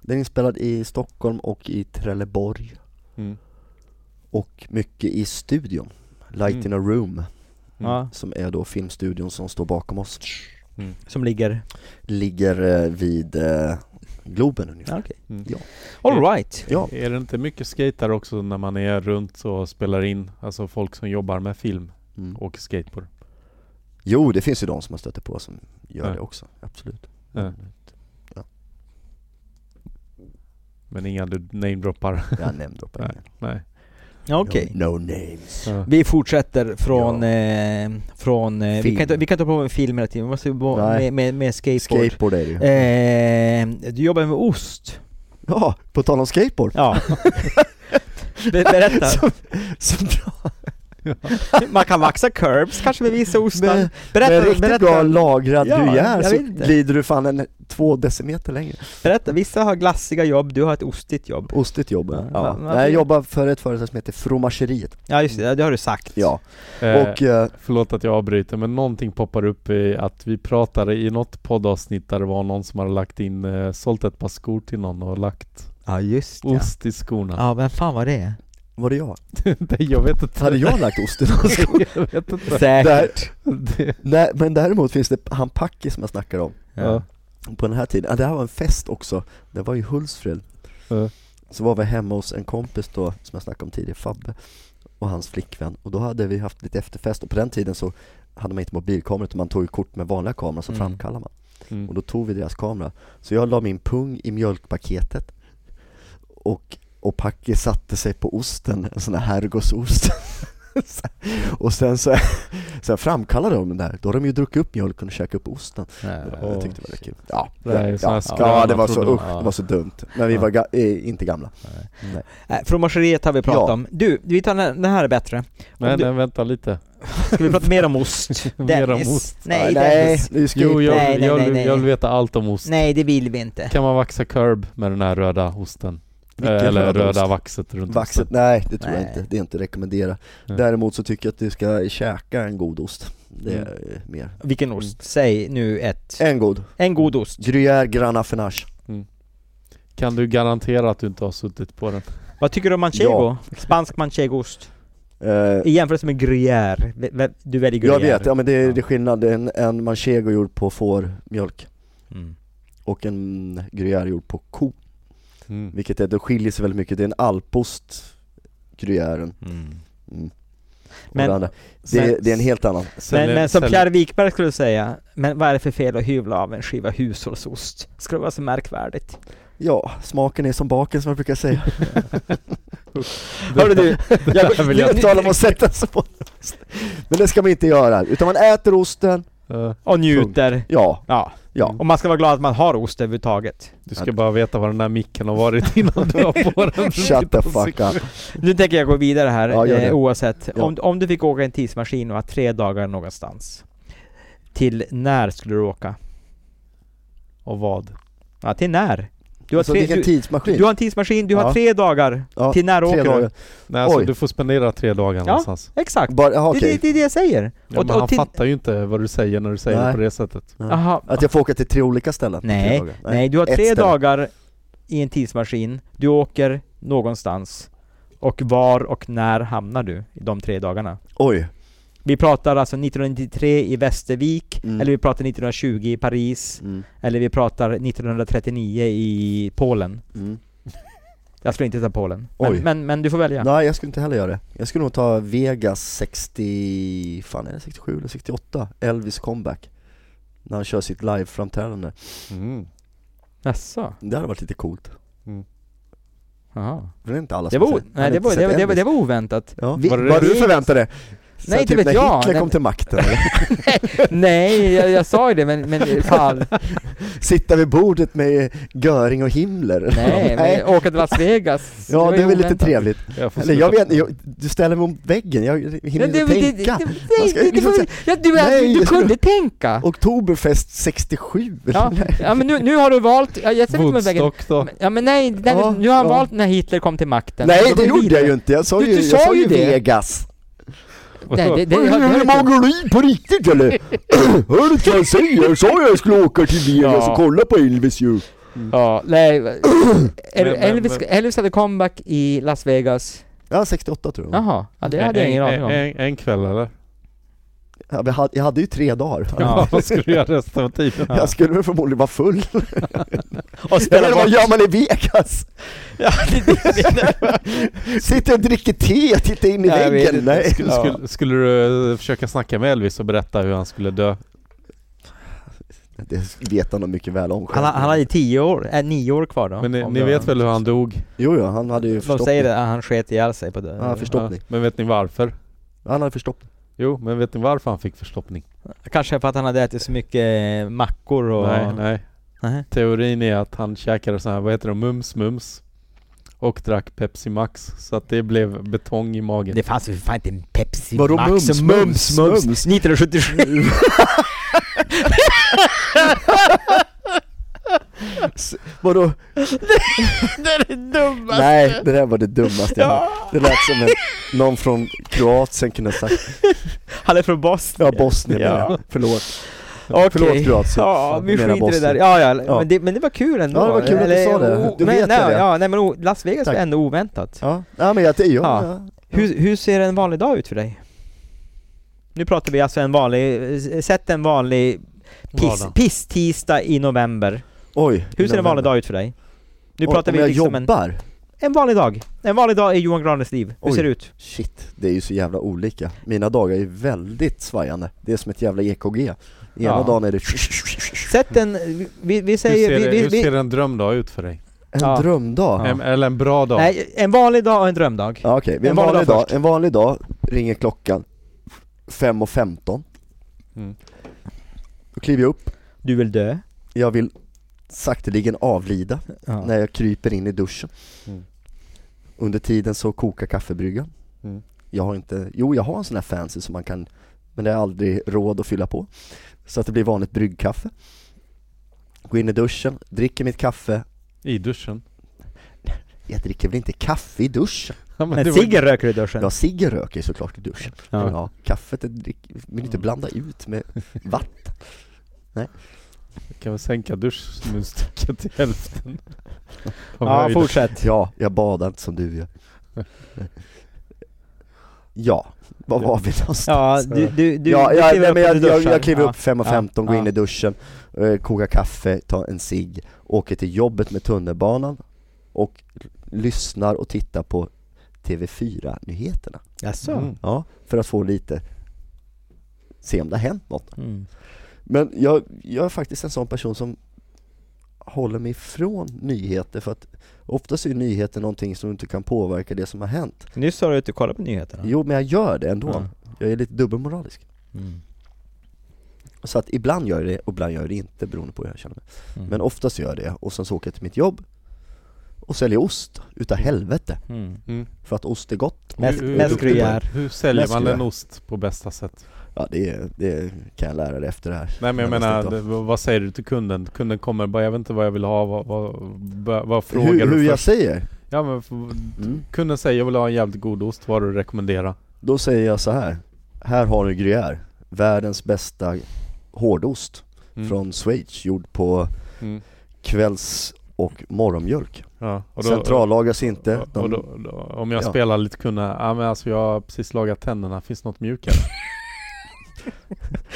Speaker 2: Den är inspelad i Stockholm och i Trelleborg.
Speaker 4: Mm.
Speaker 2: Och mycket i studion. Light
Speaker 3: Mm.
Speaker 2: in a room.
Speaker 3: Ja.
Speaker 2: som är då filmstudion som står bakom oss,
Speaker 3: Som ligger?
Speaker 2: ligger eh, vid eh, Globen ungefär.
Speaker 3: Ja, okej.
Speaker 4: Mm.
Speaker 2: Ja.
Speaker 3: All right.
Speaker 2: Ja,
Speaker 4: Är det inte mycket skatare också när man är runt och spelar in? Alltså folk som jobbar med film
Speaker 2: mm.
Speaker 4: åker skateboard.
Speaker 2: Jo, det finns ju de som man stöter på som gör
Speaker 4: Ja.
Speaker 2: det också, absolut. Mm.
Speaker 4: Ja. Men inga du namedroppar.
Speaker 2: Jag namedroppar ingen.
Speaker 4: Nej.
Speaker 3: Ja, Okej.
Speaker 2: No, no names.
Speaker 4: Ja.
Speaker 3: Vi fortsätter från... Eh, från eh, vi,
Speaker 2: Film.
Speaker 3: kan inte, vi kan inte hålla på med film hela tiden, vi måste bo,
Speaker 2: Nej.
Speaker 3: med, med, med skateboard.
Speaker 2: Skateboard är det ju.
Speaker 3: Eh, du jobbar med ost?
Speaker 2: Ja, på tal om skateboard.
Speaker 3: Ja. Be- Berätta.
Speaker 2: Som, som drar
Speaker 3: Man kan vaxa curbs kanske med vissa ostar.
Speaker 2: med,
Speaker 3: berätta,
Speaker 2: med riktigt bra
Speaker 3: berätta,
Speaker 2: lagrad
Speaker 3: Ja,
Speaker 2: gruyère
Speaker 3: jag
Speaker 2: så
Speaker 3: vet inte.
Speaker 2: glider du fan en, två decimeter längre.
Speaker 3: berätta, vissa har glassiga jobb, du har ett ostigt jobb.
Speaker 2: Ostigt jobb.
Speaker 3: Ja,
Speaker 2: Ja.
Speaker 3: va-
Speaker 2: Ja.
Speaker 3: varför-
Speaker 2: Nej, Jag jobbar för ett företag som heter Fromageriet.
Speaker 3: Ja just det, ja, det har du sagt.
Speaker 2: Ja,
Speaker 4: Eh,
Speaker 2: och eh,
Speaker 4: Förlåt att jag avbryter men någonting poppar upp i att vi pratade i något poddavsnitt där det var någon som hade lagt in, eh, sålt ett par skor till någon och lagt
Speaker 3: Ja just ja.
Speaker 4: ost i skorna.
Speaker 3: Ja vem fan var det?
Speaker 2: var det jag?
Speaker 4: Nej, jag vet inte.
Speaker 2: Hade jag lagt ost i någon sko?
Speaker 4: jag vet inte.
Speaker 2: Där,
Speaker 3: Säkert.
Speaker 4: Det,
Speaker 2: Nej, men däremot finns det han Packi som jag snackar om
Speaker 4: ja.
Speaker 2: på den här tiden. Ja, det här var en fest också, det var i Hultsfred.
Speaker 4: Ja.
Speaker 2: Så var vi hemma hos en kompis då, som jag snackade om tidigare, Fabbe och hans flickvän. Och då hade vi haft lite efterfest och på den tiden så hade man inte mobilkameror utan man tog ju kort med vanliga kameror så
Speaker 3: Mm.
Speaker 2: framkallade man. Och
Speaker 4: Mm.
Speaker 2: då tog vi deras kamera. Så jag la min pung i mjölkpaketet och, och Packe satte sig på osten, en sån här herrgårdsost. Så- och sen så sen framkallade de den där, då har de ju druckit upp mjölken och käkat upp osten.
Speaker 4: åh,
Speaker 2: jag tyckte det var rätt kul. Ja,
Speaker 4: Det här är
Speaker 2: det,
Speaker 4: såna
Speaker 2: ja,
Speaker 4: här
Speaker 2: ja,
Speaker 4: skallar
Speaker 2: det var
Speaker 4: man
Speaker 2: så
Speaker 4: trodde man-
Speaker 2: usch, det var så dumt. Men vi
Speaker 4: Ja.
Speaker 2: var ga- eh, inte gamla.
Speaker 3: Nej, Fromageriet Äh, har vi pratat
Speaker 2: Ja.
Speaker 3: om. Du, vi tar den här, den här är bättre.
Speaker 4: Nej,
Speaker 3: du-
Speaker 4: nej, vänta lite.
Speaker 3: Ska vi prata mer om ost?
Speaker 4: Mer om
Speaker 3: Dennis.
Speaker 4: ost.
Speaker 3: Nej,
Speaker 2: Ja, nej,
Speaker 3: Dennis.
Speaker 2: nu ska
Speaker 4: Jo,
Speaker 2: vi-
Speaker 4: jag,
Speaker 3: Nej, nej,
Speaker 4: jag,
Speaker 3: nej, nej.
Speaker 4: jag vill veta allt om ost.
Speaker 3: Nej, det vill vi inte.
Speaker 4: Kan man vaxa curb med den här röda osten? Eh,
Speaker 2: Vilken
Speaker 4: Eller
Speaker 2: röd
Speaker 4: röda
Speaker 2: ost?
Speaker 4: vaxet runt
Speaker 2: Vaxet,
Speaker 4: osten?
Speaker 2: nej det tror jag
Speaker 3: Nej.
Speaker 2: inte, det är inte att rekommendera.
Speaker 4: Nej.
Speaker 2: Däremot så tycker jag att du ska käka en god ost. Det
Speaker 4: Mm.
Speaker 2: är eh, mer.
Speaker 3: Vilken ost? Mm. Säg nu ett.
Speaker 2: En god.
Speaker 3: En god ost.
Speaker 2: Gruyère Grana Fenache.
Speaker 4: Kan du garantera att du inte har suttit på den?
Speaker 3: Vad tycker du om manchego? Spansk manchegoost?
Speaker 2: Eh,
Speaker 3: I jämförelse med gruyère? Ve- ve- Du väljer gruyère?
Speaker 2: jag vet, ja men det är, det är skillnad. Det är En, en manchego gjord på fårmjölk
Speaker 3: Mm.
Speaker 2: och en gruyère gjord på ko.
Speaker 4: Mm.
Speaker 2: Vilket är, det skiljer sig väldigt mycket. Det är en alpost, gruyären.
Speaker 3: Mm.
Speaker 2: Mm. Och
Speaker 3: Men-
Speaker 2: det, andra. det, det är en helt annan.
Speaker 4: Sen
Speaker 3: Men,
Speaker 4: är-
Speaker 3: men som
Speaker 4: sen-
Speaker 3: Pierre Wikberg skulle säga, men vad är det för fel att hyvla av en skiva hushållsost? Ska det vara så märkvärdigt?
Speaker 2: Ja, smaken är som baken som jag brukar säga.
Speaker 3: Hörru du, jag,
Speaker 2: Det är tal om att sätta sig på en ost. Men det ska man inte göra, utan man äter osten,
Speaker 4: Eh,
Speaker 3: och njuter.
Speaker 2: ja,
Speaker 3: Ja,
Speaker 2: ja.
Speaker 3: och man ska vara glad att man har ost överhuvudtaget.
Speaker 4: du ska bara veta vad den där micken har varit innan du har på den.
Speaker 2: Shut the fuck up.
Speaker 3: Nu tänker jag gå vidare här,
Speaker 2: Ja, gör det.
Speaker 3: eh, oavsett.
Speaker 2: Ja.
Speaker 3: Om, om du fick åka i en tidsmaskin och ha tre dagar någonstans. Till när skulle du åka?
Speaker 4: Och vad?
Speaker 3: Ja, till när? Du har,
Speaker 2: Alltså
Speaker 3: tre,
Speaker 2: vilken
Speaker 3: du,
Speaker 2: tidsmaskin.
Speaker 3: du har en tidsmaskin, du har
Speaker 2: Ja.
Speaker 3: tre dagar.
Speaker 2: Ja,
Speaker 3: till när åker
Speaker 2: tre
Speaker 3: du?
Speaker 2: dagar.
Speaker 4: Nej, alltså,
Speaker 2: Oj.
Speaker 4: du får spendera tre dagar någonstans.
Speaker 3: Exakt.
Speaker 2: Bara, aha,
Speaker 3: Det,
Speaker 2: okej.
Speaker 3: det, det är det jag säger.
Speaker 4: Ja,
Speaker 3: Och-
Speaker 4: men
Speaker 3: och
Speaker 4: han
Speaker 3: till-
Speaker 4: fattar ju inte vad du säger när du säger
Speaker 2: Nej.
Speaker 4: det på det sättet.
Speaker 3: Aha.
Speaker 2: Att jag får åka till tre olika ställen? på tre
Speaker 3: Nej,
Speaker 2: dagar.
Speaker 3: Nej, du har
Speaker 2: ett
Speaker 3: tre
Speaker 2: ställe.
Speaker 3: dagar i en tidsmaskin, du åker någonstans och var och när hamnar du i de tre dagarna?
Speaker 2: Oj,
Speaker 3: Vi pratar alltså 1993 i Västervik,
Speaker 2: Mm.
Speaker 3: eller vi pratar 1920 i Paris,
Speaker 2: mm.
Speaker 3: eller vi pratar 1939 i Polen.
Speaker 2: Mm.
Speaker 3: Jag skulle inte ta Polen.
Speaker 2: Oj.
Speaker 3: Men, men, men du får välja.
Speaker 2: Nej jag skulle inte heller göra det. Jag skulle nog ta Vegas 60, fan är det 67 eller 68? Elvis comeback. När han kör sitt live-framträdande.
Speaker 4: Mm.
Speaker 3: Jaså?
Speaker 2: Det hade varit lite coolt.
Speaker 3: Jaha.
Speaker 2: För det är inte alla
Speaker 3: Det
Speaker 2: som
Speaker 3: var,
Speaker 2: har
Speaker 3: o-
Speaker 2: sett- han har
Speaker 3: nej, det,
Speaker 2: inte
Speaker 3: var,
Speaker 2: sett
Speaker 3: det, var, det, var,
Speaker 2: Elvis.
Speaker 3: det var oväntat.
Speaker 2: Ja.
Speaker 4: Var det
Speaker 2: Vad
Speaker 3: det?
Speaker 2: du förväntade dig?
Speaker 3: Nej,
Speaker 2: Så typ
Speaker 3: inte vet
Speaker 2: när
Speaker 3: jag.
Speaker 2: Hitler
Speaker 3: Nej.
Speaker 2: kom till makten,
Speaker 3: nej, jag, jag sa ju det men, men fan.
Speaker 2: sitta vid bordet med Göring och Himmler.
Speaker 1: Nej,
Speaker 2: Nej.
Speaker 1: men åka till Las Vegas.
Speaker 2: Ja,
Speaker 1: var
Speaker 2: det
Speaker 1: ju
Speaker 2: är väl lite
Speaker 1: oväntat.
Speaker 2: trevligt.
Speaker 4: Jag får
Speaker 2: Eller jag
Speaker 4: sluta-
Speaker 2: vet jag, du ställer mig mot väggen, jag hinner
Speaker 1: Ja,
Speaker 2: inte
Speaker 1: det, det, det,
Speaker 2: tänka. Man ska
Speaker 1: det, det,
Speaker 2: ju
Speaker 1: det,
Speaker 2: liksom
Speaker 1: var- ja, du, är-
Speaker 2: Nej,
Speaker 1: du
Speaker 2: jag ska-
Speaker 1: kunde tänka!
Speaker 2: Oktoberfest 67.
Speaker 1: Ja, ja men nu, nu har du valt, ja, jag ser inte med vägen.
Speaker 4: Woodstock då?
Speaker 1: Men- Ja men nej, nej
Speaker 2: Ja,
Speaker 1: nu har han
Speaker 2: ja.
Speaker 1: valt när Hitler kom till makten.
Speaker 2: Nej
Speaker 1: Då
Speaker 2: det
Speaker 1: går vi
Speaker 2: gjorde
Speaker 1: vidare.
Speaker 2: jag ju inte, jag sa
Speaker 1: Du-
Speaker 2: ju,
Speaker 1: du
Speaker 2: jag
Speaker 1: sa
Speaker 2: sa
Speaker 1: ju
Speaker 2: ju
Speaker 1: det.
Speaker 2: Vegas.
Speaker 1: Nej, det, det,
Speaker 2: Är
Speaker 1: det, det,
Speaker 2: du mongolid på riktigt eller? Hör du inte vad jag säger? Jag sa ju att jag skulle åka till Vegas
Speaker 1: Ja.
Speaker 2: och kolla på Elvis ju.
Speaker 1: ja, nej. El-
Speaker 4: men-
Speaker 1: Elvis,
Speaker 4: men-
Speaker 1: Elvis hade comeback i Las Vegas.
Speaker 2: Ja, 68 tror jag.
Speaker 1: Jaha, ja, det hade jag
Speaker 4: En-
Speaker 1: ingen aning
Speaker 4: en,
Speaker 1: om.
Speaker 4: en, en kväll eller?
Speaker 2: Ja, men Jag hade, jag hade ju tre dagar.
Speaker 4: Ja. Vad skulle du göra resten av tiden?
Speaker 2: Jag skulle väl förmodligen vara full.
Speaker 3: Och
Speaker 2: Jag
Speaker 3: spela
Speaker 2: menar, vad
Speaker 3: bort.
Speaker 2: gör man i Vegas? Sitter och dricker te, tittar in i
Speaker 3: Ja, jag vet
Speaker 2: väggen.
Speaker 3: inte.
Speaker 2: Nej.
Speaker 4: Skulle, skulle, skulle du eh, försöka snacka med Elvis och berätta hur han skulle dö?
Speaker 2: Det vet han nog mycket väl om
Speaker 3: Han,
Speaker 2: själv.
Speaker 3: han hade tio år, äh, nio år kvar då.
Speaker 4: Men ni,
Speaker 3: Om
Speaker 4: ni
Speaker 3: det-
Speaker 4: vet väl hur han dog?
Speaker 2: Jo, jo, han hade ju
Speaker 3: De
Speaker 2: förstoppning.
Speaker 3: säger det, att han sket ihjäl sig på
Speaker 2: Ja,
Speaker 3: det.
Speaker 2: förstå- Förstoppning.
Speaker 4: Ja, men vet ni varför?
Speaker 2: Han hade förstoppning.
Speaker 4: Jo, men vet ni varför han fick förstoppning?
Speaker 3: Kanske för att han hade ätit så mycket mackor och...
Speaker 4: Nej, nej.
Speaker 3: Nej.
Speaker 4: Teorin är att han käkade så här, vad heter det, mums mums och drack Pepsi Max så att det blev betong i magen.
Speaker 3: Det fanns ju för fan inte en Pepsi
Speaker 2: Vadå
Speaker 3: Max
Speaker 2: mums,
Speaker 3: och
Speaker 2: mums, mums?
Speaker 3: 1977!
Speaker 2: Vadå?
Speaker 1: Det är det dummaste!
Speaker 2: Nej, det där var det dummaste jag hört. Det lät som en, någon från Kroatien kunde ha sagt.
Speaker 3: Han är från Bosnien.
Speaker 2: Ja, Bosnien
Speaker 3: Ja.
Speaker 2: menar jag. Förlåt.
Speaker 3: Okej.
Speaker 2: Förlåt Kroatien.
Speaker 3: Ja,
Speaker 2: Fan,
Speaker 3: vi
Speaker 2: jag menar
Speaker 3: skiter i det där.
Speaker 2: Bosnien.
Speaker 3: Ja, ja,
Speaker 2: Ja.
Speaker 3: Men, det, men det var kul ändå.
Speaker 2: Ja, det var kul att du sa det.
Speaker 3: o-
Speaker 2: Du
Speaker 3: men,
Speaker 2: vet
Speaker 3: nej,
Speaker 2: det.
Speaker 3: Ja, nej men o- Las Vegas
Speaker 2: Tack.
Speaker 3: var ändå oväntat.
Speaker 2: Ja, ja men jag, ja,
Speaker 3: Ja.
Speaker 2: ja.
Speaker 3: Hur, hur ser en vanlig dag ut för dig? Nu pratar vi alltså en vanlig, eh, sätt en vanlig piss,
Speaker 4: Vardag.
Speaker 3: piss-tisdag i november.
Speaker 2: Oj.
Speaker 3: Hur ser en vanlig dag ut för dig? Nu
Speaker 2: Oj,
Speaker 3: pratar
Speaker 2: om
Speaker 3: vi
Speaker 2: jag
Speaker 3: liksom en,
Speaker 2: jobbar?
Speaker 3: en vanlig dag. En vanlig dag i Johan Granes liv. Hur
Speaker 2: Oj.
Speaker 3: ser det ut?
Speaker 2: Shit, det är ju så jävla olika. Mina dagar är ju väldigt svajande. Det är som ett jävla EKG. Ena
Speaker 3: Ja.
Speaker 2: dagen är det
Speaker 3: Sätt en, vi, vi säger...
Speaker 4: hur, ser,
Speaker 3: vi,
Speaker 4: det-
Speaker 3: vi,
Speaker 4: hur
Speaker 3: vi,
Speaker 4: ser en drömdag ut för dig?
Speaker 2: en
Speaker 3: Ja.
Speaker 2: drömdag.
Speaker 4: En, eller en bra dag?
Speaker 3: nej, en vanlig dag och en drömdag.
Speaker 2: Ja, okej.
Speaker 3: En
Speaker 2: En,
Speaker 3: vanlig
Speaker 2: vanlig
Speaker 3: dag
Speaker 2: dag, en vanlig dag ringer klockan 5.15.
Speaker 4: Mm.
Speaker 2: Då kliver jag upp,
Speaker 3: Du vill dö.
Speaker 2: jag vill sakteligen avlida
Speaker 3: Ja.
Speaker 2: när jag kryper in i duschen.
Speaker 4: Mm.
Speaker 2: Under tiden så kokar kaffebryggan.
Speaker 4: Mm.
Speaker 2: Jag har inte, jo jag har en sån här fancy som man kan, men det är aldrig råd att fylla på. Så att det blir vanligt bryggkaffe. Går in i duschen, dricker mitt kaffe.
Speaker 4: I duschen?
Speaker 2: Jag dricker väl inte kaffe i duschen?
Speaker 4: Ja, det
Speaker 3: Men
Speaker 4: var-
Speaker 3: ciggen röker i duschen.
Speaker 2: Ja, cigg röker jag såklart i duschen.
Speaker 4: Ja.
Speaker 2: Ja, kaffet är drick, vill inte blanda ut med vatten. Nej.
Speaker 4: Jag kan väl sänka duschmunstycket till hälften. Av
Speaker 3: Ja,
Speaker 4: höjden.
Speaker 3: fortsätt.
Speaker 2: Ja, jag badar inte som du gör. Ja, var var vi någonstans?
Speaker 3: Ja, du, du, du,
Speaker 2: ja,
Speaker 3: du
Speaker 2: ja,
Speaker 3: kliver
Speaker 2: nej, men
Speaker 3: upp och
Speaker 2: jag,
Speaker 3: du
Speaker 2: jag,
Speaker 3: duschar.
Speaker 2: jag kliver
Speaker 3: Ja.
Speaker 2: upp 5.15, går in i duschen, eh, kokar kaffe, tar en cigg, åker till jobbet med tunnelbanan och l- lyssnar och tittar på TV4-nyheterna.
Speaker 3: Jaså?
Speaker 4: Mm.
Speaker 2: Ja, för att få lite, se om det har hänt något.
Speaker 3: Mm.
Speaker 2: Men jag, jag är faktiskt en sån person som håller mig ifrån nyheter för att oftast är ju nyheter någonting som inte kan påverka det som har hänt.
Speaker 3: Nyss sa du att du kollade på nyheterna.
Speaker 2: Jo, men jag gör det ändå.
Speaker 3: Ja.
Speaker 2: Jag är lite dubbelmoralisk.
Speaker 3: Mm.
Speaker 2: Så att ibland gör jag det och ibland gör jag det inte beroende på hur jag känner mig.
Speaker 3: Mm.
Speaker 2: Men oftast gör jag det och sen så åker jag till mitt jobb och säljer ost utav helvete
Speaker 3: Mm.
Speaker 4: Mm.
Speaker 2: för att ost är gott.
Speaker 3: Mest-
Speaker 4: Hur- hur-
Speaker 3: mest gruyère.
Speaker 4: Hur säljer man
Speaker 2: Mest
Speaker 4: en ost på bästa sätt?
Speaker 2: Ja det, det kan jag lära dig efter det här.
Speaker 4: Nej men jag
Speaker 2: Jag
Speaker 4: menar,
Speaker 2: måste
Speaker 4: det, vad säger du till kunden? Kunden kommer bara, jag vet inte vad jag vill ha, vad, vad, vad, vad frågar
Speaker 2: Hur,
Speaker 4: du
Speaker 2: hur jag
Speaker 4: först?
Speaker 2: säger?
Speaker 4: Ja men f- kunden säger jag vill ha en jävligt god ost, vad har du att rekommendera?
Speaker 2: Då säger jag så här. Här har du gruyère, världens bästa hårdost
Speaker 4: Mm.
Speaker 2: från Schweiz gjord på
Speaker 4: Mm.
Speaker 2: kvälls och morgonmjölk.
Speaker 4: Ja, och då-
Speaker 2: Centrallagas inte.
Speaker 4: och-
Speaker 2: De,
Speaker 4: och då, då, om jag
Speaker 2: Ja.
Speaker 4: spelar lite kunna, ja men alltså jag har precis lagat tänderna, finns något mjukare?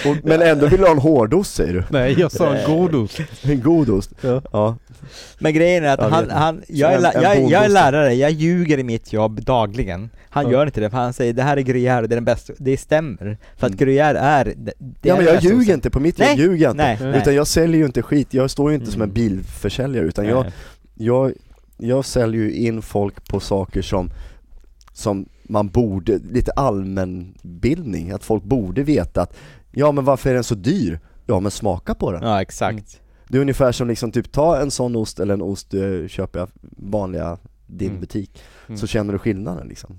Speaker 2: och, men ändå vill du ha en hårdost säger du?
Speaker 4: Nej jag sa en god ost!
Speaker 2: En god ost?
Speaker 4: Ja.
Speaker 2: Ja.
Speaker 3: Men grejen är att
Speaker 2: Jag
Speaker 3: han,
Speaker 2: vet inte.
Speaker 3: han jag, är,
Speaker 2: en-
Speaker 3: la-
Speaker 2: en
Speaker 3: jag, är- jag är
Speaker 2: bongost.
Speaker 3: lärare, jag ljuger i mitt jobb dagligen. Han
Speaker 4: Ja.
Speaker 3: gör inte det, för han säger det här är gruyère och det är den bästa, det stämmer. För att
Speaker 2: Mm.
Speaker 3: gruyère är... Det, det
Speaker 2: ja
Speaker 3: är
Speaker 2: men
Speaker 3: den
Speaker 2: jag
Speaker 3: bästa
Speaker 2: ljuger
Speaker 3: osten.
Speaker 2: inte, på mitt jobb
Speaker 3: Nej,
Speaker 2: ljuger jag inte.
Speaker 3: Nej, nej.
Speaker 2: Utan jag säljer ju inte skit, jag står ju inte som en
Speaker 3: Mm.
Speaker 2: bilförsäljare utan jag,
Speaker 3: Nej.
Speaker 2: jag, jag säljer ju in folk på saker som, som man borde, lite allmänbildning, att folk borde veta att ja men varför är den så dyr? Ja men smaka på den.
Speaker 3: Ja, exakt.
Speaker 2: Det är ungefär som liksom typ ta en sån ost eller en ost du köper jag vanliga din
Speaker 4: Mm.
Speaker 2: butik,
Speaker 4: Mm.
Speaker 2: så känner du skillnaden liksom.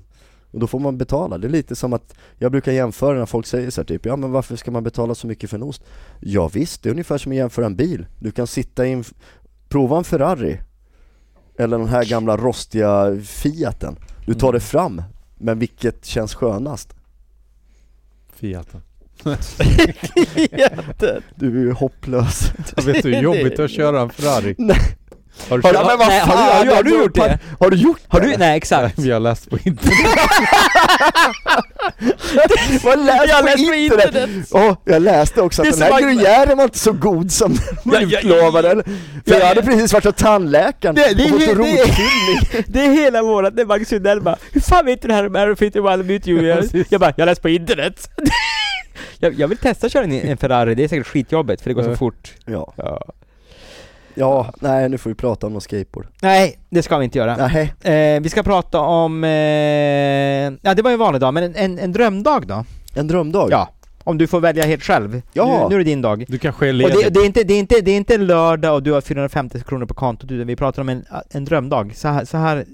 Speaker 2: Och då får man betala, det är lite som att, jag brukar jämföra när folk säger så här, typ, ja men varför ska man betala så mycket för en ost? Ja visst, det är ungefär som att jämföra en bil, du kan sitta i en, prova en Ferrari, eller den här gamla rostiga Fiaten, du tar det fram, men vilket känns skönast?
Speaker 4: Fiaten.
Speaker 2: Du är ju hopplös.
Speaker 4: Jag vet du hur jobbigt det är att köra en Ferrari?
Speaker 2: Nej.
Speaker 4: Har du
Speaker 2: Har,
Speaker 4: kört?
Speaker 2: men vad
Speaker 3: nej,
Speaker 2: fan,
Speaker 3: har- har du gjort
Speaker 2: pa-
Speaker 3: det?
Speaker 2: Har du gjort
Speaker 3: Har
Speaker 2: det?
Speaker 3: du, nej exakt.
Speaker 4: Vi har läst på internet.
Speaker 2: Vad läst
Speaker 7: Jag
Speaker 2: på
Speaker 7: läste på
Speaker 2: internet?
Speaker 7: internet.
Speaker 2: Ja, oh, jag läste också
Speaker 7: Det
Speaker 2: att
Speaker 7: är
Speaker 2: den
Speaker 7: som
Speaker 2: här
Speaker 7: att-
Speaker 2: gruyären var inte så god som den utlovade. eller? För
Speaker 3: Ja,
Speaker 2: jag hade
Speaker 3: ja.
Speaker 2: precis varit hos tandläkaren
Speaker 3: Det- det-
Speaker 2: och fått
Speaker 3: det-
Speaker 2: en rotfyllning.
Speaker 7: Det är hela vårat, det är Magnus Lundell bara Hur fan vet du det här om Aero 51 Mute Julia?
Speaker 4: Precis.
Speaker 7: Jag bara, jag läste på internet!
Speaker 3: Jag, jag vill testa att köra en, en Ferrari, det är säkert skitjobbigt för det går så
Speaker 4: Ja.
Speaker 3: fort.
Speaker 2: Ja.
Speaker 3: Ja.
Speaker 2: ja, nej nu får vi prata om någon skateboard.
Speaker 3: Nej, det ska vi inte göra.
Speaker 2: Nej.
Speaker 3: Eh, vi ska prata om... Eh, ja, det var ju en vanlig dag, men en, en, en drömdag då?
Speaker 2: En drömdag?
Speaker 3: Ja. Om du får välja helt själv.
Speaker 2: Ja.
Speaker 3: Nu, nu är det din dag.
Speaker 4: Du kanske är
Speaker 3: Och det,
Speaker 4: ledig?
Speaker 3: det, är inte, det, är inte, det är inte en lördag och du har 450 kronor på kontot, utan vi pratar om en, en drömdag. Så här, så här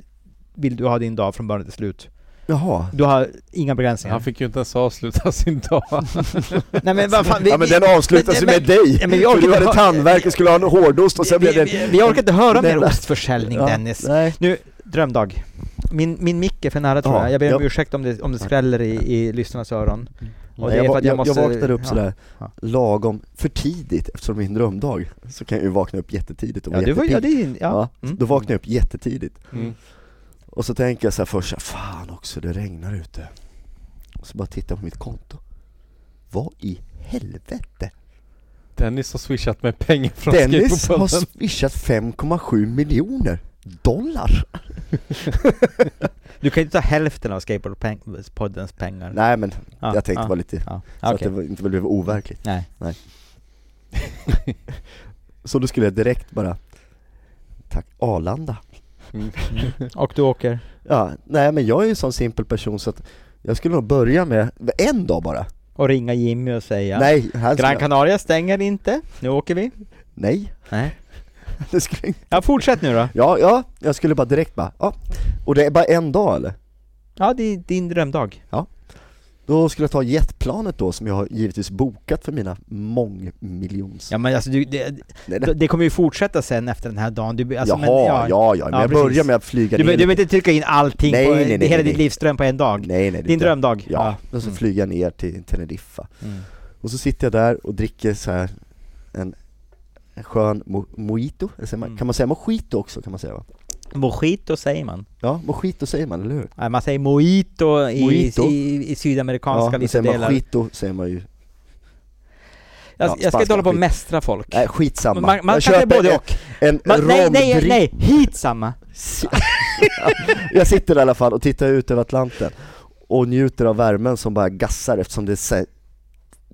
Speaker 3: vill du ha din dag från början till slut.
Speaker 2: Jaha.
Speaker 3: Du har inga begränsningar.
Speaker 4: Han fick ju inte ens avsluta sin dag.
Speaker 2: Mm.
Speaker 3: Nej men vad fan, vi,
Speaker 2: Ja men
Speaker 3: vi,
Speaker 2: den avslutas ju
Speaker 3: men-
Speaker 2: med dig!
Speaker 3: Ja, men vi
Speaker 2: För
Speaker 3: orkar
Speaker 2: du hade
Speaker 3: inte ha-
Speaker 2: tandvärk och skulle ha en hårdost och sen
Speaker 3: vi,
Speaker 2: blev det...
Speaker 3: vi, vi orkar inte höra
Speaker 2: Det-
Speaker 3: mer ostförsäljning
Speaker 2: Ja,
Speaker 3: Dennis.
Speaker 2: Nej.
Speaker 3: Nu, drömdag. Min, min mick är för nära tror
Speaker 2: Ja,
Speaker 3: jag. Jag ber om
Speaker 2: ja.
Speaker 3: ursäkt om det, om det skräller i, i lyssnarnas
Speaker 2: Mm.
Speaker 3: öron.
Speaker 2: Nej,
Speaker 3: Och det är
Speaker 2: jag,
Speaker 3: för
Speaker 2: va-
Speaker 3: att jag
Speaker 2: jag, jag
Speaker 3: måste-
Speaker 2: vaknade upp
Speaker 3: ja.
Speaker 2: sådär
Speaker 3: Ja.
Speaker 2: lagom, för tidigt eftersom det är en drömdag, så kan jag ju vakna upp jättetidigt och
Speaker 3: Ja,
Speaker 2: vara
Speaker 3: du var, ja,
Speaker 2: jättepigg.
Speaker 3: det är, ja.
Speaker 2: Ja,
Speaker 3: Mm.
Speaker 2: Då vaknade jag upp jättetidigt
Speaker 4: Mm.
Speaker 2: Och så tänker jag så här först, fan också det regnar ute. Och så bara tittar jag på mitt konto. Vad i helvete?
Speaker 4: Dennis har swishat med pengar från
Speaker 2: Dennis har
Speaker 4: skateboardpodden.
Speaker 2: swishat 5,7 miljoner dollar.
Speaker 3: Du kan ju inte ta hälften av skateboardpoddens pengar.
Speaker 2: Nej men
Speaker 3: Ja,
Speaker 2: jag tänkte
Speaker 3: ja,
Speaker 2: bara lite, så
Speaker 3: ja.
Speaker 2: att
Speaker 3: okej.
Speaker 2: det var- inte blev overkligt.
Speaker 3: Nej.
Speaker 2: Så då skulle jag direkt bara, tack Arlanda.
Speaker 4: Mm.
Speaker 3: Och du åker?
Speaker 2: Ja, nej men jag är ju en sån simpel person så att jag skulle nog börja med, en dag bara.
Speaker 3: Och ringa Jimmy och säga
Speaker 2: Nej, här skulle
Speaker 3: Gran
Speaker 2: jag,
Speaker 3: Canaria stänger inte, nu åker vi.
Speaker 2: nej.
Speaker 3: Nej.
Speaker 2: Det skulle
Speaker 3: Ja, fortsätt nu då.
Speaker 2: Ja, ja, jag skulle bara direkt bara, ja. Och det är bara en dag eller?
Speaker 3: Ja, det är din drömdag.
Speaker 2: Då skulle jag ta jetplanet då som jag har givetvis bokat för mina mångmiljons...
Speaker 3: Ja, men alltså du, det,
Speaker 2: Nej, nej.
Speaker 3: det kommer ju fortsätta sen efter den här dagen. Du, alltså,
Speaker 2: Jaha,
Speaker 3: men,
Speaker 2: ja, ja, men
Speaker 3: Ja,
Speaker 2: jag
Speaker 3: precis.
Speaker 2: börjar med att flyga
Speaker 3: Du, be-
Speaker 2: ner.
Speaker 3: du behöver inte trycka in allting
Speaker 2: Nej,
Speaker 3: på
Speaker 2: nej, nej,
Speaker 3: hela
Speaker 2: nej,
Speaker 3: ditt
Speaker 2: nej.
Speaker 3: livsdröm på en dag.
Speaker 2: nej, nej, det
Speaker 3: Din
Speaker 2: inte.
Speaker 3: drömdag.
Speaker 2: Ja, och så
Speaker 3: Mm.
Speaker 2: flyger jag ner till Teneriffa.
Speaker 3: Mm.
Speaker 2: Och så sitter jag där och dricker så här en en skön mo- mojito, Eller säger man-
Speaker 3: Mm.
Speaker 2: kan man säga mojito också kan man säga va?
Speaker 3: Mojito säger man.
Speaker 2: Ja, mojito säger man, eller hur?
Speaker 3: Nej, man säger mojito i,
Speaker 2: Mojito.
Speaker 3: i, i sydamerikanska
Speaker 2: ja, men
Speaker 3: vissa
Speaker 2: säger man
Speaker 3: delar.
Speaker 2: skito säger man ju, ja,
Speaker 3: jag, jag ska inte
Speaker 2: spanska
Speaker 3: hålla på och
Speaker 2: skit.
Speaker 3: mästra folk.
Speaker 2: nej skitsamma.
Speaker 3: Man, man
Speaker 2: jag
Speaker 3: kan säga
Speaker 2: köper
Speaker 3: både
Speaker 2: en-
Speaker 3: och.
Speaker 2: En
Speaker 3: Man, nej, nej,
Speaker 2: romdrink.
Speaker 3: nej, hit samma.
Speaker 2: jag sitter i alla fall och tittar ut över Atlanten och njuter av värmen som bara gassar eftersom det så här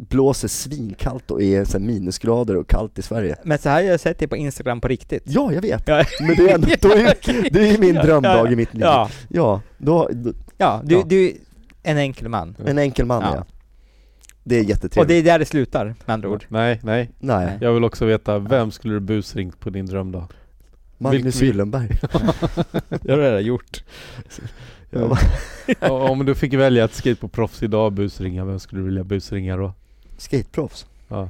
Speaker 2: blåser svinkallt och är så här minusgrader och kallt i Sverige.
Speaker 3: Men så här har jag sett det på Instagram på riktigt.
Speaker 2: Ja, jag vet!
Speaker 3: Ja.
Speaker 2: Men det är, ändå, då är, ju- det är ju min drömdag i mitt liv. Ja,
Speaker 3: Ja,
Speaker 2: då, då,
Speaker 3: ja du,
Speaker 2: Ja.
Speaker 3: du är en enkel man.
Speaker 2: en enkel man
Speaker 3: Ja.
Speaker 2: är jag. Det är
Speaker 3: Och det
Speaker 2: jättetrevligt.
Speaker 3: är där det slutar, med andra ord.
Speaker 4: Nej, nej.
Speaker 2: Nej,
Speaker 4: Jag vill också veta, vem skulle du busringt på din drömdag?
Speaker 2: Magnus
Speaker 4: Vilken-
Speaker 2: Gyllenberg.
Speaker 1: Det har du redan gjort.
Speaker 2: Jag bara,
Speaker 4: Och Om du fick välja att skateboardproffs idag och busringa, vem skulle du vilja busringa då?
Speaker 2: Skateproffs.
Speaker 4: Ja.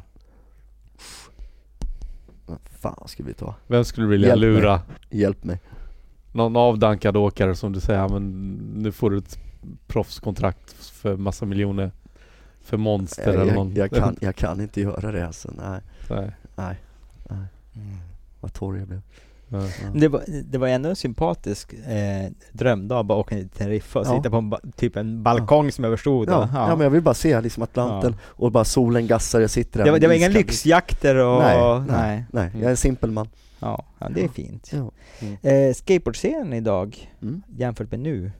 Speaker 2: Vad fan ska vi ta?
Speaker 4: Vem skulle du vilja
Speaker 2: Hjälp mig.
Speaker 4: lura?
Speaker 2: Hjälp mig. "Ja,
Speaker 4: Någon avdankad åkare som du säger, "Ja, men nu får du ett proffskontrakt för massa miljoner för monster eller
Speaker 2: Eh, Jag,
Speaker 4: någon.
Speaker 2: jag, kan, jag kan inte göra det alltså, nej.
Speaker 4: Nej.
Speaker 2: Mm. Vad torr jag blev.
Speaker 4: Ja.
Speaker 3: Det var, det var ändå en sympatisk eh, drömdag, bara åka ner till Teneriffa och
Speaker 2: Ja.
Speaker 3: sitta på en, ba- typ en balkong som överstod.
Speaker 2: Ja,
Speaker 3: och-
Speaker 2: ja. men jag vill bara se liksom Atlanten och bara solen gassar, jag sitter där
Speaker 3: Det var,
Speaker 2: med
Speaker 3: det var inga
Speaker 2: iskall-
Speaker 3: lyxjakter och...
Speaker 2: Nej, nej.
Speaker 3: nej.
Speaker 2: Nej, jag är en simpel man.
Speaker 3: Ja, ja, det är fint.
Speaker 2: Ja.
Speaker 4: Mm.
Speaker 3: Eh, skateboardscenen idag
Speaker 2: Mm.
Speaker 3: jämfört med nu.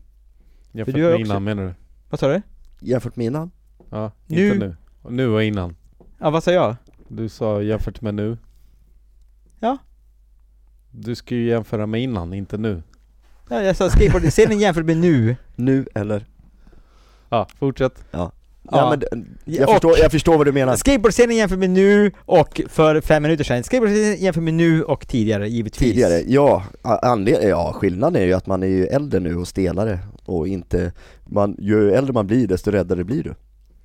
Speaker 4: Jämfört
Speaker 3: du har
Speaker 4: med
Speaker 3: också-
Speaker 4: innan menar du?
Speaker 3: Vad sa du?
Speaker 2: Jämfört med innan?
Speaker 4: Ja,
Speaker 3: Nu-
Speaker 4: inte nu. Och Nu och innan.
Speaker 3: Ja, vad sa jag?
Speaker 4: Du sa jämfört med nu.
Speaker 3: Ja.
Speaker 4: Du ska ju jämföra med innan, inte nu.
Speaker 3: Ja, jag sa skateboardscenen jämfört med nu.
Speaker 2: Nu eller?
Speaker 4: Ja, fortsätt.
Speaker 2: Ja,
Speaker 3: Ja.
Speaker 2: men, d- jag,
Speaker 3: Och-
Speaker 2: förstår, jag förstår vad du menar.
Speaker 3: Skateboardscenen jämfört med nu och för fem minuter sedan. Skateboardscenen jämfört med nu och tidigare, givetvis.
Speaker 2: Tidigare, ja, a- anled- ja skillnaden är ju att man är ju äldre nu och stelare och inte, man, ju äldre man blir desto räddare blir du.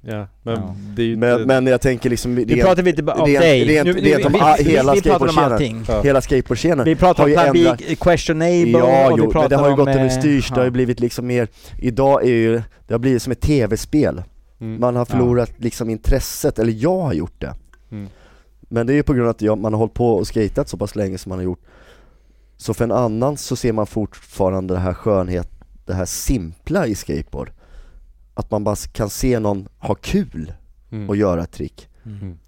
Speaker 4: Ja, men
Speaker 3: Ja.
Speaker 4: det är ju
Speaker 2: Men,
Speaker 4: inte...
Speaker 2: men jag tänker liksom,
Speaker 3: Nu
Speaker 2: rent,
Speaker 3: pratar vi inte bara om
Speaker 2: rent-
Speaker 3: dig.
Speaker 2: rent-
Speaker 3: nu, nu,
Speaker 2: rent om
Speaker 3: vi,
Speaker 2: a-
Speaker 3: vi,
Speaker 2: hela
Speaker 3: vi pratar om
Speaker 2: skateboardscenen.
Speaker 3: allting.
Speaker 4: Ja.
Speaker 2: hela skateboardscenen
Speaker 3: Vi pratar
Speaker 2: Har
Speaker 3: om
Speaker 2: ju
Speaker 3: Plan
Speaker 2: ändrat-
Speaker 3: B, Questionable
Speaker 2: Ja,
Speaker 3: och vi
Speaker 2: jo,
Speaker 3: pratar
Speaker 2: men det har ju
Speaker 3: om,
Speaker 2: gått över
Speaker 3: eh,
Speaker 2: styrs, det har
Speaker 3: ja.
Speaker 2: ju blivit liksom mer, idag är ju, det har blivit som ett tv-spel.
Speaker 4: Mm.
Speaker 2: Man har förlorat liksom intresset, eller jag har gjort det.
Speaker 4: Mm.
Speaker 2: Men det är ju på grund av att jag, man har hållit på och skatat så pass länge som man har gjort. Så för en annan så ser man fortfarande det här skönhet, det här simpla i skateboard. Att man bara s- kan se någon ha kul
Speaker 4: Mm.
Speaker 2: och göra ett trick.
Speaker 4: Mm.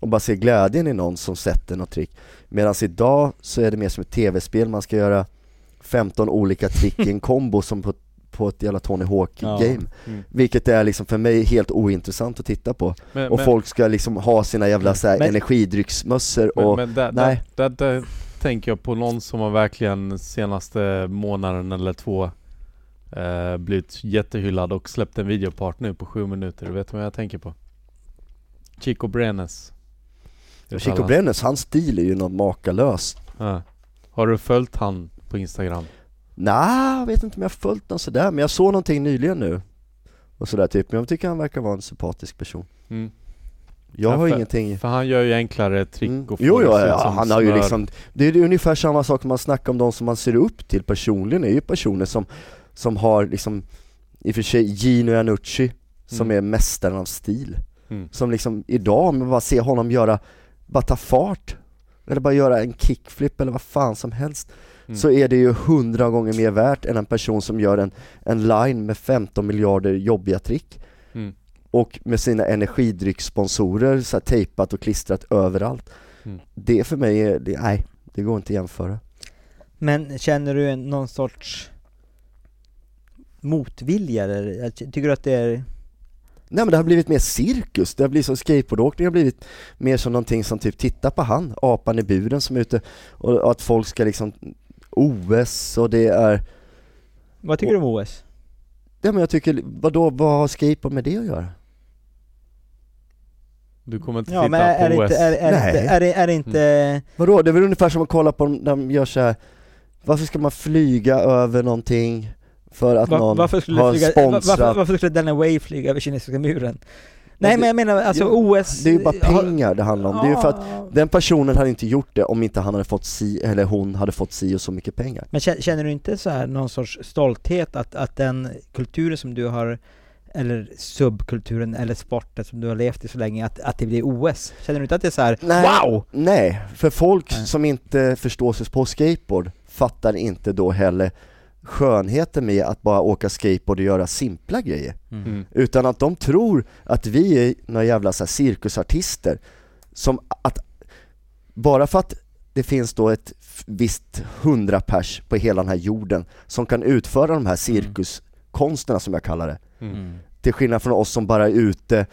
Speaker 2: Och bara se glädjen i någon som sätter något trick. Medan idag så är det mer som ett tv-spel, man ska göra 15 olika trick i en kombo som på, på ett jävla Tony
Speaker 3: Ja.
Speaker 2: Hawk-game.
Speaker 4: Mm.
Speaker 2: Vilket är liksom för mig helt ointressant att titta på.
Speaker 4: Men,
Speaker 2: Och
Speaker 4: men,
Speaker 2: folk ska liksom ha sina jävla så här
Speaker 3: Men-
Speaker 2: energidrycksmössor
Speaker 4: men,
Speaker 2: och
Speaker 4: men där,
Speaker 2: nej.
Speaker 4: där, där, där tänker jag på någon som har verkligen senaste månaden eller två eh, blivit jättehyllad och släppt en videopart nu på sju minuter. Vet du vad jag tänker på? Chico Brenes. Vet
Speaker 2: Chico
Speaker 4: alla.
Speaker 2: Brennes, hans stil är ju något makalös.
Speaker 4: Ja. Har du följt han på Instagram?
Speaker 2: Nej, jag vet inte om jag har följt någon sådär, men jag såg någonting nyligen nu. Och sådär typ, men jag tycker han verkar vara en sympatisk person.
Speaker 4: Mm.
Speaker 2: Jag
Speaker 4: Ja,
Speaker 2: har
Speaker 4: för-
Speaker 2: ingenting...
Speaker 4: För han gör ju enklare trick
Speaker 2: Mm.
Speaker 4: och får
Speaker 2: Jo, jo,
Speaker 4: det att se ut
Speaker 2: ja,
Speaker 4: som
Speaker 2: han har ju
Speaker 4: smör.
Speaker 2: liksom, det är ju ungefär samma sak man snackar om de som man ser upp till personligen, är ju personer som, som har liksom, i och för sig Gino Iannucci, som
Speaker 4: Mm.
Speaker 2: är mästaren av stil.
Speaker 4: Mm.
Speaker 2: Som liksom idag, om man bara ser honom göra, bara ta fart, eller bara göra en kickflip eller vad fan som helst,
Speaker 4: Mm.
Speaker 2: så är det ju hundra gånger mer värt än en person som gör en, en line med 15 miljarder jobbiga trick.
Speaker 4: Mm.
Speaker 2: Och med sina energidryckssponsorer så här, tejpat och klistrat överallt.
Speaker 4: Mm.
Speaker 2: Det för mig är, det, nej, det går inte att jämföra.
Speaker 3: Men känner du en- någon sorts motvilja eller jag ty- tycker du att det är...
Speaker 2: Nej men det har blivit mer cirkus, det har blivit som skateboardåkning har blivit mer som någonting som typ, titta på han, apan i buren som är ute och, och att folk ska liksom OS och det är,
Speaker 3: Vad tycker du om OS?
Speaker 2: ja men jag tycker, vadå, vad har skateboard med det att göra?
Speaker 4: Du kommer inte
Speaker 3: Ja
Speaker 4: titta
Speaker 3: men är, är,
Speaker 4: på
Speaker 3: det
Speaker 4: OS.
Speaker 3: inte, är, är, det
Speaker 2: Nej.
Speaker 3: inte, är, det, är det inte...
Speaker 2: Vadå, det är väl ungefär som att kolla på dem när de gör så här. varför ska man flyga över någonting för att
Speaker 3: Va,
Speaker 2: någon
Speaker 3: varför, skulle
Speaker 2: har
Speaker 3: flyga, va-
Speaker 2: sponsrat?
Speaker 3: varför, varför skulle Dana Way flyga över kinesiska muren? Nej
Speaker 2: det-
Speaker 3: men jag menar alltså
Speaker 2: ja,
Speaker 3: OS...
Speaker 2: Det är ju bara
Speaker 3: har- Ah.
Speaker 2: pengar det handlar om, det är ju för att
Speaker 3: Ja.
Speaker 2: Den personen hade inte gjort det om inte han hade fått si, eller hon hade fått si och så mycket pengar.
Speaker 3: Men kä- känner du inte så här någon sorts stolthet att, att den kulturen som du har eller subkulturen eller sporten som du har levt i så länge att, att det blir OS? Känner du inte att det är så här,
Speaker 2: Nej.
Speaker 3: wow!
Speaker 2: Nej, för folk
Speaker 3: Nej.
Speaker 2: som inte förstår sig på skateboard fattar inte då heller skönheten med att bara åka skateboard och göra simpla grejer.
Speaker 4: Mm.
Speaker 2: Utan att de tror att vi är några jävla så här cirkusartister som att, bara för att det finns då ett f- visst hundra pers på hela den här jorden som kan utföra de här
Speaker 3: Mm.
Speaker 2: cirkuskonsterna som jag kallar det.
Speaker 4: Mm.
Speaker 2: Till skillnad från oss som bara är ute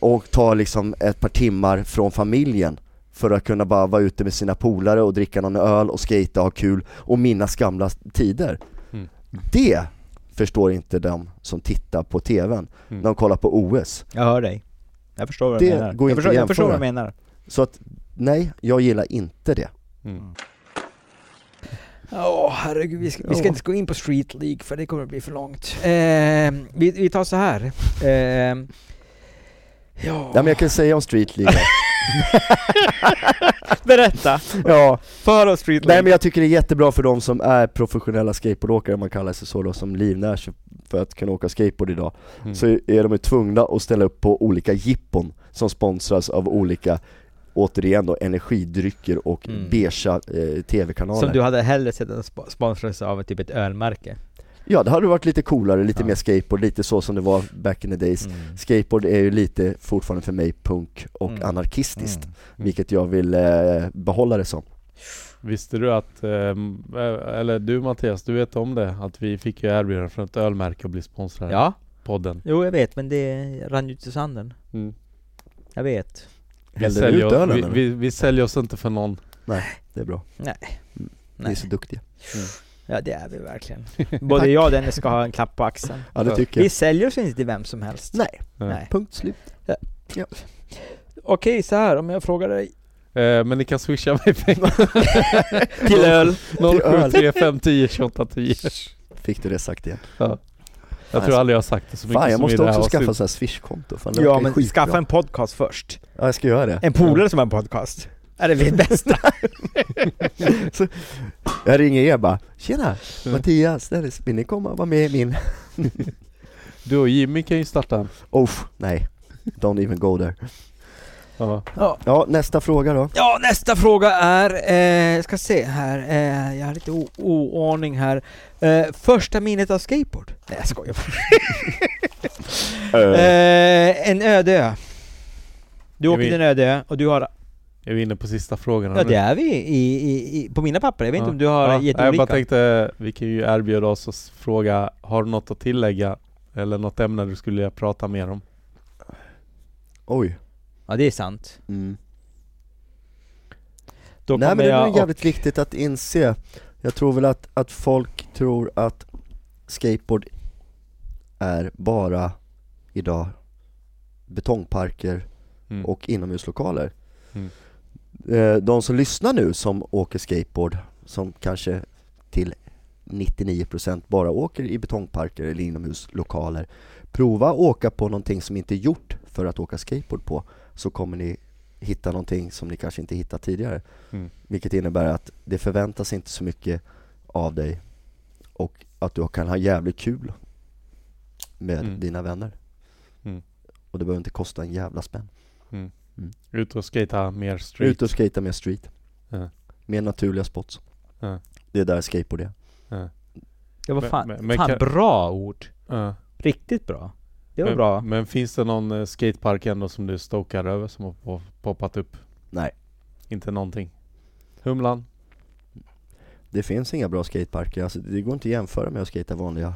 Speaker 2: och tar liksom ett par timmar från familjen för att kunna bara vara ute med sina polare och dricka någon öl och skata och ha kul och minnas gamla tider.
Speaker 4: Mm.
Speaker 2: Det förstår inte de som tittar på TVn
Speaker 4: Mm.
Speaker 2: när de kollar på OS.
Speaker 3: Jag hör dig. Jag förstår vad
Speaker 2: Det
Speaker 3: du menar.
Speaker 2: går
Speaker 3: jag,
Speaker 2: inte
Speaker 3: förstår,
Speaker 2: att
Speaker 3: jag förstår vad du
Speaker 2: jämföra.
Speaker 3: menar.
Speaker 2: Så att nej, jag gillar inte det.
Speaker 4: Mm.
Speaker 3: Åh herregud, vi ska, vi ska
Speaker 2: Ja.
Speaker 3: inte gå in på Street League för det kommer att bli för långt. Eh, vi, vi tar så här. Eh, ja,
Speaker 2: Ja men
Speaker 4: Oh.
Speaker 2: jag kan säga om Street League.
Speaker 7: Berätta!
Speaker 2: ja.
Speaker 7: För oss Street
Speaker 2: Nej men jag tycker det är jättebra för de som är professionella skateboardåkare, om man kallar sig så då, som livnär sig för att kunna åka skateboard idag.
Speaker 4: Mm.
Speaker 2: så är de ju tvungna att ställa upp på olika jippon som sponsras av olika, återigen då, energidrycker och
Speaker 3: Mm.
Speaker 2: beiga eh, tv-kanaler.
Speaker 3: som du hade hellre sett än sp- sponsras av typ ett ölmärke.
Speaker 2: Ja, det hade varit lite coolare, lite
Speaker 3: Ja.
Speaker 2: mer skateboard, lite så som det var back in the days.
Speaker 4: Mm.
Speaker 2: Skateboard är ju lite fortfarande för mig punk och
Speaker 3: Mm.
Speaker 2: anarkistiskt,
Speaker 3: Mm.
Speaker 2: vilket jag vill eh, behålla det som.
Speaker 4: Visste du att, ehm, eh, eller du Mattias, du vet om det? Att vi fick ju erbjudande från ett ölmärke att bli sponsrade av
Speaker 3: Ja,
Speaker 4: podden.
Speaker 3: jo jag vet men det rann ju ut i sanden.
Speaker 4: Mm.
Speaker 3: Jag vet.
Speaker 4: Vi,
Speaker 2: Hällde du ut
Speaker 4: säljer,
Speaker 2: ölen
Speaker 4: vi,
Speaker 2: eller?
Speaker 4: vi, vi säljer oss inte för någon.
Speaker 2: Det är bra.
Speaker 3: Nej.
Speaker 2: Mm. Ni är
Speaker 3: Nej.
Speaker 2: så duktiga.
Speaker 3: Ja det är vi verkligen. Både jag och Dennis ska ha en klapp på axeln.
Speaker 2: Ja det
Speaker 4: Ja.
Speaker 2: tycker
Speaker 3: Vi
Speaker 2: jag.
Speaker 3: säljer oss inte till vem som helst.
Speaker 2: Nej.
Speaker 3: Nej.
Speaker 2: Punkt slut.
Speaker 3: Okej så här om jag frågar dig.
Speaker 4: Eh, men ni kan swisha mig pengar.
Speaker 3: Till öl.
Speaker 4: 073510 2810.
Speaker 2: Fick du det sagt igen.
Speaker 4: Jag tror aldrig jag har sagt det så mycket
Speaker 2: Fan jag
Speaker 4: som Alltså,
Speaker 2: måste
Speaker 4: i det här
Speaker 2: också skaffa
Speaker 4: avsnittet.
Speaker 2: så här swish-konto, fan det
Speaker 3: Ja
Speaker 2: verkar ju
Speaker 3: men
Speaker 2: skitbra.
Speaker 3: skaffa en podcast först.
Speaker 2: Ja jag ska göra det.
Speaker 3: En polare som har en podcast. Är det vi bästa?
Speaker 2: Jag ringer er bara, tjena Mattias, Dennis, vill ni komma och vara med i min?
Speaker 4: Du och Jimmy kan ju starta.
Speaker 2: Oh, nej, don't even go there.
Speaker 4: Ja.
Speaker 2: Ja, nästa fråga då.
Speaker 3: Ja, nästa fråga är, eh, jag ska se här, eh, jag har lite o- oordning här. Eh, första minnet av skateboard? Nej jag skojar bara. eh, En öde ö. Du
Speaker 4: Är
Speaker 3: åker
Speaker 4: vi-
Speaker 3: till en öde ö och du har,
Speaker 4: Är vi inne på sista frågan?
Speaker 3: ja det är vi i, i, i, på mina papper, jag vet inte om du har gett
Speaker 4: Jag bara
Speaker 3: olika.
Speaker 4: tänkte, vi kan ju erbjuda oss att s- fråga, har du något att tillägga? Eller något ämne du skulle vilja prata mer om?
Speaker 2: Oj.
Speaker 3: Ja det är sant.
Speaker 2: Mm.
Speaker 3: Då
Speaker 2: Nej men
Speaker 3: kommer
Speaker 2: det är
Speaker 3: jag
Speaker 2: nog jävligt viktigt att inse. Jag tror väl att, att folk tror att skateboard är bara idag betongparker
Speaker 4: Mm.
Speaker 2: och inomhuslokaler.
Speaker 4: Mm.
Speaker 2: Eh, De som lyssnar nu som åker skateboard, som kanske till 99% bara åker i betongparker eller inomhuslokaler. Prova att åka på någonting som inte är gjort för att åka skateboard på, så kommer ni hitta någonting som ni kanske inte hittat tidigare.
Speaker 4: Mm.
Speaker 2: Vilket innebär att det förväntas inte så mycket av dig och att du kan ha jävligt kul med
Speaker 4: Mm.
Speaker 2: dina vänner.
Speaker 4: Mm.
Speaker 2: Och det behöver inte kosta en jävla spänn.
Speaker 4: Ut och skata mer street.
Speaker 2: Ut och skata mer street.
Speaker 4: Ja.
Speaker 2: Mer naturliga spots.
Speaker 4: Ja.
Speaker 2: Det är där skateboard är.
Speaker 3: det var fan,
Speaker 4: Men- men- men
Speaker 3: fan
Speaker 4: kan-
Speaker 3: bra ord.
Speaker 4: Ja.
Speaker 3: Riktigt bra. Det var
Speaker 4: men,
Speaker 3: bra.
Speaker 4: Men finns det någon eh, skatepark ändå som du stokar över som har pop- poppat upp?
Speaker 2: Nej.
Speaker 4: Inte någonting? Humlan?
Speaker 2: Det finns inga bra skateparker, alltså, det går inte att jämföra med att skata vanliga.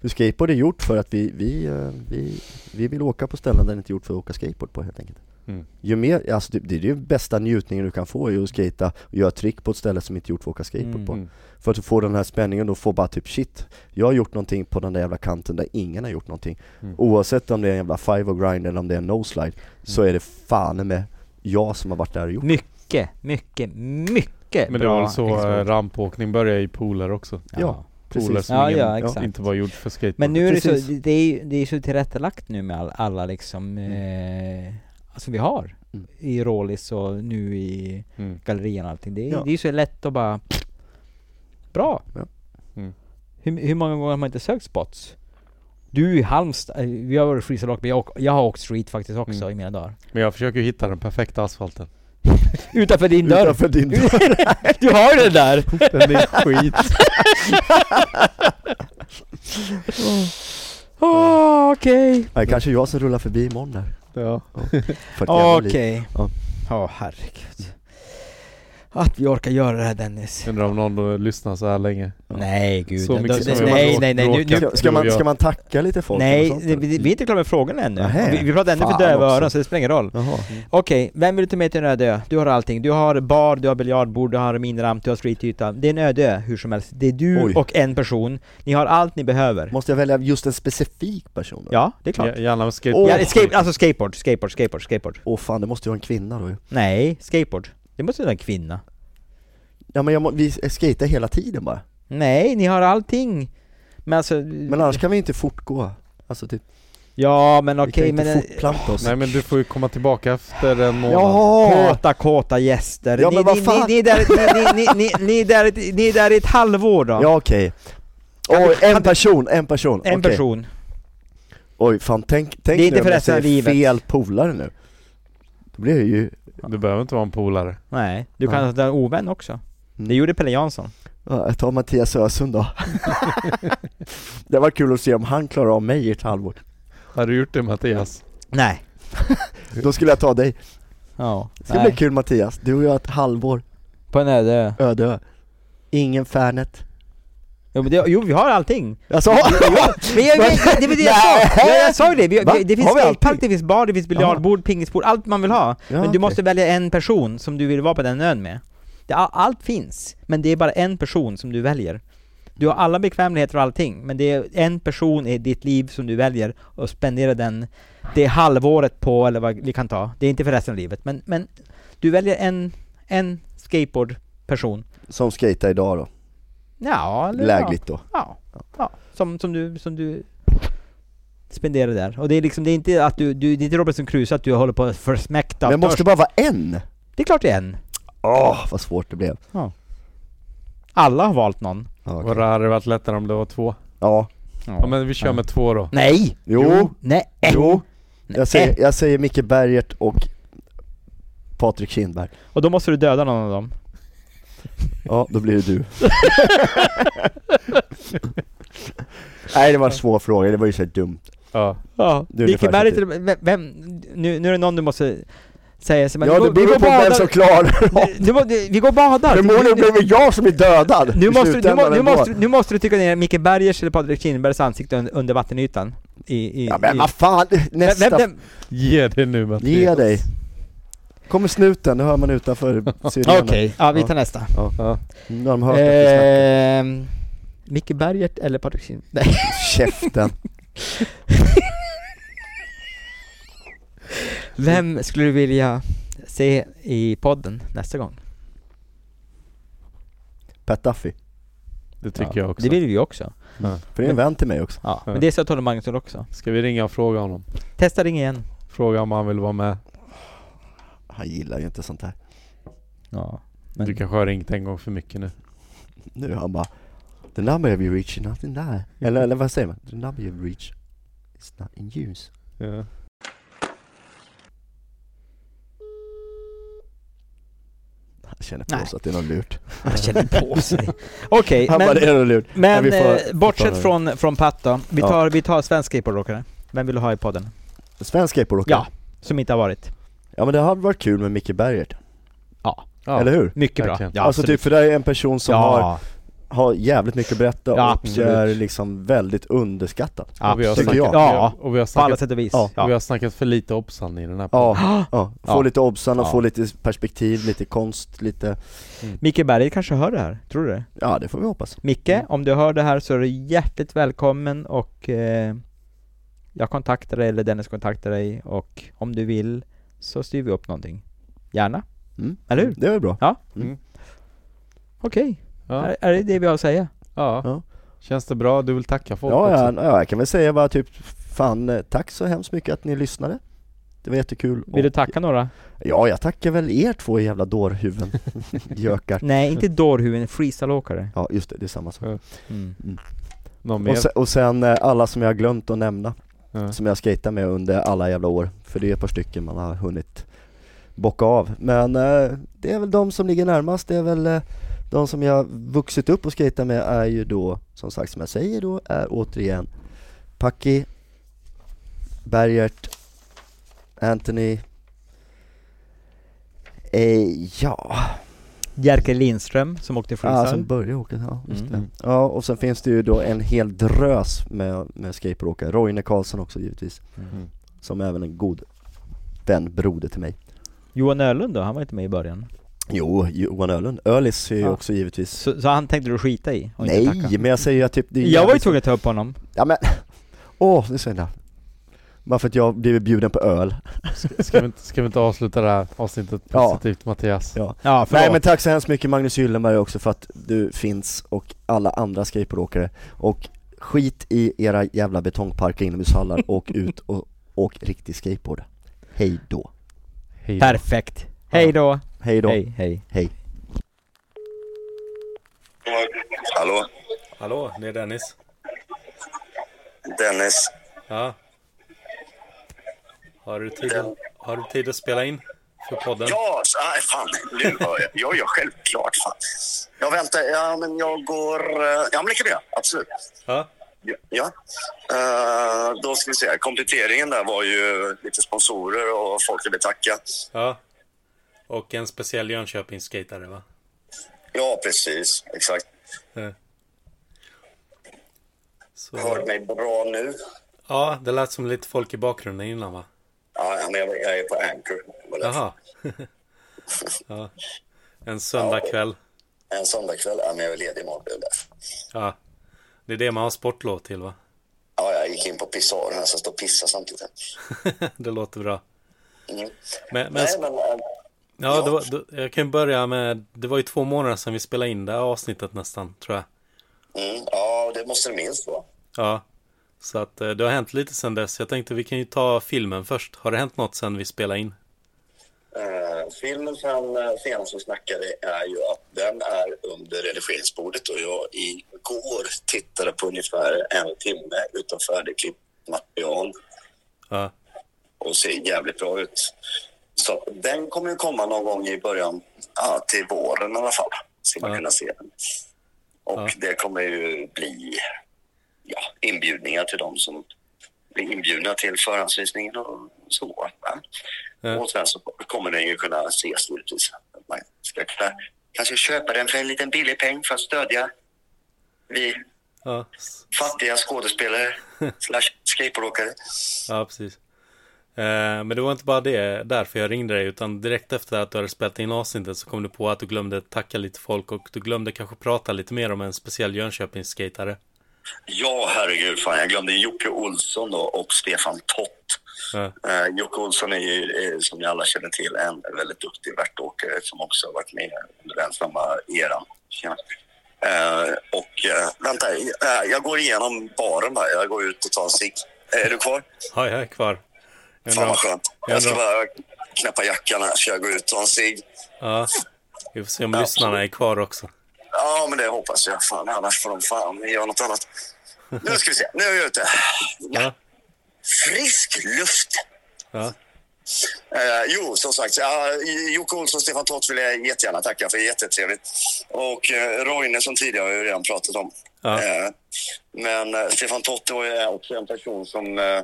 Speaker 2: För skateboard är gjort för att vi, vi, eh, vi, vi vill åka på ställen där det inte är gjort för att åka skateboard på helt enkelt.
Speaker 4: Mm.
Speaker 2: Ju mer, alltså det, det är ju bästa njutningen du kan få, är ju att skata och göra trick på ett ställe som inte är gjort för att åka skateboard på.
Speaker 4: Mm.
Speaker 2: För att du får den här spänningen och får bara typ shit, jag har gjort någonting på den där jävla kanten där ingen har gjort någonting.
Speaker 4: Mm.
Speaker 2: Oavsett om det är en jävla five och grind eller om det är en no slide, så är det fan med jag som har varit där och gjort.
Speaker 3: Mycket, mycket, mycket
Speaker 4: Men det
Speaker 3: bra.
Speaker 4: var väl så
Speaker 3: exempel.
Speaker 4: eh, rampåkning började i pooler också?
Speaker 2: Ja,
Speaker 4: Pooler
Speaker 2: precis.
Speaker 4: som
Speaker 3: Ja,
Speaker 4: ingen,
Speaker 3: ja, exakt.
Speaker 4: inte var gjord för skateboard.
Speaker 3: Men nu är det, så,
Speaker 2: Precis.
Speaker 3: det, det är ju det är så tillrättalagt nu med all, alla liksom, eh, alltså vi har
Speaker 2: Mm.
Speaker 3: i Rålis och nu i
Speaker 4: Mm.
Speaker 3: gallerian och allting. Det är,
Speaker 2: Ja.
Speaker 3: det är så lätt att bara, bra!
Speaker 2: Ja.
Speaker 4: Mm.
Speaker 3: Hur, hur många gånger har man inte sökt spots? Du i Halmstad, eh, vi har varit freestyle och jag, jag har åkt street faktiskt också
Speaker 4: Mm.
Speaker 3: i mina dagar.
Speaker 4: Men jag försöker ju hitta den perfekta asfalten.
Speaker 3: Utanför din dörr!
Speaker 2: Utanför din dörr.
Speaker 3: du har ju den där!
Speaker 4: Den är skit.
Speaker 3: Åh, Ah, Okej.
Speaker 2: Nej, kanske jag som rullar förbi imorgon där.
Speaker 4: Ja.
Speaker 2: För ett jävla liv.
Speaker 3: Okej.
Speaker 2: Ja.
Speaker 3: Ja, herregud. Att vi orkar göra det här Dennis.
Speaker 4: Undrar om någon då lyssnar så här länge. Ja.
Speaker 3: Nej gud.
Speaker 4: Så
Speaker 3: den-
Speaker 4: mycket
Speaker 3: den-
Speaker 4: som vi
Speaker 3: nej,
Speaker 4: har
Speaker 3: nej, nej, nu, nu,
Speaker 4: bråkat.
Speaker 2: Ska, ska, man, ska man tacka lite folk? eller
Speaker 3: nej,
Speaker 2: sånt,
Speaker 3: vi,
Speaker 2: eller?
Speaker 3: vi vi är inte klara med frågorna ännu.
Speaker 2: Nähä.
Speaker 3: Vi, vi pratar ännu för
Speaker 2: Fan också.
Speaker 3: döva öron så det spelar ingen roll.
Speaker 2: Jaha.
Speaker 3: Okej, vem vill du ta med till en öde ö? Du har allting. Du har bar, du har biljardbord, du har miniramp, du har streetyta. Det är en öde ö hur som helst. Det är du
Speaker 2: Oj.
Speaker 3: och en person. Ni har allt ni behöver.
Speaker 2: Måste jag välja just en specifik person? då?
Speaker 3: Ja, det är klart.
Speaker 4: Ja, Gärna med skateboard.
Speaker 2: Åh.
Speaker 3: Ja, skate, alltså skateboard, skateboard, skateboard, skateboard.
Speaker 2: Åh fan, det måste ju vara en kvinna då ju.
Speaker 3: Nej, skateboard. Det måste vara en kvinna.
Speaker 2: Ja men jag må, vi skejtar hela tiden bara.
Speaker 3: Nej, ni har allting. Men alltså...
Speaker 2: Men annars kan vi inte fortgå. Alltså typ,
Speaker 3: ja, men
Speaker 2: vi kan
Speaker 3: okej,
Speaker 2: inte
Speaker 3: men...
Speaker 2: fortplanta oss.
Speaker 4: Nej men du får ju komma tillbaka efter en månad.
Speaker 3: Jaha! Kåta, kåta gäster.
Speaker 2: Ja,
Speaker 3: ni,
Speaker 2: men vad
Speaker 3: ni,
Speaker 2: fan?
Speaker 3: ni, ni, är där, ni, ni, ni, ni, ni, är där, ett- ni är där i ett halvår då.
Speaker 2: Ja okej.
Speaker 3: Kan
Speaker 2: Oj,
Speaker 3: du- kan
Speaker 2: en
Speaker 3: du-
Speaker 2: person, en person.
Speaker 3: en
Speaker 2: Okej.
Speaker 3: person.
Speaker 2: Oj fan, tänk, tänk
Speaker 3: Det är inte
Speaker 2: nu om
Speaker 3: för
Speaker 2: jag
Speaker 3: resten av
Speaker 2: säger
Speaker 3: livet.
Speaker 2: fel polare nu. Då blir jag ju,
Speaker 4: Du behöver inte vara en polare.
Speaker 3: Nej, du kan
Speaker 2: Nej.
Speaker 3: ha en ovän också.
Speaker 2: Mm.
Speaker 3: Det gjorde Pelle Jansson.
Speaker 2: ja, jag tar Mattias Ösund då. det var kul att se om han klarar av mig i ett halvår.
Speaker 4: Har du gjort det Mattias?
Speaker 3: Nej.
Speaker 2: Då skulle jag ta dig.
Speaker 3: Ja.
Speaker 2: Det ska bli kul Mattias, du och jag ett halvår,
Speaker 3: På en öde ö.
Speaker 2: öde ö. Ingen Fernet.
Speaker 3: Jo, men det, jo, vi har allting.
Speaker 2: Alltså,
Speaker 3: Men jag, jag, det var det jag sa! Jag, jag sa ju det! Vi,
Speaker 2: Va?
Speaker 3: vi, det finns
Speaker 2: Har vi
Speaker 3: skatepark,
Speaker 2: allting?
Speaker 3: det finns bar, det finns biljardbord, pingisbord, allt man vill ha.
Speaker 2: Ja,
Speaker 3: men du
Speaker 2: okej.
Speaker 3: måste välja en person som du vill vara på den ön med. Det, all- allt finns, men det är bara en person som du väljer. Du har alla bekvämligheter och allting, men det är en person i ditt liv som du väljer och spenderar den, det halvåret på, eller vad vi kan ta. Det är inte för resten av livet, men, men du väljer en, en skateboardperson.
Speaker 2: som skejtar idag då,
Speaker 3: Ja, eller ja.
Speaker 2: lägligt då.
Speaker 3: Ja, ja. Som, som, du, som du spenderar där. Och det är liksom, det är inte att du, du det är inte Robinson Crusoe att du håller på att försmäkta
Speaker 2: Men måste det
Speaker 3: törst.
Speaker 2: bara vara en?
Speaker 3: Det är klart det är en.
Speaker 2: Åh, vad svårt det blev.
Speaker 3: Alla har valt någon.
Speaker 2: Ja, okej.
Speaker 4: Och det hade varit lättare om det var två.
Speaker 2: ja.
Speaker 4: Ja men vi kör med två då.
Speaker 3: Nej!
Speaker 2: jo,
Speaker 3: Nej!
Speaker 2: jo.
Speaker 3: Nej.
Speaker 2: Jag säger, jag säger Micke Bergert och Patrik Kindberg.
Speaker 3: Och då måste du döda någon av dem.
Speaker 2: Ja, då blir det du. Nej, det var en svår fråga, det var ju så här dumt.
Speaker 4: Ja.
Speaker 3: Ja.
Speaker 2: Du är
Speaker 3: Vilken
Speaker 2: ungefär
Speaker 3: Berg till
Speaker 4: typ.
Speaker 3: vem, vem, nu, nu är det någon du måste säga som
Speaker 2: Ja, det beror på vem som klarar av
Speaker 3: du, må- du, Vi går och badar!
Speaker 2: Förmodligen
Speaker 3: Nu-
Speaker 2: blir det jag som är dödad
Speaker 3: nu,
Speaker 2: i
Speaker 3: måste, du- nu, må-
Speaker 2: slutändan
Speaker 3: nu,
Speaker 2: ändå.
Speaker 3: måste, du- nu måste du trycka ner Micke Bergers eller Patrik Kindbergs ansikte un- under vattenytan. I, i,
Speaker 2: Ja
Speaker 3: i,
Speaker 2: men vad fan,
Speaker 3: vem,
Speaker 2: nästa
Speaker 3: vem, vem,
Speaker 4: Ge det nu Mattias.
Speaker 2: Ge dig! Kommer snuten, det hör man utanför
Speaker 3: Okej,
Speaker 2: sirenerna.
Speaker 3: ja vi tar nästa.
Speaker 4: Ja.
Speaker 2: Nu har de hört det
Speaker 3: Ehm, Micke Bergert eller Patrik Kindberg? Nej.
Speaker 2: Käften!
Speaker 3: Vem skulle du vilja se i podden nästa gång?
Speaker 2: Pat Duffy,
Speaker 4: Det tycker jag också.
Speaker 3: Det vill vi ju också.
Speaker 2: för det är en vän till mig också.
Speaker 3: Ja.
Speaker 4: Ja.
Speaker 3: Men det sa Tony Magnusson också.
Speaker 4: Ska vi ringa och fråga honom?
Speaker 3: Testa ring igen.
Speaker 4: Fråga om han vill vara med.
Speaker 2: Han gillar ju inte sånt här.
Speaker 3: Ja. Men,
Speaker 4: Du kanske har ringt en gång för mycket nu.
Speaker 2: Nu är han bara The number of you reach is not in there. Eller, eller vad säger man? The number you reach is not in use.
Speaker 4: Ja.
Speaker 2: Han känner
Speaker 3: Nej.
Speaker 2: på sig att det är något lurt.
Speaker 3: Han känner på sig. Okej,
Speaker 2: Han bara, det
Speaker 3: men,
Speaker 2: är något lurt.
Speaker 3: men
Speaker 2: vi får-
Speaker 3: eh, bortsett
Speaker 2: vi får-
Speaker 3: från, från Pat då. Vi
Speaker 2: Ja.
Speaker 3: tar, vi tar svensk skateboardåkare. Vem vill du ha i podden?
Speaker 2: Svensk skateboardåkare?
Speaker 3: Ja. Som inte har varit.
Speaker 2: Ja men det hade varit kul med Micke Bergert,
Speaker 4: Ja.
Speaker 2: eller hur?
Speaker 3: Mycket bra.
Speaker 4: Verkligen.
Speaker 3: Ja,
Speaker 2: alltså
Speaker 3: absolut.
Speaker 2: typ, för det är en person som har,
Speaker 3: ja,
Speaker 2: har jävligt mycket att berätta
Speaker 3: Ja,
Speaker 2: och
Speaker 3: absolut.
Speaker 2: är liksom väldigt underskattad.
Speaker 4: Och vi har
Speaker 2: Tycker
Speaker 3: absolut.
Speaker 2: jag.
Speaker 3: Ja,
Speaker 4: Och
Speaker 3: på
Speaker 4: vi har
Speaker 3: alla
Speaker 4: snackat,
Speaker 3: sätt och vis. Ah!
Speaker 2: Ja.
Speaker 4: och vi har snackat för lite Obsan i den här podden.
Speaker 2: Ja, ja. få
Speaker 3: Ja.
Speaker 2: lite obsan och
Speaker 3: Ja.
Speaker 2: få lite perspektiv, lite konst, lite...
Speaker 3: Micke Berg kanske hör det här, tror du det?
Speaker 2: Ja det får vi hoppas.
Speaker 3: Micke, om du hör det här så är du hjärtligt välkommen och eh, jag kontaktar dig eller Dennis kontaktar dig och om du vill så styr vi upp någonting. Gärna.
Speaker 2: Mm.
Speaker 3: Eller hur?
Speaker 2: Det är väl bra.
Speaker 3: Okej,
Speaker 4: Ja.
Speaker 3: är, är det det vi har att säga?
Speaker 4: ja. Känns det bra? Du vill tacka folk
Speaker 2: Ja, ja,
Speaker 4: också?
Speaker 2: ja, jag kan väl säga bara typ, fan eh, tack så hemskt mycket att ni lyssnade. Det var jättekul.
Speaker 3: Vill du
Speaker 2: Och-
Speaker 3: tacka några?
Speaker 2: Ja, jag tackar väl er två jävla dårhuvuden. Gökar.
Speaker 3: Nej, inte dårhuvuden, freestyleåkare.
Speaker 2: Ja, just det, det är samma sak.
Speaker 4: Ja.
Speaker 3: Mm.
Speaker 4: Någon mer?
Speaker 2: Och sen, och sen eh, alla som jag har glömt att nämna,
Speaker 4: Ja.
Speaker 2: som jag skejtar med under alla jävla år. För det är ett par stycken man har hunnit bocka av. Men eh, det är väl de som ligger närmast, det är väl eh, de som jag vuxit upp och skejtar med är ju då, som sagt som jag säger då, är återigen Paki, Bergert, Anthony, eh, ja,
Speaker 3: Jerker Lindström som åkte
Speaker 2: Ja,
Speaker 3: freestyle.
Speaker 2: ah, som började åka, ja just
Speaker 3: Mm.
Speaker 2: det. Ja, och sen finns det ju då en hel drös med, med skateboardåkare, Roine Karlsson också givetvis,
Speaker 3: Mm.
Speaker 2: som även en god vän, broder till mig.
Speaker 3: Johan Ölund då, han var inte med i början.
Speaker 2: Jo, Johan Ölund, Ölis är ju
Speaker 3: Ja.
Speaker 2: också givetvis
Speaker 3: Så, så han tänkte du skita i? och inte
Speaker 2: Nej,
Speaker 3: tacka?
Speaker 2: men jag säger ju att typ det är
Speaker 3: Jag var ju
Speaker 2: jävligt-
Speaker 3: tvungen att ta upp honom.
Speaker 2: Ja men, åh, nu säger jag det. Bara för att jag blev bjuden på öl.
Speaker 4: Ska, vi inte, ska vi inte avsluta det här avsnittet
Speaker 2: Ja.
Speaker 4: positivt Mattias?
Speaker 2: Ja.
Speaker 3: Ja, förlåt.
Speaker 2: Nej men tack så hemskt mycket Magnus Gyllenberg också för att du finns och alla andra skateboardåkare och skit i era jävla betongparker inomhushallar och ut och åk riktig skateboard. Hej då.
Speaker 4: Hej då.
Speaker 3: Perfekt. Hej då.
Speaker 2: Hej då.
Speaker 3: Hej, hej.
Speaker 2: Hej.
Speaker 8: Hallå?
Speaker 4: Hallå, det är Dennis.
Speaker 8: Dennis?
Speaker 4: Ja. Har du tid, har du tid att spela in för podden?
Speaker 8: Ja, så- nej, fan. Nu hör jag. Ja, ja, självklart. Fan. Jag väntar. Ja, men jag går... eh, Ja, men det kan vi göra. Absolut.
Speaker 4: Ja.
Speaker 8: Ja. ja. Eh, då ska vi se. Kompletteringen där var ju lite sponsorer och folk ville tacka.
Speaker 4: ja. Och en speciell Jönköpingsskejtare va?
Speaker 8: Ja, precis. Exakt. Hör
Speaker 4: Så,
Speaker 8: du mig bra nu?
Speaker 4: ja, det lät som lite folk i bakgrunden innan va?
Speaker 8: Ja, men jag, jag är på Anchor. Var det?
Speaker 4: Jaha. ja. En söndagkväll.
Speaker 8: En söndagkväll. Ja, men jag är ledig imorgon. det är därför.
Speaker 4: Ja. Det är det man har sportlov till va?
Speaker 8: Ja, jag gick in på pissoaren här, så jag står och pissar samtidigt.
Speaker 4: det låter bra.
Speaker 8: Mm.
Speaker 4: Men, men,
Speaker 8: Nej, men... eh,
Speaker 4: ja,
Speaker 8: ja.
Speaker 4: det var, då, jag kan ju börja med, det var ju två månader sedan vi spelade in det här avsnittet nästan, tror jag.
Speaker 8: Mm, ja, det måste det minst vara.
Speaker 4: Ja. Så att eh, det har hänt lite sedan dess. Jag tänkte vi kan ju ta filmen först. Har det hänt något sedan vi spelade in?
Speaker 8: Eh, filmen som eh, senast vi snackade är ju att den är under redigeringsbordet och jag igår tittade på ungefär en timme utav färdigklippt material
Speaker 4: Ja.
Speaker 8: och ser jävligt bra ut. Så att den kommer ju komma någon gång i början, ja, till våren i alla fall, ska man
Speaker 4: Ja.
Speaker 8: kunna se den. Och
Speaker 4: Ja.
Speaker 8: det kommer ju bli ja, inbjudningar till de som blir inbjudna till förhandsvisningen och så. Va?
Speaker 4: Ja.
Speaker 8: Och sen så kommer den ju kunna ses givetvis. Man ska kunna, kanske köpa den för en liten billig peng för att stödja vi
Speaker 4: Ja, s-
Speaker 8: fattiga skådespelare slash skateboardåkare.
Speaker 4: ja precis. Eh, Men det var inte bara det därför jag ringde dig, utan direkt efter att du hade spelat in avsnittet så kom du på att du glömde tacka lite folk och du glömde kanske prata lite mer om en speciell Jönköpingsskejtare.
Speaker 8: Ja, herregud. Fan, jag glömde Jocke Olsson då och Stefan Tott.
Speaker 4: Ja,
Speaker 8: Eh, Jocke Olsson är ju, eh, som ni alla känner till, en väldigt duktig värtåkare som också har varit med under den samma eran. Tjena. Eh, och eh, vänta, eh, jag går igenom baren här. Jag går ut och tar en cigg. Eh, är du kvar?
Speaker 4: ja jag är kvar. Jag
Speaker 8: Fan
Speaker 4: undrar-
Speaker 8: vad skönt.
Speaker 4: Jag
Speaker 8: Jag ska
Speaker 4: undrar-
Speaker 8: bara knäppa jackan här så jag går ut och tar en cigg.
Speaker 4: Ja, vi får se om
Speaker 8: Ja,
Speaker 4: lyssnarna är kvar också.
Speaker 8: Ja, men det hoppas jag. Fan, annars får de fan göra något annat. Nu ska vi se. Nu är jag ute.
Speaker 4: Ja,
Speaker 8: Frisk luft!
Speaker 4: ja,
Speaker 8: Eh, jo, som sagt, ja, Jocke Olsson och Stefan Tott vill jag jättegärna tacka för. Jättetrevligt. Och eh, Roine som tidigare har jag ju redan pratat om.
Speaker 4: Ja.
Speaker 8: Eh, men eh, Stefan Tott var ju också en person som eh,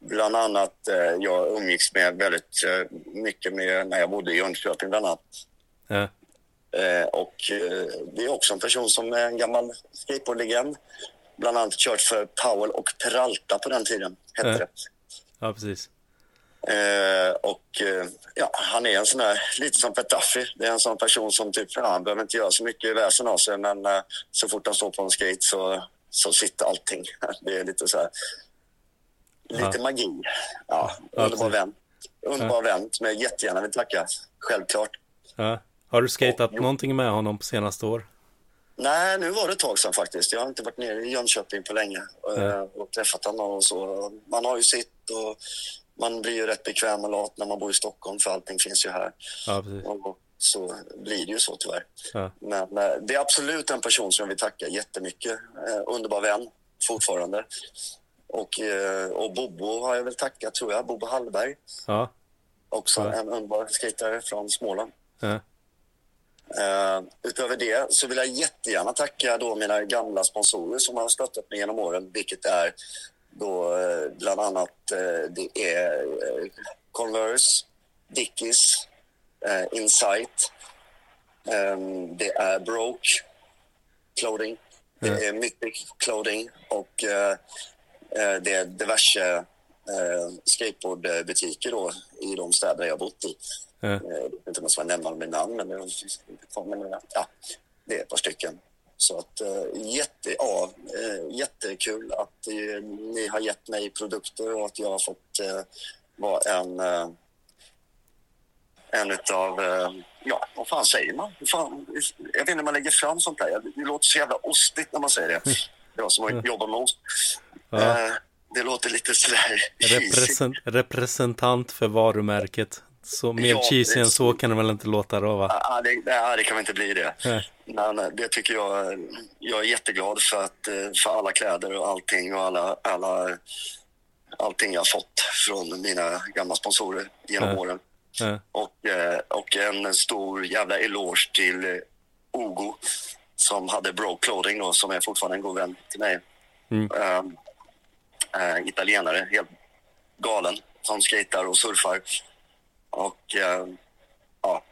Speaker 8: bland annat eh, jag umgicks med väldigt eh, mycket med när jag bodde i Jönköping bland annat.
Speaker 4: ja,
Speaker 8: Eh, och eh, det är också en person som är en gammal skateboardlegend. Bland annat kört för Powell och Peralta på den tiden, hette
Speaker 4: Ja.
Speaker 8: det.
Speaker 4: ja precis.
Speaker 8: Eh, och eh, ja, han är en sån där, lite som Petaffi. Det är en sån person som typ, ja, han behöver inte göra så mycket väsen av sig men eh, så fort han står på en skate så, så sitter allting. Det är lite så här, lite
Speaker 4: Ja.
Speaker 8: magi. Ja,
Speaker 4: Ja,
Speaker 8: underbar
Speaker 4: precis.
Speaker 8: vän. Underbar vän som jag jättegärna vill tacka, självklart.
Speaker 4: Ja. Har du skatat någonting med honom på senaste år?
Speaker 8: Nej, nu var det ett tag sedan faktiskt. Jag har inte varit nere i Jönköping på länge eh,
Speaker 4: Nej.
Speaker 8: och träffat honom och så. Man har ju sitt och man blir ju rätt bekväm och lat när man bor i Stockholm för allting finns ju här.
Speaker 4: Ja, precis.
Speaker 8: Och så blir det ju så tyvärr.
Speaker 4: Ja.
Speaker 8: Men eh, det är absolut en person som jag vill tacka jättemycket. Eh, underbar vän. fortfarande. Och, eh, och Bobo har jag väl tackat, tror jag. Bobo Hallberg,
Speaker 4: Ja.
Speaker 8: också
Speaker 4: Ja.
Speaker 8: en underbar skejtare från Småland.
Speaker 4: Ja.
Speaker 8: Eh, utöver det så vill jag jättegärna tacka då mina gamla sponsorer som har stöttat mig genom åren, vilket är då eh, bland annat eh, det är eh, Converse, Dickies, eh, Insight, eh, det är Broke Clothing, det är Mythic Clothing och eh, eh, det är diverse eh, skateboardbutiker då i de städer jag bott i.
Speaker 4: Ja.
Speaker 8: Eh, Jag vet inte om jag ska nämna dem med namn, men det finns inte kvar, men, eh, ja, det är ett par stycken. Så att eh, jätte, ja, eh, jättekul att eh, ni har gett mig produkter och att jag har fått eh, vara en eh, en utav, eh, ja vad fan säger man? Hur Fan, jag vet inte hur man lägger fram sånt där. Det låter så jävla ostigt när man säger det. Jag som har jobbat med ost.
Speaker 4: Ja.
Speaker 8: Eh, Det låter lite sådär cheesy.
Speaker 4: Represent, representant för varumärket. Så mer
Speaker 8: Ja,
Speaker 4: cheesy än
Speaker 8: precis.
Speaker 4: så kan det väl inte låta då va?
Speaker 8: Ja, det, nej, det kan väl inte bli det.
Speaker 4: Nej.
Speaker 8: Men eh, det tycker jag. Jag är jätteglad för, att, eh, för alla kläder och allting och alla, alla, allting jag har fått från mina gamla sponsorer genom
Speaker 4: Ja.
Speaker 8: åren.
Speaker 4: Ja.
Speaker 8: Och, eh, och en stor jävla eloge till eh, Ogo som hade Bro Clothing då, som är fortfarande en god vän till mig.
Speaker 4: Mm.
Speaker 8: Ehm, eh, italienare, helt galen, som skejtar och surfar. Och eh, ja,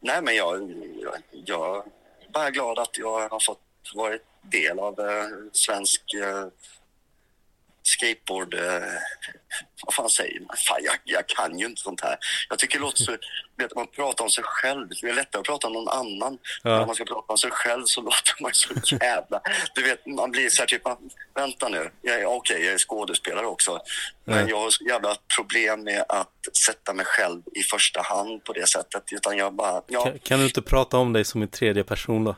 Speaker 8: nej men jag, jag, jag är bara glad att jag har fått vara del av eh, svensk eh, skateboard... Eh, vad fan säger man? Fan, jag, jag kan ju inte sånt här. Jag tycker det låter så... Vet, man pratar om sig själv. Det är lättare att prata om någon annan.
Speaker 4: Ja.
Speaker 8: Men När man ska prata om sig själv så låter man så jävla... Du vet, man blir så här typ... man- Vänta nu. Jag är, okej, jag är skådespelare också. Men
Speaker 4: Ja.
Speaker 8: jag har så jävla problem med att sätta mig själv i första hand på det sättet. Utan jag bara... Ja,
Speaker 4: Kan, kan du inte prata om dig som i tredje person då?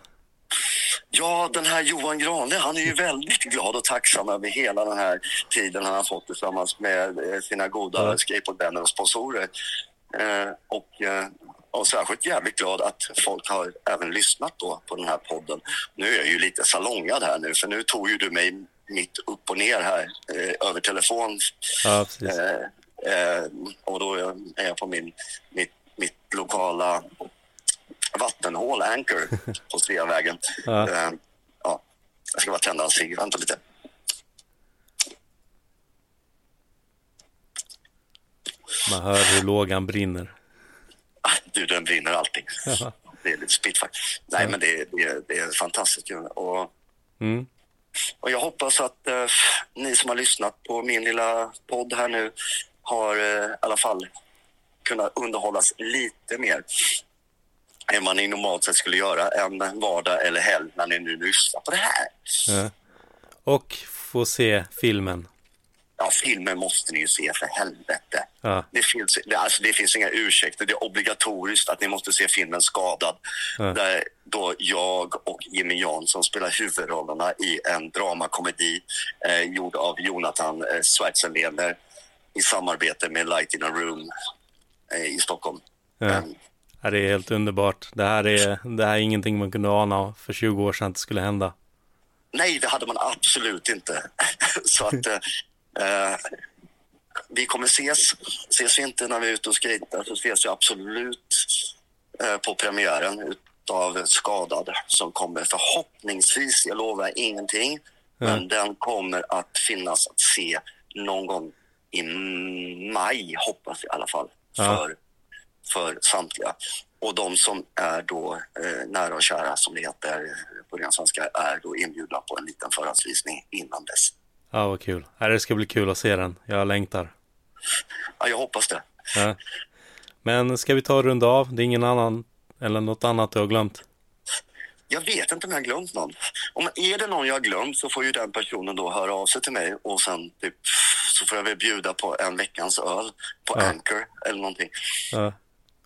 Speaker 8: Ja, den här Johan Grane, han är ju väldigt glad och tacksam över hela den här tiden han har fått tillsammans med eh, sina goda
Speaker 4: Ja.
Speaker 8: skateboardvänner och sponsorer. Eh, och, eh, och särskilt jävligt glad att folk har även lyssnat då på den här podden. Nu är jag ju lite salongad här nu, för nu tog ju du mig mitt upp och ner här eh, över telefon
Speaker 4: Ja, precis.
Speaker 8: Eh, eh, och då är jag- är jag på min, mitt, mitt lokala vattenhål, Anchor, på Sveavägen.
Speaker 4: Ja.
Speaker 8: Eh, ja. Jag ska bara tända en cigg, vänta lite.
Speaker 4: Man hör hur lågan brinner.
Speaker 8: Ah, Du, den brinner alltid.
Speaker 4: Jaha.
Speaker 8: Det är lite spitfire. Nej, men det, är- det, är- det är fantastiskt ju. Och,
Speaker 4: Mm.
Speaker 8: Och jag hoppas att eh, ni som har lyssnat på min lilla podd här nu har eh, i alla fall kunnat underhållas lite mer än vad ni normalt sett skulle göra en vardag eller helg när ni nu lyssnar på det här.
Speaker 4: Ja. Och få se filmen.
Speaker 8: Ja, filmer måste ni ju se för helvete.
Speaker 4: Ja.
Speaker 8: Det finns, det, alltså, det finns inga ursäkter. Det är obligatoriskt att ni måste se filmen Skadad.
Speaker 4: Ja.
Speaker 8: Där då jag och Jimmy Jansson spelar huvudrollerna i en dramakomedi eh, gjord av Jonathan eh, Schwarzenegger i samarbete med Light in a Room eh, i Stockholm.
Speaker 4: Ja.
Speaker 8: Men,
Speaker 4: Ja, det är helt underbart. Det här är, det här är ingenting man kunde ana för 20 år sedan att det skulle hända.
Speaker 8: nej, det hade man absolut inte. Så att... Eh, eh, vi kommer ses. Ses vi inte när vi är ute och skejtar så ses vi absolut eh, på premiären utav Skadad som kommer förhoppningsvis, jag lovar ingenting, men den kommer att finnas att se någon gång i maj, hoppas jag i alla fall, för, för samtliga. Och de som är då eh, nära och kära, som det heter på ren svenska, är då inbjudna på en liten förhandsvisning innan dess.
Speaker 4: Ja, vad kul. Ja, det ska bli kul att se den. Jag längtar.
Speaker 8: Ja, jag hoppas det.
Speaker 4: Ja. Men ska vi ta och runda av? Det är ingen annan eller något annat du har glömt?
Speaker 8: Jag vet inte om jag har glömt någon. Om är det någon jag har glömt så får ju den personen då höra av sig till mig och sen typ, så får jag väl bjuda på en veckans öl på
Speaker 4: Ja.
Speaker 8: Anchor eller någonting
Speaker 4: Ja.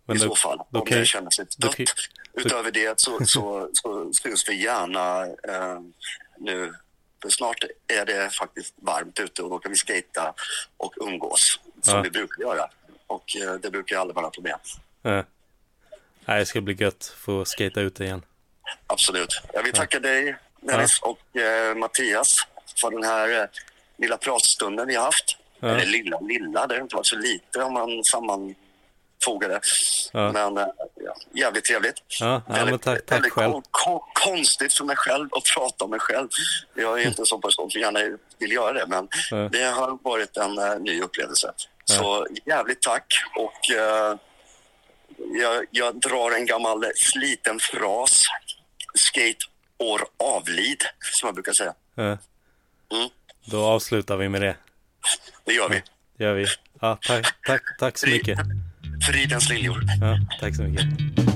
Speaker 4: Men
Speaker 8: i
Speaker 4: då-
Speaker 8: så fall.
Speaker 4: då
Speaker 8: Om
Speaker 4: kan-
Speaker 8: det känns lite
Speaker 4: då
Speaker 8: dött.
Speaker 4: kan- då-
Speaker 8: Utöver det så, så, så syns vi gärna eh, nu. För snart är det faktiskt varmt ute och då kan vi skata och umgås som
Speaker 4: Ja.
Speaker 8: vi brukar göra. Och eh, det brukar ju aldrig vara några problem.
Speaker 4: Ja. Nej, det ska bli gött få skata ut igen.
Speaker 8: Absolut. Jag vill tacka dig Dennis och eh, Mattias för den här eh, lilla pratstunden vi har haft. Eller lilla, lilla, det har inte varit så lite om man sammanfogar det.
Speaker 9: Ja.
Speaker 8: Men eh, ja, jävligt trevligt.
Speaker 9: Ja, ja, men tack- tack
Speaker 8: väldigt
Speaker 9: själv.
Speaker 8: kon- kon- konstigt för mig själv att prata om mig själv. Jag är inte en sån person som gärna vill göra det, men
Speaker 9: Ja.
Speaker 8: det har varit en eh, ny upplevelse. Så jävligt tack. Och eh, jag, jag drar en gammal sliten fras. Skate år avlid, som jag brukar säga.
Speaker 9: Ja.
Speaker 8: Mm.
Speaker 9: Då avslutar vi med det.
Speaker 8: Det gör vi.
Speaker 9: Det gör vi. Ja, tack, tack, tack så mycket.
Speaker 8: Fridens liljor.
Speaker 9: Ja, tack så mycket.